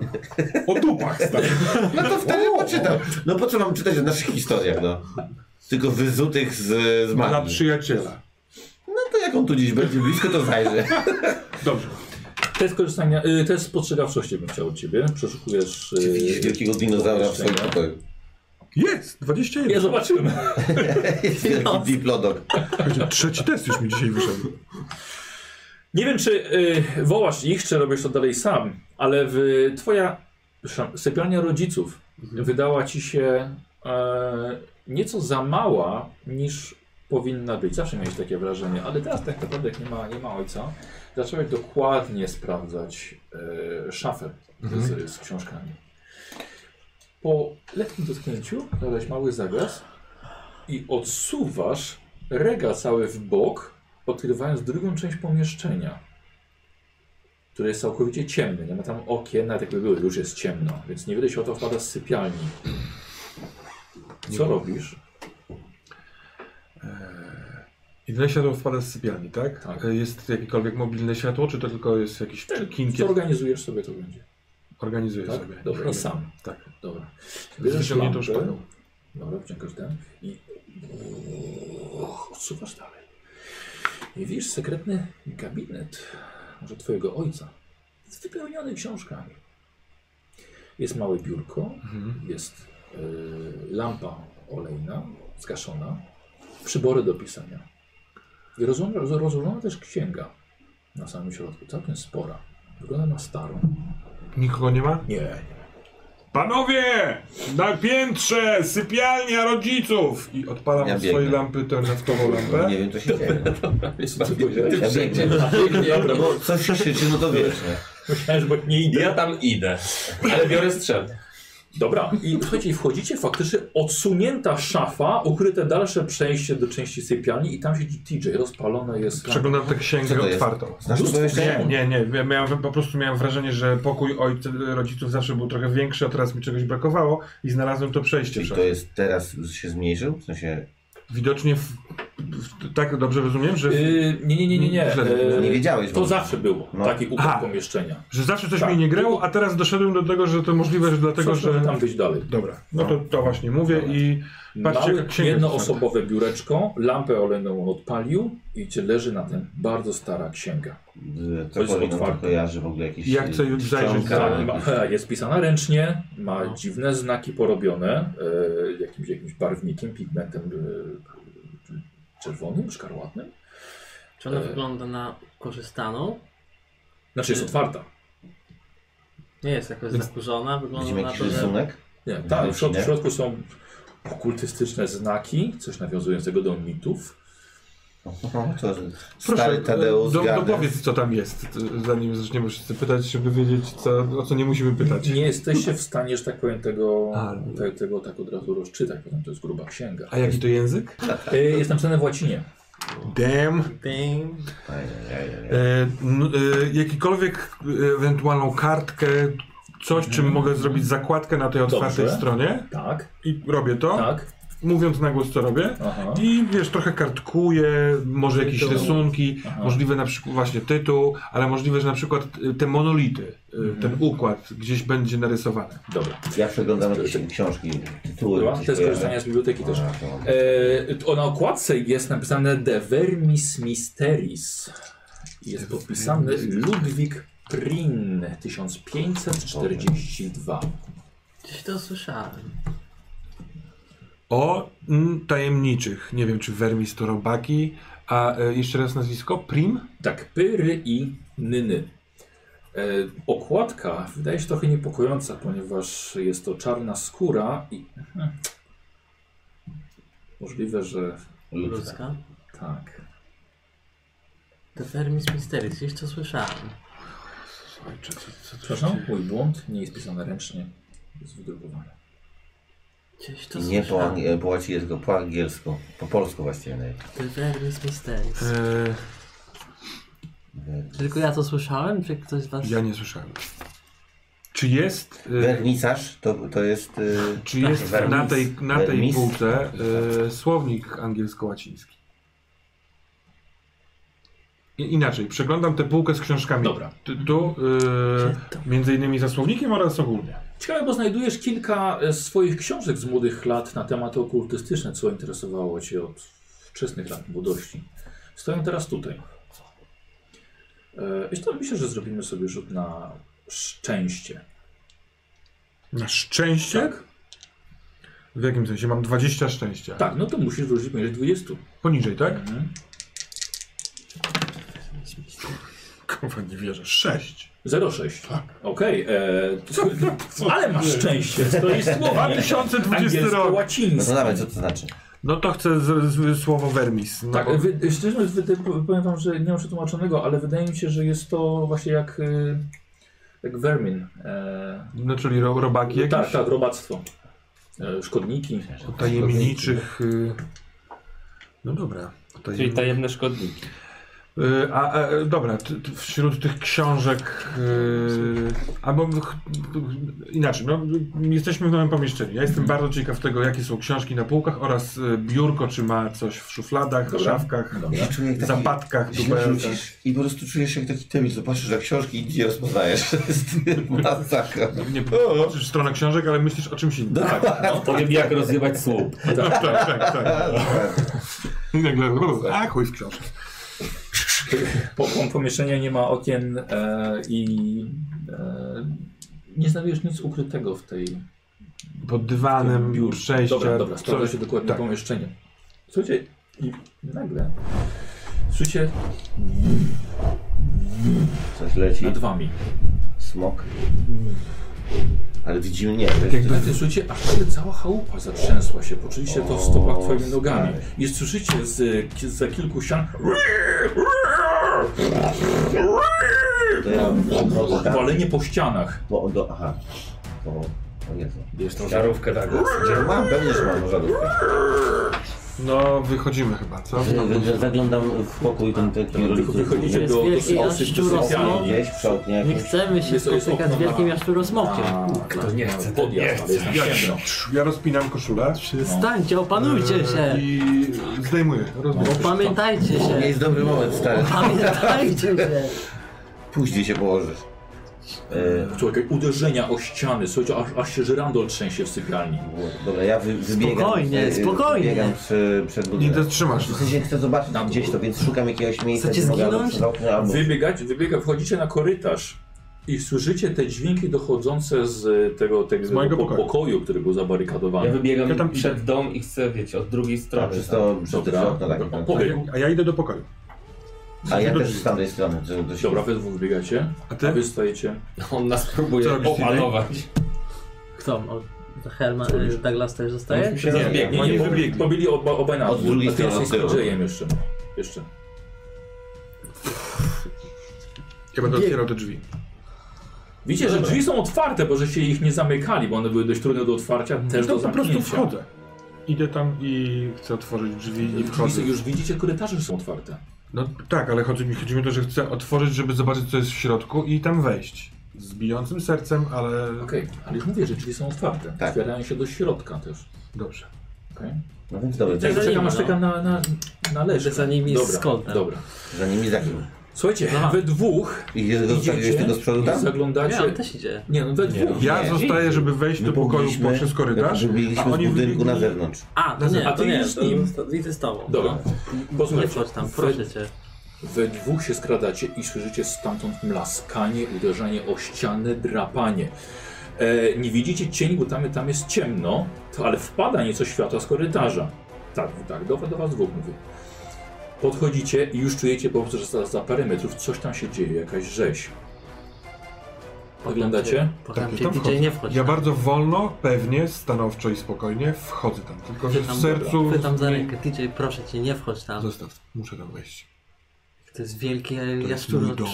Speaker 4: O dupach, stary.
Speaker 3: No to wtedy poczytam. No po co mam czytać o naszych historiach, no? Tylko wyzutych z, z
Speaker 4: Dla
Speaker 3: magii.
Speaker 4: przyjaciela.
Speaker 3: No to jak on tu gdzieś będzie blisko, to zajrzę.
Speaker 4: Dobrze.
Speaker 2: Test korzystania, y, test spostrzegawczości bym chciał od ciebie. Przeszukujesz...
Speaker 3: Czy
Speaker 2: y,
Speaker 3: widzisz wielkiego dinozaura w swoim pokoju?
Speaker 4: Jest!
Speaker 2: Nie
Speaker 4: 21.
Speaker 2: zobaczymy.
Speaker 3: Jest wielki diplodok.
Speaker 4: Będzie Trzeci test już mi dzisiaj wyszedł.
Speaker 2: Nie wiem, czy y, wołasz ich, czy robisz to dalej sam, ale w, twoja szan- sypialnia rodziców wydała ci się e, nieco za mała niż powinna być. Zawsze miałeś takie wrażenie, ale teraz tak naprawdę jak nie ma, nie ma ojca, zacząłeś dokładnie sprawdzać e, szafę z, z książkami. Po lekkim dotknięciu dodałeś mały zagląd i odsuwasz rega cały w bok, odkrywając drugą część pomieszczenia, które jest całkowicie ciemne. Nie ma tam okien, nawet jakby były, już jest ciemno, więc niewiele się o to wpada z sypialni. Co robisz?
Speaker 4: Jedyne światło wpada z sypialni, tak? Tak,
Speaker 2: Tak.
Speaker 4: E, Jest jakiekolwiek mobilne światło, czy to tylko jest jakiś
Speaker 2: Co
Speaker 4: kinkiet?
Speaker 2: organizujesz sobie, to będzie.
Speaker 4: Organizuję
Speaker 2: Tak?
Speaker 4: sobie.
Speaker 2: Dobra, i sam.
Speaker 4: Tak.
Speaker 2: Dobra.
Speaker 4: Z
Speaker 2: Bierzesz
Speaker 4: wyciągniętą
Speaker 2: lampę.
Speaker 4: szpadą.
Speaker 2: Dobra, wciągasz ten i Och, odsuwasz dalej. I widzisz sekretny gabinet, może twojego ojca, jest wypełniony książkami. Jest małe biurko, jest y, lampa olejna, zgaszona, przybory do pisania. I rozłożona, rozłożona też księga na samym środku, całkiem spora. Wygląda na starą.
Speaker 4: Nikogo nie ma?
Speaker 2: Nie,
Speaker 4: Panowie! Na piętrze! Sypialnia rodziców! I odpalam
Speaker 3: Ja
Speaker 4: od swojej
Speaker 3: biegnę.
Speaker 4: lampę tę naftową
Speaker 3: No,
Speaker 4: lampę.
Speaker 3: nie wiem, co się dzieje.
Speaker 2: Jest
Speaker 3: Ja biegnę.
Speaker 6: Dobra,
Speaker 3: Bo coś krzyczy, no to wiesz. nie?
Speaker 2: Myślałem, że nie idę.
Speaker 6: Ja tam idę, ale biorę strzel.
Speaker 2: Dobra, i słuchajcie, i wchodzicie faktycznie odsunięta szafa, ukryte dalsze przejście do części sypialni i tam siedzi TJ, rozpalone jest
Speaker 4: Przeglądam tę
Speaker 3: Co
Speaker 4: księgę
Speaker 3: to jest?
Speaker 4: otwartą.
Speaker 3: Znasz to
Speaker 4: Nie,
Speaker 3: jeszcze?
Speaker 4: nie, nie. Ja miałem, po prostu miałem wrażenie, że pokój ojca, rodziców zawsze był trochę większy, a teraz mi czegoś brakowało i znalazłem to przejście.
Speaker 3: Czyli
Speaker 4: przez-
Speaker 3: to jest teraz się zmniejszył? W sensie
Speaker 4: Widocznie w, w, tak dobrze rozumiem, że,
Speaker 2: Yy, nie, nie, nie, nie, nie.
Speaker 4: Źle,
Speaker 2: Yy,
Speaker 3: że nie wiedziałeś w
Speaker 2: To
Speaker 3: ogóle.
Speaker 2: zawsze było.
Speaker 3: No.
Speaker 2: Taki
Speaker 4: Aha.
Speaker 2: układ pomieszczenia.
Speaker 4: że zawsze coś
Speaker 2: tak.
Speaker 4: mi nie grało, a teraz doszedłem do tego, że to możliwe, że dlatego,
Speaker 2: Zawsze
Speaker 4: że...
Speaker 2: tam wyjść dalej.
Speaker 4: Dobra, no to, to właśnie mówię i patrzcie,
Speaker 2: Małe,
Speaker 4: jaka księga jest
Speaker 2: jednoosobowe biureczko, lampę olejną odpalił i cię leży na tym bardzo stara księga.
Speaker 3: Y,
Speaker 2: To jest
Speaker 3: Cokolwiek nam to
Speaker 2: otwarte.
Speaker 3: kojarzy w ogóle jakieś...
Speaker 4: Ja chcę
Speaker 3: y,
Speaker 4: już zajrzeć
Speaker 3: czcionka,
Speaker 4: za-
Speaker 2: Ma,
Speaker 3: jakieś-
Speaker 2: jest pisana ręcznie, ma
Speaker 5: No.
Speaker 2: dziwne znaki porobione e, jakimś, jakimś barwnikiem, pigmentem e, czerwonym, szkarłatnym.
Speaker 5: Czy ona
Speaker 2: E.
Speaker 5: wygląda na korzystaną?
Speaker 2: Znaczy jest otwarta.
Speaker 5: Nie jest jakoś zakurzona, wygląda
Speaker 3: Widzimy
Speaker 5: No, na
Speaker 3: jakiś
Speaker 5: to, że...
Speaker 3: rysunek?
Speaker 2: Nie, tak, w, środ- w
Speaker 3: Wycinek.
Speaker 2: środku są okultystyczne znaki, coś nawiązującego do mitów.
Speaker 3: Oho, No, To
Speaker 4: Proszę,
Speaker 2: e,
Speaker 3: stary Tadeusz
Speaker 4: do,
Speaker 3: Garden.
Speaker 4: dopowiedz co tam jest, t- zanim zaczniemy wszyscy pytać, żeby wiedzieć co, o co nie musimy pytać.
Speaker 2: Nie jesteście w stanie, że tak powiem, tego,
Speaker 4: A.
Speaker 2: te, tego tak od razu rozczytać, bo tam to jest gruba księga.
Speaker 4: A jaki to język?
Speaker 2: E, Jest napisane w łacinie.
Speaker 4: Damn.
Speaker 5: Ding.
Speaker 3: Ajajajaj.
Speaker 4: E, n- e, jakikolwiek e, ewentualną kartkę, coś czym mogę zrobić zakładkę na tej otwartej
Speaker 2: Dobrze.
Speaker 4: stronie
Speaker 2: Mm. Tak,
Speaker 4: i robię to,
Speaker 2: tak.
Speaker 4: mówiąc na głos co robię.
Speaker 2: Aha.
Speaker 4: I wiesz, trochę kartkuję, może jakieś
Speaker 5: Tytuł.
Speaker 4: rysunki,
Speaker 2: Aha.
Speaker 4: możliwe na przykład właśnie tytuł, ale możliwe, że na przykład y, te monolity, y,
Speaker 2: Mhm.
Speaker 4: ten układ gdzieś będzie narysowany.
Speaker 2: Dobra.
Speaker 3: Ja przeglądam jakieś książki, tytuły.
Speaker 2: Była?
Speaker 3: jakieś
Speaker 2: To jest
Speaker 3: pojawia.
Speaker 2: korzystanie z biblioteki też.
Speaker 3: A, to mam.
Speaker 2: E, to na okładce jest napisane De Vermis Misteris. Jest podpisany Ludwik Prin 1542.
Speaker 5: Gdzieś to słyszałem.
Speaker 4: O mm, tajemniczych, nie wiem czy Vermis to robaki, a y, jeszcze raz nazwisko, Prim?
Speaker 2: Tak, pyry i nyny. E, okładka wydaje się trochę niepokojąca, ponieważ jest to czarna skóra i. Mhm. Możliwe, że
Speaker 3: Ludzka.
Speaker 5: Ludzka.
Speaker 2: tak.
Speaker 5: The Fermis Mysteries, gdzieś to słyszałem.
Speaker 4: Ojcze, co, co,
Speaker 2: Przepraszam, mój błąd nie jest pisane ręcznie, jest wydrukowane.
Speaker 5: Gdzieś to
Speaker 3: I Nie po,
Speaker 5: słyszałem.
Speaker 3: ang- e, po łacinie, tylko po angielsku. Po polsku właściwie. no nawet.
Speaker 4: Y-
Speaker 5: The Fermis Mysteries.
Speaker 4: E,
Speaker 5: Czy Tylko ja to słyszałem, czy ktoś z was...
Speaker 4: ja nie słyszałem. Czy jest, y,
Speaker 3: Wernicarz to, to jest... y,
Speaker 4: czy jest
Speaker 3: Vermis.
Speaker 4: na tej, na tej
Speaker 3: Vermis.
Speaker 4: półce y, słownik angielsko-łaciński? I, inaczej, przeglądam tę półkę z książkami.
Speaker 2: Dobra.
Speaker 4: Tu, tu
Speaker 5: Gdzie
Speaker 4: y, między innymi za słownikiem oraz ogólnie.
Speaker 2: Ciekawe, bo znajdujesz kilka e, swoich książek z młodych lat na tematy okultystyczne, co interesowało Cię od wczesnych lat młodości. Stoją teraz tutaj. E, I to myślę, że zrobimy sobie rzut na szczęście.
Speaker 4: Na szczęście?
Speaker 2: Tak?
Speaker 4: W jakim sensie? Mam 20 szczęścia.
Speaker 2: Tak, no to musisz wrócić poniżej 20.
Speaker 4: Poniżej, tak?
Speaker 2: Mhm.
Speaker 4: Kurwa, nie wierzę. 6.
Speaker 2: 0,6. Tak. Okej, e, to- ale masz szczęście, to jest słowa.
Speaker 4: 2020 rok.
Speaker 3: No to
Speaker 2: Angielsko-łacińskie.
Speaker 3: nawet co to znaczy?
Speaker 4: Tak No to chcę z, z, słowo vermis. No,
Speaker 2: Tak, wy, szczerze mówiąc, wy, powiem wam, że nie mam przetłumaczonego, ale wydaje mi się, że jest to właśnie jak, y, jak vermin. E,
Speaker 4: no czyli ro, robaki jakieś?
Speaker 2: tak, tak, robactwo. E, szkodniki.
Speaker 4: O tajemniczych... y, No dobra. o tajem-
Speaker 6: Czyli
Speaker 2: tak-
Speaker 6: tajemne szkodniki.
Speaker 4: Y, A, a e, dobra, t, t, wśród tych książek, y, albo ch- inaczej, no, jesteśmy w nowym pomieszczeniu. Ja jestem bardzo ciekaw tego, jakie są książki na półkach oraz y, biurko, czy ma coś w szufladach,
Speaker 2: Dobra.
Speaker 4: szafkach,
Speaker 2: Dobra.
Speaker 3: Czuję jak taki-
Speaker 4: zapadkach,
Speaker 3: Źle
Speaker 4: dupelkach.
Speaker 3: rzucisz i po prostu czujesz się jak taki temis, zobaczysz na książki i nie rozpoznajesz. To jest masakra.
Speaker 4: tak. Nie patrzysz w stronę książek, ale myślisz o czymś innym.
Speaker 2: Tak, no,
Speaker 6: Powiem jak rozjebać słup.
Speaker 4: Tak, tak, tak. tak. I Nagle, a chuj w książki.
Speaker 2: po, po pomieszczenia nie ma okien e, i e, nie znajdujesz nic ukrytego w tej w
Speaker 4: Pod
Speaker 2: tym
Speaker 4: dywanem,
Speaker 2: biurze.
Speaker 4: przejścia,
Speaker 2: Dobra, dobra, sprawdza się dokładnie
Speaker 4: tak.
Speaker 2: pomieszczenie. Słuchajcie, i nagle słyszycie
Speaker 3: Coś leci.
Speaker 2: nad wami.
Speaker 3: Smok.
Speaker 4: Mm.
Speaker 3: Ale widzimy nie. to jest-
Speaker 4: Jakby-
Speaker 2: Nagle słyszycie, aż nagle cała chałupa zatrzęsła się. Poczuliście to w stopach twoimi nogami. I słyszycie z, z, za kilku sian
Speaker 3: To ja odchodzę tam,
Speaker 2: walenie po ścianach.
Speaker 3: bo do... Aha. O, o Jezu.
Speaker 6: Wiesz tą żarówkę tak.
Speaker 3: Mam, pewnie, że mam żadówkę.
Speaker 4: No, wychodzimy chyba, co?
Speaker 3: Wy- wy- Zaglądam w pokój ten taki
Speaker 2: Tylko wychodzicie
Speaker 3: rodzic-
Speaker 2: do, do
Speaker 5: wielki
Speaker 2: osób
Speaker 5: jaszczur osmok.
Speaker 2: sypialni.
Speaker 3: gdzieś w przątnie
Speaker 5: Nie
Speaker 3: jakimś.
Speaker 5: chcemy się
Speaker 2: Jest- jest
Speaker 5: spotykać z
Speaker 2: okno na-
Speaker 5: wielkim jaszczurosmokiem.
Speaker 2: Kto nie chce, ten nie chce.
Speaker 4: Ja rozpinam koszulę.
Speaker 5: Stańcie,
Speaker 4: No,
Speaker 5: opanujcie się!
Speaker 4: I zdejmuję.
Speaker 2: No.
Speaker 4: Rozumiem.
Speaker 5: Opamiętajcie się!
Speaker 3: Nie jest dobry moment, stary.
Speaker 5: Pamiętajcie się!
Speaker 3: Później się położysz. E,
Speaker 4: Tak.
Speaker 2: Człowiek, uderzenia o ściany, słuchajcie, aż, aż się żyrandol trzęsie w sypialni.
Speaker 3: Dobra, ja wy, wybiegam.
Speaker 5: Spokojnie,
Speaker 3: e,
Speaker 5: spokojnie.
Speaker 3: Wybiegam przy, przed
Speaker 4: Nie
Speaker 3: budynkiem.
Speaker 4: dotrzymasz.
Speaker 3: W sensie chcę zobaczyć
Speaker 2: Na
Speaker 3: gdzieś to, więc szukam jakiegoś miejsca.
Speaker 5: Chcecie
Speaker 3: gdzie mogę
Speaker 5: zginąć?
Speaker 3: albo przez okno, albo-
Speaker 2: Wybiegać, wybiega, wchodzicie na korytarz i słyszycie te dźwięki dochodzące z tego, tego
Speaker 4: Z mojego
Speaker 2: po,
Speaker 4: pokoju.
Speaker 2: pokoju, który był
Speaker 6: Ja
Speaker 2: zabarykadowany.
Speaker 6: wybiegam
Speaker 4: Ja tam
Speaker 6: przed dom i chcę, wiecie, od drugiej
Speaker 3: A,
Speaker 6: strony.
Speaker 3: Przez to, przez to przez
Speaker 2: Dobra.
Speaker 3: okno tak.
Speaker 2: Dobra,
Speaker 3: tak.
Speaker 2: powiedz.
Speaker 4: A ja idę do pokoju.
Speaker 3: A ja też z tamtej strony. To, to się...
Speaker 2: Dobra, wy dwóch wybiegacie,
Speaker 4: A
Speaker 2: a
Speaker 4: ty?
Speaker 2: wy stajecie.
Speaker 6: On nas próbuje
Speaker 4: Co robisz, Sidney?
Speaker 6: opanować.
Speaker 5: Kto? O, Helma,
Speaker 2: robisz?
Speaker 5: y, Douglas też zostaje?
Speaker 3: się
Speaker 6: Nie,
Speaker 3: rozbiegł.
Speaker 6: biegnie.
Speaker 2: Nie, nie,
Speaker 4: Oni
Speaker 2: bo-
Speaker 4: wybiegli.
Speaker 2: pobili oba, obaj na
Speaker 3: Od
Speaker 2: dwóch,
Speaker 3: drugiej
Speaker 2: a ty jesteś
Speaker 3: strony,
Speaker 2: z
Speaker 3: od tyłu.
Speaker 2: Kodziejem jeszcze. Jeszcze.
Speaker 4: Ja będę otwierał te drzwi.
Speaker 2: Widzicie, że drzwi są otwarte, bo żeście ich nie zamykali, bo one były dość trudne do otwarcia, też
Speaker 4: No to
Speaker 2: do
Speaker 4: po prostu
Speaker 2: zamknięcia.
Speaker 4: wchodzę. Idę tam i chcę otworzyć drzwi i
Speaker 2: Drzwi
Speaker 4: wchodzę.
Speaker 2: są- Już widzicie, korytarze są otwarte.
Speaker 4: No tak, ale chodzi mi, chodzi mi o to, że chcę otworzyć, żeby zobaczyć, co jest w środku i tam wejść. Z bijącym sercem, ale
Speaker 2: Okej, ale już mówię, że drzwi są otwarte.
Speaker 3: Tak.
Speaker 2: Otwierają się do środka też.
Speaker 4: dobrze.
Speaker 2: Okej.
Speaker 3: No więc dobra,
Speaker 5: Tak,
Speaker 2: Tak,
Speaker 5: za
Speaker 2: czekam
Speaker 5: nimi,
Speaker 2: aż
Speaker 5: no.
Speaker 2: czekam na, na, na leżę.
Speaker 5: Za nimi jest
Speaker 2: dobra,
Speaker 5: skąd, tak?
Speaker 2: Dobra.
Speaker 3: za nimi za kim?
Speaker 2: Słuchajcie,
Speaker 5: Aha.
Speaker 2: we dwóch
Speaker 3: I jest go zostawiłeś tego z przodu
Speaker 2: i
Speaker 3: tam?
Speaker 5: Nie, on
Speaker 2: zaglądacie...
Speaker 5: też idzie.
Speaker 2: Nie, no we dwóch.
Speaker 4: Ja
Speaker 3: Nie,
Speaker 4: zostaję, żeby wejść
Speaker 3: My
Speaker 4: do pokoju
Speaker 3: pobiliśmy-
Speaker 4: poprzez korytarz,
Speaker 3: my
Speaker 4: a
Speaker 3: Byliśmy tak, z
Speaker 4: oni
Speaker 3: budynku na
Speaker 4: wybiegli-
Speaker 3: zewnątrz.
Speaker 5: A, to nie,
Speaker 2: A
Speaker 5: to
Speaker 2: ty
Speaker 5: nie,
Speaker 2: idziesz z
Speaker 5: to,
Speaker 2: nim.
Speaker 5: to, idę z tobą. no.
Speaker 2: Dobra.
Speaker 5: Nie
Speaker 2: Posłuchajcie,
Speaker 5: chodź tam,
Speaker 2: we-
Speaker 5: proszę cię.
Speaker 2: We dwóch się skradacie i słyszycie stamtąd mlaskanie, uderzenie o ścianę, drapanie. E, nie widzicie cień, bo tam, tam jest ciemno, to, ale wpada nieco światła z korytarza. Tak, tak, do, do was dwóch mówię. Podchodzicie i już czujecie po prostu, że za, za parę metrów coś tam się dzieje, jakaś rzeź. Oglądacie?
Speaker 5: Potem
Speaker 4: Tak,
Speaker 5: cię
Speaker 4: tam
Speaker 5: DJ
Speaker 4: wchodzę.
Speaker 5: nie wchodzi.
Speaker 4: Ja bardzo wolno, pewnie, stanowczo i spokojnie wchodzę tam, tylko że
Speaker 5: Chwytam-
Speaker 4: w sercu...
Speaker 5: Chwytam za rękę, DJ, proszę cię, nie wchodź tam.
Speaker 4: Zostaw, muszę tam wejść.
Speaker 5: To jest wielkie
Speaker 4: To jest mój
Speaker 5: jaszczuro.
Speaker 4: dom.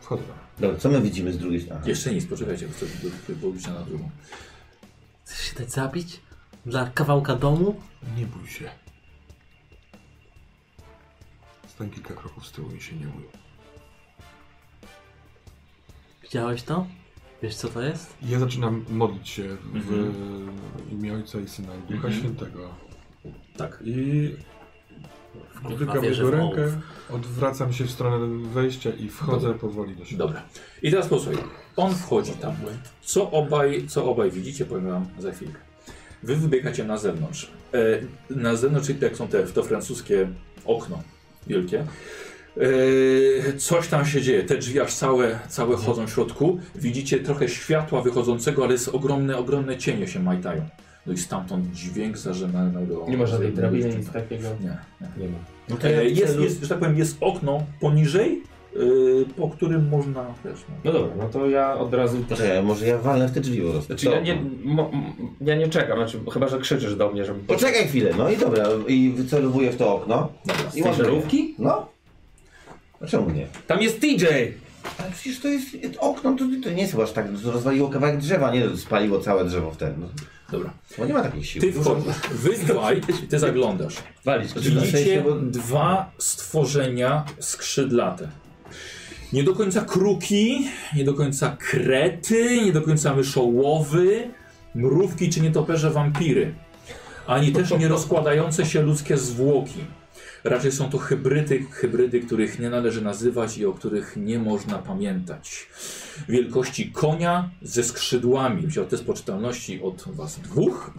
Speaker 4: Wchodzę tam.
Speaker 3: Dobra, co my widzimy z drugiej strony?
Speaker 2: Jeszcze nic, poczekajcie, bo chcę wybić na drugą.
Speaker 5: Chcesz się dać zabić? Dla kawałka domu?
Speaker 4: Nie bój się. Stań kilka kroków z tyłu i się nie bój.
Speaker 5: Widziałeś to? Wiesz co to jest?
Speaker 4: Ja zaczynam modlić się w
Speaker 2: Mhm.
Speaker 4: imię Ojca i Syna i Ducha Świętego.
Speaker 2: Tak.
Speaker 4: I dotykam
Speaker 5: wierzę w
Speaker 4: jego rękę,
Speaker 5: ołów.
Speaker 4: odwracam się w stronę wejścia i wchodzę powoli do środka.
Speaker 2: Dobra. I teraz posłuchaj. On wchodzi tam. Co obaj, co obaj widzicie, powiem wam za chwilkę. Wy wybiegacie na zewnątrz. E, na zewnątrz, czyli tak są te, to francuskie okno wielkie. E, coś tam się dzieje. Te drzwi aż całe, całe chodzą w środku. Widzicie trochę światła wychodzącego, ale jest ogromne, ogromne cienie się majtają. No i stamtąd dźwięk zarzemanego.
Speaker 6: Nie ma żadnej drabiny, nic takiego.
Speaker 2: Nie, nie.
Speaker 6: Nie ma.
Speaker 2: E, jest, jest, że tak powiem, jest okno poniżej, y, po którym można też. No.
Speaker 6: No dobra, no to ja od razu...
Speaker 3: Poczekaj, może ja walnę w te drzwi po prostu.
Speaker 6: Znaczy
Speaker 3: Co?
Speaker 6: ja nie, mo, m- ja nie czekam, znaczy, chyba że krzyczysz do mnie, żebym...
Speaker 3: Poczekaj chwilę, no i dobra, i wycelowuję w to okno.
Speaker 2: Dobra.
Speaker 3: I
Speaker 6: tej
Speaker 3: ładuję.
Speaker 6: żarówki?
Speaker 3: No. A czemu nie?
Speaker 6: Tam jest TJ!
Speaker 3: Ale przecież to jest okno, to, to nie jest chyba aż tak, to rozwaliło kawałek drzewa, nie spaliło całe drzewo w ten. No,
Speaker 2: Dobra.
Speaker 3: bo nie ma takich sił.
Speaker 2: Ty wchodzisz, wy dwaj, ty zaglądasz.
Speaker 6: Walić.
Speaker 3: Znaczy, na
Speaker 2: Widzicie
Speaker 3: szczęście, bo-
Speaker 2: dwa stworzenia skrzydlate. Nie do końca kruki, nie do końca krety, nie do końca myszołowy, mrówki czy nietoperze wampiry. Ani też nie rozkładające się ludzkie zwłoki. Raczej są to hybrydy, hybrydy, których nie należy nazywać i o których nie można pamiętać. Wielkości konia ze skrzydłami. Wziął test poczytalności od was dwóch.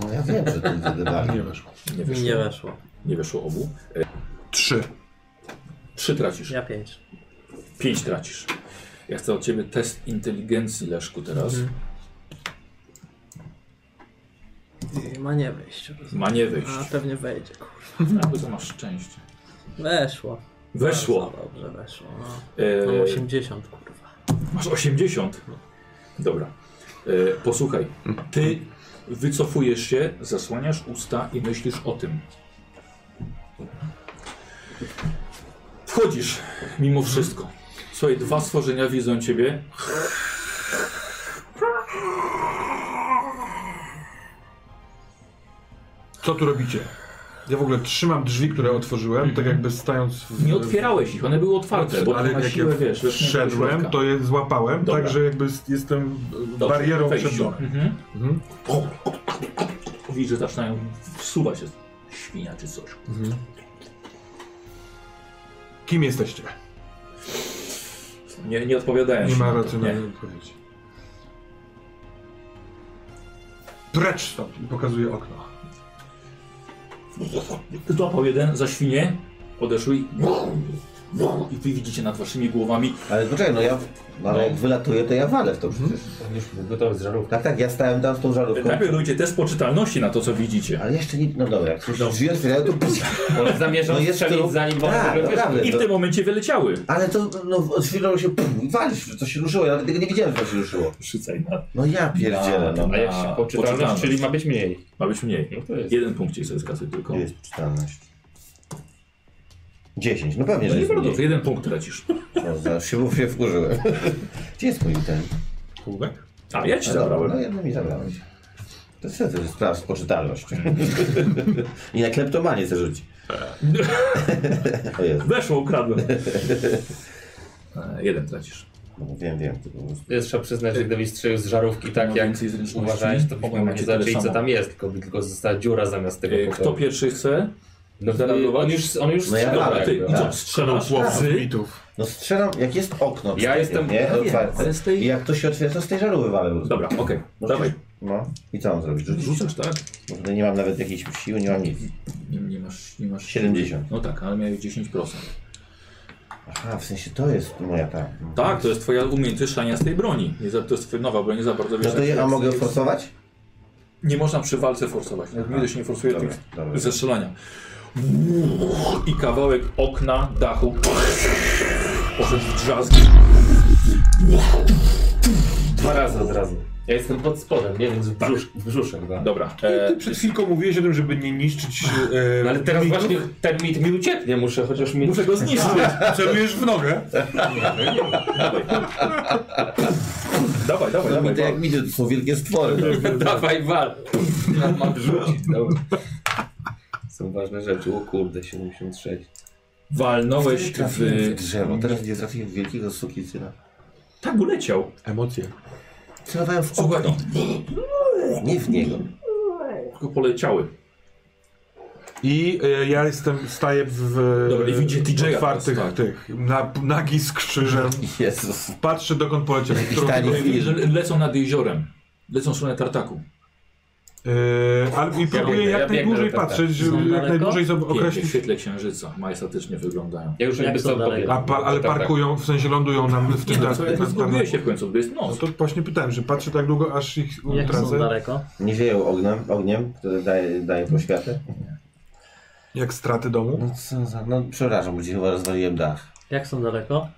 Speaker 3: No ja wiem, że ten
Speaker 4: Nie
Speaker 3: wydywali.
Speaker 4: weszło.
Speaker 2: Nie
Speaker 5: Mi
Speaker 2: wyszło,
Speaker 5: nie weszło.
Speaker 2: nie wyszło obu. E,
Speaker 4: Trzy.
Speaker 2: Trzy tracisz.
Speaker 5: Ja pięć.
Speaker 2: Pięć tracisz. Ja chcę od ciebie test inteligencji, Leszku, teraz.
Speaker 5: Mhm. Ma nie wejść.
Speaker 2: Ma nie wyjść.
Speaker 5: A pewnie wejdzie, kurwa.
Speaker 2: A, bo to masz szczęście.
Speaker 5: Weszło.
Speaker 2: Weszło.
Speaker 5: Bardzo Dobrze, weszło. No.
Speaker 2: E,
Speaker 5: Mam 80, kurwa.
Speaker 2: masz 80. Dobra. E, posłuchaj. Ty wycofujesz się, zasłaniasz usta i myślisz o tym. Wchodzisz mimo wszystko. Słuchaj, dwa stworzenia widzą ciebie.
Speaker 4: Co tu robicie? Ja w ogóle trzymam drzwi, które otworzyłem, tak jakby stając w...
Speaker 2: Mhm. Nie otwierałeś ich, one były otwarte, bo
Speaker 4: ale
Speaker 2: ale na
Speaker 4: jak
Speaker 2: siłę,
Speaker 4: ja
Speaker 2: wiesz, weszłeś do
Speaker 4: wszedłem,
Speaker 2: środka.
Speaker 4: to je złapałem,
Speaker 2: Dobra.
Speaker 4: tak że jakby s- jestem e,
Speaker 2: Dobrze,
Speaker 4: barierą
Speaker 2: wejściu.
Speaker 4: przed domem.
Speaker 2: Mhm.
Speaker 4: Mhm.
Speaker 2: Widzisz, że zaczynają wsuwać się świnia czy coś.
Speaker 4: Kim jesteście?
Speaker 2: Nie, nie odpowiadają
Speaker 4: Nie
Speaker 2: się
Speaker 4: ma
Speaker 2: na to,
Speaker 4: racjonalnej odpowiedzi. Precz stąd! I pokazuje okno.
Speaker 2: Złapał jeden za świnię, podeszły i... I wy widzicie nad waszymi głowami
Speaker 3: Ale poczekaj, no ja, no, ale jak wylatuję, to ja walę w to przecież.
Speaker 6: Mhm. On już był gotowy z Tak. żarówką.
Speaker 3: Tak, tak, ja stałem tam z tą żarówką.
Speaker 2: Najpierw dojdzie Tak. test poczytalności na to, co widzicie.
Speaker 3: Ale jeszcze nie, no dobra, jak coś drzwi otwierają, to...
Speaker 6: On zamierzał
Speaker 3: No jest
Speaker 6: strzelić
Speaker 3: to-
Speaker 6: zanim on
Speaker 3: Tak,
Speaker 6: w ogóle
Speaker 3: naprawdę.
Speaker 6: wyszedł.
Speaker 2: I w tym momencie wyleciały.
Speaker 3: Ale to, no, otwierało się, pum, i walisz, że to się ruszyło, ja nawet tego nie wiedziałem, że to się ruszyło.
Speaker 2: Rzucaj na...
Speaker 3: No ja pierdzielę, no.
Speaker 6: A jak się poczytalność,
Speaker 2: Poczytalność.
Speaker 6: czyli ma być mniej.
Speaker 2: Ma być mniej.
Speaker 6: No to jest.
Speaker 2: Jeden punkcik sobie skasuj tylko.
Speaker 3: Gdzie jest czytalność? 10, no pewnie,
Speaker 2: No
Speaker 3: że
Speaker 2: nie
Speaker 3: jest
Speaker 2: wolno,
Speaker 3: mniej.
Speaker 2: to jeden punkt tracisz.
Speaker 3: No, zaraz się, się wkurzyłem. Gdzie jest mój ten?
Speaker 4: Kółek?
Speaker 2: A, ja ci
Speaker 3: A, dobra, No
Speaker 2: zabrałem.
Speaker 3: jedno mi zabrałeś. To co to jest sprawa spoczytalność? I na kleptomanie chcę rzucić. o Jezu,
Speaker 2: Weszło, ukradłem. E, Jeden tracisz.
Speaker 3: no, wiem, wiem. To po prostu.
Speaker 6: Jest trzeba przyznać, że gdybyś strzelił z żarówki tak
Speaker 2: No
Speaker 6: jak
Speaker 2: więcej zręczności.
Speaker 6: uważałeś, to byśmy
Speaker 2: Macie
Speaker 6: nie
Speaker 2: tyle
Speaker 6: zaczęli co
Speaker 2: samo.
Speaker 6: tam jest, tylko, tylko została dziura zamiast tego
Speaker 2: E, Kto
Speaker 6: pokoju.
Speaker 2: pierwszy chce?
Speaker 6: No,
Speaker 2: zareagować?
Speaker 6: on już, on już
Speaker 3: No ja
Speaker 6: strzelał
Speaker 3: dobra,
Speaker 2: Ty,
Speaker 6: jakby.
Speaker 2: i co,
Speaker 3: tak.
Speaker 2: strzelasz?
Speaker 4: Chłopców,
Speaker 2: Ty?
Speaker 4: mitów.
Speaker 3: No strzelam, jak jest okno. przed tym,
Speaker 6: jestem-
Speaker 3: Nie,
Speaker 2: ja wiem,
Speaker 3: otwarte.
Speaker 2: ale z tej-
Speaker 3: I jak to się otwiera, to z tej żarówki walę. po prostu.
Speaker 2: Dobra, okej,
Speaker 3: No,
Speaker 2: dawaj.
Speaker 3: No i co mam zrobić? Rzucić?
Speaker 2: Rzucasz, tak?
Speaker 3: Bo tutaj nie mam nawet jakiejś siły, nie mam nic.
Speaker 2: Nie, nie masz, nie masz...
Speaker 3: 70.
Speaker 2: No tak, ale miałeś 10%.
Speaker 3: Aha, w sensie to jest moja ta.
Speaker 2: Tak, to jest twoja umiejętność szania z tej broni. Nie za, to jest twoja nowa broń, nie za bardzo wiesz...
Speaker 3: No to
Speaker 2: jak-
Speaker 3: ja, a mogę forsować?
Speaker 2: Nie można przy walce forsować. Nigdy się nie forsuje
Speaker 3: Dobra,
Speaker 2: tych
Speaker 3: dobra.
Speaker 2: zestrzelania. I kawałek okna, dachu poszedł w drzazgi.
Speaker 6: Dwa razy od razu. Ja jestem pod spodem, nie? Więc w, brzusz, w brzuszek. Tak.
Speaker 2: Dobra.
Speaker 4: Ty
Speaker 2: E,
Speaker 4: przed chwilką mówiłeś o tym, żeby nie niszczyć... E,
Speaker 6: No ale teraz
Speaker 4: mitów.
Speaker 6: właśnie ten mit mi ucieknie, muszę chociaż mieć...
Speaker 2: muszę go zniszczyć.
Speaker 4: Celujesz w nogę.
Speaker 2: dawaj. dawaj, dawaj,
Speaker 3: No
Speaker 2: dawaj.
Speaker 3: mi to jak widzę, to są wielkie stwory. no.
Speaker 6: Dawaj wal! Ja mam rzucić, dobra. Są ważne rzeczy, o kurde, 76.
Speaker 2: Walnąłeś w...
Speaker 3: Trafiłem w drzewo, teraz nie trafiłem w wielkiego sukicyna.
Speaker 2: Tak, uleciał.
Speaker 4: Emocje.
Speaker 3: Celowałem w
Speaker 2: Słuchaj,
Speaker 3: okno, nie w niego.
Speaker 2: tylko poleciały.
Speaker 4: I e, ja jestem, staję w
Speaker 2: Dobra, i widzicie DJ-a
Speaker 4: otwartych
Speaker 2: teraz, tak.
Speaker 4: tych, na, nagi z krzyżem.
Speaker 3: Jezus.
Speaker 4: Patrzę dokąd poleciał. w którą
Speaker 3: tani.
Speaker 4: stronę.
Speaker 2: Le- Lecą nad jeziorem. Lecą w stronę tartaku.
Speaker 4: E, ale, I próbuję
Speaker 6: biegnę,
Speaker 4: jak
Speaker 6: ja biegnę
Speaker 4: najdłużej
Speaker 6: do tartaka.
Speaker 4: patrzeć,
Speaker 5: Są
Speaker 4: żeby jak
Speaker 5: daleko?
Speaker 4: najdłużej zob-
Speaker 2: Pięknie, w
Speaker 4: określić.
Speaker 2: świetle księżyca. Majestatycznie wyglądają.
Speaker 6: Ja już
Speaker 5: Jak
Speaker 6: jakby
Speaker 5: to
Speaker 6: stąd
Speaker 5: dalej?
Speaker 4: A
Speaker 6: pobieram.
Speaker 4: pa, ale
Speaker 6: Tak, tak.
Speaker 4: parkują, w sensie lądują nam w
Speaker 2: Nie
Speaker 4: tym
Speaker 2: no,
Speaker 4: targu.
Speaker 2: co, ja zgubiłem się w końcu, to jest
Speaker 4: No
Speaker 2: noc.
Speaker 4: to właśnie pytałem, że patrzę tak długo, aż ich
Speaker 5: Jak są
Speaker 4: tracę.
Speaker 5: daleko?
Speaker 3: Nie wieją ognem, ogniem, które daje, daje poświatę.
Speaker 4: Jak straty domu.
Speaker 3: No co za, no przepraszam, bo ci chyba rozwaliłem dach.
Speaker 5: Jak są daleko?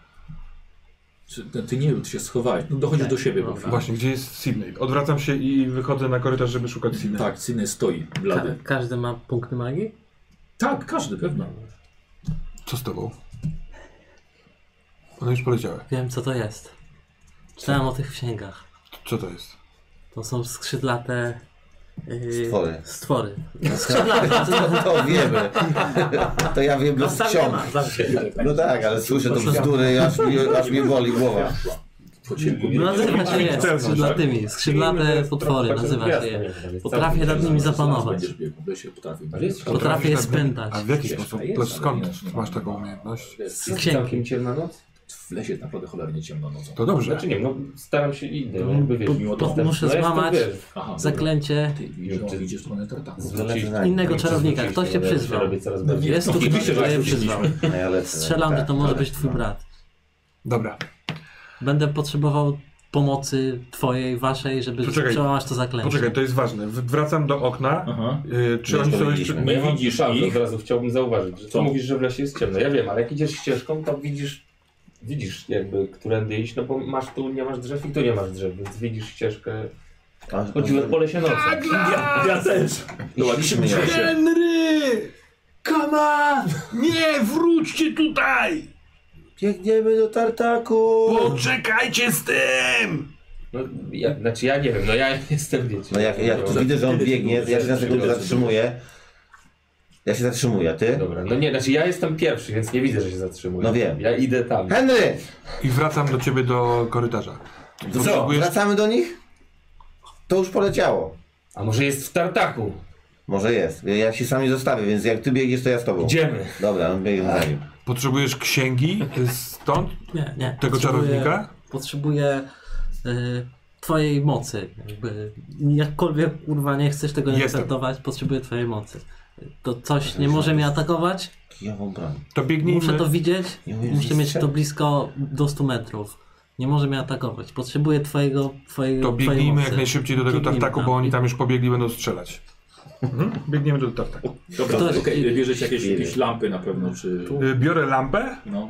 Speaker 2: Czy- Ty, ty nie wiem, ty się schowałeś. No, dochodzisz do siebie po
Speaker 5: Dobra.
Speaker 2: chwili.
Speaker 4: Tak. Właśnie, gdzie jest Sydney? Odwracam się i wychodzę na korytarz, żeby szukać Sydney.
Speaker 2: Tak, Cyny stoi,
Speaker 5: Ka
Speaker 2: blady.
Speaker 5: każdy ma punkty magii?
Speaker 2: Tak, każdy, pewno.
Speaker 4: Co z tobą? One już poleciały.
Speaker 5: Wiem co to jest. Czytałem o tych w księgach.
Speaker 4: Co to jest?
Speaker 5: To są skrzydlate... Yy,
Speaker 3: Stwory.
Speaker 5: Stwory. Skrzydlate.
Speaker 3: To No, wiemy. To ja wiem
Speaker 5: No
Speaker 3: bez
Speaker 5: sam nie
Speaker 3: ksiąg.
Speaker 5: ma, zawsze.
Speaker 3: No tak, ale słyszę to bzdury i aż mi, aż mi boli głowa.
Speaker 2: Po ciemku.
Speaker 5: No nazywa się jest,
Speaker 4: Chcę,
Speaker 5: skrzydlatymi, skrzydlate potwory, nazywa się je. Potrafię nad nimi zapanować,
Speaker 2: Będziesz biegł, bo się potrafi.
Speaker 6: Ale jest-
Speaker 5: potrafię je
Speaker 4: Potrafisz tak- A
Speaker 5: spętać.
Speaker 4: w jaki
Speaker 2: Jest,
Speaker 4: sposób?
Speaker 2: jest,
Speaker 4: To
Speaker 2: ale
Speaker 4: Skąd
Speaker 2: jest.
Speaker 4: masz taką umiejętność?
Speaker 2: Jest-
Speaker 5: Księgi.
Speaker 6: Całkiem ciemna noc?
Speaker 2: W lesie jest naprawdę cholernie ciemno nocą.
Speaker 4: To dobrze.
Speaker 6: Znaczy nie, no staram się i idę, no, jakby wiesz,
Speaker 5: Po-
Speaker 6: mimo
Speaker 5: po-
Speaker 6: dostęp-
Speaker 5: muszę
Speaker 6: no, jestem,
Speaker 5: złamać-
Speaker 6: wiesz,
Speaker 2: Aha,
Speaker 5: Zaklęcie
Speaker 2: Ty widzisz, że on idzie w stronę tartaku.
Speaker 6: zwrócić-
Speaker 5: innego czarownika,
Speaker 6: zwrócić
Speaker 5: ktoś
Speaker 6: się, No
Speaker 5: się
Speaker 6: bo ja się
Speaker 5: przyzwał.
Speaker 6: robię coraz bardziej-
Speaker 5: Jest tu ktoś,
Speaker 2: Oczywiście,
Speaker 5: kto
Speaker 2: że
Speaker 5: je
Speaker 2: się
Speaker 5: przyzwał.
Speaker 3: No ja lecę. Tak,
Speaker 5: Strzelam, że to może być twój brat.
Speaker 4: Dobra.
Speaker 5: Będę potrzebował pomocy twojej, waszej, żeby
Speaker 4: Poczekaj.
Speaker 5: przełamać to zaklęcie.
Speaker 4: Poczekaj, to jest ważne. W- Wracam do okna.
Speaker 2: Aha.
Speaker 4: Y, Czy
Speaker 3: Nie
Speaker 4: oni są
Speaker 3: powiedzieliśmy.
Speaker 2: Nie
Speaker 4: jeszcze...
Speaker 6: Ja mam
Speaker 2: widzisz
Speaker 6: pauzę,
Speaker 2: ich?
Speaker 6: Od razu chciałbym zauważyć, że
Speaker 2: Co?
Speaker 6: co mówisz, że w lesie jest ciemno. Ja wiem, ale jak idziesz ścieżką, to widzisz, widzisz jakby, którędy iść, no bo masz tu, nie masz drzew i tu nie masz drzew, więc widzisz ścieżkę.
Speaker 3: A,
Speaker 6: Chodziłem po lesie nocą.
Speaker 2: Ja, ja też!
Speaker 6: No,
Speaker 2: Dobra, nie się
Speaker 3: Śmieję.
Speaker 2: się.
Speaker 4: Henry! Kama! Nie, wróćcie tutaj!
Speaker 3: Biegniemy do tartaku!
Speaker 4: Poczekajcie z tym!
Speaker 6: No, ja, znaczy ja nie wiem, no ja jestem, wiecie.
Speaker 3: No jak, jak tu
Speaker 6: no,
Speaker 3: widzę, że on
Speaker 2: Kiedy ty
Speaker 3: biegnie,
Speaker 2: byłeś?
Speaker 3: ja się na sekundę zatrzymuję, Ja się zatrzymuję, a ty?
Speaker 6: Dobra, no nie, znaczy ja jestem pierwszy, więc nie widzę, że się zatrzymuję.
Speaker 3: No wiem.
Speaker 6: Ja idę tam.
Speaker 3: Henry!
Speaker 4: I wracam do ciebie do korytarza.
Speaker 3: To co,
Speaker 4: Potrzebujesz-
Speaker 3: wracamy do nich? To już poleciało.
Speaker 6: A może jest w tartaku?
Speaker 3: Może jest. Ja się sami zostawię, więc jak ty biegniesz, to ja z tobą.
Speaker 6: Idziemy.
Speaker 3: Dobra, no biegam
Speaker 4: Tak.
Speaker 3: za nim.
Speaker 4: Potrzebujesz księgi stąd,
Speaker 5: Nie, nie.
Speaker 4: tego
Speaker 5: potrzebuję-
Speaker 4: czarownika?
Speaker 5: Potrzebuję y, twojej mocy. Jakby, jakkolwiek kurwa nie chcesz tego
Speaker 4: Jestem.
Speaker 5: interpretować, potrzebuję twojej mocy. To coś nie może mnie atakować,
Speaker 3: Kijową broń.
Speaker 4: To biegnijmy.
Speaker 5: muszę to widzieć,
Speaker 3: Nie umiesz
Speaker 5: muszę mieć
Speaker 3: strzelać.
Speaker 5: to blisko do 100 metrów. Nie może mnie atakować. Potrzebuję twojego, twojego
Speaker 4: To
Speaker 5: twojej
Speaker 4: biegnijmy
Speaker 5: mocy.
Speaker 4: jak najszybciej do tego
Speaker 5: Biegnijmy
Speaker 4: tartaku,
Speaker 5: tam.
Speaker 4: bo oni tam już pobiegli, będą strzelać. Mhm. Biegniemy do tartaku.
Speaker 2: Dobra,
Speaker 5: Ktoś-
Speaker 2: okej, bierzecie jakieś, jakieś lampy na pewno, czy... E,
Speaker 4: Y, Biorę lampę
Speaker 2: No.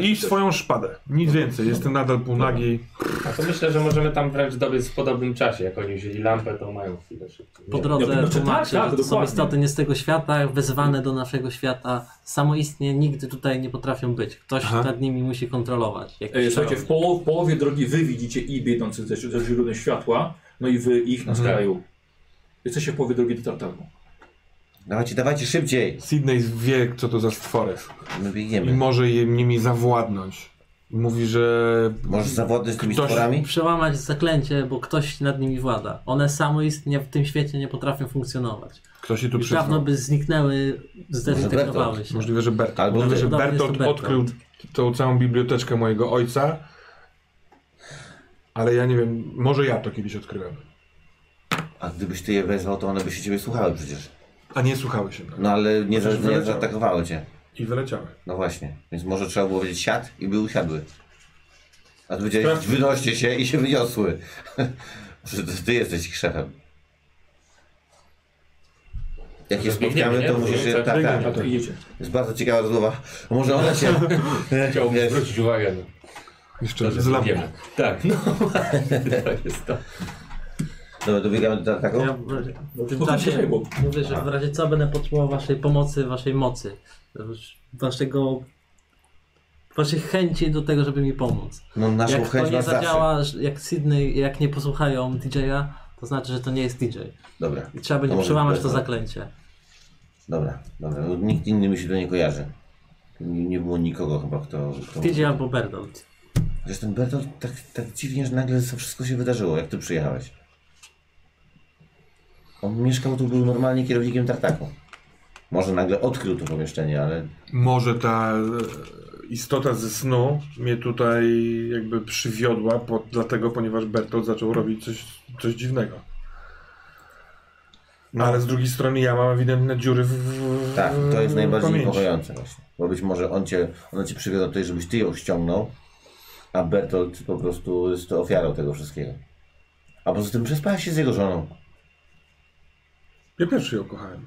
Speaker 4: y, i swoją szpadę. Nic więcej, jestem nadal półnagi.
Speaker 6: A to myślę, że możemy tam wręcz dobiec w podobnym czasie. Jak oni wzięli lampę, to mają chwilę szybciej.
Speaker 5: Po
Speaker 6: Nie.
Speaker 2: No,
Speaker 5: drodze
Speaker 2: no,
Speaker 5: no,
Speaker 2: czy
Speaker 5: tłumaczy,
Speaker 2: tak, tak,
Speaker 5: że to są
Speaker 2: dokładnie.
Speaker 5: istoty nie z tego świata, wezwane do naszego świata. Samoistnie nigdy tutaj nie potrafią być. Ktoś
Speaker 4: Aha.
Speaker 5: nad nimi musi kontrolować. jakiś
Speaker 2: E, słuchajcie, w,
Speaker 5: czarownik.
Speaker 2: poł- w połowie drogi wy widzicie i biegnących ze, ze źródeł światła, no i wy ich na skraju. Jesteście w połowie drogi do tartaku.
Speaker 3: Dawajcie, dawajcie szybciej.
Speaker 4: Sydney wie, co to za stwory.
Speaker 3: My
Speaker 4: I
Speaker 3: biegniemy.
Speaker 4: może je, nimi zawładnąć. Mówi, że
Speaker 3: Możesz zawładnąć tymi
Speaker 4: Ktoś-
Speaker 3: stworami?
Speaker 5: Przełamać zaklęcie, bo ktoś nad nimi włada. One samoistnie w tym świecie nie potrafią funkcjonować.
Speaker 4: ktoś się tu
Speaker 5: Już dawno
Speaker 4: przyznał.
Speaker 5: by zniknęły, zdezintegrowały się.
Speaker 4: Możliwe, że Bertolt.
Speaker 3: Albo
Speaker 4: Możliwe,
Speaker 3: ty.
Speaker 4: że
Speaker 5: Dobra,
Speaker 4: Bertolt
Speaker 5: jestem
Speaker 4: odkrył
Speaker 5: Bertolt.
Speaker 4: tą całą biblioteczkę mojego ojca. Ale ja nie wiem, może ja to kiedyś odkryłem.
Speaker 3: A gdybyś ty je wezwał, to one by się ciebie słuchały przecież.
Speaker 4: A nie słuchały się. mnie.
Speaker 3: No ale nie,
Speaker 4: Chociaż
Speaker 3: za, nie
Speaker 4: wyleciały.
Speaker 3: zaatakowały cię.
Speaker 4: I wyleciały.
Speaker 3: No właśnie. Więc może trzeba było wiedzieć siad i były siadły. A ty powiedziałeś,
Speaker 4: Sprawdźmy.
Speaker 3: wynoście się i się wyniosły. Że to ty jesteś ich szefem. Jak je
Speaker 6: Może biegniemy,
Speaker 3: spotkamy,
Speaker 6: nie?
Speaker 3: to musisz je...
Speaker 6: Biegniemy,
Speaker 3: Tak, tak.
Speaker 2: A to idziecie.
Speaker 3: Jest bardzo ciekawa rozmowa. A Może ona cię...
Speaker 6: Chciałbym
Speaker 3: wiesz,
Speaker 6: zwrócić uwagę. No.
Speaker 4: Jeszcze z lampą.
Speaker 6: Wiemy. Tak, no. tak jest to.
Speaker 3: Dobra, dobiegamy do ataku?
Speaker 5: Ja w- w tym
Speaker 2: No,
Speaker 5: czasie
Speaker 2: czekaj, bo-
Speaker 5: mówię, że w razie co będę potrzebował waszej pomocy, waszej mocy, waszego, waszych chęci do tego, żeby mi pomóc.
Speaker 3: No naszą
Speaker 5: Jak to
Speaker 3: chęć
Speaker 5: nie
Speaker 3: masz zawsze.
Speaker 5: zadziała, że- jak Sydney, jak nie posłuchają DJ-a, to znaczy, że to nie jest DJ.
Speaker 3: Dobra,
Speaker 5: I trzeba będzie
Speaker 3: może
Speaker 5: przełamać to
Speaker 3: Bertolt.
Speaker 5: zaklęcie.
Speaker 3: dobra, dobra. No, Nikt inny mi się tu nie kojarzy. Nie, nie było nikogo chyba, kto... kto...
Speaker 5: DJ albo Bertolt.
Speaker 3: Chociaż ten Bertolt tak, tak dziwnie, że nagle to wszystko się wydarzyło, jak ty przyjechałeś. On mieszkał tu, był normalnie kierownikiem tartaku. Może nagle odkrył to pomieszczenie, ale
Speaker 4: Może ta e, istota ze snu mnie tutaj jakby przywiodła, po, dlatego, ponieważ Bertolt zaczął robić coś, coś dziwnego. No. Ale z drugiej strony ja mam ewidentne dziury w, w
Speaker 3: tak, to
Speaker 4: Eee,
Speaker 3: jest najbardziej
Speaker 4: pamięci.
Speaker 3: niepokojące właśnie. Bo być może on cię, ona cię przywiodła tutaj, żebyś ty ją ściągnął, a Bertolt po prostu jest ofiarą tego wszystkiego. A poza tym przespałeś się z jego żoną.
Speaker 4: Ja pierwszy ją kochałem.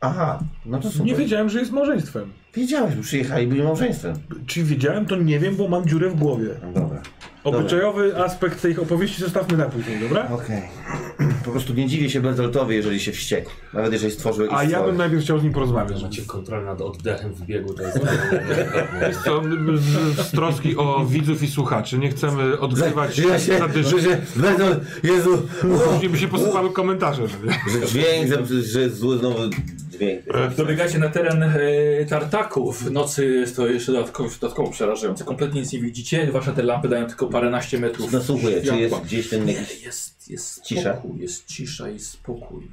Speaker 3: Aha, no to super.
Speaker 4: Nie wiedziałem, że jest małżeństwem.
Speaker 3: Wiedziałeś, bo przyjechali, byli małżeństwem.
Speaker 4: Czy wiedziałem, to nie wiem, bo mam dziurę w głowie.
Speaker 3: No dobra.
Speaker 4: Obyczajowy aspekt tej opowieści zostawmy na później, dobra?
Speaker 3: Okej. Po prostu nie dziwię się Bertoltowi, jeżeli się wściekł. Nawet jeżeli stworzył jakiś
Speaker 4: A ja
Speaker 3: stwory.
Speaker 4: bym najpierw chciał z nim porozmawiać.
Speaker 6: Macie kontrolę nad oddechem w biegu. To jest
Speaker 4: Co, z, z troski o widzów i słuchaczy, nie chcemy odgrywać
Speaker 3: Ja się,
Speaker 4: zadyszy.
Speaker 3: że się, Bertolt, Jezu,
Speaker 4: Później by się posypały komentarze. że-
Speaker 3: że dźwięk, że, że zły znowu dźwięk.
Speaker 2: Dobiegacie na teren e, tartaku. W nocy jest to jeszcze dodatkowo, dodatkowo przerażające. Kompletnie nic nie widzicie. Wasze te lampy dają tylko paręnaście metrów
Speaker 3: Nasłuchuję, czy jest
Speaker 2: światła.
Speaker 3: gdzieś ten
Speaker 2: Nie,
Speaker 3: jakiś...
Speaker 2: jest, jest
Speaker 3: Cisza?
Speaker 2: spokój, jest cisza i spokój.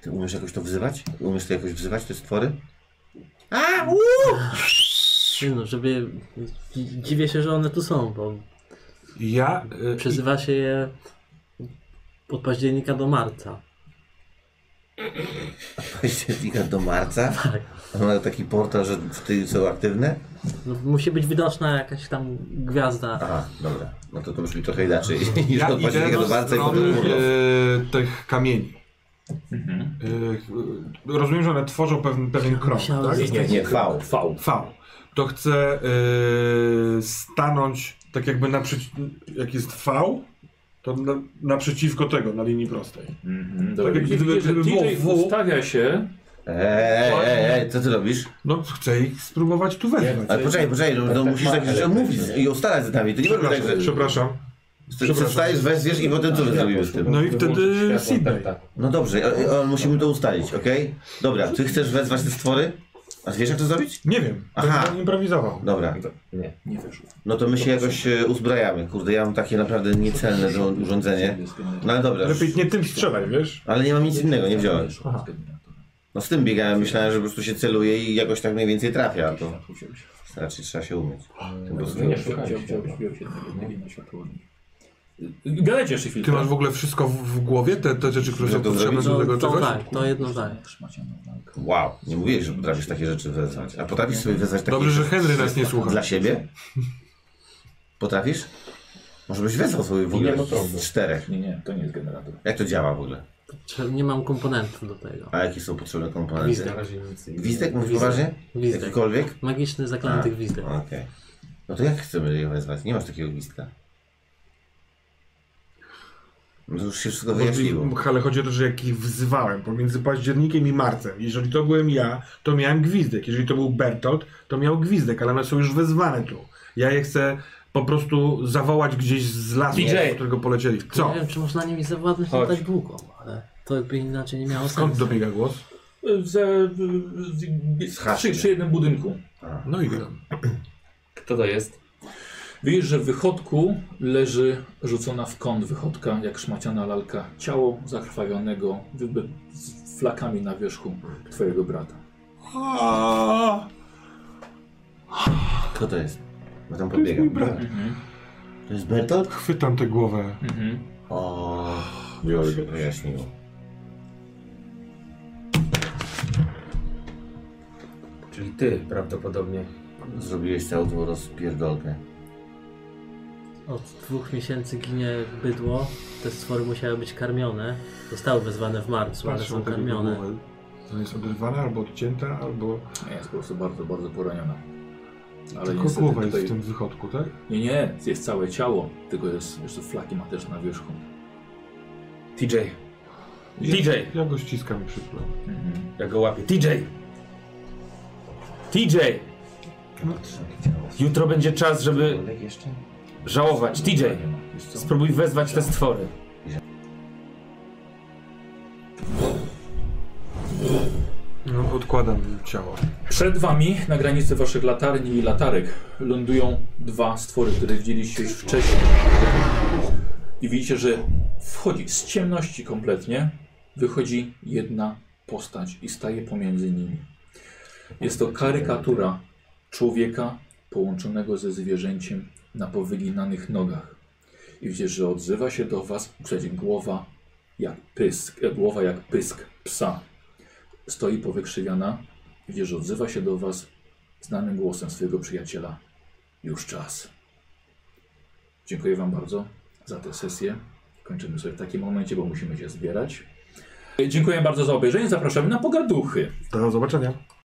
Speaker 3: Ty umiesz jakoś to wzywać? Umiesz to jakoś wzywać, te stwory?
Speaker 5: Nie No, żeby... Dziwię się, że one tu są, bo
Speaker 4: Ja y,
Speaker 5: przezywa się je od października do marca.
Speaker 3: Października do marca?
Speaker 5: Tak.
Speaker 3: A ma taki portal, że wtedy są aktywne?
Speaker 5: No, musi być widoczna jakaś tam gwiazda.
Speaker 4: Tak.
Speaker 3: Aha, dobra. No to to brzmi trochę inaczej niż
Speaker 4: ja
Speaker 3: od
Speaker 4: idę
Speaker 3: października do
Speaker 4: do
Speaker 3: marca i
Speaker 4: strony
Speaker 3: potem urlop.
Speaker 4: y, tych kamieni. Y, y, rozumiem, że one tworzą pewien, pewien krąg,
Speaker 5: Musiały
Speaker 4: tak?
Speaker 5: zostać-
Speaker 3: Nie, nie, V.
Speaker 2: V.
Speaker 4: V. To chcę y, stanąć tak jakby naprzeciw... Jak jest V, to na, naprzeciwko tego, na linii prostej.
Speaker 2: Mhm, dobra.
Speaker 4: jak
Speaker 2: Widzicie,
Speaker 4: gdyby-
Speaker 2: widzicie, że
Speaker 4: gdyby było
Speaker 2: DJ
Speaker 4: W.
Speaker 2: ustawia się.
Speaker 3: Ej, ej, ej, co ty robisz?
Speaker 4: No chcę ich spróbować tu wezwać.
Speaker 3: tak, Ale poczekaj, poczekaj, no, no musisz takie rzeczy mówić i ustalać z nami. To nie może być tak,
Speaker 4: tak, Przepraszam,
Speaker 3: że...
Speaker 4: przepraszam.
Speaker 3: Który przestajesz, wezwiesz i potem co my zrobimy z tym?
Speaker 4: No i
Speaker 6: Wyłączyć
Speaker 4: wtedy
Speaker 6: światło,
Speaker 4: Sydney.
Speaker 6: tak, tak.
Speaker 3: No dobrze, ale- ale musimy to ustalić, okej? Dobra, ty chcesz wezwać te stwory? A ty wiesz jak to zrobić?
Speaker 4: Nie wiem,
Speaker 3: Aha.
Speaker 4: Aha. improwizował.
Speaker 3: Dobra,
Speaker 6: Nie.
Speaker 2: Nie wyszło.
Speaker 3: no to my się jakoś e, uzbrajamy. Kurde, ja mam takie naprawdę niecelne do- urządzenie. No ale dobra,
Speaker 4: Lepiej nie tym strzelaj, wiesz?
Speaker 3: ale nie mam nic innego, nie wziąłem.
Speaker 4: Aha.
Speaker 3: No z tym biegałem, myślałem, że po prostu się celuje i jakoś tak mniej więcej trafia, a to raczej trzeba się umieć. Po prostu.
Speaker 2: Nie, szukałem. Gadajcie jeszcze chwilę.
Speaker 4: Ty masz w ogóle wszystko w, w głowie, te, te rzeczy, które
Speaker 3: Ja
Speaker 4: są
Speaker 3: to
Speaker 4: potrzebne do tego
Speaker 5: No, to
Speaker 4: czegoś?
Speaker 5: tak, to jedno zdanie.
Speaker 3: Wow, nie mówiłeś, że potrafisz takie rzeczy wezwać. A potrafisz sobie wezwać takie
Speaker 4: Dobrze, że
Speaker 3: rzeczy
Speaker 4: Henry nas nie słucha.
Speaker 3: dla siebie? Potrafisz? Może byś wezwał sobie w
Speaker 6: Nie
Speaker 3: ogóle
Speaker 6: ma
Speaker 3: z
Speaker 6: problemu.
Speaker 3: czterech.
Speaker 2: Nie, nie, to nie jest generator.
Speaker 3: Jak to działa w ogóle?
Speaker 5: Czy Nie mam komponentów do tego.
Speaker 3: A jakie są potrzebne komponenty?
Speaker 5: Gwizdek.
Speaker 6: Na razie nic.
Speaker 3: Gwizdek? Mówisz
Speaker 5: Gwizdek.
Speaker 3: poważnie?
Speaker 5: Gwizdek.
Speaker 3: Jakikolwiek?
Speaker 5: Magiczny
Speaker 4: Tak.
Speaker 5: zaklęty gwizdek.
Speaker 3: Okej. No to jak chcemy je wezwać? Nie masz takiego gwizdka. No to już się wszystko wyjaśniło.
Speaker 4: Ale chodzi o to, że jak ich wzywałem pomiędzy październikiem i marcem. Jeżeli to byłem ja, to miałem gwizdek. Jeżeli to był Bertolt, to miał gwizdek, ale one są już wezwane tu. Ja je chcę po prostu zawołać gdzieś z lasu,
Speaker 6: DJ.
Speaker 4: z którego polecieli. Co?
Speaker 5: Nie wiem, czy można nimi zawładnąć na
Speaker 6: Chodź.
Speaker 5: tak długo, ale to by inaczej nie miało
Speaker 4: Skąd
Speaker 5: sensu.
Speaker 4: dobiega głos?
Speaker 2: Ze,
Speaker 3: Z
Speaker 2: z,
Speaker 3: chaty.
Speaker 2: przy, przy jednym budynku.
Speaker 3: A.
Speaker 4: No i wiem.
Speaker 6: Kto to jest?
Speaker 2: Widzisz, że w wychodku leży rzucona w kąt wychodka, jak szmaciana lalka, ciało zakrwawionego jakby z flakami na wierzchu twojego brata.
Speaker 3: Kto to jest? Bo tam podbiega.
Speaker 4: mój brat.
Speaker 2: Mhm.
Speaker 3: To jest Bertolt?
Speaker 4: Chwytam tę głowę.
Speaker 2: Mhm.
Speaker 3: O, już się wyjaśniło.
Speaker 6: Czyli ty prawdopodobnie.
Speaker 3: Zrobiłeś całą tą rozpierdolkę.
Speaker 5: Od dwóch miesięcy ginie bydło. Te stwory musiały być karmione. Zostały wezwane w marcu, ale
Speaker 4: Patrzę
Speaker 5: są
Speaker 4: na tę
Speaker 5: karmione.
Speaker 4: głowę. Ona jest oderwana albo odcięta, albo...
Speaker 2: Jest po prostu bardzo, bardzo poraniona. Ale
Speaker 4: Tylko
Speaker 2: niestety
Speaker 4: głowa jest
Speaker 2: tutaj-
Speaker 4: w tym wychodku, tak?
Speaker 2: Nie, nie, jest całe ciało, tylko jest jeszcze flaki ma też na wierzchu.
Speaker 6: TJ. DJ.
Speaker 4: Ja, ja go ściskam i przytulam.
Speaker 2: Mhm.
Speaker 6: Ja go łapię. TJ! TJ! Jutro będzie czas, żeby
Speaker 3: jeszcze?
Speaker 6: żałować. TJ!
Speaker 2: Wiesz co?
Speaker 6: Spróbuj wezwać te stwory.
Speaker 4: No, odkładam ciało.
Speaker 2: Przed wami, na granicy waszych latarni i latarek, lądują dwa stwory, które widzieliście już wcześniej. I widzicie, że wchodzi z ciemności kompletnie, wychodzi jedna postać i staje pomiędzy nimi. Jest to karykatura człowieka połączonego ze zwierzęciem na powyginanych nogach. I widzicie, że odzywa się do was przecież głowa jak pysk, e, głowa jak pysk psa. Stoi powykrzywiana, Widzisz, że odzywa się do was znanym głosem swojego przyjaciela. Już czas. Dziękuję wam bardzo za tę sesję. Kończymy sobie w takim momencie, bo musimy się zbierać. Dziękuję bardzo za obejrzenie. Zapraszamy na pogaduchy.
Speaker 4: Do zobaczenia.